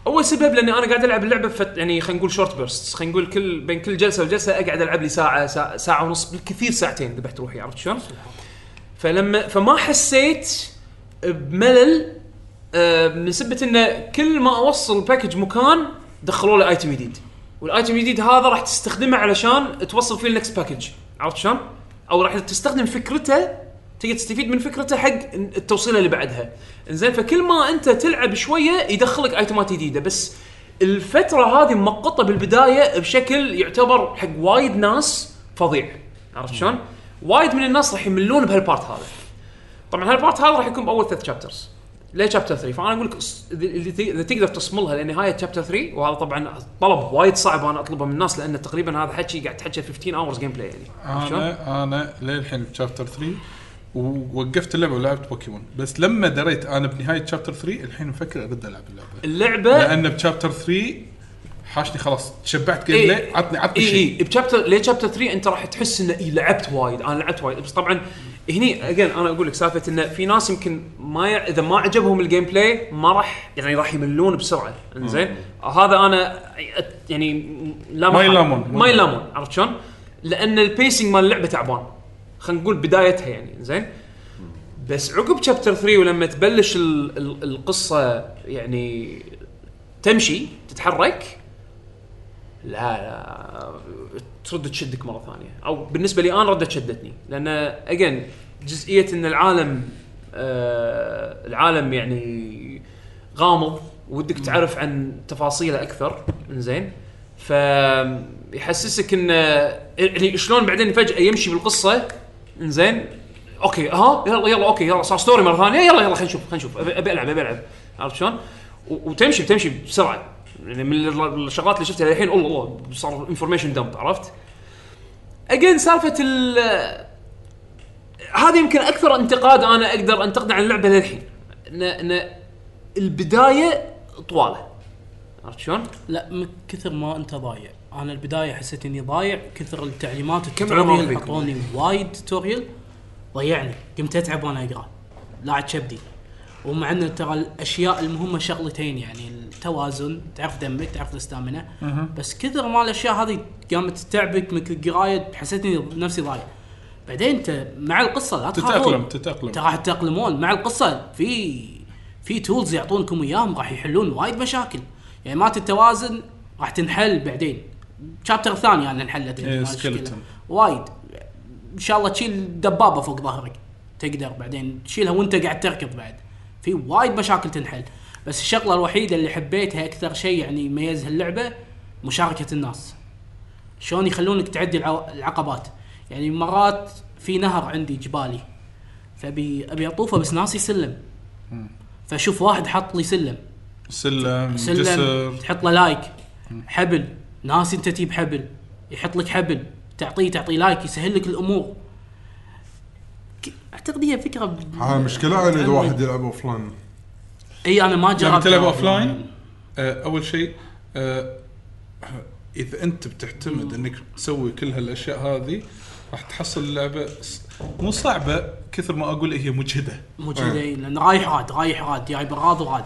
S1: اول سبب لاني انا قاعد العب اللعبه فت يعني خلينا نقول شورت بيرست خلينا نقول كل بين كل جلسه وجلسه اقعد العب لي ساعه ساعه, ساعة ونص بالكثير ساعتين ذبحت روحي عرفت شلون؟ فلما فما حسيت بملل آه، من سبه انه كل ما اوصل الباكج مكان دخلوا له ايتم جديد والايتم الجديد هذا راح تستخدمه علشان توصل فيه النكست باكج عرفت شلون؟ او راح تستخدم فكرته تقدر تستفيد من فكرته حق التوصيله اللي بعدها زين فكل ما انت تلعب شويه يدخلك ايتمات جديده بس الفتره هذه مقطه بالبدايه بشكل يعتبر حق وايد ناس فظيع عرفت شلون؟ وايد من الناس راح يملون بهالبارت هذا طبعا هالبارت هذا راح يكون باول ثلاث شابترز ليه شابتر 3 فانا اقول لك اس- اللي ت- اذا تقدر تصملها لنهايه شابتر 3 وهذا طبعا طلب وايد صعب انا اطلبه من الناس لان تقريبا هذا حكي قاعد تحكي 15 اورز جيم بلاي يعني
S2: آه،
S1: عرفت شلون؟
S2: انا انا للحين بشابتر 3 ووقفت اللعبه ولعبت بوكيمون بس لما دريت انا بنهايه شابتر 3 الحين مفكر ارد العب اللعبه
S1: اللعبه
S2: لان بشابتر 3 حاشني خلاص تشبعت جيم
S1: إيه.
S2: بلاي عطني عطني
S1: اي
S2: شيء
S1: اي بشابتر ليه شابتر 3 انت راح تحس انه إيه لعبت وايد انا لعبت وايد بس طبعا هني اجين انا اقول لك سالفه انه في ناس يمكن ما ي... اذا ما عجبهم الجيم بلاي ما راح يعني راح يملون بسرعه انزين هذا انا أت- يعني لا
S2: ما
S1: محال.
S2: يلامون.
S1: ما يلامون عرفت شلون؟ لان البيسنج مال اللعبه تعبان خلينا نقول بدايتها يعني زين بس عقب شابتر 3 ولما تبلش ال... ال... القصه يعني تمشي تتحرك لا لا ترد تشدك مره ثانيه او بالنسبه لي انا ردت شدتني لان اجين جزئيه ان العالم آه العالم يعني غامض ودك تعرف عن تفاصيله اكثر زين فيحسسك ان يعني شلون بعدين فجاه يمشي بالقصه زين اوكي ها يلا يلا اوكي يلا صار ستوري مره ثانيه يلا يلا خلينا نشوف خلينا نشوف أبي- ابي العب ابي العب عرفت شلون؟ و- وتمشي تمشي بسرعه يعني من ال- الشغلات اللي شفتها الحين الله الله صار انفورميشن دمب عرفت؟ اجين سالفه ال هذا يمكن اكثر انتقاد انا اقدر انتقده عن اللعبه للحين ان ان البدايه طواله عرفت شلون؟
S4: لا من كثر ما انت ضايع انا البدايه حسيت اني ضايع كثر التعليمات
S1: عمرك
S4: التوتوريال
S1: فيكم؟
S4: حطوني وايد توتوريال ضيعني قمت اتعب وانا اقرا لاعب كبدي ومع ان ترى الاشياء المهمه شغلتين يعني التوازن تعرف دمك تعرف الاستامنه بس كثر ما الاشياء هذه قامت تتعبك من القرايه حسيت اني نفسي ضايع بعدين انت مع القصه لا تخافون.
S2: تتأقلم- تتأقلم.
S4: انت راح تتاقلمون مع القصه في في تولز يعطونكم اياهم راح يحلون وايد مشاكل يعني مات التوازن راح تنحل بعدين شابتر ثاني انا انحلت لي
S2: إيه،
S4: المشكلة.
S2: skeleton.
S4: وايد ان شاء الله تشيل دبابه فوق ظهرك تقدر بعدين تشيلها وانت قاعد تركض بعد في وايد مشاكل تنحل بس الشغله الوحيده اللي حبيتها اكثر شيء يعني يميز هاللعبه مشاركه الناس شلون يخلونك تعدي الع- العقبات يعني مرات في نهر عندي جبالي فابي ابي اطوفه بس ناسي سلم فاشوف واحد حط لي سلم
S2: سلم
S4: سلم
S2: جسر
S4: تحط له لايك حبل ناس انت تجيب حبل يحط لك حبل تعطيه تعطيه لايك يسهل لك الامور ك- اعتقد هي فكره ب-
S3: ها مشكله انا اذا واحد
S4: متعمد.
S3: يلعب اوف لاين
S4: اي انا ما جربت
S2: لما يعني تلعب اوف لاين اول شيء آه، اذا انت بتعتمد انك تسوي كل هالاشياء هذه راح تحصل اللعبه ص- مو صعبه كثر ما اقول هي مجهده
S4: موجودين لان رايح راد رايح راد جايب راض وراد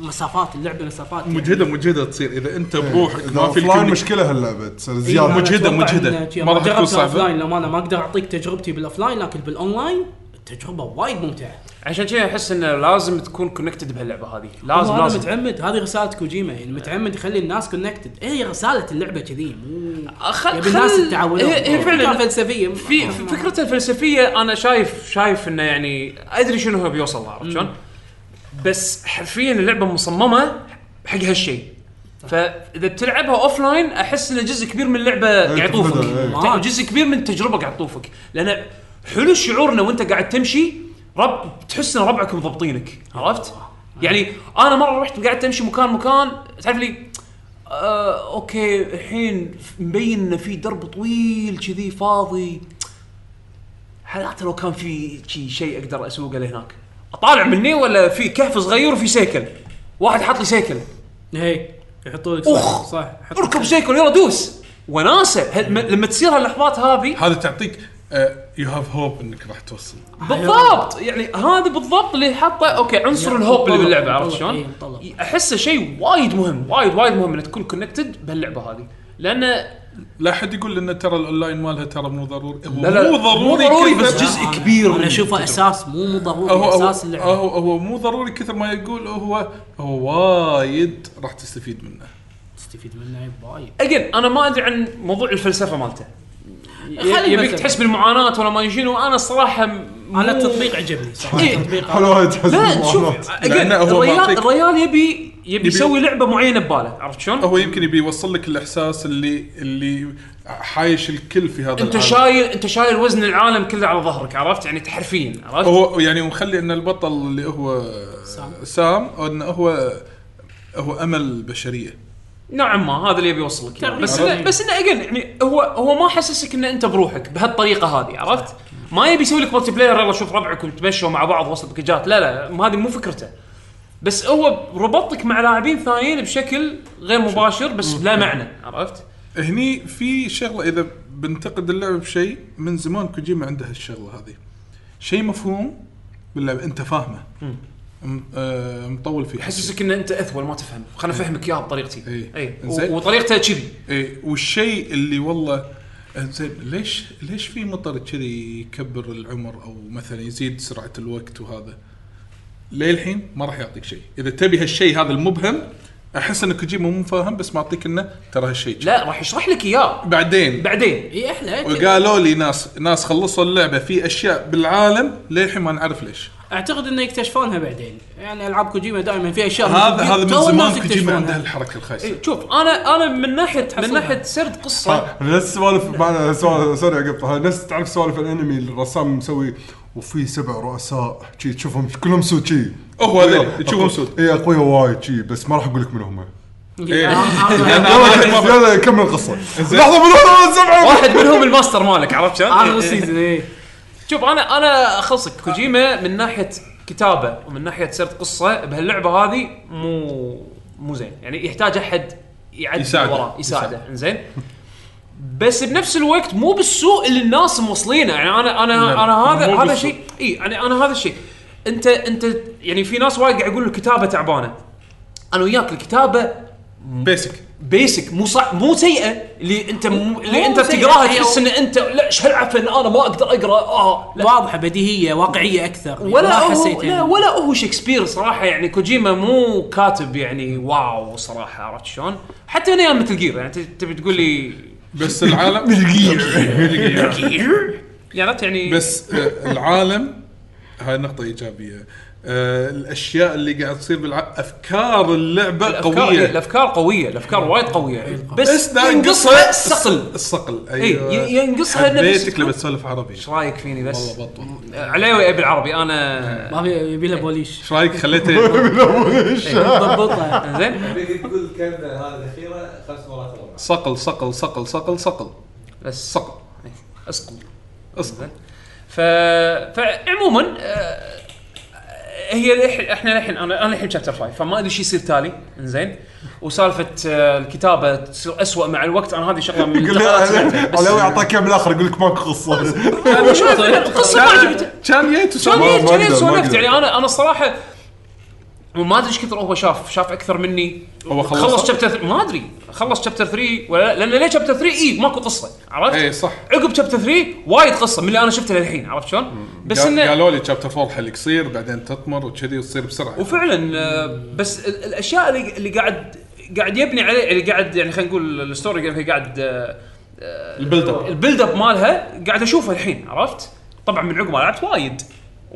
S4: مسافات اللعبه مسافات يعني.
S2: مجهده مجهده تصير اذا انت
S3: إيه.
S2: بروحك
S3: اذا
S2: ما
S3: اوف
S2: في
S3: لاين
S2: الكمية-
S3: مشكله هاللعبه تصير
S4: إيه، أنا
S3: زياده
S2: مجهدة،
S4: أتوقع
S2: مجهدة.
S4: إن-
S2: ما راح تكون
S4: جربت
S2: صعبة.
S4: الأوفلاين، لو انا ما اقدر اعطيك تجربتي بالاوفلاين لكن بالاونلاين التجربه وايد ممتعه
S1: عشان كذا احس انه لازم تكون كونكتد بهاللعبه هذه لازم
S4: هذا
S1: لازم
S4: متعمد هذه رساله كوجيما يعني متعمد يخلي الناس كونكتد هي رساله اللعبه كذي مو
S1: خل...
S4: يبي الناس
S1: أه، خل-
S4: تتعودون
S1: هي, هي فعلا
S4: فلسفيه
S1: في في فكرته الفلسفيه انا شايف شايف انه يعني ادري شنو هو بيوصل له عرفت شلون؟ بس حرفيا اللعبه مصممه حق هالشيء فاذا بتلعبها اوف لاين احس ان جزء كبير من اللعبه قاعد يطوفك
S3: تفقدها،
S4: إيه.
S1: آه، جزء كبير من التجربه قاعد تطوفك لان حلو الشعور انه وانت قاعد تمشي رب تحس ان ربعك مضبطينك عرفت؟ يعني انا مره رحت قاعد امشي مكان مكان تعرف لي آه اوكي الحين مبين ان في درب طويل كذي فاضي حتى لو كان في شي شيء اقدر اسوقه لهناك اطالع مني ولا في كهف صغير وفي سيكل واحد حاط لي سيكل
S4: هي يحطوا لك
S1: أخ.
S4: إيه، صح صح يحط-
S1: اركب سيكل يلا دوس وناسه هل- م- لما تصير هاللحظات هذه
S2: هذا تعطيك آه، يو هاف هوب انك راح توصل
S1: بالضبط يعني هذا بالضبط اللي حطه اوكي عنصر
S4: يعني
S1: الهوب اللي
S4: مطلب-
S1: باللعبه عرفت
S4: مطلب، إيه،
S1: شلون؟
S4: مطلب.
S1: احسه شيء وايد مهم وايد وايد مهم انك تكون كونكتد باللعبه هذه لان
S2: لا احد يقول ان ترى الاونلاين مالها ترى مو ضروري هو
S1: لا لا
S2: مو ضروري
S1: مو ضروري
S2: كثر-
S1: بس جزء كبير
S4: انا
S1: من
S4: اشوفه
S1: التجربة.
S4: اساس مو
S2: هو
S4: مو ضروري
S2: هو,
S4: اساس اللعبه
S2: هو هو مو ضروري كثر ما يقول هو هو وايد راح تستفيد منه
S4: تستفيد منه وايد
S1: اجين انا ما ادري عن موضوع الفلسفه مالته
S4: خلي
S1: يبيك
S4: مثلاً.
S1: تحس بالمعاناه ولا ما شنو انا الصراحه
S4: انا التطبيق عجبني صراحه
S1: إيه.
S4: التطبيق
S3: حلو وايد تحس
S1: لا
S3: بالمعلومات.
S1: شوف again،
S2: لأنه هو
S1: الريال
S2: معطيك-
S1: الريال يبي يبي
S2: يبي-
S1: يسوي لعبه معينه بباله عرفت شلون؟
S2: هو يمكن يبي يوصل لك الاحساس اللي اللي حايش الكل في هذا
S1: انت
S2: العالم.
S1: شايل انت شايل وزن العالم كله على ظهرك عرفت يعني تحرفين عرفت؟
S2: هو يعني مخلي ان البطل اللي هو
S4: سام.
S2: سام, سام انه هو هو امل البشريه
S1: نوعا نعم ما هذا اللي يبي يوصلك إياه. بس
S2: تقريباً.
S1: إنه بس انه again، يعني هو هو ما حسسك ان انت بروحك بهالطريقه هذه عرفت؟ ما يبي يسوي لك ملتي بلاير يلا شوف ربعك وتمشوا مع بعض وسط بكجات لا لا م- هذه مو فكرته بس هو ربطك مع لاعبين ثانيين بشكل غير مباشر بس لا معنى عرفت؟
S2: هني في شغله اذا بنتقد اللعبه بشيء من زمان كوجيما عنده هالشغله هذه شيء مفهوم باللعبه انت فاهمه م- آه، مطول فيه
S1: يحسسك ان انت اثول ما تفهم خلنا افهمك اياها بطريقتي
S2: إيه.
S1: اي
S2: زين.
S1: و- وطريقته كذي
S2: ايه والشيء اللي والله زين ليش ليش في مطر كذي يكبر العمر او مثلا يزيد سرعه الوقت وهذا للحين ما راح يعطيك شيء اذا تبي هالشيء هذا المبهم احس ان كوجيما مو فاهم بس معطيك انه ترى هالشيء
S1: لا راح يشرح لك اياه
S2: بعدين
S1: بعدين
S4: اي احلى أكيد.
S2: وقالوا لي ناس ناس خلصوا اللعبه في اشياء بالعالم للحين ما نعرف ليش
S4: اعتقد انه يكتشفونها بعدين يعني العاب كوجيما دائما في اشياء
S2: هذا هذا من
S4: تو الناس
S2: زمان كوجيما عنده
S4: يكتشفونها.
S2: الحركه الخايسه
S1: إيه، شوف انا انا من ناحيه من
S4: تحصلها.
S1: ناحيه سرد قصه
S3: آه، نفس سوالف معنا سوالف سوري اقطع نفس تعرف سوالف الانمي اللي الرسام مسوي وفي سبع رؤساء شي تشوفهم كلهم سود شي
S2: هو هذول، تشوفهم سود.
S3: اي اقوياء وايد شي بس ما راح اقول لك من هم
S2: إيه.
S4: آه، آه، آه.
S3: يلا يلا كمل القصه لحظه من هم السبعه
S1: واحد منهم الماستر مالك عرفت
S4: اخر
S2: إيه.
S1: شلون؟
S4: سيزون اي
S1: شوف انا انا اخلصك كوجيما من ناحيه كتابه ومن ناحيه سرد قصه بهاللعبه هذه مو مو زين يعني يحتاج احد يعدل
S2: يساعده.
S1: وراه يساعده
S2: يساعده.
S1: انزين بس بنفس الوقت مو بالسوء اللي الناس موصلينه يعني انا انا
S2: نعم.
S1: انا هذا
S2: مو
S1: هذا
S2: بالسوء.
S1: شيء اي يعني انا هذا الشيء انت انت يعني في ناس وايد قاعد يقولوا الكتابه تعبانه انا وياك الكتابه
S2: بيسك
S1: بيسك مو صع... مو سيئه اللي انت م... اللي
S4: مو
S1: انت
S4: سيئة، أيوه.
S1: بتقراها
S4: هي-
S1: تحس ان انت لا ايش هالعفن انا ما اقدر اقرا اه لا
S4: واضحه بديهيه واقعيه اكثر
S1: ولا
S4: ما
S1: هو
S4: حسيت
S1: لا
S4: يعني.
S1: ولا هو شكسبير صراحه يعني كوجيما مو كاتب يعني واو صراحه عرفت شلون؟ حتى انا مثل جير يعني ت- تبي تقول لي
S2: بس العالم
S1: يعني عرفت يعني
S2: بس آه، العالم هاي نقطة إيجابية آه، الأشياء اللي قاعد تصير بالع... أفكار اللعبة
S1: الافكار إيه،
S2: قوية
S1: الافكار قويه الافكار وايد قويه
S4: أيوة.
S1: بس
S2: لا،
S1: ينقصها الصقل
S2: الصقل أيوة.
S1: إيه، ي- ينقصها إنه بس-
S2: حبيتك لما تسولف عربي
S1: ايش رايك فيني بس؟
S2: والله بطل
S1: عليوي ابي العربي انا
S4: ما في يبي له بوليش
S2: ايش رايك خليته
S4: إيه. ضبطها
S1: زين
S5: اللي تقول كلمه هذه الاخيره خمس مرات ورا بعض.
S2: صقل صقل صقل صقل صقل
S1: بس
S2: صقل
S1: اسقط
S2: اصقل
S1: ف فعموما آه، هي الح- احنا الحين انا انا الحين شابتر 5 فما ادري ايش يصير تالي انزين وسالفه آه، الكتابه تصير اسوء مع الوقت انا هذه شغله من
S3: يقول
S1: انتقادات
S3: لي
S1: اللعبة، بس-
S3: علاوي اعطاك اياه بالاخر يقول لك ماكو قصه
S1: آه، مش قصة، لا، القصه ما عجبتني
S2: كان جيت
S1: كان
S2: وسولف
S3: ما-
S1: ليه-
S3: ما
S1: كان ليه
S3: أقدر- ما
S1: سولفت
S3: أقدر.
S1: يعني انا انا الصراحه وما ادري ايش كثر هو شاف شاف اكثر مني
S2: هو خلص-
S1: خلص شابتر ما ادري خلص شابتر 3 ولا لان ليه شابتر 3 اي إيه، ماكو قصه عرفت؟
S3: إيه،
S2: اي إيه، صح
S1: عقب شابتر 3 وايد قصه من اللي انا شفته للحين عرفت شلون؟ بس
S2: قال-
S1: انه
S2: قالوا لي شابتر 4 حلك يصير بعدين تطمر وكذي وتصير يعني. بسرعه
S1: وفعلا آه، بس ال- الاشياء اللي اللي قاعد قاعد يبني عليه اللي قاعد يعني خلينا نقول الستوري جيم هي قاعد آه،
S2: البيلد اب
S1: البيلد اب مالها قاعد اشوفه الحين عرفت؟ طبعا من عقب ما لعبت وايد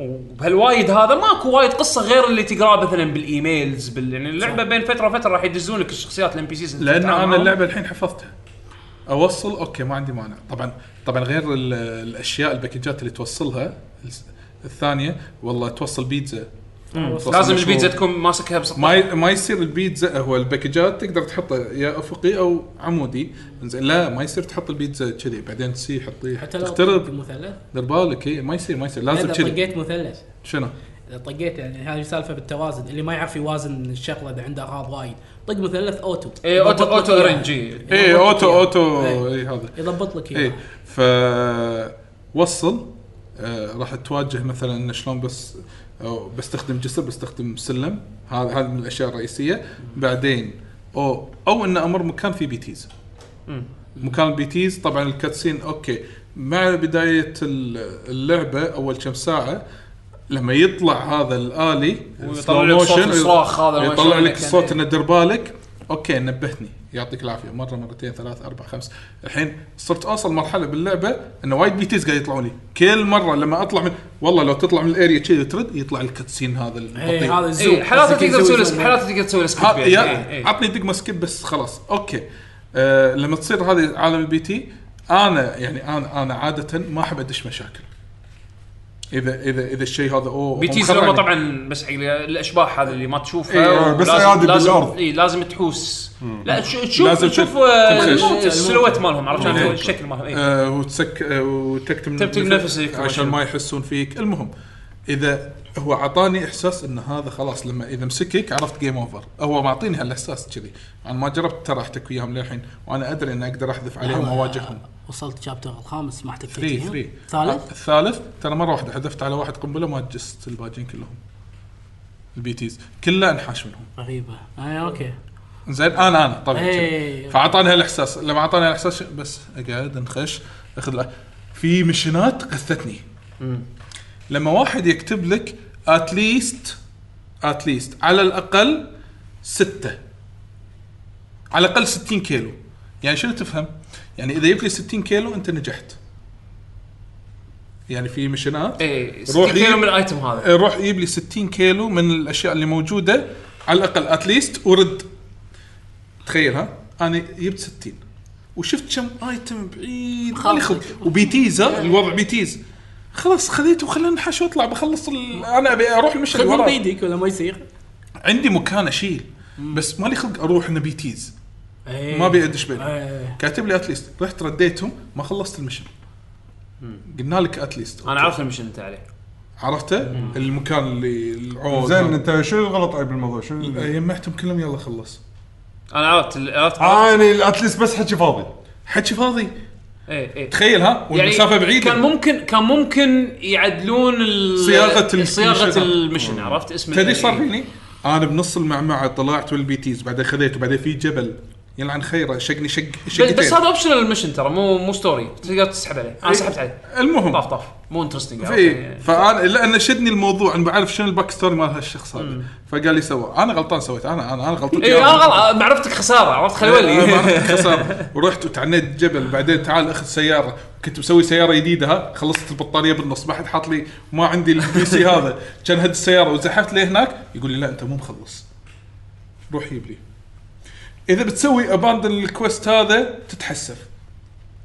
S1: وبهالوايد هذا ماكو وايد قصه غير اللي تقراه مثلا بالايميلز بال يعني اللعبه بين فتره وفتره راح يدزون لك الشخصيات الام بي سيز
S2: لان انا اللعبه الحين حفظتها اوصل اوكي ما عندي مانع طبعا طبعا غير ال- الاشياء الباكجات اللي توصلها الس- الثانيه والله توصل بيتزا
S1: لازم البيتزا تكون ماسكها
S2: ما
S1: بسطح
S2: ي- ما يصير البيتزا هو الباكجات تقدر تحطه يا افقي او عمودي زين لا ما يصير تحط البيتزا كذي بعدين تصير حطيه
S4: حتى لو طقت
S2: تخترب
S4: مثلث
S2: دير بالك إيه، ما يصير ما يصير لازم
S4: اذا
S2: كذي
S4: طقيت مثلث
S2: شنو؟
S4: اذا طقيت يعني هذه سالفه بالتوازن اللي ما يعرف يوازن الشغله اذا عنده اغراض وايد طق مثلث اوتو
S1: اي اوتو
S4: يضبط لك
S1: اوتو
S4: إياها.
S1: ارنجي
S2: اي
S4: يضبط لك
S2: اوتو
S4: إياها.
S2: اوتو
S4: إيه.
S2: اي هذا
S4: يضبط لك
S2: اي
S4: اياها
S2: ف وصل إيه، آه، راح تواجه مثلا إن شلون بس أو بستخدم جسر بستخدم سلم هذا هذه من الاشياء الرئيسيه بعدين او او ان امر مكان فيه بيتيز مكان البيتيز طبعا الكاتسين اوكي مع بدايه ال- اللعبه اول كم ساعه لما يطلع هذا الالي
S1: ويطلع لك صوت
S2: slow motion،
S1: الصراخ هذا ما
S2: يطلع
S1: شلون
S2: لك
S1: كان.
S2: الصوت انه دير بالك اوكي نبهتني يعطيك العافيه مره مرتين ثلاث اربع خمس الحين صرت اوصل مرحله باللعبه انه وايد بيتيز قاعد يطلعون لي كل مره لما اطلع من والله لو تطلع من الاريا كذي وترد يطلع الكاتسين هذا
S4: اي
S2: البطيء
S4: إيه، هذا الزوم
S1: اي حالاته
S4: بس كيف
S1: إيه، تقدر
S4: يسوي
S1: تسوي
S4: زوم؟
S1: لس- حالاته تقدر تسوي لسكيب
S2: ها-
S1: يعني.
S2: يا-
S1: إي، إي.
S2: عطني دقمه سكيب بس خلاص اوكي آه لما تصير هذه عالم البي تي انا يعني انا انا عاده ما احب ادش مشاكل اذا اذا اذا الشيء هذا اوه
S1: بيتيز
S2: هو مخرعني.
S1: لما طبعا بس حق الاشباح هذا اللي ما تشوفها
S3: إيه، بس
S1: لازم-
S3: عادي
S1: لازم-
S3: بالأرض.
S1: اي لازم تحوس لا تش- تشوف
S2: لازم
S1: تشوف
S2: تشوف.
S1: آه،
S2: تنخش.
S1: الموت- السلوت مالهم عرفت شلون
S2: إيه.
S1: الشكل مالهم إي.
S2: آه وتسك آه وتكتم
S1: تكتم نفسك
S2: عشان ما يحسون فيك المهم اذا هو اعطاني احساس ان هذا خلاص لما اذا مسكك عرفت جيم اوفر هو معطيني هالاحساس كذي انا ما جربت ترى احتك وياهم للحين وانا ادري ان اقدر احذف عليهم واواجههم
S4: وصلت شابتر الخامس ما احتكيت
S2: 3
S4: فيها.
S2: 3
S4: ثالث
S2: الثالث آه، ترى مره واحده حذفت على واحد قنبله ما جست الباجين كلهم البيتيز كله انحاش منهم
S4: غريبه اي اوكي
S2: زين آه، انا انا طبعا
S4: إيه.
S2: كذي. فاعطاني هالاحساس لما اعطاني هالاحساس بس اقعد انخش اخذ الع- في مشنات قثتني لما واحد يكتب لك اتليست اتليست على الاقل ستة على الاقل 60 كيلو يعني شنو تفهم؟ يعني اذا جبت لي 60 كيلو انت نجحت يعني في مشنات
S1: اي
S2: روح إيه.
S1: روح إيه، كيلو
S2: جيب-
S1: من الايتم هذا
S2: روح جيب لي 60 كيلو من الاشياء اللي موجوده على الاقل اتليست ورد تخيل ها انا جبت 60 وشفت كم ايتم بعيد مالي خلق وبيتيز ها الوضع بيتيز خلاص خذيته وخلينا نحش واطلع بخلص ال... انا ابي اروح المشهد اللي
S4: خذهم
S2: وراه
S4: بايدك ولا ما يصير
S2: عندي مكان اشيل بس مالي خلق اروح انه بيتيز
S4: إيه.
S2: ما ابي ادش بينهم
S4: إيه.
S2: كاتب لي اتليست رحت رديتهم ما خلصت المشن قلنا لك اتليست
S1: انا عرفت المشن انت عليه
S2: عرفته المكان اللي العود
S3: زين انت شو الغلط اي بالموضوع شو ال-
S2: يمعتهم كلهم يلا خلص
S1: انا عرفت ال- عرفت عرفت.
S3: آه، يعني اتليست بس حكي فاضي
S2: حكي فاضي
S1: اي اي
S2: تخيل ها والمسافه يعني بعيده
S1: إيه، كان ممكن كان ممكن يعدلون ال-
S2: صياغة ال-
S1: صياغه
S2: المشن.
S1: المشن عرفت اسم إيه.
S2: تدري صار
S1: إي.
S2: فيني؟ انا بنص المعمعه طلعت والبيتيز بعدين خذيته بعدين في جبل يلعن خيره شقني شق
S1: بس-
S2: شقتين
S1: بس هذا اوبشنال المشن ترى مو مو ستوري تقدر تسحب عليه انا سحبت عليه
S2: المهم
S1: طاف طاف مو يعني انترستنج
S2: إيه. في فانا لان شدني الموضوع انا بعرف شنو الباك ستوري مال هالشخص هذا فقال لي سوى انا غلطان سويت انا انا انا غلطان
S1: اي انا إيه، غلط معرفتك خساره عرفت خلي ولي
S2: آه، خسر ورحت وتعنيت جبل بعدين تعال اخذ سياره كنت مسوي سياره جديده ها خلصت البطاريه بالنص ما حد حاط لي ما عندي البي سي هذا كان هد السياره وزحفت لي هناك يقول لي لا انت مو مخلص روح جيب لي اذا بتسوي اباندن الكويست هذا تتحسف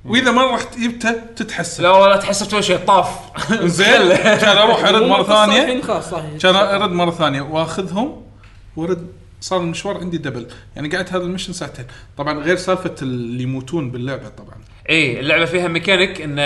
S2: واذا ما رحت جبته تتحسف
S1: لا والله لا تحسبت ولا شيء طاف
S2: زين كان اروح ارد مره ثانيه
S4: الحين خلاص صحيح
S2: كان ارد مره ثانيه واخذهم ورد صار المشوار عندي دبل يعني قعدت هذا المشن ساعتين طبعا غير سالفه اللي يموتون باللعبه طبعا
S1: اي اللعبه إيه، فيها ميكانيك ان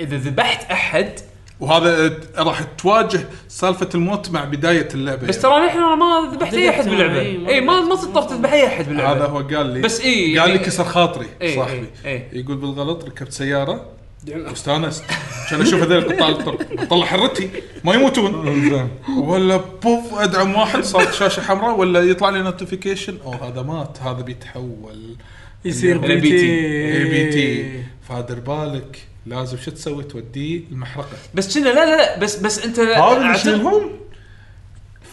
S1: اذا ذبحت احد
S2: وهذا آه، راح تواجه سالفه الموت مع بدايه اللعبه
S1: بس ترى الحين انا ما ذبحت اي احد
S4: ذبحت،
S1: باللعبه
S4: إي، ما
S1: اي إيه، ما ما تضطر تذبح اي احد باللعبه
S2: يعني هذا هو قال لي
S1: بس إيه،
S2: قال لي
S1: يعني-
S2: كسر خاطري
S1: إيه،
S2: صاحبي
S1: إيه،
S2: يقول بالغلط ركبت سياره واستانست عشان اشوف هذول قطال الطرق بطلع حرتي ما يموتون
S3: زين
S2: ولا بوف ادعم واحد صارت شاشه حمراء ولا يطلع لي نوتيفيكيشن او هذا مات هذا بيتحول
S4: يصير
S2: إلى
S4: بي تي.
S2: اي إيه، بي تي فادر بالك لازم شو تسوي توديه المحرقه
S1: بس كنا لا لا لا بس بس انت
S3: هذا اللي
S1: أعتقد-
S3: يشيلهم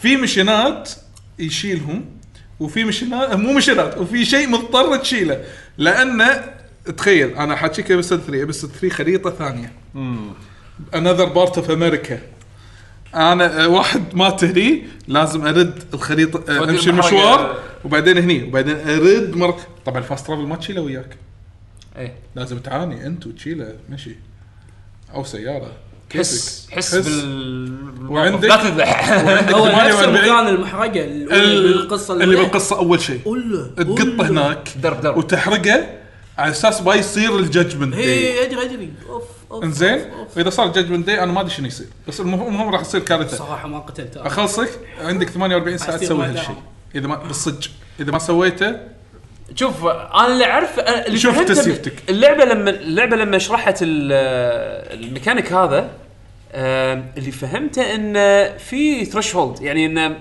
S2: في مشينات يشيلهم وفي مشينات مو مشينات وفي شيء مضطر تشيله لان تخيل انا حاكيك بس 3 بس 3 خريطه ثانيه انذر بارت اوف امريكا انا آه، واحد مات هني لازم ارد الخريطه آه،
S1: ودي
S2: امشي
S1: المحرقة.
S2: المشوار وبعدين هني وبعدين ارد مره طبعا الفاست ترافل ما تشيله وياك
S1: إيه.
S2: لازم تعاني انت وتشيله مشي او سياره
S1: حس حس
S2: حس.
S1: بال
S2: وعندك-
S1: لا تذبح
S2: وعندك
S4: هو نفس
S2: 48
S4: المكان المحرقه الاولى
S2: ال-
S4: بالقصه
S2: اللي بالقصه اول شيء
S4: قله
S2: تقطه هناك
S1: درب درب
S2: وتحرقه على اساس ما يصير الججمنت داي
S4: اي ادري ادري اوف اوف
S2: انزين
S4: أوف، أوف.
S2: واذا صار ججمنت داي انا ما ادري شنو يصير بس المهم المهم راح تصير كارثه
S4: صراحه ما قتلت أنا.
S2: اخلصك عندك 48 ساعه
S4: أصير
S2: تسوي
S4: ما
S2: هالشيء
S4: دام.
S2: اذا ما بالصدق اذا ما سويته
S1: شوف انا اللي اعرف أنا اللي
S2: شوف
S1: فهمته
S2: تسيفتك.
S1: اللعبه لما اللعبه لما شرحت ال- الميكانيك هذا آم، اللي فهمته انه في ثريش هولد يعني انه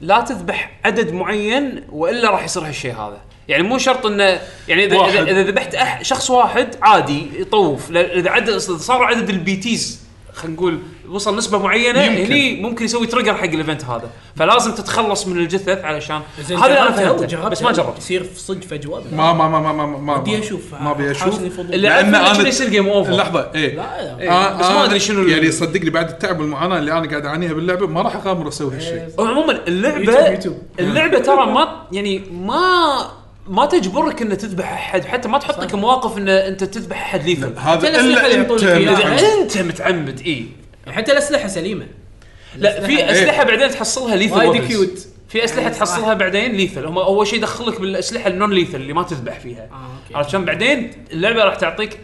S1: لا تذبح عدد معين والا راح يصير هالشيء هذا يعني مو شرط انه يعني اذا
S2: واحد.
S1: إذا- اذا ذبحت أح شخص واحد عادي يطوف لا- اذا عدد إذا صار عدد البيتيز خلينا نقول وصل نسبه معينه
S2: يمكن.
S1: هني ممكن يسوي تريجر حق الايفنت هذا فلازم تتخلص من الجثث علشان
S4: زين،
S1: هذا اللي انا
S4: جربتها؟
S1: فهمته بس ما
S4: جربتها؟
S1: جربت
S4: يصير في صدق فجوه
S2: ما ما ما ما ما ما ما
S4: بدي اشوف
S2: ما ابي
S4: حاشني
S2: اشوف
S4: فضول.
S1: اللي
S4: لا
S2: لأن
S1: عارف
S2: أنا-
S1: انه يصير جيم اوفر
S2: لحظه ايه
S4: لا
S1: إيه. بس ما أدري شنو ال-
S2: يعني صدقني بعد التعب والمعاناه اللي انا قاعد اعانيها باللعبه ما راح اغامر اسوي هالشيء
S1: إيه. عموما
S4: يوتيوب-
S1: اللعبه
S4: يوتيوب.
S1: اللعبه ترى ما يعني ما ما تجبرك انه تذبح احد حتى ما تحطك مواقف ان انت تذبح احد ليثل
S2: هذا
S4: تلف
S2: الا
S4: اللي يعطونك إياه.
S2: انت
S1: اذا انت متعمد اي
S4: حتى الاسلحه سليمه
S2: إيه،
S1: لا في اسلحه بعدين تحصلها ليثل
S4: وايد كيوت
S1: في اسلحه
S4: يعني صراحة.
S1: تحصلها بعدين ليثل هم اول شيء يدخلك بالاسلحه النون ليثل اللي ما تذبح فيها
S4: اه اوكي
S1: عرفت شلون بعدين اللعبه راح تعطيك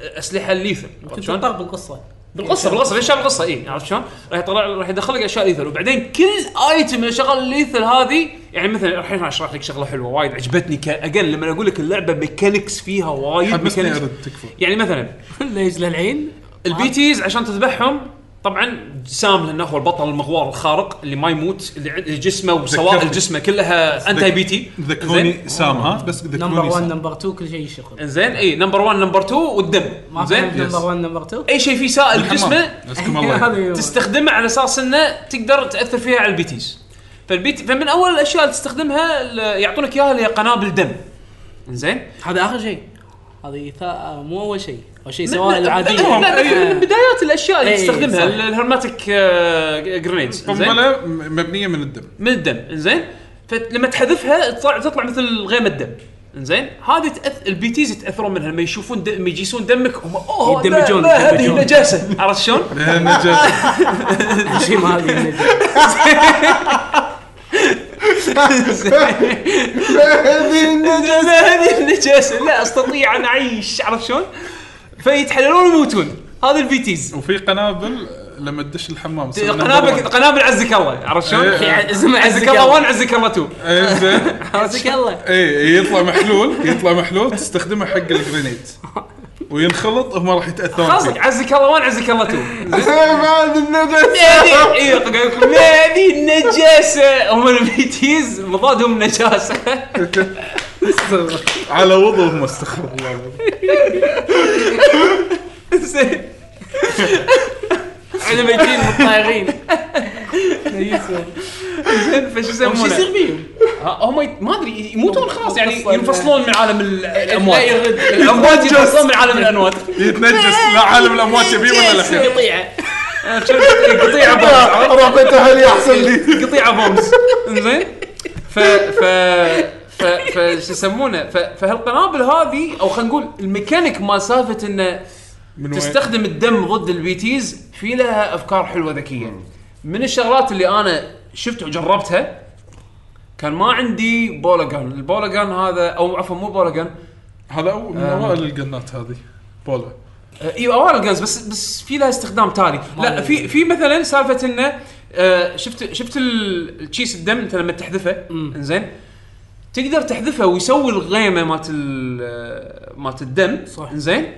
S1: اسلحه ليثل عرفت
S4: كنت
S1: شلون؟
S4: مضطر بالقصه
S1: بالقصه بالقصه ليش بالقصه اي إيه، عرفت شلون؟ راح يطلع راح يدخل لك اشياء ليثل وبعدين كل ايتم من الشغل الليثل هذه يعني مثلا الحين راح اشرح لك شغله حلوه وايد عجبتني كاجل لما اقول لك اللعبه ميكانكس فيها وايد
S2: حمسني
S1: ميكانكس
S2: ارد تكفى آه.
S1: يعني مثلا
S4: ليش للعين
S1: البيتيز عشان تذبحهم طبعا سام لانه هو البطل المغوار الخارق اللي ما يموت اللي عند- جسمه وسوائل
S2: ذكرتني.
S1: جسمه كلها انتي بيتي
S2: ذكروني سام ها بس
S4: نمبر
S2: ذكروني
S4: 1
S2: سام
S4: نمبر 2 كل شيء يشتغل
S1: زين إيه، اي نمبر 1 نمبر 2 والدم
S4: ما
S1: زين
S4: فهمت نمبر 1 نمبر 2
S1: اي شيء فيه سائل
S2: الحمام.
S1: جسمه
S2: مسكم الله
S4: أيوة.
S1: تستخدمه على اساس انه تقدر تاثر فيها على البيتيز فالبيت فمن اول الاشياء اللي تستخدمها ال- يعطونك اياها اللي هي قنابل دم زين
S4: هذا اخر شيء هذه ثا- مو اول شيء اول شيء
S1: لا-
S4: سوائل
S1: لا-
S4: عاديه
S1: لا- لا- لا- من بدايات الاشياء اللي
S4: إي،
S1: تستخدمها
S4: إيه. صح.
S1: الهرماتيك آه، جرينيدز زين
S2: قنبله م- مبنيه من الدم
S1: من الدم زين فلما تحذفها تطلع تطلع مثل غيمه دم زين هذه تأث... البيتيز يتاثرون منها لما يشوفون دم... لما يجيسون دمك هم اوه لا-
S4: يدمجون-
S1: لا، هذه
S4: يدمجون.
S1: نجاسه عرفت شلون؟
S2: لأن الجسم-
S4: شيء ما هذه
S1: لا هذه النجاسه لا استطيع ان اعيش عرفت شلون؟ فيتحللون ويموتون هذا البيتيز
S2: وفي قنابل لما تدش الحمام تصير
S1: قنابل
S2: نمبر
S1: قنابل عزك الله عرفت شلون؟
S2: إيه.
S4: اسمع
S1: عزك الله 1 عزك الله 2
S2: one. إيه، زين
S4: عزك الله
S2: اي يطلع محلول يطلع محلول تستخدمه حق الجرينيد وينخلط هم راح يتاثرون
S1: خلاص طيب،
S2: فيه
S1: عزك الله 1 عزك الله 2
S3: بعد
S1: هذه- إيه، قاعد يقول لكم، هذه النجاسه هم البيتيز مضادهم نجاسه
S2: على وضوهم استغفر الله
S1: زين احنا ميتين مطايرين زين فشو
S4: شو
S1: يسمونه؟
S4: يصير فيهم؟
S1: ها، هم يت- ما ادري يموتون خلاص يعني ينفصلون من عالم ال- الاموات
S4: لا يرد.
S1: الاموات ينفصلون من عالم الاموات
S2: يتنجس لا عالم الاموات يبيه ولا لا
S4: قطيعه
S1: قطيعه بومز
S3: اروح بيت اهلي احسن لي
S1: قطيعه بومز انزين ف ف ف ف شو يسمونه ف- فهالقنابل هذه او خلينا نقول الميكانيك مال سالفه انه
S2: من وين؟
S1: تستخدم الدم ضد البيتيز في لها افكار حلوه ذكيه من الشغلات اللي انا شفت وجربتها كان ما عندي بولاجان البولاجان هذا او عفوا مو بولاجان
S2: هذا أول- من
S1: آه.
S2: اوائل القنات هذه بولا
S1: ايوه اوائل الجنز بس بس في لها استخدام تالي لا في في مثلا سالفه انه آه، شفت شفت ال- الكيس الدم انت لما تحذفه انزين تقدر تحذفه ويسوي الغيمه مالت ال- آه، مالت الدم
S4: صح.
S1: انزين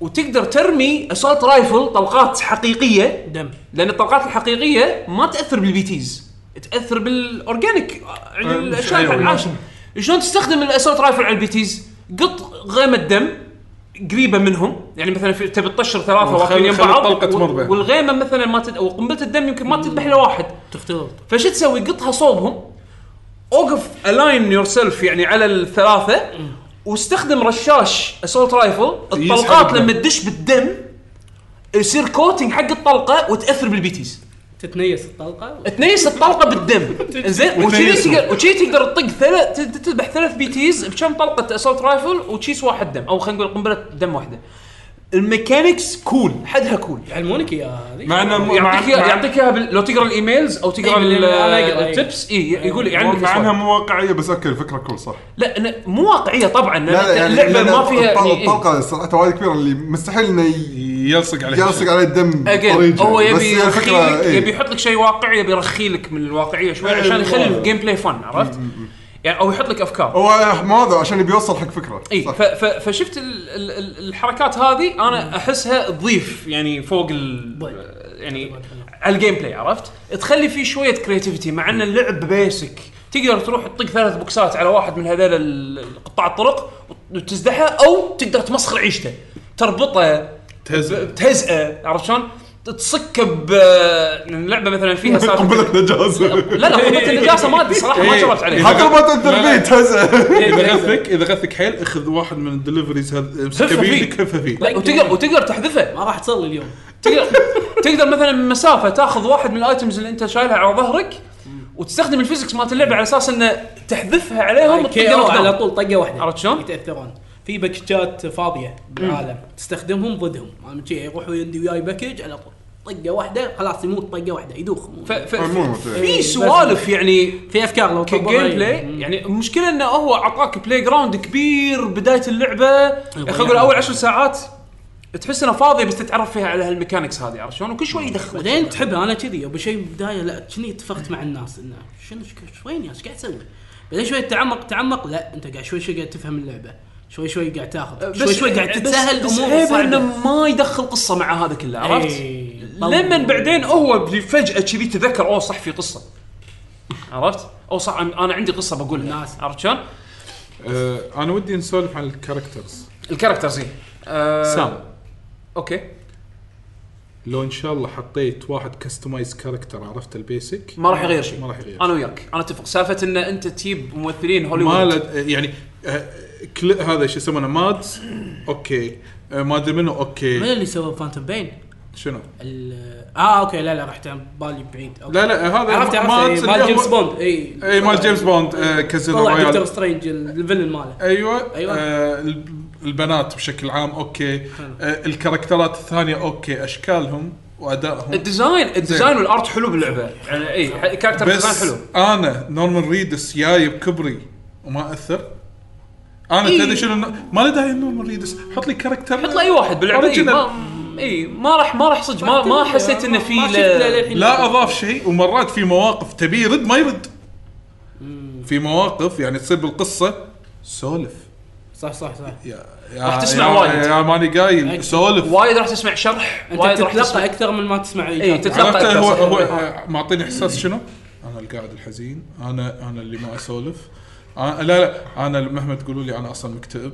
S1: وتقدر ترمي اسولت رايفل طلقات حقيقيه
S4: دم
S1: لان الطلقات الحقيقيه ما تاثر بالبيتيز تاثر بالاورجانيك آه، يعني
S2: أه،
S1: الاشياء
S2: أيوة.
S1: العاشره شلون تستخدم الاسولت رايفل على البيتيز قط غيمه دم قريبه منهم يعني مثلا في- تبي تطشر ثلاثه
S2: وخل-
S1: واقفين يم
S2: خلي
S1: بعض
S2: الطلقة تمر
S1: و-
S2: بينهم.
S1: والغيمه مثلا ما تد... او قنبله الدم يمكن ما تذبح الا واحد
S4: تختلط
S1: فشو تسوي؟ قطها صوبهم اوقف الاين يور سيلف يعني على الثلاثه واستخدم رشاش اسولت رايفل
S2: يسحب
S1: الطلقات
S2: الدم.
S1: لما تدش بالدم يصير كوتنج حق الطلقه وتاثر بالبيتيز
S4: تتنيس الطلقه
S1: تنيس الطلقه بالدم زين وشي
S2: وتنيسهم.
S1: تقدر وشي تقدر تطق ثلاث ت- ت- تذبح ثلاث بيتيز بكم طلقه اسولت رايفل وتشيس واحد دم او خلينا نقول قنبله دم واحده الميكانكس كول حدها كول
S4: يعلمونك اياها هذه
S3: مع انه مع-
S1: يعطيك إياه-
S3: مع-
S1: يعطيك اياها بال- لو تقرا الايميلز او تقرا
S4: نعم، إيه،
S1: ال-
S4: أنا أقرأ، إيه.
S1: التبس اي يقول لك يعلمك
S3: مع انها
S1: السوالف.
S3: مو واقعيه بس اوكي الفكره كل صح
S1: لا إن- مو واقعيه طبعا لأن اللعبه
S3: لأن
S1: ما فيها
S3: الطل-
S1: يعني إيه.
S3: الطلقه سرعتها وايد كبيره اللي مستحيل انه ي-
S2: يلصق عليه
S3: يلصق عليه الدم
S1: Again,
S3: بطريقه
S1: هو
S3: بس
S1: يبي
S3: هي
S1: يرخي
S3: الفكره
S1: لك
S3: إيه.
S1: يبي يحط لك شيء واقعي يبي يرخي لك من الواقعيه شوي عشان يخلي الجيم بلاي فن عرفت؟ يعني او يحط لك افكار
S3: هو ما هذا عشان يبي يوصل حق فكره
S1: اي
S3: صح.
S1: ف- ف- فشفت ال- ال- ال- الحركات هذه انا احسها تضيف يعني فوق
S4: طيب.
S1: ال يعني على الجيم بلاي عرفت؟ تخلي فيه شويه كريتيفيتي مع ان اللعب بيسك تقدر تروح تطق ثلاث بوكسات على واحد من هذول ال- قطاع الطرق وتزدحه او تقدر تمسخر عيشته تربطه
S2: تهزأ.
S1: تهزئه عرفت شلون؟ تصكه ب اللعبه مثلا فيها
S3: قنبله نجاز
S1: لا لا قنبله النجاسه ما ادري صراحه
S4: إيه.
S1: ما جربت عليها
S3: حتى ما تنزل
S2: لا.
S3: بيه
S1: إيه.
S3: تهزه
S2: اذا غثك اذا غثك حيل اخذ واحد من الدليفريز هذا
S1: هفه
S2: امسكه
S1: فيه.
S2: بيدك هفه فيه
S1: لا، وتقدر وتقدر تحذفه
S4: ما راح تصلي اليوم
S1: تقدر تقدر مثلا من مسافه تاخذ واحد من الايتمز اللي انت شايلها على ظهرك وتستخدم الفيزكس مالت اللعبه على اساس انه تحذفها عليهم
S4: آه، كي او
S1: وتقدر
S4: على
S1: على
S4: طول طقه واحده
S1: عرفت شلون؟
S4: يتاثرون في باكجات فاضيه بالعالم تستخدمهم ضدهم أنا شي يروح ويندي وياي باكج على طول طقه واحده خلاص يموت طقه واحده يدوخ
S1: ف... ف...
S3: عموما.
S1: في سوالف يعني
S4: في افكار لو
S1: كجيم بلاي يعني المشكله انه هو اعطاك بلاي جراوند كبير بدايه اللعبه خلينا نقول اول عشر ساعات تحس انها فاضيه بس تتعرف فيها على هالميكانكس هذه عرفت شلون؟ وكل شوي يدخل
S4: بعدين تحبها انا كذي ابو شيء بالبدايه لا كني اتفقت مع الناس انه شنو إيش- وين يا ايش قاعد تسوي؟ بعدين شوي تعمق تعمق لا انت قاعد شوي شوي قاعد تفهم اللعبه شوي شوي قاعد تاخذ شوي شوي قاعد تتسهل
S1: أه، بس
S4: الامور
S1: عيبه انه
S4: صعبه
S1: ما يدخل قصه مع هذا كله عرفت؟
S4: إيه.
S1: لما بعدين هو فجاه كذي تذكر اوه صح في قصه عرفت؟ او صح أنا- انا عندي قصه بقولها
S4: ناس.
S1: عرفت شلون؟
S2: آه، انا ودي نسولف عن الكاركترز
S1: الكاركترز هي أه
S2: سام
S1: اوكي
S2: لو ان شاء الله حطيت واحد كستمايز كاركتر عرفت البيسك
S1: ما راح يغير شيء
S2: ما راح يغير
S1: انا وياك انا اتفق سالفه ان انت تجيب ممثلين
S2: ما
S1: هوليوود
S2: لد... يعني آه، كل هذا شو يسمونه مادز اوكي آه، ما ادري منو
S4: من
S2: اوكي
S4: اللي سوى فانتوم بين؟
S2: شنو
S4: ال- اه اوكي لا لا رحت عن بالي بعيد أوكي.
S2: لا لا آه، هذا
S4: عرفت عرفت
S2: مادز
S4: إيه، مال
S2: اللي هو-
S4: جيمس بوند اي
S2: اي إيه، مال جيمس بوند آه، كازينو
S4: طلع دكتور
S2: رويال
S4: سترينج ال- الفيلن ماله
S2: ايوه,
S4: أيوة.
S2: أيوة. آه الب- البنات بشكل عام اوكي آه الكاركترات الثانيه اوكي اشكالهم وادائهم
S1: الديزاين الديزاين والارت حلو باللعبه يعني اي كاركتر ديزاين
S2: بس
S1: حلو
S2: انا نورمان ريدس جاي بكبري وما اثر انا
S1: إيه.
S2: تدري شنو ما له داعي نورمان ريدس حط لي كاركتر
S1: حط لي اي واحد باللعبه اي
S2: Original.
S1: ما, إي، ما راح ما راح صدق ما ما حسيت انه في
S4: ما شفت
S1: لا-
S4: له للحين.
S2: لا اضاف شيء ومرات في مواقف تبي يرد ما يرد في مواقف يعني تصير بالقصه سولف
S4: صح صح صح
S2: يا يا
S1: راح تسمع
S2: يا-
S1: وايد.
S2: يا ماني قايل
S4: أكيد.
S2: سولف
S1: وايد راح تسمع شرح
S4: انت
S1: وايد راح تسمع
S4: تتلقى اكثر من ما تسمع اي
S1: إيه،
S4: كلام.
S1: تتلقى.
S2: عرفت هو
S1: صح.
S2: هو معطيني احساس شنو؟ انا القاعد الحزين، انا انا اللي ما اسولف، أنا لا لا انا مهما تقولوا لي انا اصلا مكتئب،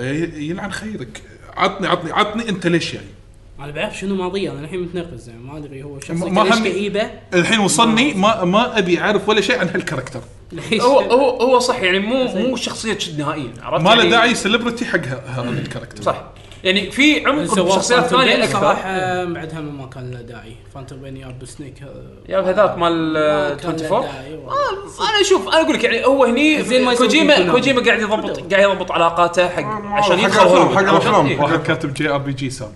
S2: ي- يلعن خيرك، عطني عطني عطني انت ليش يعني؟ جاي؟
S4: انا بعرف شنو ماضيه انا الحين متنرفز يعني ما ادري هو
S2: ما
S4: شخصيته
S2: هم-
S4: ليش كئيبه
S2: الحين وصلني ما ما ابي اعرف ولا شيء عن هالكاركتر،
S4: ليش
S1: هو هو هو صح يعني مو مو شخصيه شد نهائيا عرفت
S2: ما له
S1: يعني-
S2: داعي سليبرتي حق ه- هذا الكاركتر.
S1: صح يعني في عمق
S4: سواه
S1: بشخصيات
S4: فانتوم بين
S1: ثانيه اكثر
S4: صراحه بعدها ما كان له داعي فانتوم بين ياب سنيك آه،
S1: يا هذاك مال آه،
S4: ما كان له
S1: 24
S4: داعي، والله.
S1: آه، انا اشوف انا اقول لك يعني هو هني
S4: زين ما يسوي
S1: كوجيما
S4: كونامي.
S1: كوجيما قاعد يضبط قاعد يضبط علاقاته حق عشان
S3: حق
S1: يدخل
S3: الأفلام،
S1: هوليوود.
S3: حق الأفلام.
S1: إيه.
S2: واحد كاتب جي ار بي جي سام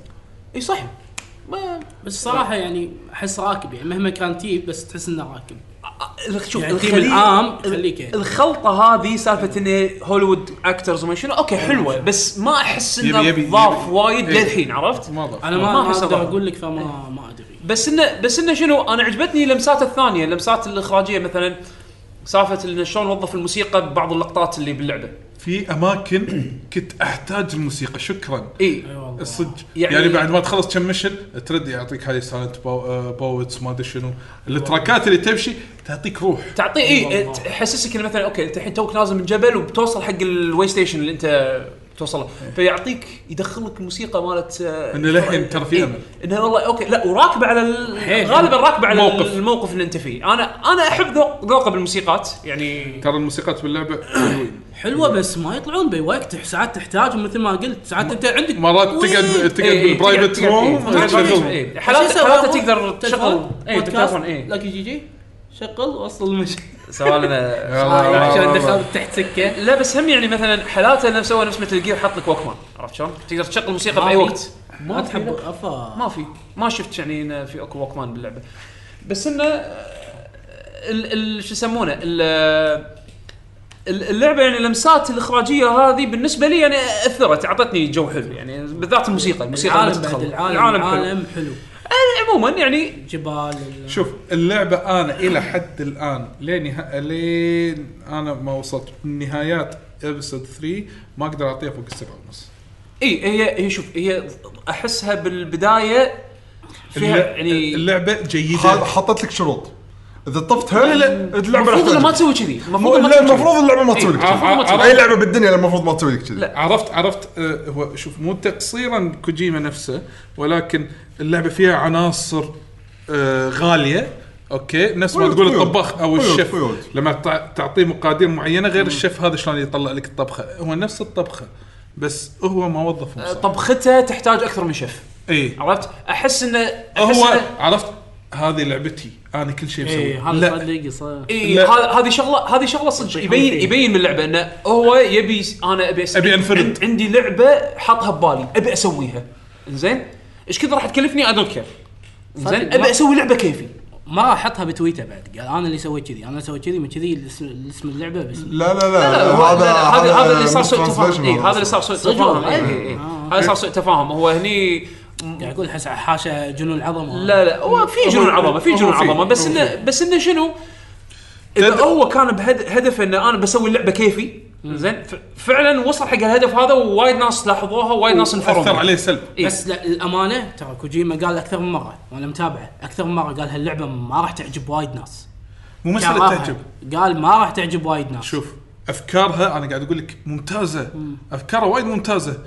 S1: اي صح ما
S4: بس صراحه يعني احس راكب يعني مهما كان تيب بس تحس انه راكب
S1: آه، شوف
S4: يعني التيم
S1: الخلي-
S4: العام يخليك يعني.
S1: الخلطه هذه سالفه انه هوليوود اكترز وما شنو اوكي حلوه بس ما احس
S2: يبي-
S1: انه
S2: يبي-
S1: ضاف
S2: يبي.
S1: وايد
S2: إيه.
S1: للحين عرفت؟
S2: ما ضاف
S4: انا ما
S1: ما
S4: ما
S1: أحس
S4: اقدر
S1: أضاف.
S4: اقول لك فما ما ادري
S1: بس انه بس انه شنو انا عجبتني لمسات الثانيه لمسات الاخراجيه مثلا سالفه انه شلون وظف الموسيقى ببعض اللقطات اللي باللعبه
S2: في اماكن كنت احتاج الموسيقى شكرا
S1: اي
S4: اي والله
S2: صدق
S1: يعني-
S2: يعني, يعني بعد ما تخلص كم مشن ترد يعطيك هذه سايلنت باوتس ما ادري شنو التراكات اللي تمشي تعطيك روح
S1: تعطيه اي
S4: والله.
S1: تحسسك انه مثلا اوكي انت الحين توك نازل من جبل وبتوصل حق الواي ستيشن اللي انت توصل له فيعطيك يدخلك الموسيقى مالت آه،
S2: إنه للحين ترى في
S1: إيه،
S2: أمل.
S1: انه والله اوكي لا وراكبه على ال-
S4: حيل.
S1: غالبا راكبه على
S2: موقف.
S1: الموقف اللي انت فيه انا انا احب ذوق ذوقه بالموسيقات يعني
S2: ترى الموسيقات باللعبه حلوين
S4: حلوه بس ما يطلعون بوقت ساعات تحتاج مثل ما قلت ساعات انت عندك
S2: مرات
S4: وين؟
S2: تقعد تقعد
S1: إيه، إيه،
S2: بالبرايفت
S1: تقعد- تقعد- إيه،
S2: روم تشغلهم
S1: إيه، حالات
S4: شو يسوي؟
S1: حالات تقدر تشغل إيه،
S4: تشغل إيه.
S1: اي
S4: بودكاست
S1: بالتليفون اي
S4: لك يجي جي شغل وصل المشي
S1: سؤالنا يعني
S4: عشان دخلت تحت سكه
S1: لا بس هم يعني مثلا حالاته نفسها نفس مثل جير حط لك وكمان عرفت شلون؟ تقدر تشغل موسيقى
S4: ما
S1: باي
S4: في.
S1: وقت ما تحب
S4: افا
S1: ما في ما شفت يعني إنه في اكو ووكمان باللعبه بس انه ال ال شو يسمونه ال ال- اللعبه يعني لمسات الاخراجيه هذه بالنسبه لي يعني اثرت اعطتني جو حلو يعني بالذات الموسيقى الموسيقى لما
S4: العالم بعد
S1: تدخل.
S4: العالم
S1: العالم
S4: العالم,
S1: حلو.
S4: حلو
S1: عموما يعني
S4: جبال ال-
S2: شوف اللعبه انا الى حد الان لين لين انا ما وصلت من نهايات ابسود 3 ما اقدر اعطيها فوق السبعه ونص
S1: اي إيه، هي هي شوف هي احسها بالبدايه فيها
S2: الل-
S1: يعني
S2: اللعبه
S3: خل-
S2: جيده
S3: حطت لك شروط اذا طفتها اللعبه
S1: المفروض إنه ما
S3: راح
S1: تسوي كذي
S3: مو-
S1: المفروض ما
S3: لا،
S1: تسوي
S3: المفروض
S1: كذي.
S3: اللعبه ما
S1: إيه،
S3: تسوي لك
S1: عرفت-
S3: كذي.
S1: المفروض ما تسوي
S3: اي لعبه بالدنيا المفروض ما تسوي لك كذي
S1: لا.
S2: عرفت عرفت آه، هو شوف مو تقصيرا كوجيما نفسه ولكن اللعبه فيها عناصر آه، غاليه اوكي نفس ما
S3: قيود-
S2: تقول
S3: قيود.
S2: الطباخ او
S3: قيود-
S2: الشيف
S3: قيود.
S2: لما تع- تعطيه مقادير معينه غير الشيف هذا شلون يطلع لك الطبخه هو نفس الطبخه بس هو ما وظفهم
S1: آه،
S2: صح
S1: طبخته تحتاج اكثر من شيف
S2: اي
S1: عرفت احس انه أحس
S2: هو
S1: إنه-
S2: عرفت هذه لعبتي انا كل شيء
S4: اي
S2: مسوي
S4: إيه، هذا
S2: لا
S4: صدق صار
S1: اي
S2: لا.
S1: إيه، هذا- هذه شغله هذه شغله صدق يبين
S4: فيه.
S1: يبين من اللعبه انه هو يبي انا ابي أسوي
S2: أبي أنفرد.
S1: عند- عندي لعبه حاطها ببالي ابي اسويها زين ايش كثر راح تكلفني اي دونت كير زين
S4: صدق.
S1: ابي اسوي لعبه كيفي
S4: ما راح احطها بتويتر بعد قال انا اللي سويت كذي انا سويت كذي من كذي اسم اسم اللعبه بس
S3: لا لا
S1: لا، لا،
S3: لا
S1: هو- لا، لا، هذا هذا اللي صار
S3: مش
S1: سوء تفاهم
S3: translation
S1: اي هذا اللي صار سوء تفاهم
S4: والله.
S1: إي، إي، إي.
S4: آه.
S1: هذا صار سوء تفاهم هو هني
S4: قاعد اقول حس حاشا جنون عظمه
S1: لا لا هو في جنون عظمه في جنون
S2: هو في-
S1: عظمه بس
S2: هو
S1: انه بس انه شنو؟ اذا
S2: تد-
S1: هو كان بهد- هدفه انه انا بسوي لعبه كيفي زين ف- فعلا وصل حق الهدف هذا ووايد ناس لاحظوها ووايد ناس انفروا
S2: اثر
S1: منه.
S2: عليه سلب
S1: إيه.
S4: بس لا الامانه ترى كوجيما قال اكثر من مره وانا متابعه اكثر من مره قال هاللعبه ما راح تعجب وايد ناس
S2: مو مساله
S4: جربها.
S2: تعجب
S4: قال ما راح تعجب وايد ناس
S2: شوف افكارها انا قاعد اقول لك ممتازه افكارها وايد ممتازه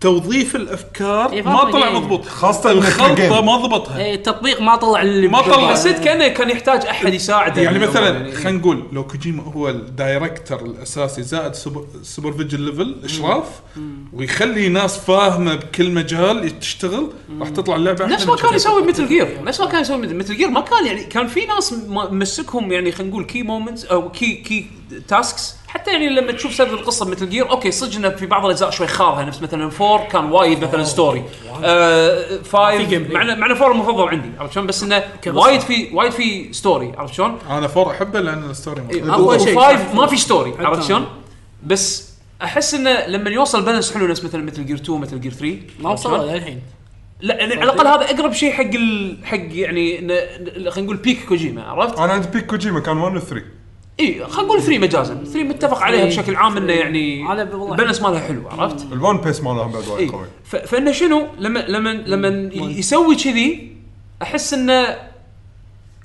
S2: توظيف الافكار
S4: إيه،
S2: ما
S4: فاهمة،
S2: طلع
S4: إيه.
S2: مضبوط
S3: خاصة إنك
S2: الخلطه
S3: بالجيم.
S2: ما ضبطها
S4: إيه، التطبيق ما طلع اللي
S2: ما طلع.
S4: بجوبه.
S1: حسيت كانه كان يحتاج احد يساعده
S2: يعني
S1: بالأمور
S2: مثلا
S1: يعني.
S2: خلينا نقول لو كوجيما هو الدايركتر الاساسي زائد سوبر- سوبر فيجن ليفل اشراف ويخلي ناس فاهمه بكل مجال تشتغل راح تطلع اللعبه أحلى
S1: نفس ما
S2: من
S1: كان
S2: كذا.
S1: يسوي مثل جير نفس ما كان يسوي مثل جير ما كان يعني كان في ناس م- مسكهم يعني خلينا نقول كي مومنتس او كي كي تاسكس حتى يعني لما تشوف سرد القصه مثل جير اوكي صدق انه في بعض الاجزاء شوي خارها نفس مثلا 4 كان وايد مثلا ستوري آه، فايف
S4: في gameplay.
S1: مع إنه- مع انه 4 المفضل عندي عرفت شلون بس انه
S4: كقصة.
S1: وايد في وايد في ستوري عرفت شلون؟
S2: انا فور احبه لان الستوري مرة.
S4: أقوى شيء.
S1: وفايف ما في ستوري
S4: حتى
S1: عرفت
S4: أنا.
S1: شلون؟ بس احس انه لما يوصل بالانس حلو نفس مثلا مثل جير 2 مثل جير 3
S4: ما
S1: عرفت شلون؟
S4: وصلوا للحين
S1: لا يعني على الاقل هذا اقرب شيء حق ال... حق يعني ن- ن- خلينا نقول بيك كوجيما عرفت؟
S3: انا عند بيك كوجيما كان 1 و 3
S1: اي خلينا نقول 3 مجازا 3 متفق عليها بشكل عام انه يعني
S4: أنا والله-
S1: البنس مالها حلو عرفت؟
S3: الون بيس مالهم بعد
S1: اي
S3: وايد قوي
S1: ف... فانه شنو لما لما لما ي- يسوي كذي احس انه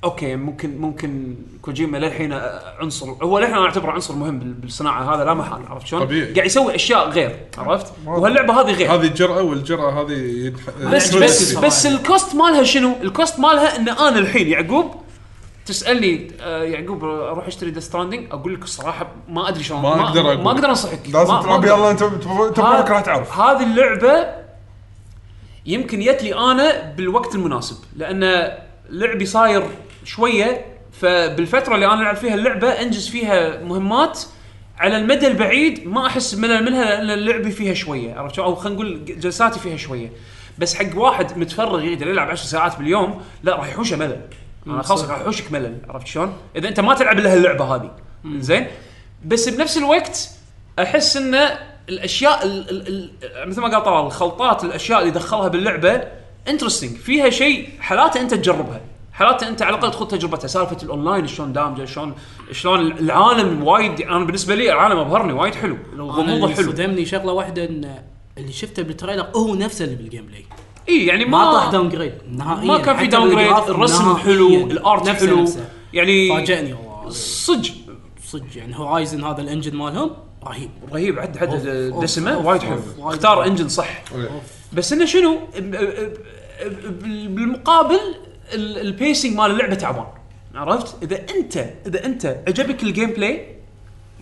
S1: اوكي ممكن ممكن كوجيما للحين عنصر هو للحين انا اعتبره عنصر مهم بال- بالصناعه هذا لا محال عرفت شلون؟
S2: طبيعي.
S1: قاعد يسوي اشياء غير عرفت؟ وهاللعبه هذه غير
S2: هذه الجرأه والجرأه هذه ينح-
S1: إيه. بس
S2: ينحرز
S1: بس
S2: فيها.
S1: بس الكوست مالها شنو؟ الكوست مالها ان انا الحين يعقوب تسالني آه، يعقوب اروح اشتري ذا ستراندنج اقول لك الصراحه ما ادري شلون
S2: ما أقدر أقول.
S1: ما اقدر انصحك
S3: لازم
S1: ما-
S3: تلعب
S1: ما
S3: يلا
S1: أقدر.
S3: انت تبغاك
S1: هذا-
S3: راح تعرف
S1: هذه اللعبه يمكن جت لي انا بالوقت المناسب لان لعبي صاير شويه فبالفتره اللي انا العب فيها اللعبه انجز فيها مهمات على المدى البعيد ما احس بملل منها لان لعبي فيها شويه عرفت شلون؟ او خلينا نقول جلساتي فيها شويه بس حق واحد متفرغ يقدر يلعب 10 ساعات باليوم لا راح يحوشه ملل انا خاصك راح يحوشك ملل عرفت شلون؟ اذا انت ما تلعب الا هاللعبه هذه زين بس بنفس الوقت احس ان الاشياء ال ال ال مثل ما قال طلال الخلطات الاشياء اللي دخلها باللعبه انترستنج فيها شيء حالاته انت تجربها حالاته انت على الاقل تخوض تجربتها سالفه الاونلاين شلون دامجه شلون شلون العالم وايد انا بالنسبه لي العالم ابهرني وايد حلو
S4: انا
S1: غموضه
S4: اللي
S1: حلو
S4: صدمني شغله واحده ان اللي شفته بالتريلر هو نفسه اللي بالجيم بلاي
S1: اي يعني ما
S4: ما طاح داون جريد نهائيا
S1: ما كان في
S4: حتى
S1: داون جريد
S4: بالجراف
S1: الرسم
S4: نهائياً.
S1: حلو الارت
S4: نفسه
S1: حلو
S4: نفسه.
S1: يعني
S4: فاجئني والله
S1: صدق
S4: صدق يعني هورايزن هذا الانجن مالهم رهيب
S1: رهيب عد عد
S4: أوف، أوف،
S1: دسمه
S4: أوف،
S1: وايد حلو
S4: أوف، وايد
S1: اختار
S4: حلو.
S1: انجن صح بس انه شنو ب- ب- ب- بالمقابل ال- البيسنج مال اللعبه تعبان عرفت اذا انت اذا انت عجبك الجيم بلاي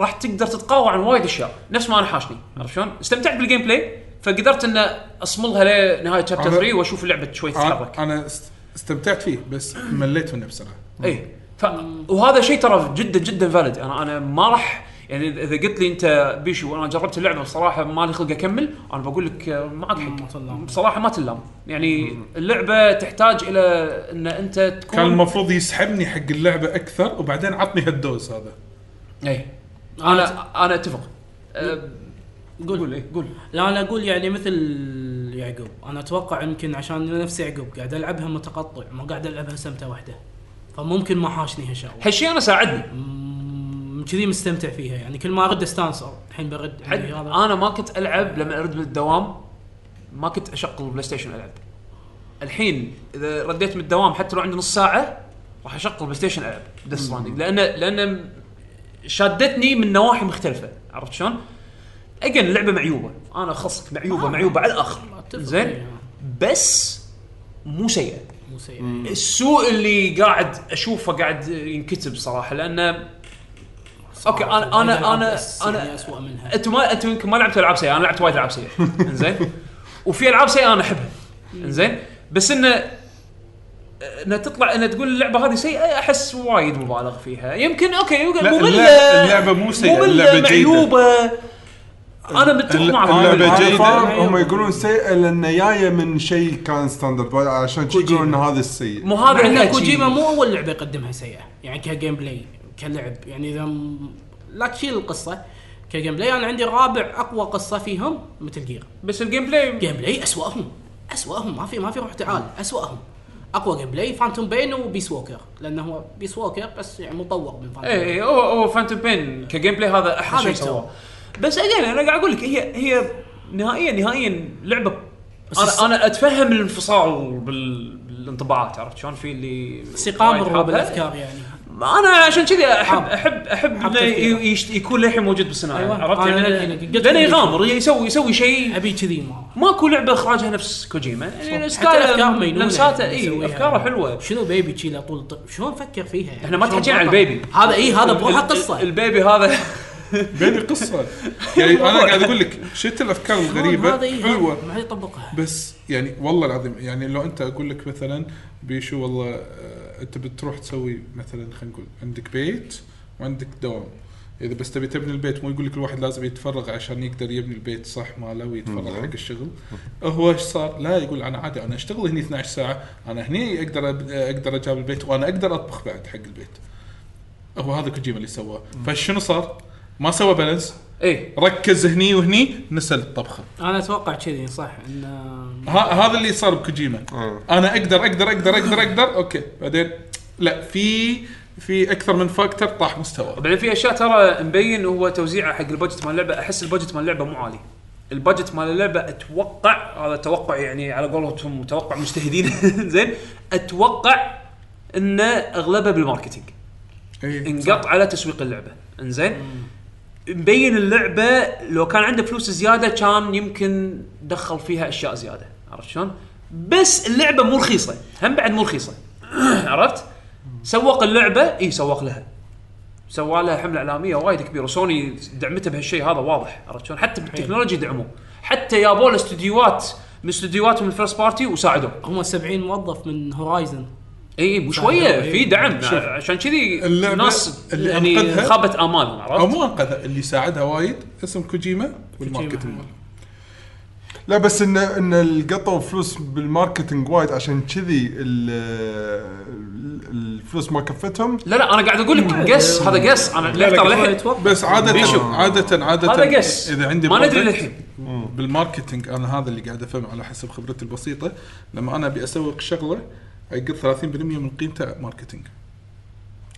S1: راح تقدر تتقاوى عن وايد اشياء نفس ما انا حاشني عرفت شلون استمتعت بالجيم بلاي فقدرت ان اصملها لنهايه شابتر
S2: أنا-
S1: 3 واشوف اللعبه شوي تتحرك
S2: أنا- انا است- استمتعت فيه بس مليت منه بسرعه
S1: إيه، اي ف... وهذا شيء ترى جدا جدا فالid انا انا ما راح يعني إذا- اذا قلت لي انت بيشو انا جربت اللعبه بصراحه ما لي خلق اكمل انا بقول لك آه، معك
S4: ما
S1: حق
S4: تنلام.
S1: بصراحه ما تلام يعني اللعبه تحتاج الى ان انت تكون
S2: كان المفروض يسحبني حق اللعبه اكثر وبعدين عطني هالدوز هذا
S1: اي انا انا اتفق أه، قول قول إيه، قول
S4: لا انا اقول يعني مثل يعقوب انا اتوقع يمكن عشان نفس يعقوب قاعد العبها متقطع ما قاعد العبها سمته واحده فممكن ما حاشني هالشغله
S1: هالشيء انا ساعدني
S4: أمم، كذي مستمتع فيها يعني كل ما ارد استانسر الحين برد
S1: حد
S4: عندي هذا
S1: انا ما كنت العب لما ارد من الدوام ما كنت اشغل البلاي ستيشن العب الحين اذا رديت من الدوام حتى لو عندي نص ساعه راح اشغل البلاي ستيشن العب ديث ستراندنج لان لان شادتني من نواحي مختلفه عرفت شلون؟ اجين اللعبه معيوبه انا خصك معيوبه معيوبه على الاخر
S4: آه. أتفق
S1: زين
S4: يعني،
S1: بس مو سيئه
S4: مو سيء
S1: السوء اللي قاعد اشوفه قاعد ينكتب صراحه لانه اوكي انا انا انا
S4: انا
S1: انا
S4: اسوء يعني منها
S1: انتم ما انتم يمكن ما لعبتوا العاب سيئه انا لعبت وايد العاب سيئه انزين وفي العاب سيئه انا احبها انزين بس انه انها تطلع انها تقول اللعبه هذه سيئه احس وايد مبالغ فيها يمكن اوكي يمكن
S2: لا،
S1: ممله
S2: اللعبة- اللعبة مو سيئة،
S1: مملة،
S2: اللعبة جيدة.
S1: معيوبه انا متفق
S2: الل-
S1: معك
S2: اللعبة
S1: أنا
S2: جيدة.
S1: فاهم.
S3: فاهم هم يقولون سيئه لان جايه من شيء كان ستاندرد عشان شي يقولون ان هذا السيء
S1: مو هذا
S4: مع ان
S1: الحكي.
S4: كوجيما مو اول لعبه يقدمها سيئه يعني كجيم بلاي كلعب يعني اذا م- لا تشيل القصه كجيم بلاي انا عندي رابع اقوى قصه فيهم مثل جير
S1: بس الجيم بلاي
S4: جيم بلاي اسواهم اسواهم ما في ما في روح تعال اسواهم اقوى جيم بلاي فانتوم بين وبيس ووكر لانه هو بيس ووكر بس يعني مطور من فانتوم
S1: اي اي إيه، هو هو فانتوم بين كجيم بلاي هذا احلى
S4: هذا
S1: شيء
S4: يسوى.
S1: سواه بس اجين انا قاعد اقول لك هي هي نهائيا نهائيا لعبه
S4: بس الس-
S1: انا انا اتفهم الانفصال بال... بالانطباعات عرفت شلون في اللي
S4: استقامه
S1: وايد حابها.
S4: الرعب الافكار يعني
S1: انا عشان كذي احب
S4: حاب.
S1: احب احب
S4: حاب
S1: انه
S4: تفكيره.
S1: ي- يشت- يكون للحين موجود بالسيناريو
S4: أيوة.
S1: عرفت
S4: أنا
S1: يعني
S4: يعني
S1: لأن-
S4: قلت
S1: لأنه
S4: لك.
S1: يغامر يسوي يسوي شيء
S4: ابي كذي ما
S1: ماكو لعبه اخراجها نفس كوجيما يعني
S4: حتى الأفكار
S1: ستايل
S4: مينونة
S1: لمساته إيه،
S4: يعني
S1: اي
S4: يسويها.
S1: افكاره حلوه
S4: شنو بيبي تشيله طول الط- شلون فكر فيها يعني
S1: احنا ما
S4: شلون
S1: تحكينا عن
S4: فكر؟
S1: البيبي
S4: هذا اي هذا بروحه
S1: ال- ال-
S4: قصه
S1: البيبي هذا
S2: بيني قصه يعني انا قاعد اقول لك شفت الافكار الغريبه
S4: هذا إيه، هذا
S2: حلوه
S4: ما يطبقها
S2: بس يعني والله العظيم يعني لو انت اقول لك مثلا بيشو والله آه، انت بتروح تسوي مثلا خلينا نقول عندك بيت وعندك دوام اذا بس تبي تبني البيت مو يقول لك الواحد لازم يتفرغ عشان يقدر يبني البيت صح ماله ويتفرغ حق الشغل هو ايش صار؟ لا يقول انا عادي انا اشتغل هني 12 ساعه انا هني اقدر أب- اقدر اجاب البيت وانا اقدر اطبخ بعد حق البيت. هو هذا كوجيما اللي سواه فشنو صار؟ ما سوى بالانس
S1: اي
S2: ركز هني وهني نسى الطبخه
S4: انا اتوقع كذي صح انه
S2: ه- هذا اللي صار بكوجيما
S3: آه.
S2: انا اقدر اقدر اقدر اقدر اقدر اوكي بعدين لا في في اكثر من فاكتور طاح مستوى
S1: بعدين في اشياء ترى مبين هو توزيعه حق البادجت مال اللعبه احس البادجت مال اللعبه مو عالي البادجت مال اللعبه اتوقع هذا توقع يعني على قولتهم توقع مجتهدين زين اتوقع انه اغلبها بالماركتينج انقط على تسويق اللعبه انزين مبين اللعبه لو كان عنده فلوس زياده كان يمكن دخل فيها اشياء زياده عرفت شلون؟ بس اللعبه مو رخيصه هم بعد مو رخيصه عرفت؟ سوق اللعبه اي سوق لها سوى لها حمله اعلاميه وايد كبيره سوني دعمته بهالشيء هذا واضح عرفت شلون؟ حتى بالتكنولوجي دعموه حتى جابوا له استديوهات من استديوهاتهم الفيرست بارتي وساعدوه
S4: هم 70 موظف من هورايزن
S1: اي مو شويه
S4: إيه.
S1: في دعم
S2: شوف.
S1: عشان كذي
S2: اللعبة
S1: الناس
S2: اللي
S1: يعني
S2: أنقذها-
S1: خابت امالهم عرفت؟
S2: او مو انقذها اللي ساعدها وايد اسم كوجيما والماركتنج ماله
S3: لا بس ان ان القطوا فلوس بالماركتنج وايد عشان كذي ال- ال- الفلوس ما كفتهم
S1: لا لا انا قاعد اقول لك قس هذا قس انا للحين
S2: لا،
S1: للحين
S2: بس عادة
S1: بيشو.
S2: عادة عادة
S1: هذا قس
S2: اذا عندي
S1: ما ندري
S2: project
S1: للحين
S2: بالماركتنج انا هذا اللي قاعد افهمه على حسب خبرتي البسيطة لما انا ابي اسوق شغلة اقط 30% من قيمته ماركتنج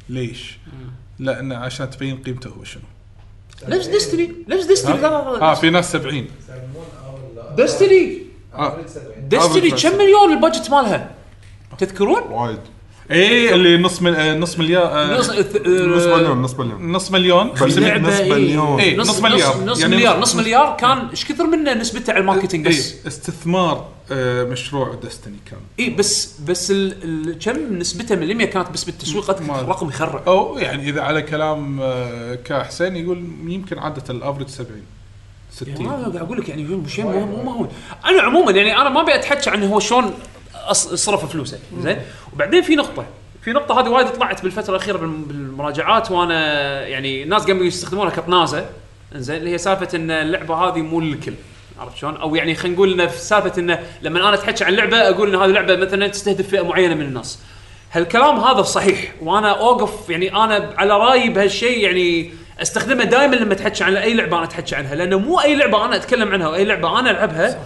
S2: ليش؟ لانه عشان تبين قيمته هو شنو
S1: نفس ديستني نفس ديستني
S2: اه في ناس 70
S5: يسمون او لا
S1: ديستني
S2: آه.
S1: ديستني
S3: Average.
S1: كم مليون البادجت مالها تذكرون؟
S3: وايد
S2: اي اللي نص مل... آه، نص مليار آه،
S1: نص آه،
S3: نص مليون نص مليون
S2: نص مليون
S3: بس
S1: لعبة
S3: نص
S1: إيه.
S3: مليون
S2: إيه. نص مليار.
S1: نص
S2: يعني
S1: مليار
S2: نص-
S1: نص مليار كان ايش كثر منه نسبته على الماركتينج
S2: إيه،
S1: بس
S2: استثمار آه، مشروع دستني كان
S1: اي إيه، بس بس ال- ال- كم نسبته من 100 كانت بس بالتسويق
S2: ما-
S1: رقم يخرع
S2: او يعني اذا على كلام آه، كحسين يقول يمكن عاده الافرج 70
S1: يعني ما
S2: 60
S1: قاعد اقول لك يعني يوم شيء مو مو مهون انا عموما يعني انا ما ابي اتحكى عن هو شلون أص- صرف فلوسه زين وبعدين في نقطه في نقطة هذه وايد طلعت بالفترة الأخيرة بالم- بالمراجعات وأنا يعني الناس قاموا يستخدمونها كطنازة زين اللي هي سالفة أن اللعبة هذه مو للكل عرفت شلون؟ أو يعني خلينا نقول إنه في سالفة أنه لما أنا أتحكي عن لعبة أقول أن هذه لعبة مثلا تستهدف فئة معينة من الناس. هالكلام هذا صحيح وأنا أوقف يعني أنا على رأيي بهالشيء يعني استخدمه دائما لما اتحكي عن اي لعبه انا اتحكي عنها لانه مو اي لعبه انا اتكلم عنها واي لعبه انا العبها صح.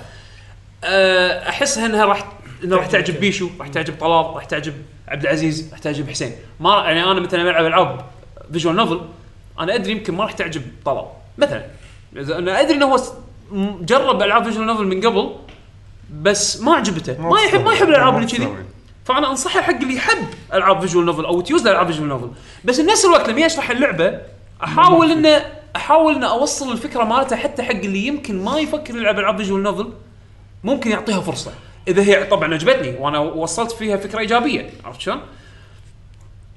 S1: آه، احسها انها راح انها راح تعجب بيشو راح تعجب طلال راح تعجب عبد العزيز راح تعجب حسين ما يعني انا مثلا بلعب العاب فيجوال نوفل انا ادري يمكن ما راح تعجب طلال مثلا إذا انا ادري انه هو س- م- جرب العاب فيجوال نوفل من قبل بس ما عجبته ما يحب ما يحب الالعاب اللي كذي فانا انصحه حق اللي يحب العاب فيجوال نوفل او تيوز العاب فيجوال نوفل بس بنفس الوقت لما يشرح اللعبه احاول انه احاول انه اوصل الفكره مالته حتى حق اللي يمكن ما يفكر يلعب العاب فيجوال نوفل ممكن يعطيها فرصه اذا هي طبعا عجبتني وانا وصلت فيها فكره ايجابيه عرفت شلون؟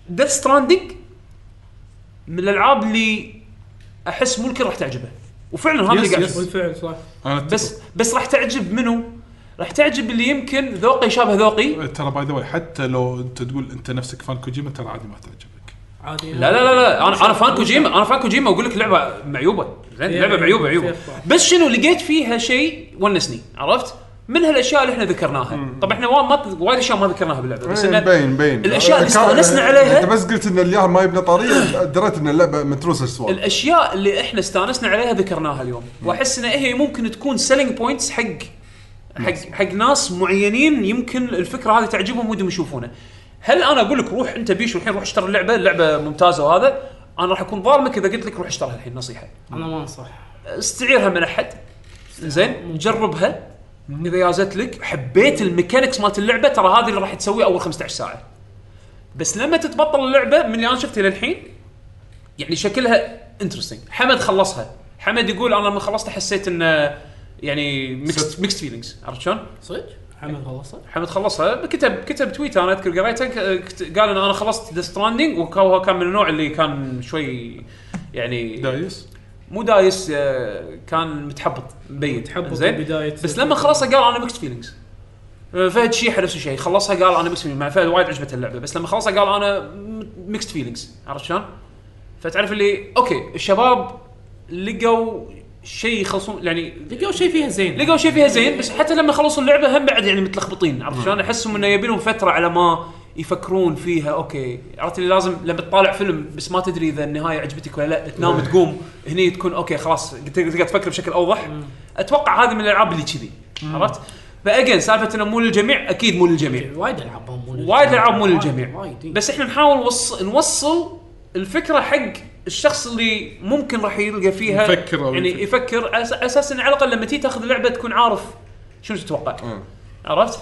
S1: ديث ستراندنج من الالعاب اللي احس مو الكل راح تعجبه وفعلا هذا اللي قاعد أشوفه.
S4: بالفعل صح
S2: انا أتفق.
S1: بس بس راح تعجب منو؟ راح تعجب اللي يمكن ذوقه يشابه ذوقي
S2: آه، ترى باي ذا حتى لو انت تقول انت نفسك فان كوجيما ترى عادي ما تعجبك
S4: عادي
S1: لا لا لا, لا. انا انا فان كوجيما انا فان كوجيما اقول لك لعبه معيوبه زين
S4: إيه،
S1: لعبه
S4: إيه،
S1: معيوبه
S4: إيه،
S1: عيوبه
S4: صح.
S1: بس شنو لقيت فيها شيء ونسني عرفت؟ من هالاشياء اللي احنا ذكرناها طبعا احنا وايد ما وايد اشياء ما ذكرناها باللعبه بس
S3: إيه،
S1: انه
S3: مبين مبين
S1: الأشياء اللي
S3: كان-
S1: استانسنا عليها-
S3: انت بس قلت ان الياهل ما يبنى طريق دريت ان اللعبه متروسه سوالف
S1: الاشياء اللي احنا استانسنا عليها ذكرناها اليوم واحس ان هي ممكن تكون سيلينج بوينتس حق حق حق ناس معينين يمكن الفكره هذه تعجبهم ودهم يشوفونه هل انا اقول لك روح انت بيشو الحين روح اشتري اللعبه اللعبه ممتازه وهذا انا راح اكون ظالمك اذا قلت لك روح اشتريها الحين نصيحه
S4: انا ما انصح
S1: استعيرها من احد زين جربها اذا يازت لك حبيت الميكانكس مالت اللعبه ترى هذه اللي راح تسويه اول 15 ساعه بس لما تتبطل اللعبه من اللي انا شفته للحين يعني شكلها انترستنج حمد خلصها حمد يقول انا لما خلصت حسيت انه يعني ميكس ميكس فيلينجز عرفت شلون؟
S4: صدق حمد خلصت
S1: حمد خلصها كتب كتب تويت انا اذكر قريته ك- كت- قال ان انا خلصت ذا ستراندنج وهو كان من النوع اللي كان شوي يعني
S2: دايس
S1: مو دايس آه، كان متحبط مبين
S4: متحبط
S1: زين
S4: بداية
S1: بس لما خلصها قال انا ميكس فيلينجز آه، فهد شيحه نفس الشيء خلصها قال انا ميكس فيلينجز مع فهد وايد عجبته اللعبه بس لما خلصها قال انا ميكس فيلينجز عرفت شلون؟ فتعرف اللي اوكي الشباب لقوا شيء يخلصون يعني
S4: لقوا شيء فيها زين
S1: لقوا شيء فيها زين بس حتى لما خلصوا اللعبه هم بعد يعني متلخبطين عرفت شلون؟ احسهم انه يبي لهم فتره على ما يفكرون فيها اوكي عرفت اللي لازم لما تطالع فيلم بس ما تدري اذا النهايه عجبتك ولا لا تنام تقوم هني تكون اوكي خلاص تقدر تقدر تفكر بشكل اوضح اتوقع هذه من الالعاب اللي كذي عرفت؟ فاجين سالفه انه مو للجميع اكيد مو للجميع
S4: وايد العاب مو للجميع.
S1: وايد العاب مو
S4: وايد-
S1: للجميع
S4: وايد إي.
S1: بس احنا نحاول وص... نوصل الفكره حق الشخص اللي ممكن راح يلقى فيها
S2: يفكر أو
S1: يعني
S2: يفكر.
S1: يفكر على أس- اساس ان على الاقل لما تيجي تاخذ اللعبه تكون عارف شنو تتوقع
S2: آه.
S1: عرفت؟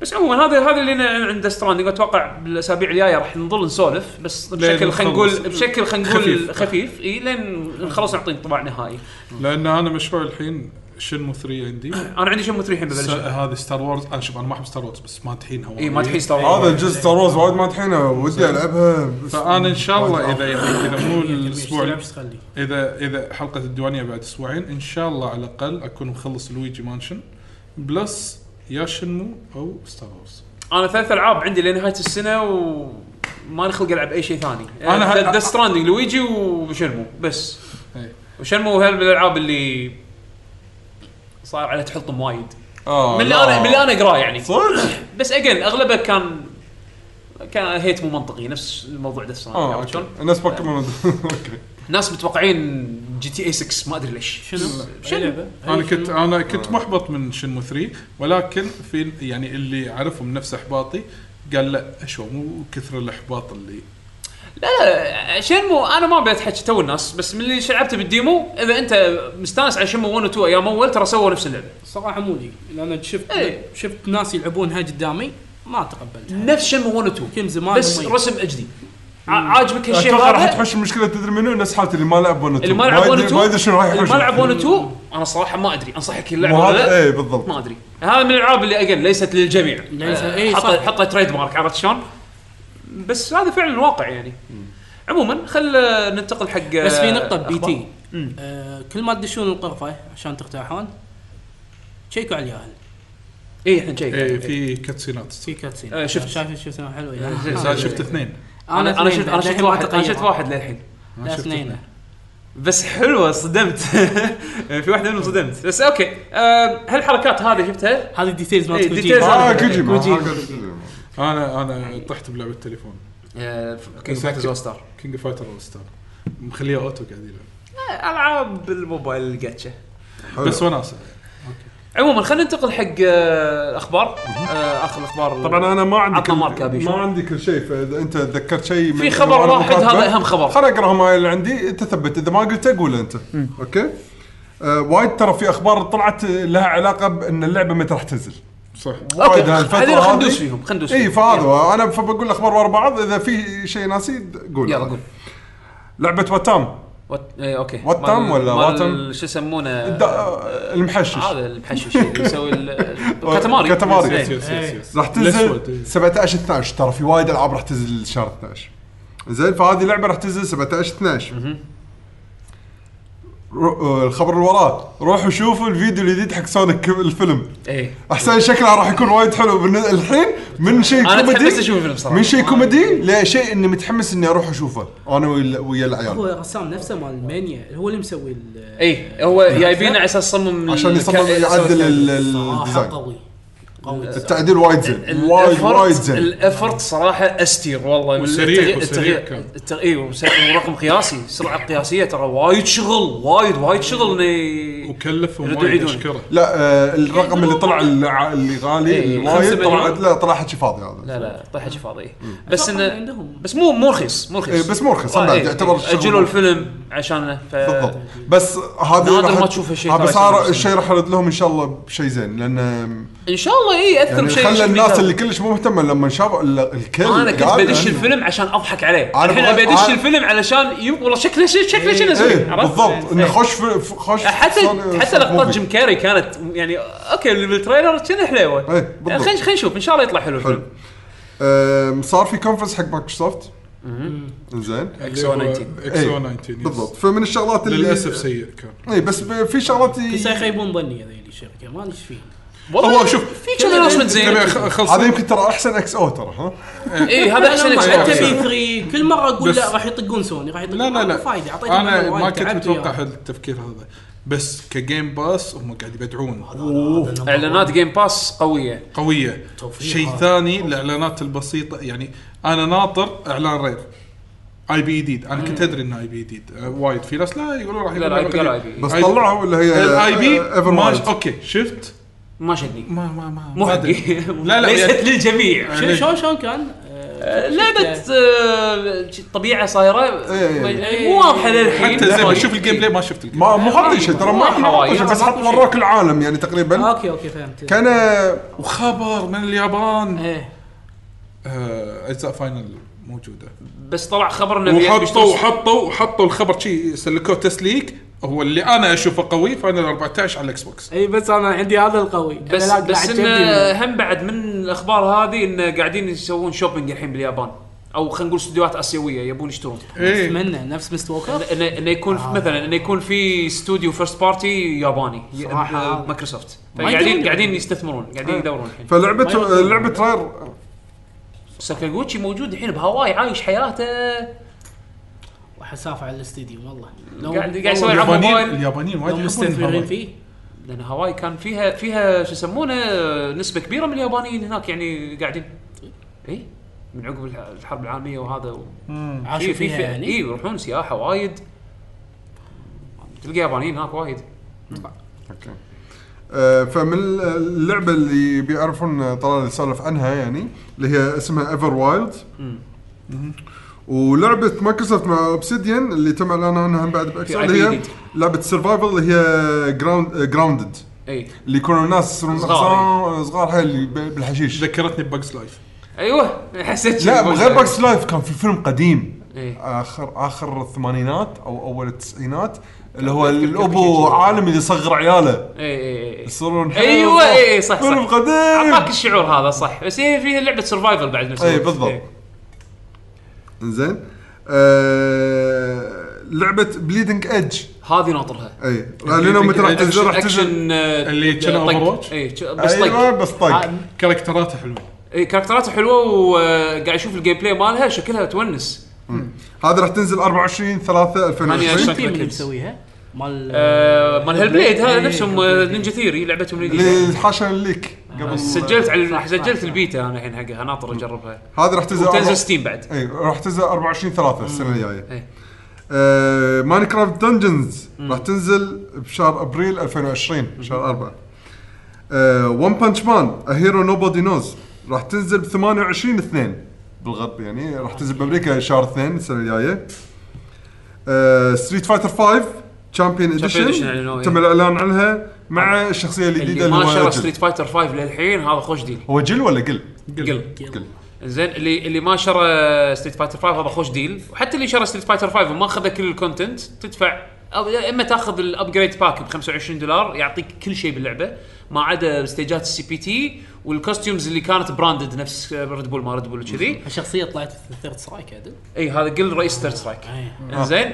S1: بس عموما هذا هذا اللي أنا عند ستراندنج اتوقع بالاسابيع الجايه راح نظل نسولف بس بشكل
S2: لين
S1: خلينا نقول
S2: نخلص.
S1: بشكل خلينا نقول
S2: خفيف.
S1: خفيف اي لين نخلص نعطي انطباع نهائي
S2: لان انا مشروع الحين شنمو 3 عندي
S1: انا عندي شيء متريح
S2: س-
S1: ببلش
S2: هذه ستار وورز انا شوف انا ما احب ستار وورز بس ما تحينها
S1: اي ما تحيي ستار
S3: هذا الجزء ستار وورز وايد ما طحينه ودي العبها بس-
S2: فانا ان شاء الله اذا يعني اذا مو الاسبوع
S4: الاسبوع
S2: اللي-
S4: تخلي
S2: اذا اذا حلقه الديوانيه بعد اسبوعين ان شاء الله على الاقل اكون مخلص لويجي مانشن بلس يا شنمو او ستار وورز
S1: انا ثلاث العاب عندي لنهايه السنه وما خلق العب اي شيء ثاني آه،
S2: أنا
S1: انا
S2: ه-
S1: ذا ستراندنج لويجي وشنمو بس
S2: إيه.
S1: وشنمو هل من الالعاب اللي صار على تحطم وايد
S3: آه،
S1: من اللي
S3: لا.
S1: انا من اللي انا اقراه يعني
S3: صدق؟
S1: بس اجين اغلبه كان كان هيت مو منطقي نفس الموضوع ذا
S3: اه
S1: ستراندنج عرفت
S3: اوكي
S1: شلون؟
S3: الناس بوكيمون اوكي
S1: ناس متوقعين جي تي اي 6 ما ادري ليش
S4: شنو؟
S1: شنو؟
S2: انا كنت انا كنت محبط من شنمو 3 ولكن في يعني اللي عرفهم نفس احباطي قال لا اشوى مو كثر الاحباط اللي
S1: لا شنمو انا ما بتحكي تو الناس بس من اللي لعبته بالديمو اذا انت مستانس على شنمو 1 و 2 ايام اول ترى سووا نفس اللعبه
S4: صراحه مو لي لان شفت
S1: إيه. نعم.
S4: شفت ناس يلعبونها قدامي ما تقبلتها
S1: نفس شنمو 1 و 2
S4: يمكن زمان
S1: بس
S4: مميز.
S1: رسم اجدي ع- عاجبك هالشيء
S3: اتوقع راح
S1: هذا
S3: تحوش المشكله تدري منو الناس حالتي اللي ما لعب 1 و 2
S1: اللي ما لعب 1 و 2
S3: ما يدري شنو راح
S1: اللي
S3: يحوش
S1: ما لعب 1 و 2 انا صراحه ما ادري انصحك يلعب
S3: مو
S1: ولا
S3: هذا إيه.
S1: لا
S3: اي بالضبط
S1: ما ادري هذا من الالعاب اللي اجل ليست للجميع
S4: ليس-
S1: آه،
S4: إيه،
S1: حط
S4: صح.
S1: حط تريد مارك عرفت شلون؟ بس هذا فعلا واقع يعني عموما خل آه، ننتقل حق آه،
S4: بس في نقطه بي
S1: أخبار.
S4: تي آه، كل ما تدشون الغرفه عشان ترتاحون تشيكوا على الياهل
S1: اي احنا إيه، جاي
S2: اي في كاتسينات
S4: في كاتسين
S1: آه، شفت.
S4: شايف شفت حلوه
S1: آه،
S2: بس
S4: يعني.
S2: انا شفت اثنين
S1: انا انا
S4: اثنين
S1: شفت
S4: بعد،
S1: انا شفت
S4: للحين ما
S1: واحد انا شفت
S4: تقيمها.
S1: واحد للحين
S4: لا، اثنين
S1: بس حلوه صدمت يعني في واحده منهم صدمت بس اوكي آه، هالحركات هذه شفتها
S4: هذه الديتيلز ما
S1: إيه،
S4: تكون
S1: ديتيلز.
S4: جيبها.
S3: اه
S1: هذا
S3: كوجيما
S1: كوجيما.
S3: آه، كوجيما.
S2: انا انا طحت بلعبه التليفون
S1: كينج فايترز اول ستار
S2: كينج فايتر اول ستار مخليه اوتو قاعد يلعب
S1: العاب الموبايل الجاتشا
S3: حلو.
S2: بس وناسه
S1: عموما خلينا ننتقل حق آه، الاخبار آه، اخر الاخبار
S3: طبعا انا ما عندي
S1: عطنا
S3: كل-
S1: ماركة أبي
S3: ما
S1: شو.
S3: عندي كل شيء فاذا انت تذكرت شيء من-
S1: في خبر
S3: وأنا
S1: واحد
S3: مكاتبة،
S1: هذا أهم خبر.
S3: خليني اقرا هم اللي عندي انت ثبت اذا ما قلت قول انت اوكي آه وايد ترى في اخبار طلعت لها علاقه بان اللعبه متى راح تنزل
S2: صح
S1: اوكي
S3: وايد هالفترة
S1: خلينا
S3: هذه.
S1: خلينا ندوس فيهم خلينا ندوس
S3: اي
S1: فيهم. إيه، يلا.
S3: إيه، فهذا انا بقول الاخبار ورا بعض اذا في شيء ناسي د- قول
S1: يلا قول
S3: لعبه وتام
S1: وات- إيه، اوكي
S3: واتم
S1: مال-
S3: ولا
S1: مال
S3: واتم؟
S1: شو يسمونه
S3: الد- آه، المحشش
S1: هذا المحشش اللي يسوي ال- الكاتاماري
S3: كاتاماري.
S1: إيه.
S2: يس يس يس يس
S3: راح
S2: الأسود، إيه.
S3: تنزل 17 12 ترى في وايد العاب راح تنزل شهر 12 زين فهذه لعبه راح تنزل 17 12 رو- آه، الخبر اللي وراه روحوا شوفوا الفيديو الجديد حق سونيك الفيلم
S1: ايه
S3: احسن شكلها راح يكون وايد حلو بالن- الحين من شيء
S1: انا متحمس
S3: كوميدي
S1: اشوف الفيلم صراحه
S3: من شيء كوميدي لشيء اني متحمس اني اروح اشوفه انا ويا- ويا
S4: هو
S3: العيال
S4: رسام نفسه مال مانيا هو اللي مسوي ال-
S1: اي إيه. هو جايبينه على اساس صمم
S3: عشان
S1: الك-
S3: يصمم
S1: يسوي
S3: يعدل
S1: الكلام.
S3: ال-
S4: صراحه آه،
S3: الديزاين
S4: قوي قوي
S3: التعديل وايد زين وايد
S1: الأفورت-
S3: وايد زين
S1: الافورت صراحه استير والله
S2: وسريع-
S1: التغيير-
S2: وسريع
S1: التغيير-
S2: كان.
S1: التغ- اي وس- ورقم قياسي سرعه قياسيه ترى وايد شغل وايد وايد شغل اني
S2: وكلفهم
S1: يردوا
S2: وايد
S1: يعيدون.
S2: اشكره
S3: لا آه، الرقم اللي طلع الع- اللي غالي
S1: إيه،
S3: الوايد
S1: خمسة
S3: طلع
S1: مليون.
S3: لا طلع حكي فاضي هذا
S1: لا لا طيحه شي فاضي بس
S4: أتوقع إن
S1: انه
S4: عندهم
S1: بس مو مو رخيص مو رخيص
S3: إيه، بس مو رخيص، هم بعد يعتبر شغل
S1: اجلوا
S3: مو-
S1: الفيلم عشانه ف...
S3: بالضبط بس هذا
S1: نادر
S3: راح-
S1: ما تشوف هالشيء
S3: آه،
S1: ترى
S3: بس
S1: يصير
S3: هذا
S1: بالسينما.
S3: الشيء راح يرد لهم ان شاء الله بشيء زين لان
S1: ان شاء الله اي اثر
S3: يعني
S1: بشيء
S3: خلى
S1: شيء
S3: الناس
S1: بالدار.
S3: اللي كلش مو مهتمه لما شافوا ال- الكل يعني.
S1: انا كنت
S3: قال
S1: بدش
S3: إن-
S1: الفيلم عشان اضحك عليه
S3: أنا
S1: الحين
S3: بغيت-
S1: ابي ادش
S3: أنا-
S1: الفيلم علشان يب- والله شكله شيء شكله شيء
S3: ايه
S1: نزل عرفت؟
S3: بالضبط انه
S1: إيه.
S3: خوش في ف- خوش في
S1: حتى
S3: صار-
S1: حتى
S3: صار
S1: لقطات
S3: موفي.
S1: جيم كاري كانت يعني اوكي اللي بالتريلر كان حليوه
S3: إيه،
S1: يعني
S3: بالضبط.
S1: خلينا خلينا نشوف ان شاء الله يطلع حلو
S3: حلو
S1: الفيلم
S3: آم، صار في كونفرنس حق مايكروسوفت زين
S1: XO 19.
S2: اكسو 19 يس.
S3: إيه، بالضبط فمن الشغلات اللي
S2: للاسف سيء كان
S3: اي إيه، بس ب- في شغلات ي-
S4: بس يخيبون ظني هذيل الشركه ما ادري ايش فيهم
S1: والله
S2: هو شوف
S1: في كم اناونسمنت زين
S2: تبي أخ- خلص
S3: هذا يمكن ترى احسن اكس او ترى ها
S1: اي هذا احسن
S4: أنا
S1: إكس
S4: حتى
S1: بوكس.
S4: بي 3 كل مره اقول
S2: بس-
S4: لا راح يطقون سوني راح يطقون
S2: لا لا
S4: ما
S2: لا
S4: فايده اعطيتهم
S2: انا
S4: مرة وايد،
S2: ما كنت
S4: تعبت
S2: متوقع
S4: وياهم.
S2: هالتفكير هذا بس كجيم باس هم قاعد يبدعون
S1: اعلانات جيم باس قويه
S2: قويه
S4: توفير
S2: شيء
S4: هذا.
S2: ثاني الاعلانات البسيطه يعني انا ناطر اعلان رير اي بي جديد انا كنت ادري انه اي بي جديد آه، وايد في ناس لا يقولون راح
S1: لا، لا، IB لا، IB.
S3: بس طلعوا اللي هي
S2: الاي بي
S3: ايفر
S2: اوكي شفت
S1: ما شدني
S2: ما ما ما
S1: مو
S2: ما
S1: حقي
S2: أدري. لا لا
S1: ليست
S2: يعني- إيه.
S1: للجميع
S4: شو- شلون شلون كان؟ آه،
S1: لعبه
S4: شفت-
S1: آه، طبيعه صايره
S3: إيه.
S1: ما- مو واضحه للحين
S2: حتى زي ما شوف الجيم بلاي ما شفت الجيم
S3: ما مو
S1: طيب.
S3: حاطين شيء ترى ما
S1: ما حوايج.
S3: حاطين شيء، بس حط وراك العالم يعني تقريبا
S4: اوكي اوكي آه، فهمت
S3: كان
S2: وخبر من اليابان
S4: ايه
S2: آه، اجزاء فاينل موجوده
S1: بس طلع خبر انه بي- بيشتروا-
S2: وحطوا حطوا حطوا الخبر شي سلكوه تسليك هو اللي انا اشوفه قوي فاينل 14 على الاكس بوكس
S4: اي إيه، بس انا عندي هذا القوي
S1: بس
S4: أنا لا-
S1: بس
S4: قاعد
S1: انه
S4: جنبي.
S1: هم بعد من الاخبار هذه انه قاعدين يسوون شوبينج الحين باليابان او خلينا نقول استديوهات اسيويه يبون يشترون
S2: ايه
S4: اتمنى نفس مست ووكر
S1: إنه- انه إنه يكون
S4: آه.
S1: في مثلا انه يكون في استوديو فيرست بارتي ياباني ي-
S4: صراحة
S1: آه،
S4: هذا.
S1: مايكروسوفت
S4: ما
S1: قاعدين
S4: يدرون إيه.
S1: قاعدين
S4: يبنون.
S1: يستثمرون قاعدين يدورون الحين
S3: فلعبه لعبه رير
S1: ساكاغوتشي موجود الحين بهاواي عايش حياته
S4: وحسافه على الاستديو والله
S1: قاعد- قاعد يسوي
S4: لو-
S1: يلعب
S2: اليابانيين
S1: موبايل.
S2: اليابانيين وايد إيه.
S4: لو مستثمرين
S2: يحبون
S4: فيه
S1: لان هاواي كان فيها فيها شو يسمونه نسبه كبيره من اليابانيين هناك يعني قاعدين اي من عقب الح- الحرب العالميه وهذا و...
S4: عاشوا فيها يعني
S1: اي إيه، يروحون سياحه وايد تلقى يابانيين هناك وايد
S3: اوكي آه، فمن ال- اللعبه اللي بيعرفون طلال يسولف عنها يعني اللي هي اسمها ايفر وايلد ولعبه مايكروسوفت مع اوبسيديان اللي تم اعلان عنها هم بعد باكس
S1: في
S3: اللي
S1: IP
S3: هي
S1: جديد.
S3: لعبه سرفايفل اللي هي جراوند جراوندد
S1: اي
S3: اللي يكونوا الناس يصيرون
S1: صغار.
S3: أغصان- صغار حيل اللي ب- بالحشيش
S2: ذكرتني ببجز لايف
S1: ايوه حسيت
S3: لا
S1: شي.
S3: غير باكس لايف كان في فيلم قديم
S1: إيه.
S3: اخر اخر الثمانينات او اول التسعينات اللي هو الابو عالم اللي يصغر عياله
S1: اي اي اي
S3: يصيرون حلو.
S1: ايوه اي اي صح
S3: فيلم
S1: صح اعطاك
S3: قديم
S1: الشعور هذا صح بس هي فيها لعبه سرفايفل بعد نفس
S3: اي
S1: الوقت.
S3: بالضبط
S1: إيه.
S3: زين آه لعبه بليدنج ايدج
S1: هذه ناطرها
S3: اي لانه متى راح تنزل راح تنزل
S1: اكشن آه،
S2: اللي كان
S1: طق.
S2: Overwatch؟
S1: اي ش- بس
S3: ايوه
S1: طق
S3: بس طق
S1: آه،
S2: كاركتراته حلوه
S1: اي كاركتراته آه، حلوه وقاعد اشوف الجيم بلاي مالها شكلها تونس
S3: هذه راح تنزل 24 3
S1: 28.
S2: إيه.
S3: 2020
S4: التيم اللي
S1: شكلك.
S4: مسويها مال
S1: آه، مال هيل بليد هذا
S4: إيه،
S1: نفسهم
S4: Hellblade.
S1: آه، نينجا ثيري لعبتهم الجديده
S3: الحاشا الليك قبل
S1: سجلت على
S4: صح،
S1: سجلت
S4: صح.
S1: البيتا انا الحين حقها ناطر اجربها
S3: هذه راح تنزل أربعة-
S1: وتنزل ستيم بعد
S3: اي إيه، راح تنزل 24 3 السنه
S1: إيه.
S3: الجايه آه، ماينكرافت دنجنز راح تنزل بشهر ابريل 2020 شهر آه، 4 ون بانش مان ا هيرو نوبودي نوز راح تنزل ب 28 2 بالغرب يعني راح تنزل بامريكا شهر 2 السنه الجايه ستريت فايتر 5 تشامبيون
S1: Edition
S3: اديشن
S1: أعلنوا،
S3: تم
S1: إيه.
S3: الإعلان عنها مع الشخصية الجديدة
S1: اللي
S3: اللي
S1: ما
S3: هو
S1: شرى
S3: جل.
S1: ستريت فايتر 5 للحين هذا خوش ديل
S3: هو جل ولا قل؟
S1: قل
S4: يلا.
S1: زين اللي اللي ما شرى ستريت فايتر 5 هذا خوش ديل وحتى اللي شرى ستريت فايتر 5 وما اخذ كل الكونتنت تدفع أو يا اما تاخذ الابجريد باك ب 25 دولار يعطيك كل شيء باللعبه ما عدا ستيجات السي بي تي والكوستيومز اللي كانت براندد نفس ريد بول ما ريد بول وكذي
S4: الشخصية طلعت في ثيرد سترايك عدل
S1: اي هذا قل رئيس ثيرد سترايك
S2: إيه.
S4: آه.
S1: زين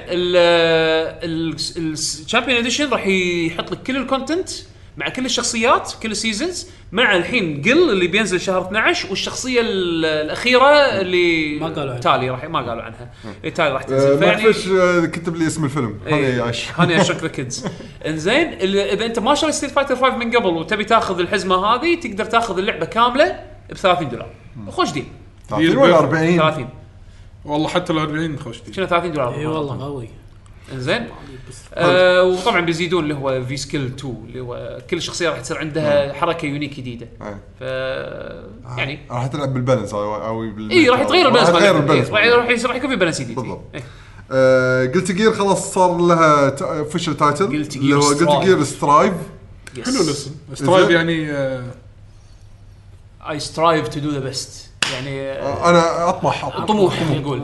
S1: الشامبيون اديشن راح يحط لك كل الكونتنت مع كل الشخصيات كل السيزونز مع الحين قل اللي بينزل شهر 12 والشخصيه ال- الاخيره اللي
S4: ما قالوا عنها.
S1: تالي راح ما قالوا عنها التالي راح
S3: آه،
S1: تنزل
S3: ما
S1: فيعني إيه.
S3: أعرف آه كتب لي اسم الفيلم هذا يعيش
S1: هاني اشك كيدز انزين ال- اذا انت ما شريت ستريت فايتر 5 من قبل وتبي تاخذ الحزمه هذه تقدر تاخذ اللعبه كامله ب 30 دولار خوش ديل
S3: 30 ولا 40
S1: 30
S2: والله حتى ال 40 خوش دي
S1: شنو 30 دولار
S4: اي إيه، والله قوي
S1: انزين آه وطبعا بيزيدون اللي هو في سكيل 2 اللي هو كل شخصيه راح تصير عندها حركه يونيك جديده
S3: أي.
S1: ف يعني
S3: آه. راح تلعب بالبالانس هذا او بال-
S1: اي إيه، راح يتغير البالانس
S3: راح يتغير
S1: مالها.
S3: البالانس
S1: إيه، راح راح راح يكون في بالانس جديد
S3: بالضبط.
S1: إيه.
S3: آه، قلت جير خلاص صار لها اوفشل تايتل
S1: Guilty Gear
S3: اللي هو قلت
S1: Strive.
S3: جير سترايف
S1: Yes.
S2: حلو الاسم سترايب يعني آه،
S1: I strive to do the best يعني آه،
S3: انا اطمح اطمح
S4: إيه،
S1: طموح نقول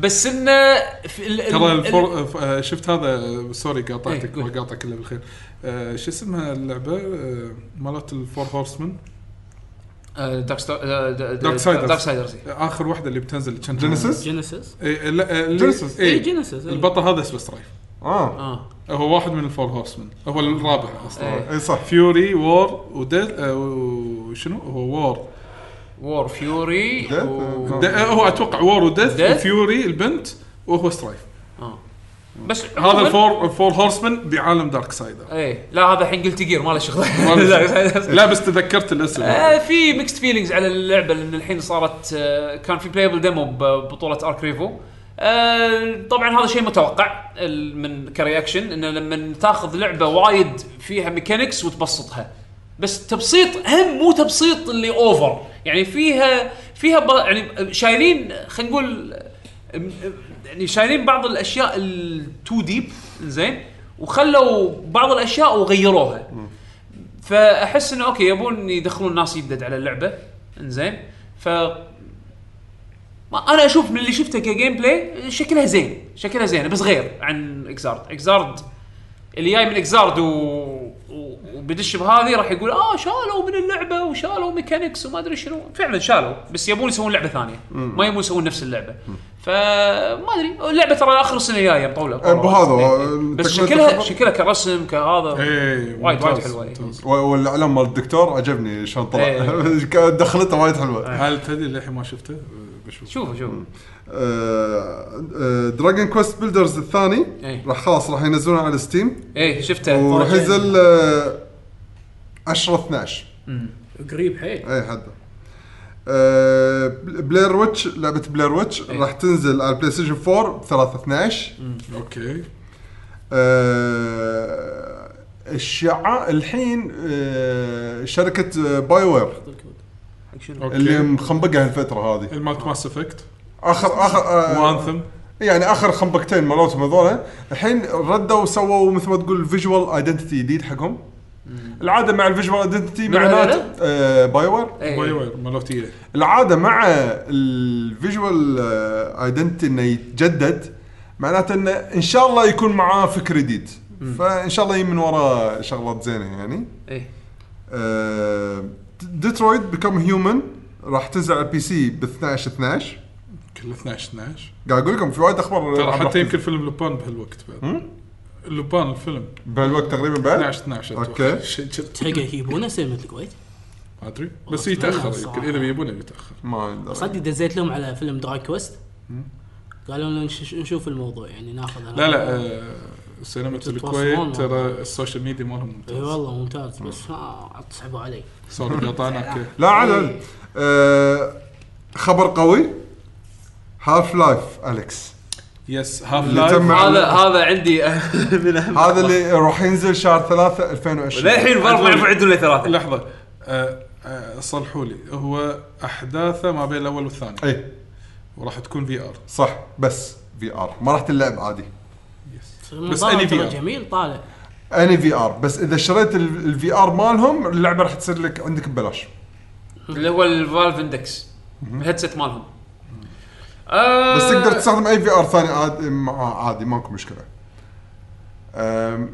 S1: بس انه في ال- ال-
S2: ترى
S1: ال-
S2: الفور ف- آه، شفت هذا آه، سوري
S1: إيه،
S2: قاطعتك
S1: قول.
S2: وقاطع كله بالخير آه، شو اسمها اللعبه آه، مالت الفور هورسمان
S1: آه، دارك ستار- آه، د- د-
S2: دارك سايدرز.
S1: دارك سايدرز إيه.
S2: آه، اخر واحده اللي بتنزل كان
S3: جينيسيس
S4: جينيسيس
S2: إيه، لا، آه، اللي-
S3: Genesis.
S2: إيه،
S4: إيه، Genesis، إيه.
S2: البطل هذا اسمه سترايب
S3: اه
S1: اه
S2: هو واحد من الفور هورسمان هو الرابع اصلا
S1: إيه.
S3: اي صح
S2: فيوري وور وديث آه، وشنو هو وور
S1: وور فيوري
S3: Death.
S1: و...
S3: Death.
S2: د- آه، هو اتوقع وور وديث
S1: Death.
S2: وفيوري البنت وهو سترايف
S1: آه. بس
S2: هذا الفور الفور هورسمان بعالم دارك سايدر
S1: ايه لا هذا الحين قلت جير ما له شغل
S2: لا بس تذكرت الاسم
S1: آه، في ميكست فيلينجز على اللعبه لان الحين صارت آه، كان في بلايبل ديمو ببطوله ارك ريفو آه، طبعا هذا شيء متوقع ال- من كرياكشن انه لما تاخذ لعبه وايد فيها ميكانكس وتبسطها بس تبسيط هم مو تبسيط اللي اوفر يعني فيها فيها ب... يعني شايلين خلينا نقول آه، يعني شايلين بعض الاشياء التو ديب زين وخلوا بعض الاشياء وغيروها فاحس انه اوكي يبون يدخلون ناس يدد على اللعبه انزين ف ما انا اشوف من اللي شفته كجيم بلاي شكلها زين شكلها زين بس غير عن اكزارد اكزارد اللي جاي من اكزارد و... و- وبدش بهذه راح يقول اه شالوا من اللعبه وشالوا ميكانكس وما ادري شنو فعلا شالوا بس يبون يسوون لعبه ثانيه ما يبون يسوون نفس اللعبه فما ادري اللعبه ترى اخر السنه الجايه مطوله
S3: أه، بهذا،
S1: إيه، إيه. بس
S3: تكملة
S1: شكلها
S3: الخبر.
S1: شكلها كرسم كهذا
S2: إيه،
S1: وايد-
S2: ممتاز،
S1: وايد حلوة، إيه.
S2: ممتاز.
S3: و- والاعلان مال الدكتور عجبني شلون طلع
S1: إيه.
S3: كانت دخلته وايد حلوه
S2: هل تدري للحين ما شفته؟ أه، بشوف
S1: شوفوا شوفوا
S3: آه، دراجون كوست بيلدرز الثاني
S1: إيه.
S3: راح خلاص راح ينزلونه على ستيم
S1: ايه شفته
S3: وراح ينزل آه، 10 12
S4: قريب حيل
S3: اي حد أه بلاير ويتش لعبه بلاير ويتش راح تنزل على البلاي ستيشن 4 ب 3 12
S2: اوكي
S3: أه الشع الحين أه شركه آه، باي وير اللي
S2: اوكي
S3: مخنبقه هالفتره هذه
S2: المالت ماس افكت
S3: اخر اخر
S1: آه.
S3: أه
S2: وانثم
S3: يعني اخر خنبقتين مالتهم هذول الحين ردوا وسووا مثل ما تقول فيجوال ايدنتيتي جديد حقهم العاده مع الفيجوال ايدنتيتي
S1: من
S3: معناته
S1: هذول؟
S3: أه باي وير
S2: باي
S1: ايه
S2: وير مالوتيه
S3: العاده مع الفيجوال ايدنتي انه يتجدد معناته انه ان شاء الله يكون معاه فكر جديد فان شاء الله يجي من وراه شغلات زينه يعني آه،
S1: ايه
S3: ديترويد بيكم هيومن راح تنزل على البي سي ب 12 12
S2: كل 12 12
S3: قاعد اقول لكم في وايد اخبار
S2: ترى
S1: آه،
S3: راح
S2: حتى
S3: تنزل.
S2: يمكن فيلم لبان بهالوقت بعد لبان الفيلم
S3: بهالوقت تقريبا بعد
S2: 12 12
S3: أوكي.
S2: شيء كذا.
S4: تلقى يجيبونه سينما الكويت
S2: ما ادري بس يتاخر يمكن اذا بيبونه بيتاخر
S3: ما أدري.
S4: صدق دزيت لهم على فيلم دراج كويست قالوا لنا نش- نشوف الموضوع يعني ناخذ
S2: لا لا آه، سينما
S4: تتواصلون
S2: الكويت ترى السوشيال ميديا مالهم
S4: اي
S1: أيوة.
S2: ممتاز
S4: والله ممتاز بس ها تسحبوا علي
S2: صار قطعنا
S3: لا على آه خبر قوي هاف لايف اليكس
S2: يس هاف
S3: اللي تم-
S2: لايف
S1: هذا هذا عندي من أهم
S3: هذا اللي راح ينزل شهر 3 2020
S1: للحين برضه ما يعرفون عندهم الا ثلاثه
S2: لحظه آه، آه، صلحوا لي هو احداثه ما بين الاول والثاني
S3: اي
S2: وراح تكون في ار
S3: إيه، صح بس في ار ما راح تلعب عادي
S2: بس
S4: الموضوع
S2: أني
S4: ترى
S2: VR.
S4: جميل طالع
S3: اني في ار بس اذا شريت الفي ار مالهم اللعبه راح تصير لك عندك ببلاش
S1: اللي هو الفالف اندكس الهيدسيت مالهم
S3: بس
S1: آه،
S3: تقدر تستخدم اي في ار ثاني عادي مع- عادي ماكو مشكله أم- أه،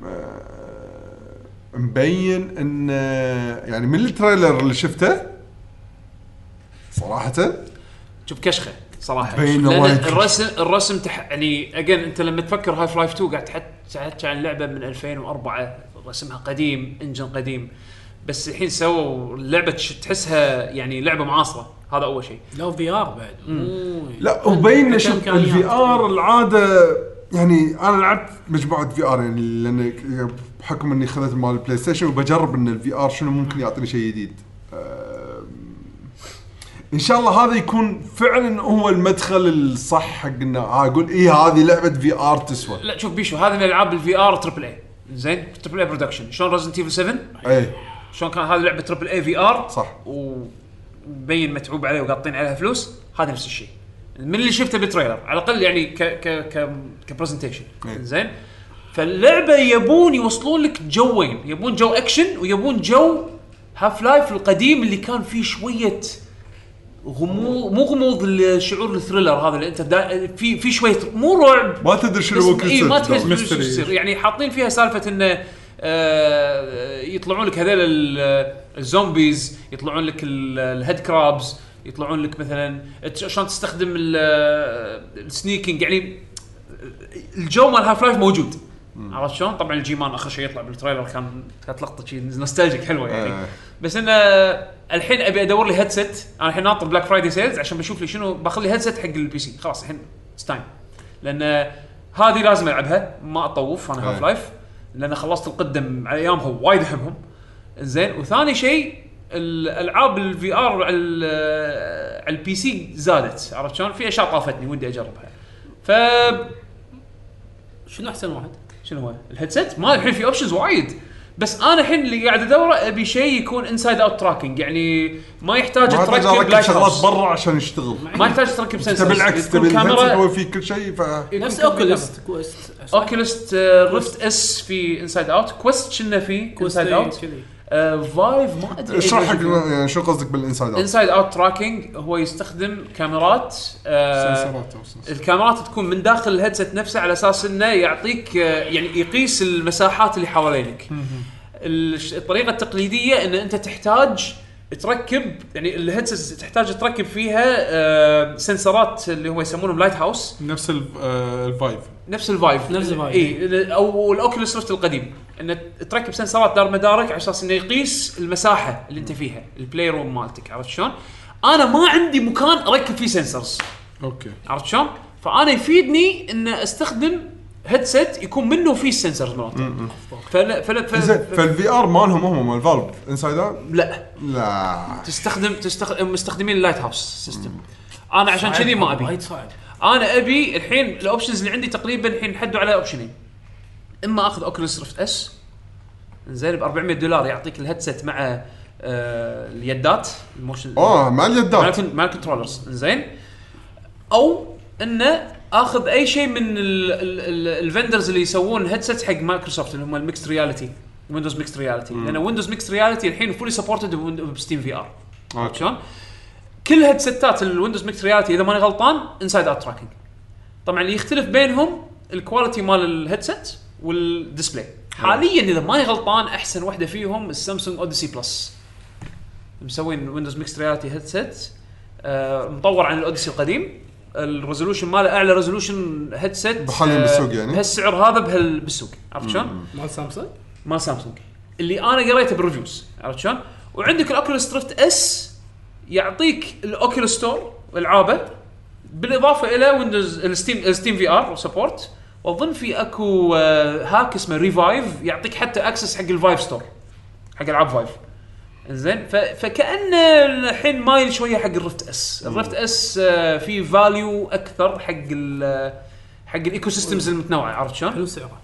S3: مبين ان يعني من التريلر اللي شفته صراحه
S1: آه، شوف كشخه صراحه
S3: بين
S1: لان
S3: وايد كشخة.
S1: الرسم الرسم تح... يعني اجين انت لما تفكر هايف لايف 2 قاعد تحت- تحكي عن لعبه من 2004 رسمها قديم انجن قديم بس الحين سووا اللعبه تش- تحسها يعني لعبه معاصره هذا اول شيء
S4: لو في ار بعد مو- يعني.
S3: لا وبين
S4: عنده
S3: شوف
S4: إمكانيات.
S3: الفي ار العاده يعني انا لعبت مجموعه في ار يعني لان بحكم اني خذت مال البلاي ستيشن وبجرب ان الفي ار شنو ممكن يعطيني شيء جديد. أم، ان شاء الله هذا يكون فعلا هو المدخل الصح حق انه آه، اقول اي هذه لعبه في ار تسوى.
S1: لا شوف بيشو هذه من العاب الفي ار تربل اي زين تربل اي برودكشن شلون ريزنت ايفل 7
S3: اي
S1: شلون كان هذه لعبه تربل اي في ار
S3: إيه، صح.
S1: ومبين متعوب عليه وقاطين عليها فلوس هذا نفس الشيء من اللي شفته بالتريلر على الاقل يعني ك ك ك كبرزنتيشن
S3: إيه.
S1: زين فاللعبه يبون يوصلون لك جوين يبون جو اكشن ويبون جو هاف لايف القديم اللي كان فيه شويه غموض مو غموض الشعور الثريلر هذا اللي انت دا في في شويه مو رعب
S3: ما تدري شنو
S1: بس-
S3: ممكن
S1: إيه ما
S3: يصير.
S1: تحس شو
S2: mystery.
S1: يصير يعني حاطين فيها سالفه انه آه، يطلعون لك هذول ال- آه، الزومبيز يطلعون لك ال- الهيد كرابز يطلعون لك مثلا تش- شلون تستخدم ال- السنيكينج يعني آه، الجو مال هاف لايف موجود عرفت شلون؟ طبعا الجيمان اخر شيء يطلع بالتريلر كان كانت لقطه شيء نوستالجيك حلوه يعني
S3: آه.
S1: بس انه الحين ابي ادور لي هيدسيت انا الحين ناطر بلاك فرايدي سيلز عشان بشوف لي شنو باخذ لي هيدسيت حق البي سي خلاص الحين اتس تايم لان هذه لازم العبها ما اطوف انا
S3: أي.
S1: هاف لايف لان خلصت القدم على ايامها وايد احبهم زين وثاني شيء الالعاب الفي ار على ال- على البي سي زادت عرفت شلون؟ في اشياء طافتني ودي اجربها ف
S4: شنو احسن واحد؟
S1: شنو هو الهيدسيت ما الحين في اوبشنز وايد بس انا الحين اللي قاعد ادوره ابي شيء يكون انسايد اوت تراكنج يعني ما يحتاج
S3: ما تقدر
S1: تركب
S3: اركب
S1: لايت
S3: شغلات
S1: هاوس.
S3: برا عشان يشتغل.
S1: ما يحتاج تركب
S3: تبي
S1: سنسر
S3: العكس تبي الهيدسيت هو في كل شيء ف
S1: إيه،
S4: نفس اوكلست كويست
S1: اوكيلست ريفت اس uh, في انسايد اوت كويست شنو في انسايد
S4: إيه، طيب،
S1: اوت فايف ما ادري
S3: اشرح حق
S1: إيه.
S3: يعني شو قصدك بالانسايد اوت.
S1: انسايد اوت تراكنج هو يستخدم كاميرات آه،
S2: سنسرات او سنسرات
S1: الكاميرات تكون من داخل الهيدسيت نفسه على اساس انه يعطيك آه، يعني يقيس المساحات اللي حوالينك. الش- الطريقه التقليديه ان انت تحتاج تركب يعني الهيدسيت تحتاج تركب فيها آه، سنسرات اللي هو يسمونهم لايت هاوس
S2: نفس ال- آه، الفايف
S1: نفس الفايف
S4: نفس الفايف.
S1: اي او الاوكيولوس ريفت القديم ان تركب سنسرات دار مدارك على اساس انه يقيس المساحه اللي انت فيها البلاي روم مالتك عرفت شلون؟ انا ما عندي مكان اركب فيه سنسرز
S2: اوكي
S1: عرفت شلون؟ فانا يفيدني ان استخدم هيدسيت يكون منه فيه السنسرز مالته فلا فلا
S3: زين
S1: فلا
S3: فالفي ار مالهم هم مال فالف انسايد اوت
S1: لا
S3: لا
S1: تستخدم تستخدم مستخدمين اللايت هاوس سيستم انا عشان كذي ما ابي
S4: وايد صعب
S1: انا ابي الحين الاوبشنز اللي عندي تقريبا الحين حدوا على اوبشنين اما اخذ اوكلس ريفت اس زين ب 400 دولار يعطيك الهيدسيت مع آه اليدات الموشن
S3: اوه مع اليدات
S1: مع مع الكنترولرز زين او انه اخذ اي شيء من الفندرز اللي يسوون هيدسيت حق مايكروسوفت اللي هم الميكس رياليتي ويندوز ميكس رياليتي لان ويندوز ميكس رياليتي الحين فولي سبورتد بستيم في ار عرفت شلون؟ كل هيدسيتات الويندوز ميكس رياليتي اذا ماني غلطان انسايد اوت تراكنج طبعا اللي يختلف بينهم الكواليتي مال الهيدسيت والديسبلاي حاليا اذا ماني غلطان احسن واحده فيهم السامسونج اوديسي بلس مسوين ويندوز ميكس رياليتي هيدسيت آه، مطور عن الاوديسي القديم الريزولوشن ماله اعلى ريزولوشن هيدسيت
S3: بحاليا بالسوق يعني؟
S1: آه، بهالسعر هذا بهال بالسوق عرفت شلون؟
S4: مال سامسونج
S1: مال سامسونج اللي انا قريته بالريفيوز عرفت شلون؟ وعندك الاوكيوليس دريفت اس يعطيك الاوكيوليس ستور العابه بالاضافه الى ويندوز الستيم الستيم في ار سبورت واظن في اكو آه، هاك اسمه ريفايف يعطيك حتى اكسس حق الفايف ستور حق العاب فايف زين ف... فكان الحين مايل شويه حق الرفت اس الرفت اس آه، في فاليو اكثر حق ال حق الايكو سيستمز المتنوعه عرفت شلون؟
S4: حلو سعره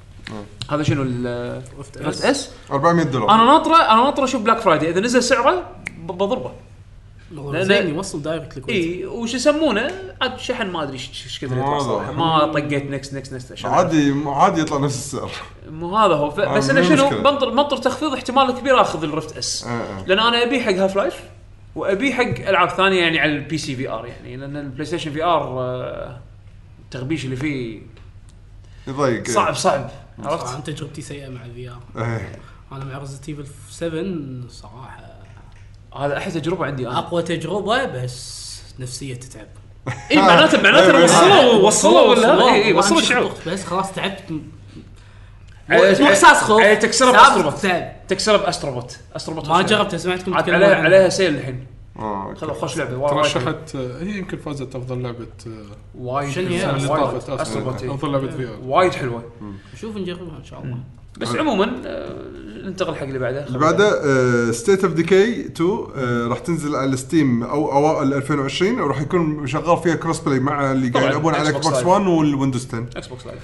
S1: هذا شنو ال- آه،
S4: عرفت
S1: الرفت
S4: أس.
S1: اس؟
S3: 400 دولار
S1: انا ناطره انا ناطره اشوف بلاك فرايدي اذا نزل سعره ب- بضربه
S4: هو
S1: لا-
S4: زين
S1: لا.
S4: يوصل دايركت الكويت
S1: اي وش يسمونه عاد شحن ما ادري ش- ايش كثر يطلع
S3: هذا.
S1: صراحه ما طقيت نكس نكس نكس عشان أعرف.
S3: عادي عادي يطلع نفس السعر
S1: مو هذا هو ف...
S3: آه،
S1: بس انا
S3: مو
S1: شنو
S3: مشكلة.
S1: بنطر بنطر تخفيض احتمال كبير اخذ الرفت اس
S3: آه، آه.
S1: لان انا ابي حق هاف لايف وابي حق العاب ثانيه يعني على البي سي في ار يعني لان البلاي ستيشن في ار آه، التغبيش اللي فيه
S3: يضيق
S1: صعب صعب
S4: عرفت
S1: عرفت؟
S4: انا تجربتي سيئه مع الفي ار
S3: إيه.
S4: انا مع ريزنت ايفل 7 صراحه
S1: هذا احد تجربه عندي انا
S4: اقوى تجربه بس نفسيه تتعب آه،
S1: اي معناته معناته
S3: إيه،
S1: وصلوا وصلوا ولا اي اي
S4: وأنا
S1: وصلوا
S4: مش
S1: الشعور
S4: ضغط بس خلاص تعبت م-
S1: على-
S4: مو احساس خوف
S1: على إيه، تكسره
S4: تعبت
S1: بأستروبوت.
S4: تعب
S1: تكسر باستروبوت استروبوت
S4: ما
S1: وش لعبة.
S4: جربت سمعتكم
S1: عاد
S4: تتكلمون
S1: عليها
S4: عنها.
S1: عليها سيل الحين
S3: آه، أوكي.
S1: خذ خوش لعبه وايد-
S2: ترشحت آه، هي يمكن فازت افضل لعبه آه،
S1: وايد
S4: شنو
S1: حلوة.
S4: هي؟
S2: اللي
S1: وايد-
S2: طافت اصلا
S1: أستروبوت، إي.
S2: افضل لعبه في ار
S1: وايد حلوه
S4: شوف نجربها ان شاء الله
S1: بس عموما آه، ننتقل حق اللي بعده
S3: اللي بعده آه، ستيت اوف ديكي 2 آه، راح تنزل على ستيم او اوائل 2020 وراح يكون شغال فيها كروس بلاي مع اللي
S1: طبعاً،
S3: قاعد يلعبون على
S1: Xbox
S3: اكس بوكس
S1: Live.
S3: 1 والويندوز 10
S1: اكس بوكس لايف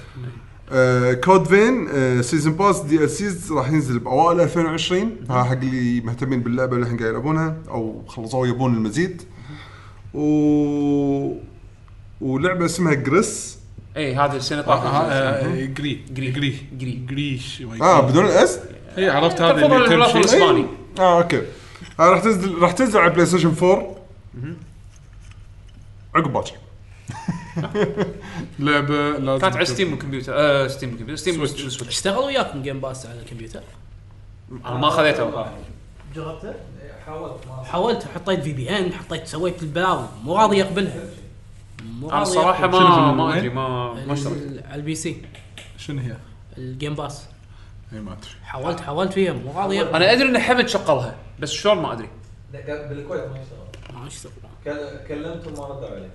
S3: آه، كود فين آه، سيزن باس دي ال سيز راح ينزل باوائل 2020 ها حق اللي مهتمين باللعبه اللي الحين قاعد يلعبونها او خلصوا يبون المزيد و ولعبه اسمها جريس
S1: اي هذا السنه
S2: آه، آه،
S1: إيه، طافت
S2: آه، جري
S1: جري.
S2: جري
S1: جري.
S2: جريش
S3: اه بدون الاس
S2: هي إيه، عرفت هذا
S1: تفضل
S2: اللي
S1: البلاطة
S2: تمشي
S1: الإسباني.
S2: إي.
S3: اه اوكي آه، راح تنزل راح تنزل على بلاي ستيشن 4 عقب باكر
S2: لعبه إيه، لازم
S1: كانت على
S2: تشوف.
S1: ستيم الكمبيوتر آه ستيم الكمبيوتر ستيم
S2: سويتش.
S1: سويتش
S4: اشتغل وياكم جيم باس على الكمبيوتر
S1: انا ما خذيتها
S4: جربته؟ حاولت حاولت حطيت في بي ان حطيت سويت البلاوي مو راضي يقبلها مو
S1: انا
S4: راضي
S1: الصراحه
S4: يقبل.
S1: ما ما
S2: شنو في الوين؟
S1: ادري ما ما اشتريت
S4: ال- على البي سي
S2: شنو هي؟
S4: الجيم باس
S1: إيه،
S2: اي ما ادري
S4: حاولت حاولت فيها مو راضي يقبل
S1: انا ادري ان حمد شغلها بس شلون ما ادري
S5: لا، بالكويت ما اشتغل
S4: ما اشتغل
S5: كل- كلمتهم ما ردوا عليه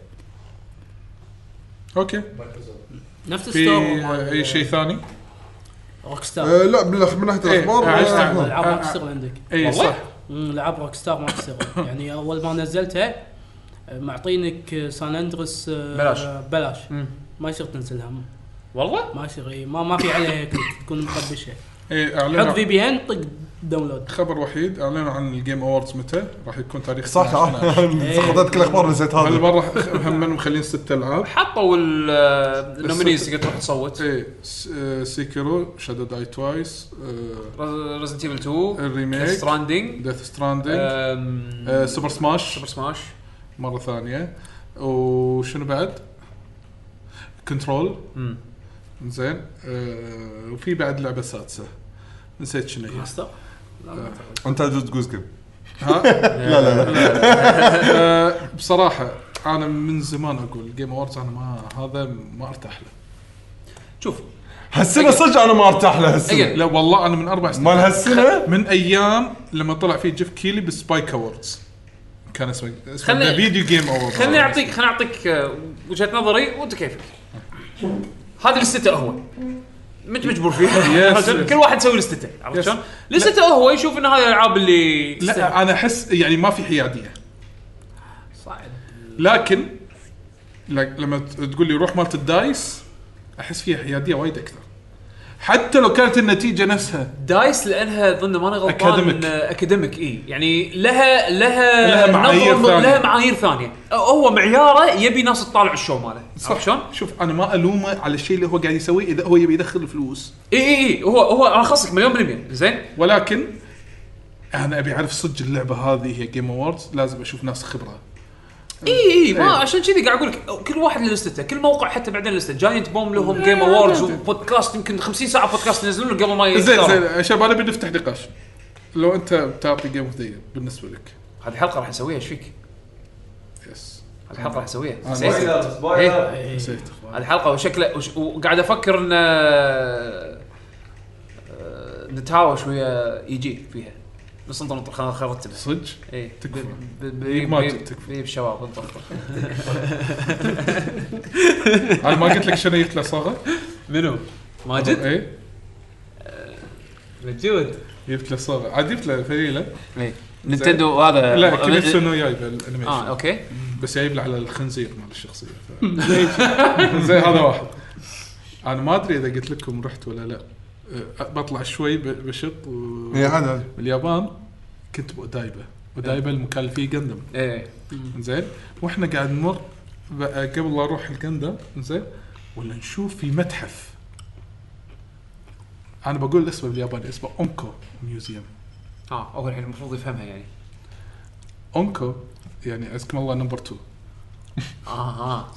S2: اوكي
S5: مايكروسوفت
S2: في
S4: نفس الستور
S2: آه، اي شيء ثاني؟
S4: روك
S3: آه
S1: أه،
S4: ستار
S3: لا بالأخ- من ناحيه
S2: إيه،
S3: الاخبار
S2: آه،
S3: آه،
S2: استعمل.
S4: العاب
S2: آه،
S4: روك
S2: آه.
S4: ستار عندك
S2: اي
S1: والله؟
S2: صح
S4: مم، العاب روك ستار ما تشتغل يعني اول ما نزلتها آه، معطينك آه، سان اندرس آه،
S1: بلاش.
S4: بلاش
S1: مم.
S4: ما يصير تنزلها م-
S1: والله
S4: ما يصير إي، ما ما في عليها كليك، تكون مخبشها
S2: اي
S4: حط في
S2: اعلنوا
S4: بي ان طق داونلود
S2: إيه، خبر وحيد اعلنوا عن الجيم اووردز متى راح يكون تاريخ
S3: صح
S2: 12.
S3: آه، سقطت كل الاخبار نسيت هذا
S2: هالمره خ- هم مخلين ست العاب
S1: حطوا آه، النومينيز تقدر تروح تصوت
S2: اي س- آه، سيكيرو شادو داي توايس
S1: ريزنت ايفل 2
S2: الريميك
S1: ستراندنج
S2: ديث ستراندنج
S1: um,
S2: سوبر سماش
S1: سوبر سماش
S2: مره ثانيه وشنو بعد؟ كنترول
S1: مم.
S2: زين آه، وفي بعد لعبه سادسه نسيت شنو هي
S4: ماستر
S3: انت جوز جوز كيم
S2: ها
S3: لا لا لا
S2: آه، بصراحه انا من زمان اقول جيم اووردز انا ما هذا ما ارتاح له
S1: شوف
S3: هالسنه صدق انا ما ارتاح لها هالسنه
S1: أجل.
S2: لا والله انا من اربع سنين
S3: مال هالسنه
S2: من ايام لما طلع فيه جيف كيلي بالسبايك اووردز كان اسمه
S1: خلنا-
S2: اسمه فيديو جيم اووردز
S1: خليني اعطيك خليني اعطيك آه، وجهه نظري وانت كيفك. هذه الاستته هو انت مجبور فيها
S2: Yes, yes.
S1: كل واحد يسوي الاستته عرفت
S2: Yes.
S1: شلون؟ الاستته هو يشوف ان هاي الالعاب اللي
S2: لا انا احس يعني ما في حياديه
S4: صعب
S2: لكن ل- لما ت- تقول لي روح مالت الدايس احس فيها حياديه وايد اكثر حتى لو كانت النتيجه نفسها
S1: دايس لانها ظن ماني غلطان
S2: Academic.
S1: اكاديميك اي يعني لها لها
S2: لها معايير
S1: نظرة-
S2: ثانية.
S1: لها معايير ثانيه هو معياره يبي ناس تطالع الشو ماله عرفت شلون؟
S2: شوف انا ما الومه على الشيء اللي هو قاعد يسويه اذا هو يبي يدخل فلوس
S1: اي اي اي هو هو انا خصك مليون بالمية زين
S2: ولكن انا ابي اعرف صدق اللعبه هذه هي جيم اووردز لازم اشوف ناس خبره
S1: اي اي ما
S2: إيه.
S1: عشان كذي قاعد اقول لك كل واحد له لستته كل موقع حتى بعدين لسته جاينت بوم لهم جيم اووردز وبودكاست يمكن 50 ساعه بودكاست ينزلون قبل ما
S2: زين
S1: يختارون.
S2: زين يا شباب انا بنفتح نقاش لو انت بتعطي جيم اوف بالنسبه لك
S1: هذه حلقه راح نسويها ايش فيك؟
S2: يس
S1: هذه الحلقه راح إيه. اسويها
S2: آه،
S1: نسيت.
S5: سبويلر سبويلر
S4: إيه.
S2: نسيت
S1: الحلقه وشكله وش- وقاعد افكر ان آه، آه، نتهاوش ويا يجي فيها بس انطر انطر خلنا إيه. خلنا نرتبها
S2: صدق
S1: اي
S2: تكفى. إيه، ما تكفى.
S1: تكفى بالشباب بالضبط
S2: انا ما قلت لك شنو يقتله صاغه؟
S7: منو؟ ماجد؟
S2: اي
S7: موجود
S2: إيه؟ جبت له صاغه عاد جبت له فريله
S1: اي نتندو هذا آه،
S2: لا كيميتسو نو يايب الانيميشن
S1: اه اوكي
S2: بس جايب له على الخنزير مال الشخصيه ف... زين هذا واحد انا ما ادري اذا قلت لكم رحت ولا لا أه، بطلع شوي ب- بشط و...
S3: اي عادي
S2: باليابان كنت بودايبه ودايبه المكان اللي فيه جندم
S1: ايه
S2: زين واحنا قاعد نمر بقى قبل لا اروح الجندم زين ولا نشوف في متحف انا بقول اسمه بالياباني اسمه اونكو ميوزيوم
S1: اه اول الحين المفروض يفهمها يعني
S2: اونكو يعني عزكم الله نمبر 2
S1: اها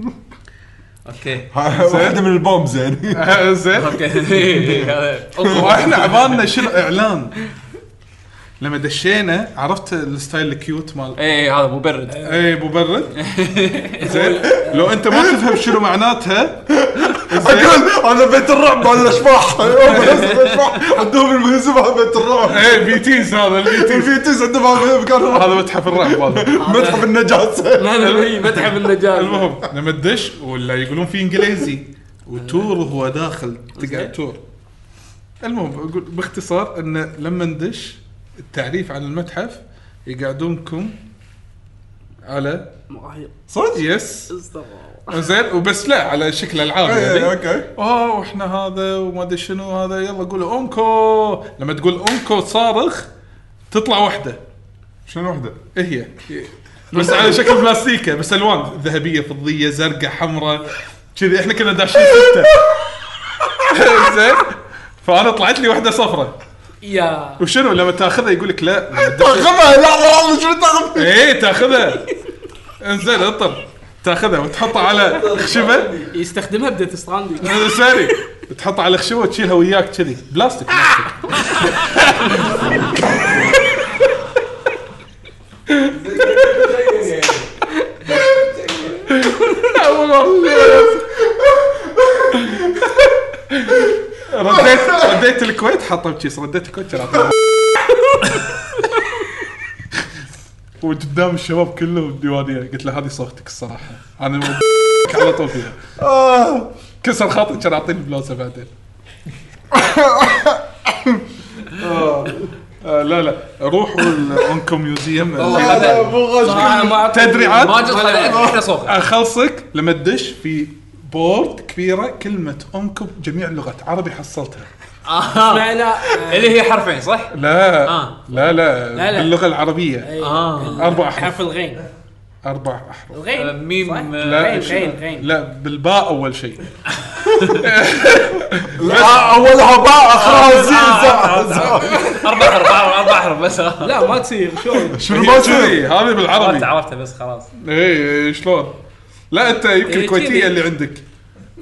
S1: اوكي
S3: واحده من البومز يعني
S2: زين
S1: اوكي
S2: واحنا عبالنا شنو اعلان لما دشينا عرفت الستايل الكيوت مال
S1: اي إيه، هذا مبرد
S2: اي مبرد زين لو انت ما تفهم شنو معناتها زين
S3: اقول هذا بيت الرعب مال الاشباح هم نفس الاشباح عندهم المهزم هذا بيت الرعب
S2: اي بيتيز إيه، هذا البيتيز
S3: الفيتس عندهم هذا مكان الرعب.
S2: هذا متحف الرعب هذا
S3: متحف النجاسه
S1: متحف النجاة
S2: المهم لما تدش نعم، ولا يقولون في انجليزي وتور وهو داخل تقعد تور المهم اقول باختصار ان لما ندش التعريف عن المتحف يقعدونكم على
S3: صدق؟
S2: يس زين وبس لا على شكل العاب
S3: إيه،
S2: يعني
S3: اوكي
S2: اوه احنا هذا وما ادري شنو هذا يلا قول اونكو لما تقول اونكو صارخ تطلع واحده
S3: شنو وحده؟
S2: إيه هي بس على شكل بلاستيكه بس الوان ذهبيه فضيه زرقاء حمراء كذي احنا كنا داشين سته زين فانا طلعت لي واحده صفرة
S4: يا
S2: وشنو لما تاخذها يقول لك لا لما تدش-
S3: تاخذها لحظه لحظه شنو تاخذ؟
S2: ايه تاخذها انزين اطر تاخذها وتحطها على خشبه
S4: يستخدمها بديت ستراندي
S2: ساري تحطها على خشبه وتشيلها وياك كذي بلاستيك بلاستيك اول مره رديت رديت الكويت حطه بكيس رديت الكويت كان عطاه. وقدام الشباب كله بالديوانيه قلت له هذه صوتك الصراحه انا على طول فيها
S3: آه.
S2: كسر خاطري كان اعطيني بلوسه بعدين آه لا لا روحوا الاونكو ميوزيوم
S3: هذا مو غش
S2: تدري
S1: ماجد
S2: عاد
S1: خلع احنا صوخه
S2: اخلصك لما تدش في بورد كبيره كلمه اونكو بجميع اللغات عربي حصلتها
S4: معنا
S1: اللي هي حرفين صح؟
S2: لا
S1: آه.
S2: لا لا
S4: لا.
S2: باللغه العربيه
S1: اه
S2: اربع
S4: حرف
S2: احرف
S4: إيه، الغين
S2: اربع احرف
S1: آه،
S4: الغين
S1: ميم
S4: صح؟
S1: آه،
S2: لا
S4: غين،
S2: إيش-
S4: غين، غين.
S2: لا بالباء اول شيء
S3: اولها باء اخرها آه،
S2: آه،
S3: زين
S1: اربع حرف أربع- اربع حرف بس آه.
S4: لا ما تصير شلون
S3: شنو ما تصير؟
S2: كذي، هذه بالعربي
S1: عرفت عرفت بس خلاص
S2: اي شلون؟ لا انت يمكن
S4: إيه،
S2: الكويتيه
S4: كذي.
S2: اللي عندك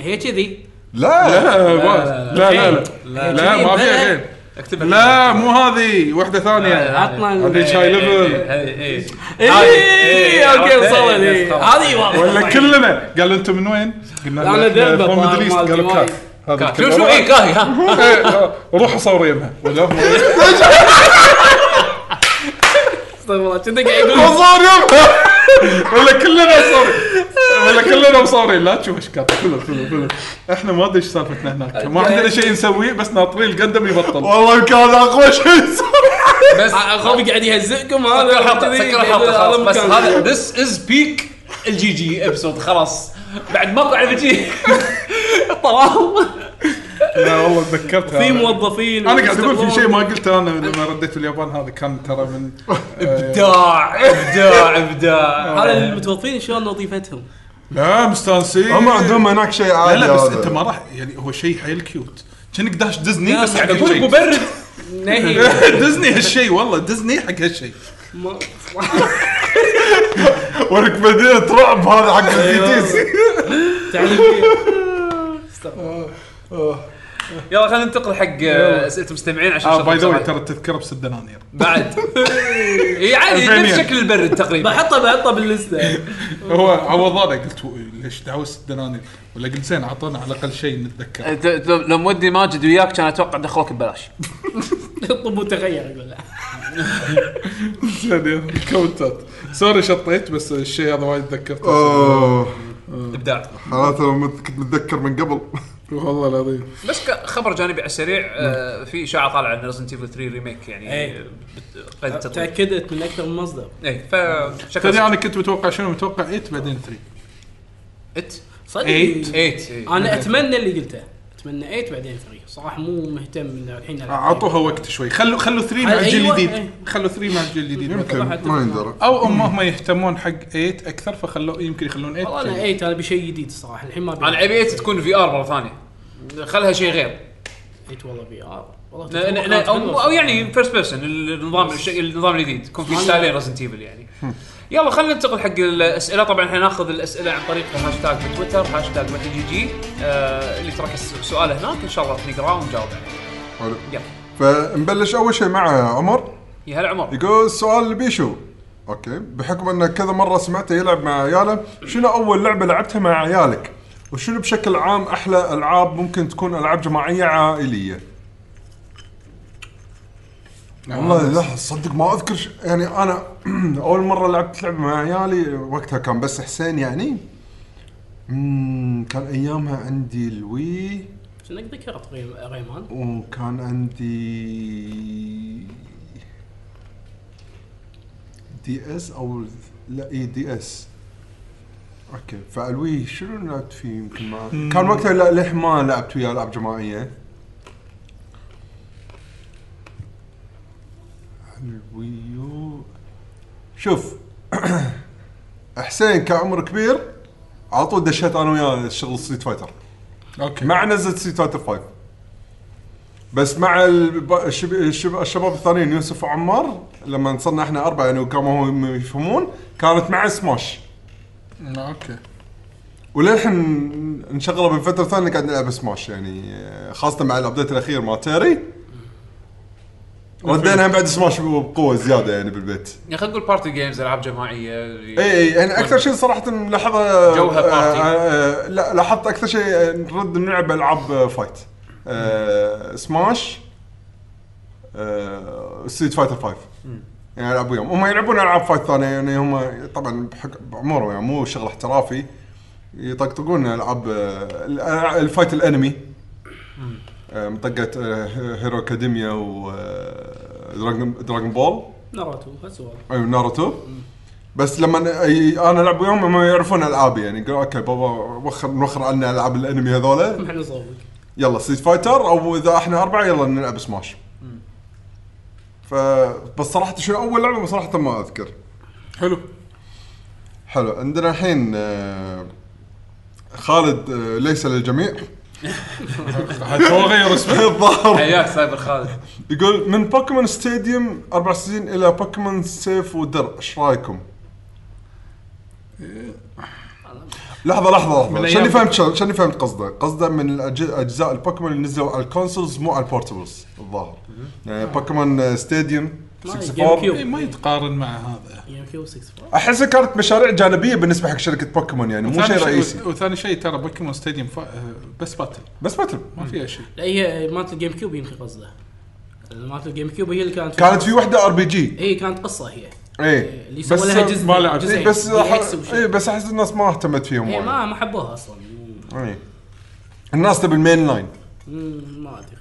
S4: هي كذي
S3: لا
S2: لا ما- لا إيه، لا لا لا لا ما فيها غير
S1: اكتب
S2: لا مو هذه واحده ثانيه
S4: عطنا
S2: آه. هذه
S4: ال-
S1: إيه،
S2: شاي ليفل
S1: اي إيه،
S4: اي اوكي وصلت إي. هذه
S2: ولا
S4: واضحه
S2: كلنا قالوا انتم من وين؟ قلنا
S4: أنا ذنبة
S2: فروم
S4: طبعاً،
S2: ميدل
S4: مالتي
S2: قالوا
S4: وايد.
S2: كاك هذا
S1: شو شو إيه، اي
S2: الكلام.
S1: كاهي ها
S2: إيه، آه، روحوا صوروا يمها ولا هم-
S4: استغفر الله كنت قاعد يقول
S2: مصور يمها ولا كلنا مصورين ولا كلنا مصورين لا تشوف ايش كاتب كله كله كله احنا ما ادري ايش سالفتنا هناك ما عندنا شيء نسويه بس ناطرين القندم يبطل
S3: والله كان اقوى شيء
S1: بس
S4: اخوي قاعد يهزئكم هذا
S1: سكر الحلقه
S4: كذي،
S1: سكر الحلقه
S4: هذا
S1: خلاص بس
S4: مكان.
S1: هذا ذس از بيك الجي جي ابسود خلاص بعد ماكو على الجي طلال
S2: لا والله تذكرتها
S4: في
S2: أنا.
S4: موظفين
S2: انا قاعد اقول في شيء ما قلته انا لما رديت اليابان هذا كان ترى من
S1: ابداع ابداع ابداع
S4: على المتوظفين شلون نظيفتهم
S2: لا مستانسين
S3: هم عندهم هناك شيء
S2: لا
S3: عادي
S2: لا بس
S3: هذا.
S2: انت ما راح يعني هو شيء حيل كيوت كأنك داش ديزني
S4: لا،
S2: بس
S4: لا،
S2: حق
S4: يقول
S2: هالشيء
S4: مبرد
S1: نعم.
S4: نهي
S2: ديزني هالشيء والله ديزني حق هالشيء
S4: ما-
S3: ولك مدينه رعب هذا أيوه. حق الفيتيس
S4: تعليم
S1: يلا خلينا ننتقل حق آه، اسئله المستمعين عشان
S2: اه باي ذا
S1: شغلة
S2: واي ترى التذكره ب 6 دنانير
S1: بعد اي عادي
S2: ألفين
S1: نفس
S2: ين.
S1: شكل البرد تقريبا
S4: بحطه بحطه باللسته
S2: هو عوضانا قلت و- ليش دعوه 6 دنانير ولا قلت زين اعطونا على الاقل شيء نتذكره
S1: أنت لو- لو مودي ماجد وياك كان اتوقع دخلوك ببلاش
S4: طب وتغير يقول لا
S2: زين يلا، كوتات سوري شطيت بس الشيء هذا وايد تذكرته
S3: اوه
S1: ابداع
S3: حالات لو مت- كنت متذكر من قبل
S2: والله العظيم
S1: بس ك- خبر جانبي على السريع آه، في اشاعه طالعه ان ريزنت ايفل 3 ريميك يعني
S4: إيه.
S1: آه، قيد التطوير
S4: تاكدت من اكثر من مصدر
S1: اي
S2: تدري
S1: فشكل
S2: انا كنت متوقع شنو متوقع 8 بعدين 3
S1: ات
S4: صدق
S2: Eight.
S1: ايت إي.
S4: انا اتمنى اللي قلته اتمنى 8 بعدين 3 صراحه مو مهتم انه الحين ألعب.
S2: اعطوها وقت شوي خلوا خلوا 3 مع
S4: أيوة،
S2: الجيل الجديد
S4: أيوة.
S2: خلوا 3 مع الجيل الجديد
S3: يمكن
S2: مثلاً.
S3: ما يندرى
S2: او هم هم يهتمون حق 8 اكثر فخلوا يمكن يخلون 8
S4: والله انا 8 انا ابي شيء جديد الصراحه الحين ما ابي
S1: انا ابي 8 تكون في ار مره ثانيه خلها شيء غير
S4: 8 والله بي ار والله
S1: ن- ن- ن-
S4: تتوقع كانت
S1: او
S4: حلوة.
S1: أو يعني فيرست بيرسون النظام الشيء النظام الجديد يكون في ستايلين ريزنت ايفل يعني يلا خلينا ننتقل حق الاسئله طبعا احنا ناخذ الاسئله عن طريق الهاشتاج في تويتر هاشتاج متى جي جي آه اللي ترك الس- سؤاله هناك ان شاء الله نقراه ونجاوب عليه
S3: حلو.
S1: يلا
S3: فنبلش اول شيء مع عمر
S1: يا هلا عمر
S3: يقول سؤال لبيشو اوكي بحكم انه كذا مره سمعته يلعب مع عياله شنو اول لعبه لعبتها مع عيالك وشنو بشكل عام احلى العاب ممكن تكون العاب جماعيه عائليه والله لا صدق ما اذكر ش... يعني انا اول مره لعبت لعبه مع عيالي وقتها كان بس حسين يعني مم، كان ايامها عندي الوي
S4: شنو ذكرت ريم- ريمان
S3: وكان عندي دي اس او لا إيه، اي دي اس اوكي فالوي شنو لعبت فيه يمكن ما كان وقتها لا للحين ما لعبت وياه العاب جماعيه الويو شوف حسين كعمر كبير على طول دشيت انا وياه شغل ستريت فايتر
S2: اوكي
S3: مع نزلت سي تايتل 5 بس مع الب- الشب... الشب... الشباب الثانيين يوسف وعمار لما صرنا احنا اربعه يعني وكانوا هم يفهمون كانت مع سماش
S2: اوكي
S3: وللحين انشغلوا من فتره ثانيه قاعد نلعب سماش يعني آه، خاصه مع الابديت الاخير مع تيري ردينا بعد سماش بقوه زياده يعني بالبيت
S1: يعني خلينا نقول بارتي جيمز العاب جماعيه اللي-
S3: اي اي يعني اكثر شيء صراحه ملاحظه
S1: جوها
S3: آه،
S1: بارتي.
S3: آه، آه، لا لاحظت اكثر شيء آه، نرد نلعب العاب آه، فايت آه، سماش آه، ستريت فايتر 5 يعني العب وياهم هم يلعبون العاب فايت ثانيه يعني هم طبعا بحك- بعمرهم يعني مو شغل احترافي يطقطقون العاب آه، الألع- الفايت الانمي آه، منطقه آه، هيرو اكاديميا و آه، دراجون دراجون بول
S4: ناروتو هالسوالف
S3: اي أيوة، ناروتو بس لما أي- انا العب وياهم ما يعرفون العابي يعني يقولوا اوكي بابا وخر نوخر عنا العاب الانمي هذولا
S4: ما احنا نصوق
S3: يلا ستريت فايتر او اذا احنا اربعه يلا نلعب سماش. ف بس صراحه شنو اول لعبه صراحه ما اذكر.
S2: حلو
S3: حلو عندنا الحين آه، خالد آه، ليس للجميع
S2: هذا هو غير اسمه
S3: الظاهر
S1: حياك سايبر خالد
S3: يقول من بوكيمون ستاديوم اربع سنين الى بوكيمون سيف ودرع ايش رايكم؟ لحظه لحظه لحظه شني
S2: أيام-
S3: فهمت شل- شني فهمت قصده قصده من الأج- اجزاء البوكيمون اللي نزلوا على الكونسولز مو على البورتبلز الظاهر يعني بوكيمون ستاديوم
S4: ما
S3: 64
S2: إيه، ما يتقارن مع هذا
S4: جيم كيوب 64
S3: احسها كانت مشاريع جانبيه بالنسبه حق شركه بوكيمون يعني مو
S2: وثاني
S3: شيء رئيسي
S2: وثاني شيء ترى بوكيمون ستاديوم فا- آه، بس باتل
S3: بس باتل
S2: ما فيها شيء
S4: لا هي مالت الجيم كيوب يمكن قصده مالت الجيم كيوب هي اللي كانت
S3: كانت في وحده ار بي جي
S4: اي كانت قصه هي
S3: اي
S4: اللي سوى
S3: إيه. بس إيه،
S4: لها جزء
S2: ما لعبت.
S4: جزئين.
S3: بس
S4: DX وشي.
S3: اي بس احس الناس ما اهتمت فيهم
S4: إيه،
S3: وايد.
S4: ما ما حبوها اصلا
S3: إي. إيه. الناس تبي المين لاين
S4: مم، ما ادري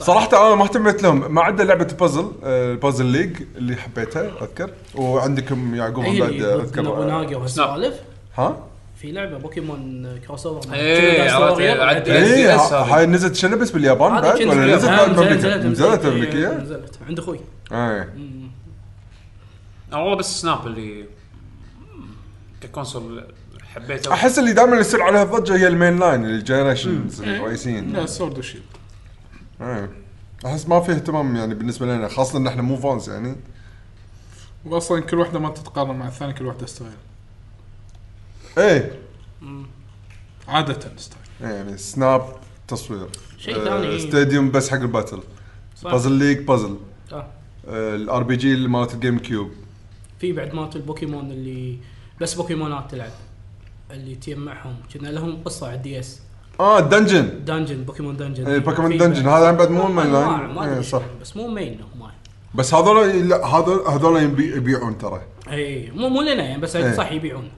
S3: صراحة انا ما اهتميت لهم ما عدا لعبة بازل البازل ليج اللي حبيتها اذكر وعندكم يعقوب
S4: إيه، هي
S3: بعد
S4: اللي
S3: اذكر
S1: نعم.
S4: نوبوناغا وهالسوالف
S3: ها؟
S4: في لعبه بوكيمون كروس اوفر
S1: إيه، عرفت، عاد- إيه،
S3: اي
S1: SDS هذه.
S3: هاي نزلت شنو بس باليابان بعد ولا نزلت بعد بامريكا؟ نزلت إيه. بامريكا؟
S4: نزلت عند اخوي
S3: اي
S1: أنا والله بس سناب اللي ككونسول حبيته
S3: احس اللي دائما يصير عليها الضجة هي المين لاين الجنريشنز الرئيسيين
S4: نعم.
S2: لا سورد وشيلد
S3: إي. احس ما في اهتمام يعني بالنسبة لنا خاصة ان احنا مو فانز يعني
S2: واصلا كل واحده ما تتقارن مع الثانيه كل واحده ستايل
S3: ايه
S2: عاده ستايل
S3: إيه. يعني سناب تصوير
S4: شيء ثاني.
S3: ستاديوم بس حق الباتل
S4: صح.
S3: بازل ليج بازل
S4: آه.
S3: الار بي جي مالت الجيم كيوب
S4: في بعد مالت البوكيمون اللي بس بوكيمونات تلعب اللي تجمعهم كنا لهم قصه على الدي اس
S3: اه دنجن
S4: دانجن بوكيمون دانجن
S3: إيه، بوكيمون
S4: في
S3: دانجن،
S4: بعد-
S3: هذا بعد مو
S4: أنواع،
S3: مين لاين.
S4: ما
S3: إيه،
S4: أدري
S3: صح.
S4: شنو، بس مو مين هم يعني.
S3: بس هذول لا هذول هذول يبي- يبيعون ترى
S4: اي مو مو لنا يعني بس
S3: إيه.
S4: صح يبيعون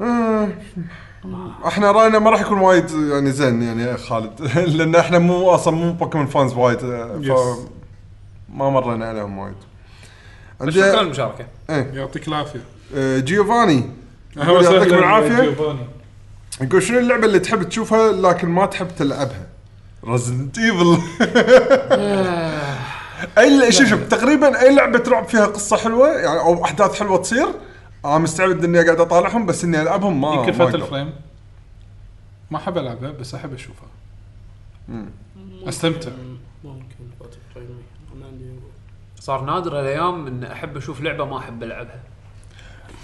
S3: آه، احنا راينا ما راح يكون وايد يعني زين يعني يا خالد لان احنا مو اصلا مو بوكيمون فانز وايد آه، ف
S2: يس.
S3: ما مرينا عليهم وايد عندي
S7: شكرا للمشاركه
S2: يعطيك العافيه
S3: آه، جيوفاني
S2: أهلا
S3: يقول يعطيكم
S2: وسهلا
S3: العافيه
S2: جيوفاني.
S3: يقول شنو اللعبه اللي تحب تشوفها لكن ما تحب تلعبها؟ رزنت ايفل اي ل- شوف شوف تقريبا اي لعبه تلعب فيها قصه حلوه يعني او احداث حلوه تصير انا مستعد اني قاعد اطالعهم بس اني العبهم ما
S2: يمكن
S3: آه، ما
S2: فات
S3: أقدر.
S2: الفريم ما احب العبها بس احب اشوفها
S3: مم.
S2: استمتع
S4: ممكن فاتح طيب، أنا عندي-
S1: صار نادر الايام ان احب اشوف لعبه ما احب العبها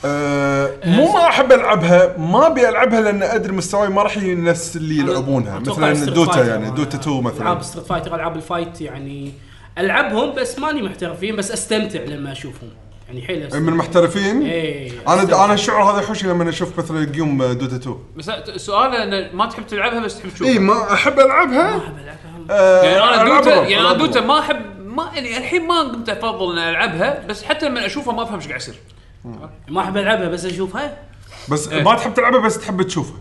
S3: أه مو ما احب العبها ما ابي العبها لان ادري مستواي ما راح يجي نفس اللي يلعبونها
S4: أتوقع
S3: مثلا
S4: ستريت
S3: دوتا
S4: فايتر
S3: يعني
S4: أنا-
S3: دوتا 2 مثلا
S4: العاب ستريت فايتر العاب الفايت يعني العبهم بس ماني محترف فيهم بس استمتع لما اشوفهم يعني حيل أستمتع.
S3: من المحترفين
S4: إيه،
S3: انا
S4: أستمتع.
S3: انا الشعور هذا يحوشني لما اشوف مثلا قيوم دوتا 2
S1: بس سؤاله ان ما تحب تلعبها بس تحب تشوفها
S3: اي إيه، ما احب العبها
S4: أحب ألعبها.
S3: أه
S1: يعني انا
S3: ألعبها،
S1: دوتا يعني انا
S3: ألعبها.
S1: دوتا ما احب ما يعني الحين ما قمت افضل اني العبها بس حتى لما اشوفها ما افهم ايش قاعد يصير
S4: ما احب العبها بس اشوفها
S3: بس ما تحب تلعبها بس تحب تشوفها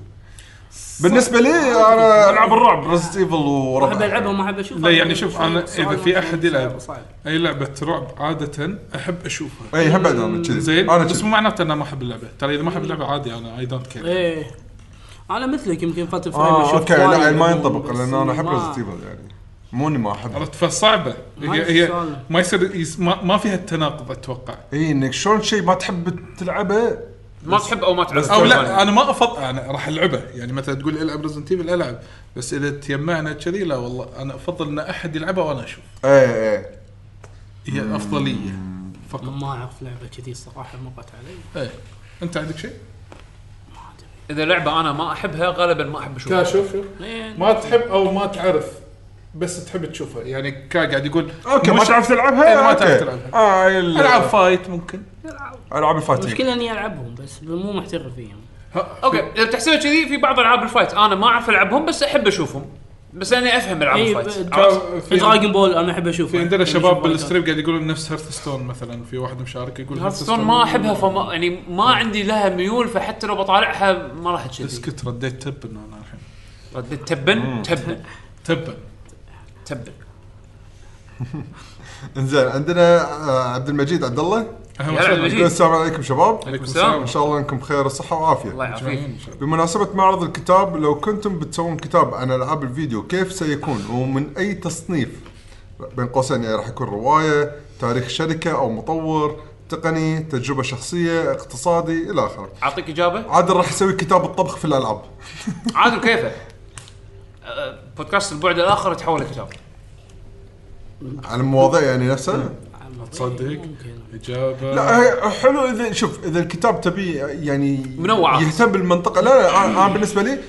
S3: بالنسبه لي انا العاب الرعب ريزد ايفل
S4: ما احب
S3: ورعب
S4: العبها وما احب اشوفها
S2: لا يعني شوف
S4: صعب-
S2: انا
S4: صعب
S2: اذا في
S4: مرة،
S2: احد
S4: صعب-
S2: يلعب
S4: صعب.
S2: اي لعبه رعب عاده احب اشوفها
S3: اي هم بعد انا كذي
S2: زين
S3: انا
S2: بس مو
S3: كذي
S2: معناته ان انا ما احب اللعبه ترى اذا ما احب اللعبه عادي انا اي دونت كير
S4: ايه انا مثلك يمكن فات الفريم
S3: اه
S4: أشوف
S3: اوكي
S4: وايد
S3: لا ما
S4: منهم،
S3: ينطبق
S4: بس
S3: لان انا احب
S4: ما-
S3: ريزد ايفل يعني مو اني ما احبها
S2: عرفت فصعبه
S4: ما
S2: هي
S4: في
S2: هي
S4: سؤال.
S2: ما يصير يس- ما, ما فيها التناقض اتوقع
S3: اي انك إيه، شلون شيء ما تحب تلعبه
S1: ما تحب او ما تلعب
S2: او لا انا ما افضل انا راح العبه يعني مثلا تقول لي العب ريزنت ايفل العب بس اذا تجمعنا كذي لا والله انا افضل ان احد يلعبها وانا اشوف
S3: ايه ايه
S2: هي الافضليه فقط
S4: ما اعرف لعبه كذي الصراحه مرت علي
S2: ايه انت عندك شيء؟
S1: اذا لعبه انا ما احبها غالبا ما احب اشوفها
S2: شوف شوف
S4: إيه،
S2: ما تحب او ما تعرف بس تحب تشوفها يعني كا قاعد يقول
S3: اوكي ما
S2: مش-
S3: تعرف
S2: إيه،
S3: تلعبها
S2: ما
S3: أوكي.
S2: تعرف تلعبها.
S3: اه ال-
S2: العاب فايت ممكن
S3: العاب الفاتحين
S4: المشكله اني العبهم بس مو محترف فيهم
S1: اوكي اذا بتحسبها كذي في بعض العاب الفايت انا ما اعرف العبهم بس احب اشوفهم بس انا افهم العاب
S4: إيه،
S1: الفايت
S4: ب-
S1: عرفت؟
S2: في-
S4: دراجون بول انا احب اشوفه
S2: في عندنا
S4: أحب يعني
S2: شباب
S4: أشوف
S2: بالستريم قاعد يقولون نفس هيرث ستون مثلا في واحد مشارك يقول
S1: هارثستون ما احبها فما يعني ما عندي لها ميول فحتى لو بطالعها ما راح تشذي
S2: اسكت رديت تبن انا الحين
S1: رديت تبن تبن
S2: تبن
S1: تبن
S3: انزين عندنا آه، عبد المجيد عبد الله
S2: اهلا
S1: يا عبد
S2: وسهلا
S1: المجيد.
S3: يقول السلام عليكم شباب
S1: عليكم
S3: ان
S1: السلام
S3: شاء الله انكم بخير وصحه وعافيه
S1: الله يعافيك
S2: إن شاء الله.
S3: بمناسبة معرض الكتاب لو كنتم بتسوون كتاب عن العاب الفيديو كيف سيكون ومن اي تصنيف؟ بين قوسين يعني راح يكون رواية، تاريخ شركة او مطور، تقني، تجربة شخصية، اقتصادي الى اخره.
S1: اعطيك اجابه
S3: عادل راح يسوي كتاب الطبخ في الالعاب.
S1: عادل كيفه أه، بودكاست البعد الاخر تحول لكتاب
S3: على المواضيع يعني نفسها؟
S4: العبهم.
S2: تصدق
S4: ممكن.
S2: اجابه
S3: لا هي- حلو اذا شوف اذا الكتاب تبي يعني
S1: منوعات.
S3: يهتم بالمنطقة، لا لا انا أنا بالنسبة لي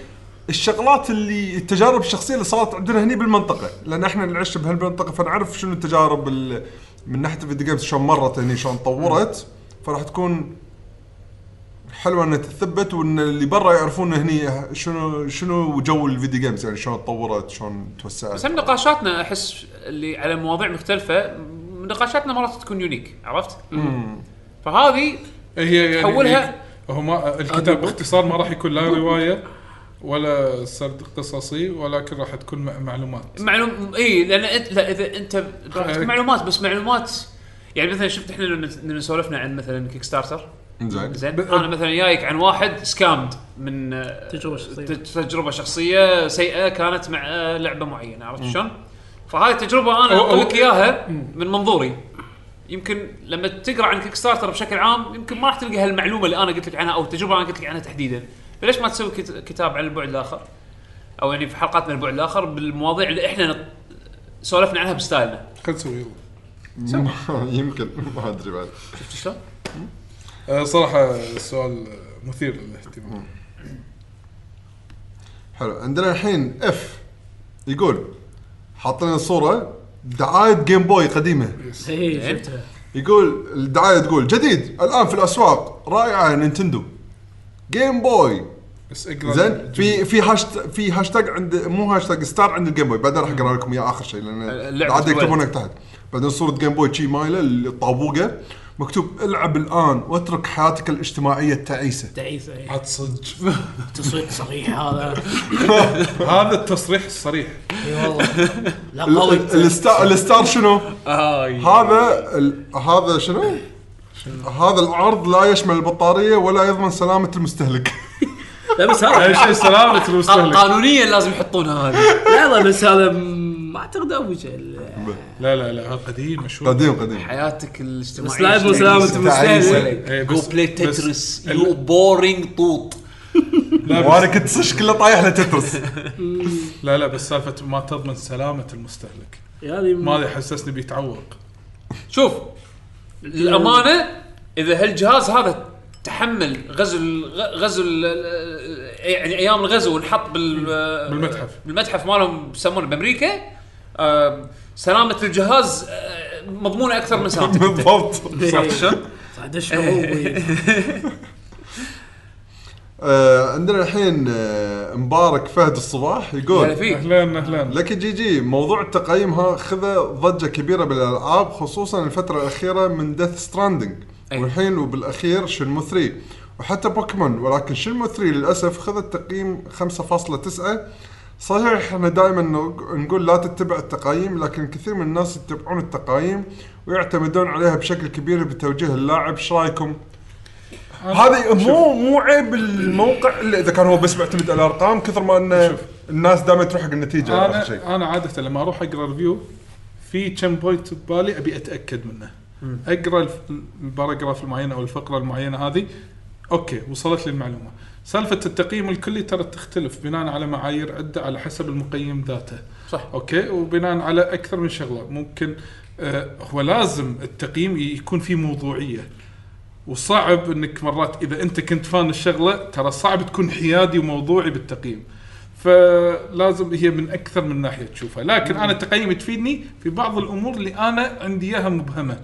S3: الشغلات اللي التجارب الشخصيه اللي صارت عندنا هني بالمنطقه لان احنا اللي عشنا بهالمنطقه فنعرف شنو التجارب ال- من ناحيه الفيديو جيمز شلون مرت هني شلون طورت فراح تكون حلوه انها تثبت وان اللي برا يعرفون هني شنو شنو جو الفيديو جيمز يعني شلون تطورت شلون
S1: بس
S3: توسعت
S1: هم نقاشاتنا احس اللي على مواضيع مختلفه م- نقاشاتنا مرات تكون يونيك عرفت؟ فهذه
S2: هي يعني
S1: تحولها-
S2: هو ما الكتاب باختصار ما راح يكون لا روايه ولا سرد قصصي ولكن راح تكون مع- معلومات
S1: معلوم اي لان انت لا اذا انت
S2: خ-
S1: معلومات بس معلومات يعني مثلا شفت احنا لما لما سولفنا عن مثلا كيك ستارتر
S3: زين
S1: زين انا مثلا جايك عن واحد سكامد من آه،
S4: تجربة شخصية.
S1: تج- تجربه شخصيه سيئه كانت مع آه، لعبه معينه عرفت شلون؟ فهاي التجربه انا
S2: أو-
S1: اقول لك
S2: أو-
S1: اياها من منظوري يمكن لما تقرا عن كيك ستارتر بشكل عام يمكن ما راح تلقى هالمعلومه اللي انا قلت لك عنها او التجربه اللي انا قلت لك عنها تحديدا فليش ما تسوي كت- كتاب عن البعد الاخر؟ او يعني في حلقاتنا البعد الاخر بالمواضيع اللي احنا نط- سولفنا عنها بستايلنا
S2: خل نسوي يلا
S3: يمكن ما ادري بعد
S1: شفت شلون؟
S2: آه، صراحه سؤال مثير للاهتمام
S3: حلو عندنا الحين اف يقول حاط لنا صوره دعايه جيم بوي قديمه
S4: اي شفتها
S3: يقول الدعايه تقول جديد الان في الاسواق رائعه نينتندو جيم بوي
S2: بس اقرا
S3: زين في في هاشتاج في هاشتاج عند مو هاشتاج ستار عند الجيم بوي بعدين راح اقرا لكم اياه اخر شيء لان
S1: اللعبة
S3: عاد
S1: تقول.
S3: يكتبونك تحت بعدين صوره جيم بوي شي مايله الطابوقه مكتوب العب الان واترك حياتك الاجتماعيه التعيسه
S4: تعيسه إي.
S2: عاد صدق
S4: تسويق صريح إيه. هذا
S2: هذا التصريح الصريح
S4: اي والله لا
S3: ال-
S4: قوي
S3: ال- الستار الستار شنو؟
S4: آه،
S3: هذا ال- هذا شنو؟ هذا العرض لا يشمل البطاريه ولا يضمن سلامه المستهلك
S4: لا بس هذا
S2: اهم شيء سلامة
S7: قانون-
S2: المستهلك
S7: قانونيا لازم يحطونها هذه
S4: لا لا بس هذا م- ما اعتقد ابو جهل
S2: لا لا لا هذا قديم مشهور
S3: قديم قديم
S7: حياتك الاجتماعيه
S4: بس لا يبون سلامة المستهلك
S2: إيه،
S7: جو
S2: بس-
S7: بلاي
S2: بس-
S7: تترس
S2: ال-
S7: يو بورينج طوط
S2: لا بس-
S3: وانا كنت صش كله طايح لتترس
S2: لا لا بس سالفه ما تضمن سلامه المستهلك
S4: يا هذه م-
S2: ما ادري حسسني بيتعوق
S1: شوف للامانه اذا هالجهاز هذا تحمل غزو ال- غزو ال- يعني ايام الغزو ونحط بال
S2: بالمتحف.
S1: بالمتحف مالهم يسمونه بامريكا آه، سلامه الجهاز آه، مضمونه اكثر من سلامتك أنت.
S3: بالضبط
S2: صح شو؟
S4: صح دش قوي
S3: آه، عندنا الحين آه، مبارك فهد الصباح
S1: هلا
S3: يقول
S1: فيك
S2: اهلا اهلا
S3: لكن جي جي موضوع تقييمها خذ ضجه كبيره بالالعاب خصوصا الفتره الاخيره من ديث ستراندنج
S1: أي.
S3: والحين وبالاخير شنمو 3 وحتى بوكيمون ولكن شنمو 3 للاسف خذت تقييم 5.9 صحيح احنا دائما نقول لا تتبع التقايم لكن كثير من الناس يتبعون التقايم ويعتمدون عليها بشكل كبير بتوجيه اللاعب ايش رايكم؟ هذه مو مو عيب الموقع الا اذا كان هو بس معتمد على الارقام كثر ما ان
S2: شوف.
S3: الناس دائما تروح حق النتيجه على آخر شيء.
S2: انا انا عاده لما اروح اقرا ريفيو في كم بوينت ببالي ابي اتاكد منه اقرا الف- الباراجراف المعين او الفقره المعينه هذه اوكي وصلت لي المعلومه سالفه التقييم الكلي ترى تختلف بناء على معايير عده على حسب المقيم ذاته
S1: صح.
S2: اوكي وبناء على اكثر من شغله ممكن آه هو لازم التقييم يكون فيه موضوعيه وصعب انك مرات اذا انت كنت فان الشغله ترى صعب تكون حيادي وموضوعي بالتقييم فلازم هي من اكثر من ناحيه تشوفها لكن انا تقييمي تفيدني في بعض الامور اللي انا عندي اياها مبهمه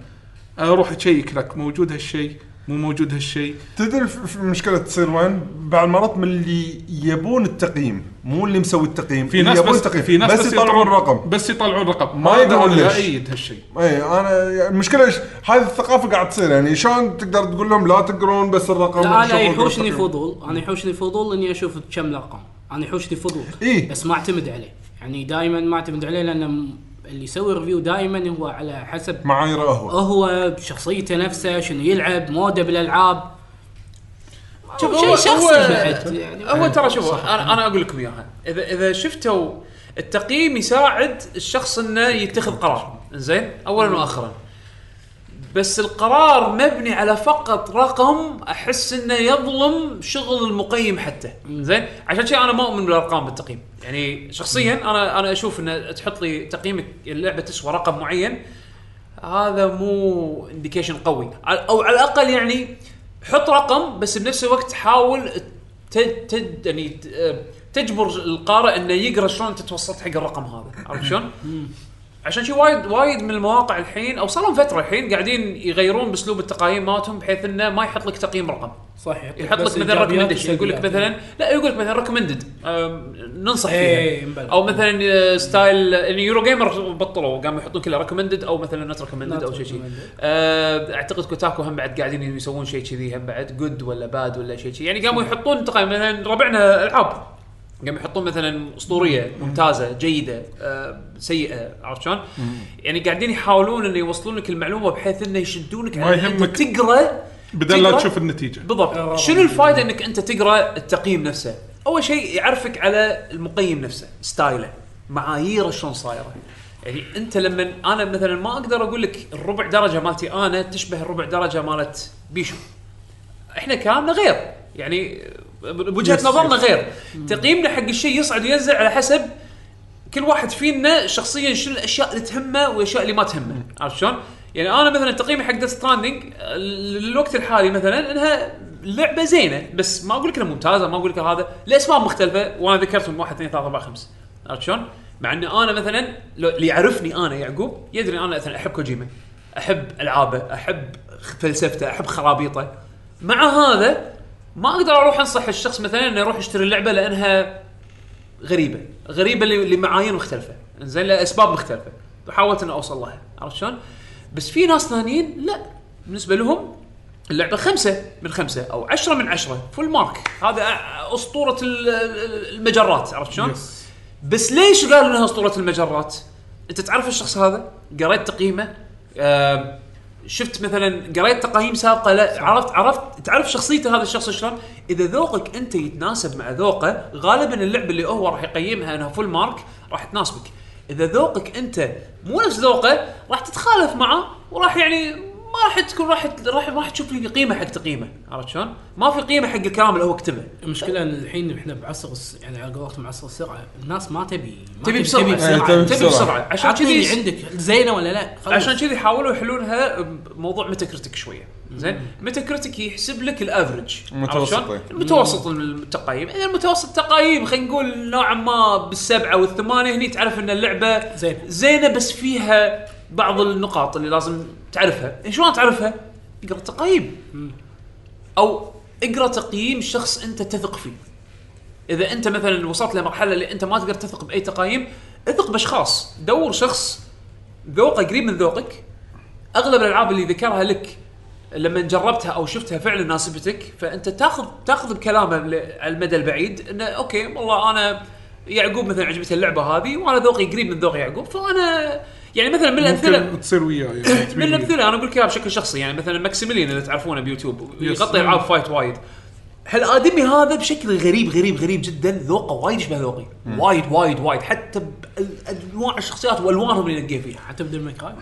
S2: اروح اشيك لك موجود هالشيء مو موجود هالشيء
S3: تدري الف- الف- المشكله تصير وين؟ بعض المرات من اللي يبون التقييم مو اللي مسوي التقييم
S2: في
S3: اللي
S2: ناس
S3: يعني يبون
S2: بس
S3: التقييم
S2: في ناس
S3: بس, يطلعون رقم
S2: بس يطلعون رقم
S3: ما
S2: ما يقدرون
S3: يدرون ليش.
S2: لا ايد هالشيء
S3: اي انا يعني المشكله إيش- هذه الثقافه قاعد تصير يعني شلون تقدر تقول لهم لا تقرون بس الرقم
S4: لا انا
S3: شغل
S4: يحوشني
S3: التقييم.
S4: فضول انا يحوشني فضول اني اشوف كم الارقام انا يحوشني فضول
S3: إيه.
S4: بس ما اعتمد عليه يعني دائما ما اعتمد عليه لان م- اللي يسوي ريفيو دائما هو على حسب
S3: معايير اهو
S4: هو شخصيته نفسه شنو يلعب موده بالالعاب
S1: شوف
S4: شيء
S1: هو-
S4: شخصي
S1: هو-
S4: بعد يعني
S1: هو ترى شوف انا انا اقول لكم اياها اذا اذا شفتوا التقييم يساعد الشخص انه يتخذ قرار زين اولا واخرا بس القرار مبني على فقط رقم احس انه يظلم شغل المقيم حتى زين عشان كذا انا ما اؤمن بالارقام بالتقييم يعني شخصيا انا انا اشوف انه تحط لي تقييمك اللعبه تسوى رقم معين هذا مو انديكيشن قوي على- او على الاقل يعني حط رقم بس بنفس الوقت حاول ت- ت- يعني ت- آه، تجبر القارئ انه يقرا شلون انت توصلت حق الرقم هذا عرفت شلون؟ عشان شي وايد وايد من المواقع الحين او صار لهم فتره الحين قاعدين يغيرون باسلوب التقايم مالتهم بحيث انه ما يحط لك تقييم رقم
S4: صح يعطيك
S1: يحط لك
S4: بس
S1: مثلا
S4: إيجابيات
S1: ريكومنديشن يقول لك
S4: وسلبيات.
S1: مثلا لا يقول لك مثلا ريكومندد ننصح
S4: إيه،
S1: فيها
S4: مبلغ.
S1: او مثلا آه، ستايل يعني يورو جيمر بطلوا قاموا يحطون كلها ريكومندد او مثلا نوت ريكومندد
S4: Not
S1: او شيء شيء
S4: recommended.
S1: آه، اعتقد كوتاكو هم بعد قاعدين يسوون شيء كذي هم بعد جود ولا باد ولا شيء كذي يعني قاموا يحطون تقييم مثلا ربعنا العاب قاموا يحطون مثلا اسطوريه ممتازه جيده آه، سيئه عرفت شلون؟ يعني قاعدين يحاولون انه يوصلون لك المعلومه بحيث انه يشدونك
S2: ما
S1: على إن أنت
S2: يهمك.
S1: تقرا
S2: بدل لا
S1: تقرأ.
S2: تشوف النتيجه
S1: بالضبط شنو الفائده انك انت تقرا التقييم نفسه اول شيء يعرفك على المقيم نفسه ستايله معاييره شلون صايره يعني انت لما انا مثلا ما اقدر اقول لك الربع درجه مالتي انا تشبه الربع درجه مالت بيشو احنا كلامنا غير يعني بوجهه نظرنا غير تقييمنا حق الشيء يصعد وينزل على حسب كل واحد فينا شخصيا شنو الاشياء اللي تهمه والاشياء اللي ما تهمه عرفت شلون؟ يعني انا مثلا تقييمي حق ديث ستراندنج للوقت الحالي مثلا انها لعبه زينه بس ما اقول لك انها ممتازه ما اقول لك هذا لاسباب مختلفه وانا ذكرتهم واحد اثنين ثلاثه اربعه خمسه عرفت شلون؟ مع ان انا مثلا لو اللي يعرفني انا يعقوب يدري انا مثلا احب كوجيما احب العابه احب فلسفته احب خرابيطه مع هذا ما اقدر اروح انصح الشخص مثلا انه يروح يشتري اللعبه لانها غريبه غريبه ل- لمعايير مختلفه زين لاسباب مختلفه وحاولت اني اوصل لها عرفت شلون؟ بس في ناس ثانيين لا بالنسبه لهم اللعبه خمسة من خمسة او عشرة من عشرة فول مارك هذا أ- اسطورة ال- ال- المجرات عرفت شلون؟ بس ليش قالوا انها اسطورة المجرات؟ انت تعرف الشخص هذا؟ قريت تقييمه آه، آم، شفت مثلا قريت تقييم سابقه لا عرفت عرفت تعرف شخصيته هذا الشخص شلون؟ اذا ذوقك انت يتناسب مع ذوقه غالبا اللعبه اللي هو راح يقيمها انها فول مارك راح تناسبك. اذا ذوقك انت مو نفس ذوقه راح تتخالف معه وراح يعني ما راح تكون راح راح راح تشوف لي قيمه حق تقييمه عرفت شلون؟ ما في قيمه حق الكلام اللي هو كتبه.
S4: المشكله ان الحين احنا بعصر الس- يعني على قولتهم عصر السرعه الناس ما تبي ما
S1: تبي بسرعه تبي بسرعه, تبي بسرعة. عشان كذي
S4: عندك زينه ولا لا خلص.
S1: عشان كذي حاولوا يحلونها بموضوع متى كرتك شويه زين متى كرتك يحسب لك الافرج
S3: المتوسط، أي.
S1: المتوسط التقييم اذا المتوسط تقييم خلينا نقول نوعا ما بالسبعه والثمانيه هني تعرف ان اللعبه
S4: زينة.
S1: زينه بس فيها بعض النقاط اللي لازم تعرفها إيه، شلون تعرفها؟ اقرا تقييم او اقرا تقييم شخص انت تثق فيه اذا انت مثلا وصلت لمرحله اللي انت ما تقدر تثق باي تقييم اثق باشخاص دور شخص ذوقه قريب من ذوقك اغلب الالعاب اللي ذكرها لك لما جربتها او شفتها فعلا ناسبتك فانت تاخذ تاخذ بكلامه ل- على المدى البعيد انه اوكي والله انا يعقوب مثلا عجبته اللعبه هذه وانا ذوقي قريب من ذوق يعقوب فانا يعني مثلا من الامثله
S2: ممكن تصير وياه يعني
S1: من الامثله انا اقول لك اياها بشكل شخصي يعني مثلا ماكسيميليان اللي تعرفونه بيوتيوب يغطي
S2: مم.
S1: العاب فايت وايد هالادمي هذا بشكل غريب غريب غريب جدا ذوقه وايد يشبه ذوقي وايد وايد وايد حتى بانواع الشخصيات والوانهم اللي نقيه فيها
S4: حتبدا المكراي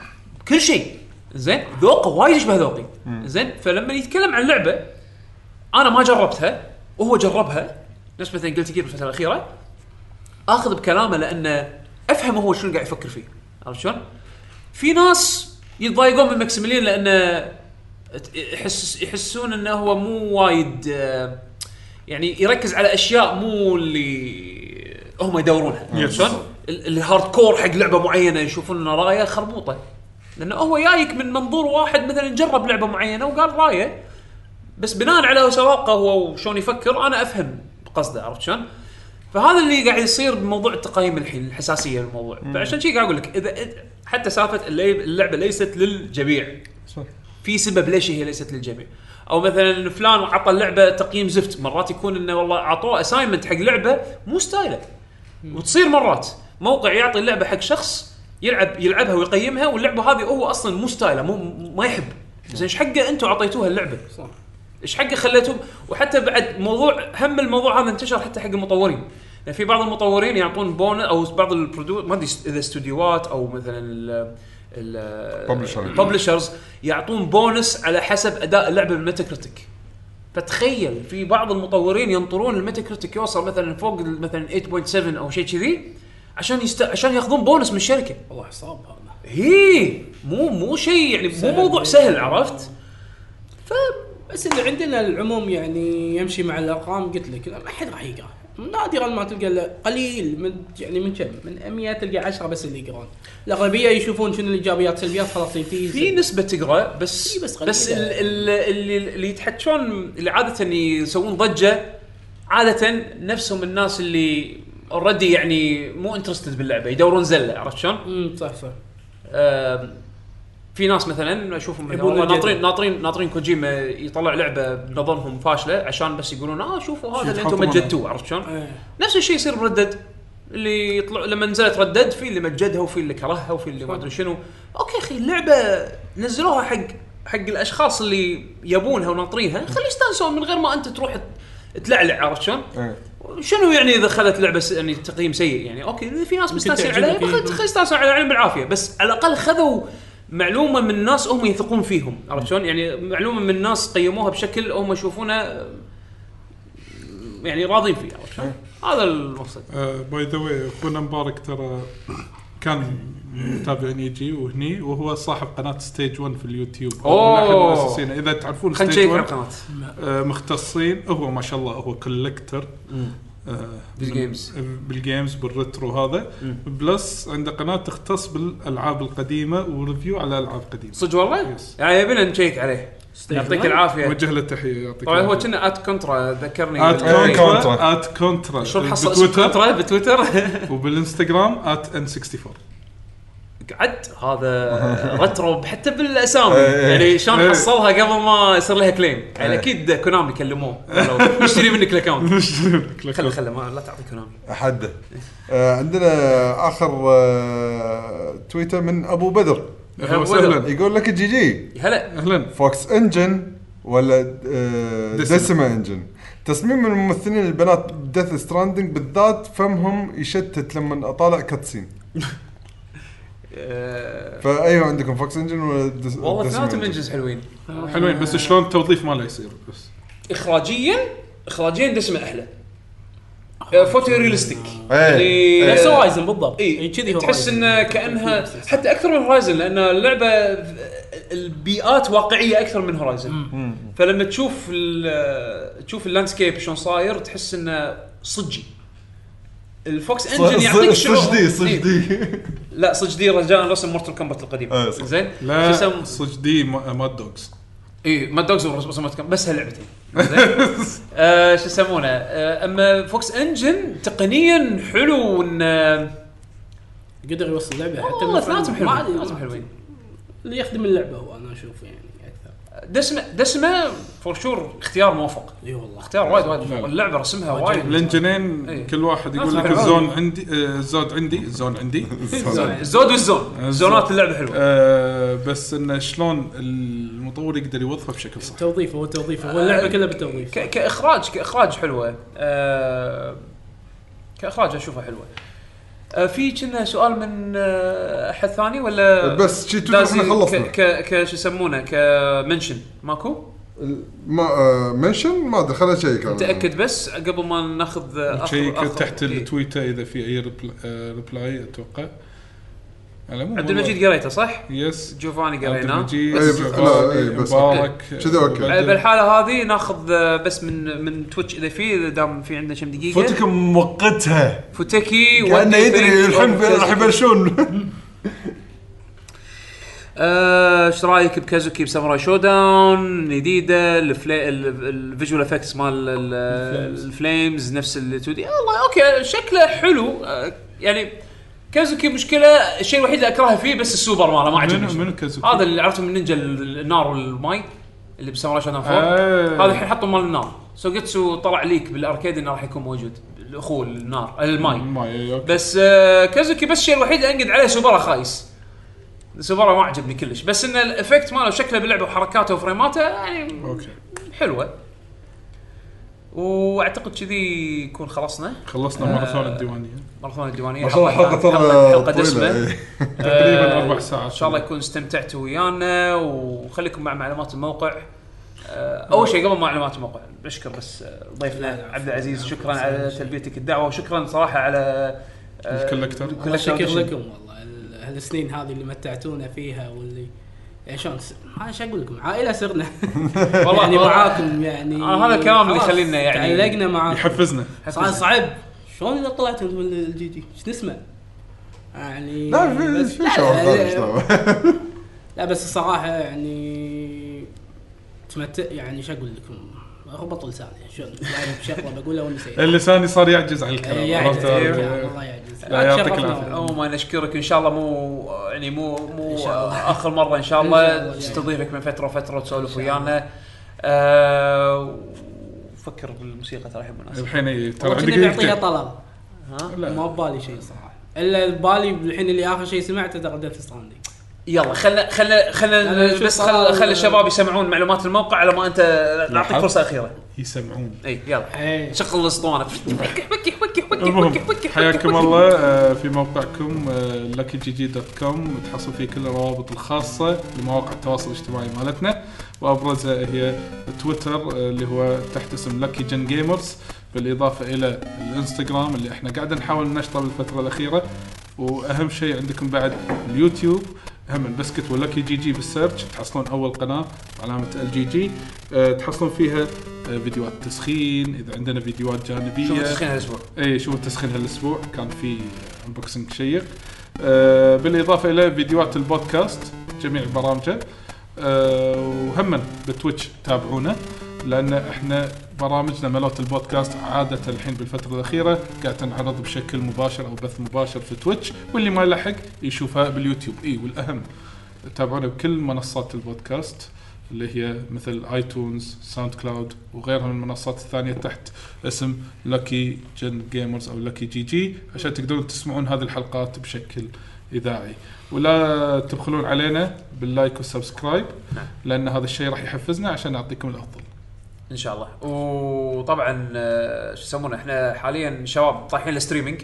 S1: كل شيء زين ذوقه وايد يشبه ذوقي زين فلما يتكلم عن لعبه انا ما جربتها وهو جربها نفس مثلا قلت كثير بالفتره الاخيره اخذ بكلامه لانه افهم هو شنو قاعد يفكر فيه عرفت شلون؟ في ناس يتضايقون من ماكسيميليان لانه ت- يحس يحسون انه هو مو وايد آه، يعني يركز على اشياء مو اللي هم يدورونها عرفت شلون؟ ال- الهارد كور حق لعبه معينه يشوفون ان رايه خربوطه لانه هو جايك من منظور واحد مثلا جرب لعبه معينه وقال رايه بس بناء على سواقه هو وشلون يفكر انا افهم قصده عرفت شلون؟ فهذا اللي قاعد يصير بموضوع التقييم الحين الحساسيه للموضوع فعشان شي قاعد اقول لك اذا إذا- حتى سالفه اللي- اللعبه ليست للجميع في سبب ليش هي ليست للجميع او مثلا فلان عطى اللعبه تقييم زفت مرات يكون انه والله اعطوه اساينمنت حق لعبه مو ستايله وتصير مرات موقع يعطي اللعبه حق شخص يلعب يلعبها ويقيمها واللعبه هذه هو اصلا مو ستايله مو ما يحب زين ايش حقه انتم اعطيتوها اللعبه؟ ايش حقه خليتهم وحتى بعد موضوع هم الموضوع هذا انتشر حتى حق المطورين يعني في بعض المطورين يعطون بون او بعض البرودو ما ادري اذا استوديوهات او مثلا ال
S3: Publisher.
S1: الببلشرز يعطون بونس على حسب اداء اللعبه بالميتا كريتيك فتخيل في بعض المطورين ينطرون الميتا كريتيك يوصل مثلا فوق ال- مثلا 8.7 او شيء كذي عشان يست... عشان ياخذون بونس من الشركه
S4: والله عصاب هذا
S1: هي مو مو شيء يعني مو موضوع سهل عرفت
S4: بس اللي عندنا العموم يعني يمشي مع الارقام قلت لك ما حد راح يقرا نادرا ما تلقى إلا قليل من يعني من كم؟ من 100 تلقى 10 بس اللي يقرون الاغلبيه يشوفون شنو الايجابيات السلبيات خلاص ينتهي
S1: في نسبه تقرا بس
S4: إي بس قليلة.
S1: بس ال- ال- اللي اللي يتحكون اللي عاده يسوون ضجه عاده نفسهم الناس اللي اوريدي يعني مو انترستد باللعبه يدورون زله عرفت شلون؟
S4: امم صح صح
S1: آم، في ناس مثلا اشوفهم مثلاً
S4: يبون
S1: والله
S4: الجدل.
S1: ناطرين ناطرين ناطرين كوجيما يطلع لعبه بنظرهم فاشله عشان بس يقولون اه شوفوا هذا اللي انتم
S2: يتحطمون
S1: مجدتوه عرفت شلون؟
S4: إيه.
S1: نفس الشيء يصير بردد اللي يطلع لما نزلت ردد في اللي مجدها وفي اللي كرهها وفي اللي ما ادري شنو اوكي اخي اللعبه نزلوها حق حق الاشخاص اللي يبونها وناطرينها خليه يستانسون من غير ما انت تروح ت- تلعلع عرفت شلون؟
S3: إيه.
S1: شنو يعني اذا خذت لعبه س... يعني تقييم سيء يعني اوكي اذا في ناس مستانسين
S4: تعجبك
S1: عليها
S4: هي.
S1: خل- خل يستانسون عليها بالعافيه بس على الاقل خذوا معلومه من ناس هم يثقون فيهم عرفت شلون؟ يعني معلومه من ناس قيموها بشكل هم يشوفونه يعني راضين فيه عرفت شلون؟ هذا المقصد
S2: آه، باي ذا واي اخونا مبارك ترى كان متابعين يجي وهني وهو صاحب قناه ستيج 1 في اليوتيوب
S1: أوه.
S2: من أحد المؤسسين. اذا تعرفون
S1: خلينا
S2: Stage
S1: نشيك على
S2: 1
S1: القناه
S2: آه، مختصين هو ما شاء الله هو آه، كولكتر
S1: بالجيمز.
S2: بالجيمز بالريترو هذا بلس عنده قناه تختص بالالعاب القديمه وريفيو على العاب قديمه
S1: صدق والله؟
S2: Yes.
S1: يعني يبينا نشيك عليه يعطيك العافيه
S2: وجه له تحيه يعطيك
S1: طبعا هو
S2: العافية.
S1: كنا ات كونترا ذكرني
S2: ات
S1: بال-
S3: كونترا.
S2: كونترا ات كونترا
S1: شلون حصل اسم
S2: بتويتر
S1: كونترا بتويتر
S2: وبالانستغرام ات ان 64
S1: قعد هذا رترو حتى بالاسامي
S3: إيه.
S1: يعني شلون
S2: إيه.
S1: حصلها قبل ما يصير لها كليم يعني اكيد كونامي كلموه قالوا يشتري منك الاكونت خله خله ما لا تعطي كونامي
S3: حده آه عندنا اخر آه تويتر من ابو بدر
S2: اهلا وسهلا
S3: يقول لك جي جي
S1: هلا
S2: اهلا
S3: فوكس انجن ولا آه
S2: دسمة.
S3: دسمة انجن تصميم من الممثلين البنات ديث ستراندنج بالذات فمهم يشتت لما اطالع كاتسين
S1: آه،
S3: فايوه عندكم فوكس انجن ولا دس
S1: والله
S3: دسمة
S1: اثنيناتهم انجز حلوين
S2: حلوين بس شلون التوظيف ماله يصير بس
S1: اخراجيا اخراجيا دسمه احلى آه، فوتو ريالستيك
S3: إيه.
S1: يعني-
S4: نفس هورايزن بالضبط يعني
S1: اي
S4: كذي
S1: تحس
S4: هورايزن.
S1: ان كانها حتى اكثر من هورايزن لان اللعبه البيئات واقعيه اكثر من هورايزن فلما تشوف ال- تشوف اللاندسكيب شلون صاير تحس انه صجي الفوكس انجن يعطيك شعور إيه.
S3: صجدي صجدي
S1: لا صجدي رجاء رسم مورتل كومبات القديم
S3: إيه، صح.
S1: زين شو
S2: لا
S1: يسمون؟
S2: صدق دي ماد دوجز
S1: اي ماد دوجز ورسم مورتل كومبات بس هاللعبتين زين؟ آه، شو يسمونه آه، اما فوكس انجن تقنيا حلو انه
S4: قدر يوصل لعبه حتى
S1: والله
S4: من
S1: اثنيناتهم
S4: ما
S1: حلوين
S4: أدري،
S1: اثنيناتهم حلوين
S4: اللي يخدم اللعبه هو انا اشوف يعني اكثر
S1: دسمه دسمه فور شور اختيار موفق
S4: اي والله
S1: اختيار وايد وايد
S2: نعم.
S1: موفق اللعبه رسمها وايد إيه. آه،
S2: الانجنين كل واحد يقول لك
S1: حلو.
S2: الزون عندي آه، الزود عندي الزون عندي
S1: الزود والزون زونات اللعبه حلوه
S2: آه، بس انه شلون المطور يقدر يوظفه بشكل صح
S4: توظيف هو توظيف هو اللعبه كلها بالتوظيف
S1: ك- كاخراج كاخراج حلوه آه، كاخراج اشوفها حلوه آه، في كنا سؤال من آه، احد ثاني ولا
S3: بس شي تويتر
S1: دازي
S3: احنا خلصنا
S1: ك ك- ك شو يسمونه كمنشن ماكو
S3: ما آه منشن ما ادري خليني اشيك أنا.
S1: تاكد بس قبل ما ناخذ آه، آخر-
S2: شيء
S1: آخر-
S2: تحت
S1: إيه.
S2: التويتر اذا في اي ريبل- آه، ريبلاي اتوقع على العموم
S1: عبد
S2: والله.
S1: المجيد قريته صح؟
S2: يس
S1: جوفاني
S2: عبد
S1: قريناه
S2: المجيد
S3: إيه، لا، إيه،
S2: جباري،
S3: بس
S2: مبارك
S3: كذا أوكي.
S1: آه،
S2: بدر.
S1: بالحاله هذه ناخذ آه، بس من من تويتش اذا في اذا دام في عندنا كم دقيقه
S3: فوتك موقتها
S1: فوتكي
S3: كانه
S1: ودي
S3: يدري
S1: فيك
S3: الحين
S1: وكازوكي.
S3: راح يبلشون
S1: آه، ايش رايك بكازوكي بساموراي شو داون جديده الفلي... ال- الفيجوال افكتس مال ال- الفليمز نفس ال 2 دي والله اوكي شكله حلو آه، يعني كازوكي مشكله الشيء الوحيد اللي اكرهه فيه بس السوبر ماله ما عجبني
S2: منو منو كازوكي؟
S1: هذا اللي عرفته من نينجا ال- النار والماي اللي بساموراي شو داون 4
S2: آه.
S1: هذا الحين حطوا مال النار سوجيتسو طلع ليك بالاركيد انه راح يكون موجود الاخو النار الماي
S2: ماي إيه، أوكي.
S1: بس آه، كازوكي بس الشيء الوحيد اللي انقد عليه سوبرا خايس سوبرا ما عجبني كلش بس ان الافكت ماله شكله باللعبه وحركاته وفريماته يعني
S2: اوكي
S1: حلوه واعتقد كذي يكون خلصنا
S2: خلصنا
S4: آه.
S2: ماراثون الديوانيه
S1: مره ثانيه الديوانيه
S3: ما شاء الله
S1: حلقة-
S3: الحلقه ترى
S1: حلقة- حلقه
S3: طويله
S1: دسمه
S3: إيه.
S2: تقريبا
S1: آه،
S2: اربع ساعات
S1: ان شاء الله يكون استمتعتوا ويانا وخليكم مع معلومات الموقع آه، اول شيء قبل معلومات الموقع بشكر بس آه، ضيفنا عبد العزيز شكرا على تلبيتك الدعوه وشكرا صراحه على آه،
S2: الكولكتر.
S1: الكولكتر.
S4: كل شكر لكم والله ال- هالسنين هذه اللي متعتونا فيها واللي يعني شلون س- ما ايش اقول لكم عائله صرنا
S1: والله-
S4: والله يعني معاكم يعني
S1: آه، هذا الكلام اللي
S4: خلاص،
S1: يخلينا يعني-
S4: تعلقنا معاكم
S2: يحفزنا
S4: صار صعب شلون اذا طلعت انتم من الجي جي ايش نسمع؟ يعني
S3: لا في
S4: بس-
S3: في
S4: لا،
S3: شعور
S4: لا،
S3: ثاني
S4: لا.
S3: شلون.
S4: لا بس الصراحه يعني تمت يعني شو اقول لكم ربط لساني شلون يعني بشغله بقولها ونسيت
S2: اللساني صار يعجز على الكلام
S4: يعجز
S2: عرفت؟
S4: يعني الله يعجز
S2: لا، يعطيك
S4: شرفنا
S2: العافية.
S4: والله.
S1: عموما نشكرك ان شاء الله مو يعني مو مو
S4: إن شاء الله.
S1: اخر مره ان شاء
S4: إن شاء
S1: الله
S4: الله،
S1: تستضيفك من فتره وفتره وتسولف
S4: إن شاء الله.
S1: ويانا آه، وفكر بالموسيقى ترى هي مناسبه
S2: الحين إيه، ترى
S4: والله
S2: عندك
S4: كنا بنعطيها
S2: دقيقتين
S4: طلب
S2: لا.
S4: ما ببالي شيء صراحه الا ببالي الحين اللي اخر شيء سمعته تغديت ستراندي
S1: يلا خلنا خلنا
S4: أنا
S1: خلنا
S4: أشوف
S1: بس
S4: صراحة-
S1: خل خل الشباب يسمعون معلومات الموقع على ما انت نعطيك
S2: لاحظت؟
S1: فرصه اخيره
S2: يسمعون
S1: اي يلا شغل الاسطوانه
S2: المهم حياكم الله آه، في موقعكم آه، لكي جي جي دوت كوم تحصل فيه كل الروابط الخاصه لمواقع التواصل الاجتماعي مالتنا وابرزها هي تويتر آه، اللي هو تحت اسم لكي جن جيمرز بالاضافه الى الانستغرام اللي احنا قاعد نحاول ننشطه بالفتره الاخيره واهم شيء عندكم بعد اليوتيوب هم البسكت واللكي جي جي بالسيرش تحصلون اول قناه علامه ال جي جي أه، تحصلون فيها أه، فيديوهات تسخين اذا عندنا فيديوهات جانبيه
S1: شوف تسخين هالاسبوع
S2: اي شوفوا إيه، التسخين هالاسبوع كان في انبوكسنج شيق آه بالاضافه الى فيديوهات البودكاست جميع برامجه آه وهم بتويتش تابعونا لان احنا برامجنا ملوت البودكاست عاده الحين بالفتره الاخيره قاعد تنعرض بشكل مباشر او بث مباشر في تويتش واللي ما لحق يشوفها باليوتيوب اي والاهم تابعونا بكل منصات البودكاست اللي هي مثل ايتونز ساوند كلاود وغيرها من المنصات الثانيه تحت اسم لكي جن جيمرز او لكي جي جي عشان تقدرون تسمعون هذه الحلقات بشكل اذاعي ولا تبخلون علينا باللايك والسبسكرايب
S1: نعم.
S2: لان هذا الشيء راح يحفزنا عشان نعطيكم الافضل
S1: ان شاء الله وطبعا آه، شو يسمونه احنا حاليا شباب طايحين الستريمينج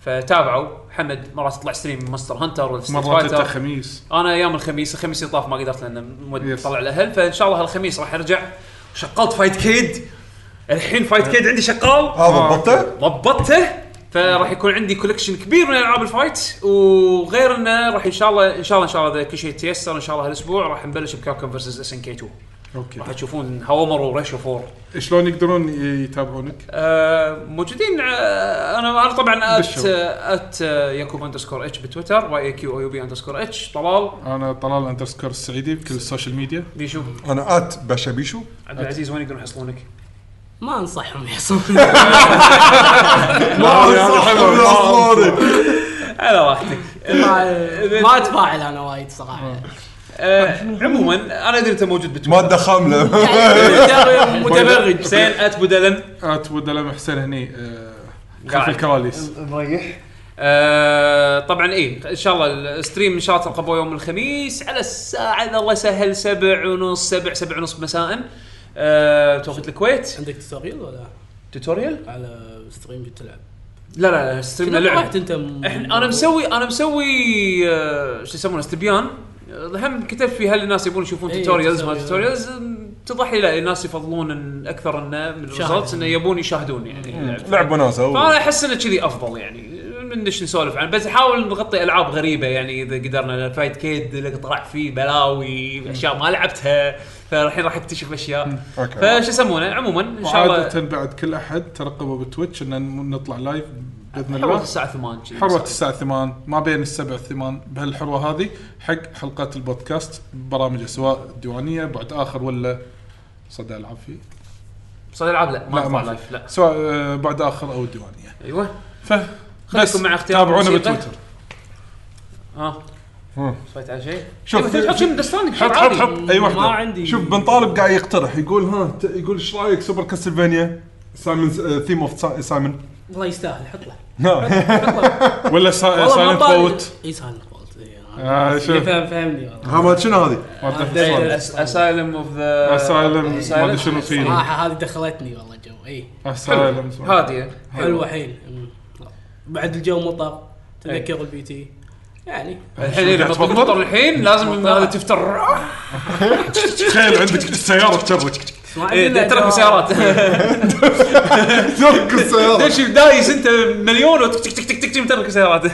S1: فتابعوا محمد مرات يطلع ستريم من مونستر هانتر ولا ستريت
S2: مرات
S1: فايتر.
S2: حتى خميس
S1: انا ايام الخميس الخميس اللي طاف ما قدرت لان مود
S2: Yes.
S1: طلع الاهل فان شاء الله هالخميس راح ارجع شغلت فايت كيد الحين فايت كيد عندي شغال
S3: هذا ضبطه
S1: ضبطته فراح يكون عندي كولكشن كبير من العاب الفايت وغير انه راح ان شاء الله ان شاء الله ان شاء الله اذا كل شيء تيسر ان شاء الله هالاسبوع راح نبلش بكابكم فيرسز اس ان كي 2
S2: اوكي
S1: راح تشوفون هاومر وريشو 4
S2: شلون يقدرون يتابعونك؟
S1: آه، موجودين آه، انا انا طبعا ات
S2: بالشو.
S1: ات آه، ياكوب اندرسكور اتش بتويتر واي كيو او بي اندرسكور اتش طلال
S2: انا طلال اندرسكور السعيدي بكل السوشيال ميديا
S1: بيشو
S3: انا ات باشا بيشو
S1: عبد العزيز وين يقدرون يحصلونك؟
S4: ما انصحهم يحصلون
S3: لا صح لا
S1: على راحتك
S4: ما ما اتفاعل انا وايد صراحه
S1: آه، عموما انا ادري انت موجود بتويتر إيه،
S3: ماده خامله
S4: يعني متبرج
S1: حسين ات بودلم
S2: ات ودلم حسين هني آه، خلف
S1: قاعد.
S2: الكواليس
S1: آه، طبعا ايه ان شاء الله الستريم ان شاء الله ترقبوه يوم الخميس على الساعه اذا الله سهل سبع ونص سبع سبع ونص مساء آه، توقيت الكويت
S4: عندك تسريل ولا
S1: توتوريال
S4: على ستريم تلعب
S1: لا لا لا ستريمنا
S4: كنا
S1: لعبه
S4: رحت انت م-
S1: احنا انا مسوي انا مسوي آه، شو يسمونه استبيان آه، هم كتبت في هل الناس يبون يشوفون
S4: إيه،
S1: توتوريالز ما
S4: تسوي-
S1: توتوريالز اتضح لي لا الناس يفضلون إن اكثر انه من
S4: شاهد.
S1: الريزلتس انه يبون يشاهدون
S4: إيه.
S1: يعني اللعب.
S3: لعب وناسه
S1: فانا احس انه كذي افضل يعني مندش نسولف عنه بس نحاول نغطي العاب غريبه يعني اذا قدرنا فايت كيد اللي طلع فيه بلاوي اشياء ما لعبتها فالحين راح اكتشف اشياء
S3: اوكي
S1: فشو يسمونه عموما ان شاء الله
S2: وعادة بعد كل احد ترقبوا بتويتش ان نطلع لايف باذن
S1: حوالي
S2: الله
S1: الساعه 8 شي.
S2: حروة الساعة 8 ما بين السبع ثمان بهالحروة هذه حق حلقات البودكاست برامجه سواء ديوانية بعد آخر ولا صدى ألعاب فيه
S1: صار العاب لا ما
S2: لا،
S1: نطلع
S2: ما في.
S1: لايف لا
S2: سواء آه، بعد آخر أو ديوانية
S1: ايوه
S2: ف بس
S1: خليكم مع اختيار
S2: تابعونا
S1: الموسيقى.
S2: بتويتر
S1: ها
S3: مم.
S1: سويت على شيء
S2: شوف،
S1: إيه، بس تحط شيء من دستانك
S2: حط حط حط أي
S4: ما
S2: واحدة
S4: عندي
S3: شوف بن طالب قاعد يقترح يقول ها ت- يقول ايش رايك سوبر كاستلفانيا سايمون آه، ثيم اوف سايمون
S4: الله يستاهل حط له
S2: ولا
S4: والله ما
S2: سايلنت
S4: طالب.
S2: فوت
S4: اي سايلنت فولت إي، إيه، أنا-
S2: آه،
S4: اللي
S2: شوف.
S4: فاهم- فاهمني والله
S3: ها ما شنو هذه؟
S1: اسايلم اوف ذا
S2: اسايلم ما ادري شنو فيه
S4: صراحه آه، هذه دخلتني والله جو اي
S2: آه، اسايلم
S1: هاديه
S4: حلوه حيل أمم. بعد الجو مطر
S2: إيه.
S4: تذكر البيتي يعني
S1: الحين إيه، لما
S2: قاعد تفكر؟
S1: تفطر الحين لازم من هذا تفتر
S2: تخيل عندك السيارة بشرك
S4: ما عندنا
S1: ايه ترك
S4: جو.
S1: سيارات
S3: ترك السياره
S1: ليش دايس انت مليون وتك تك تك تك تك مترك سيارات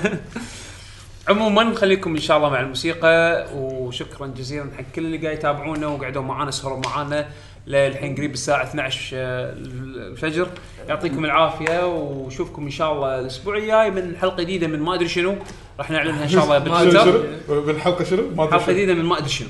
S1: عموما نخليكم ان شاء الله مع الموسيقى وشكرا جزيلا حق كل اللي قاعد يتابعونا وقعدوا معانا سهروا معانا للحين قريب الساعه 12 الفجر يعطيكم العافيه وشوفكم ان شاء الله الاسبوع الجاي من حلقه جديده من ما ادري شنو راح نعلنها ان شاء الله بالتويتر
S2: شنو؟ بالحلقة شنو؟ ما أدري
S1: حلقه
S2: شنو.
S1: جديده من ما ادري شنو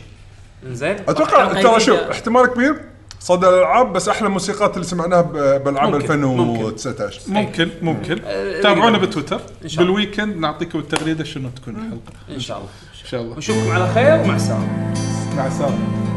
S1: انزين
S3: اتوقع
S4: حلقة
S3: ترى شوف
S4: جديدة.
S3: احتمال كبير صدى الالعاب بس احلى موسيقات اللي سمعناها ب- بالعاب
S1: ممكن،
S3: 2019
S2: ممكن ممكن
S1: أه،
S2: تابعونا بتويتر
S1: شاء الله.
S2: بالويكند نعطيكم التغريده شنو تكون الحلقه
S1: ان شاء الله
S2: ان شاء الله
S1: نشوفكم على خير ومع السلامه
S2: مع السلامه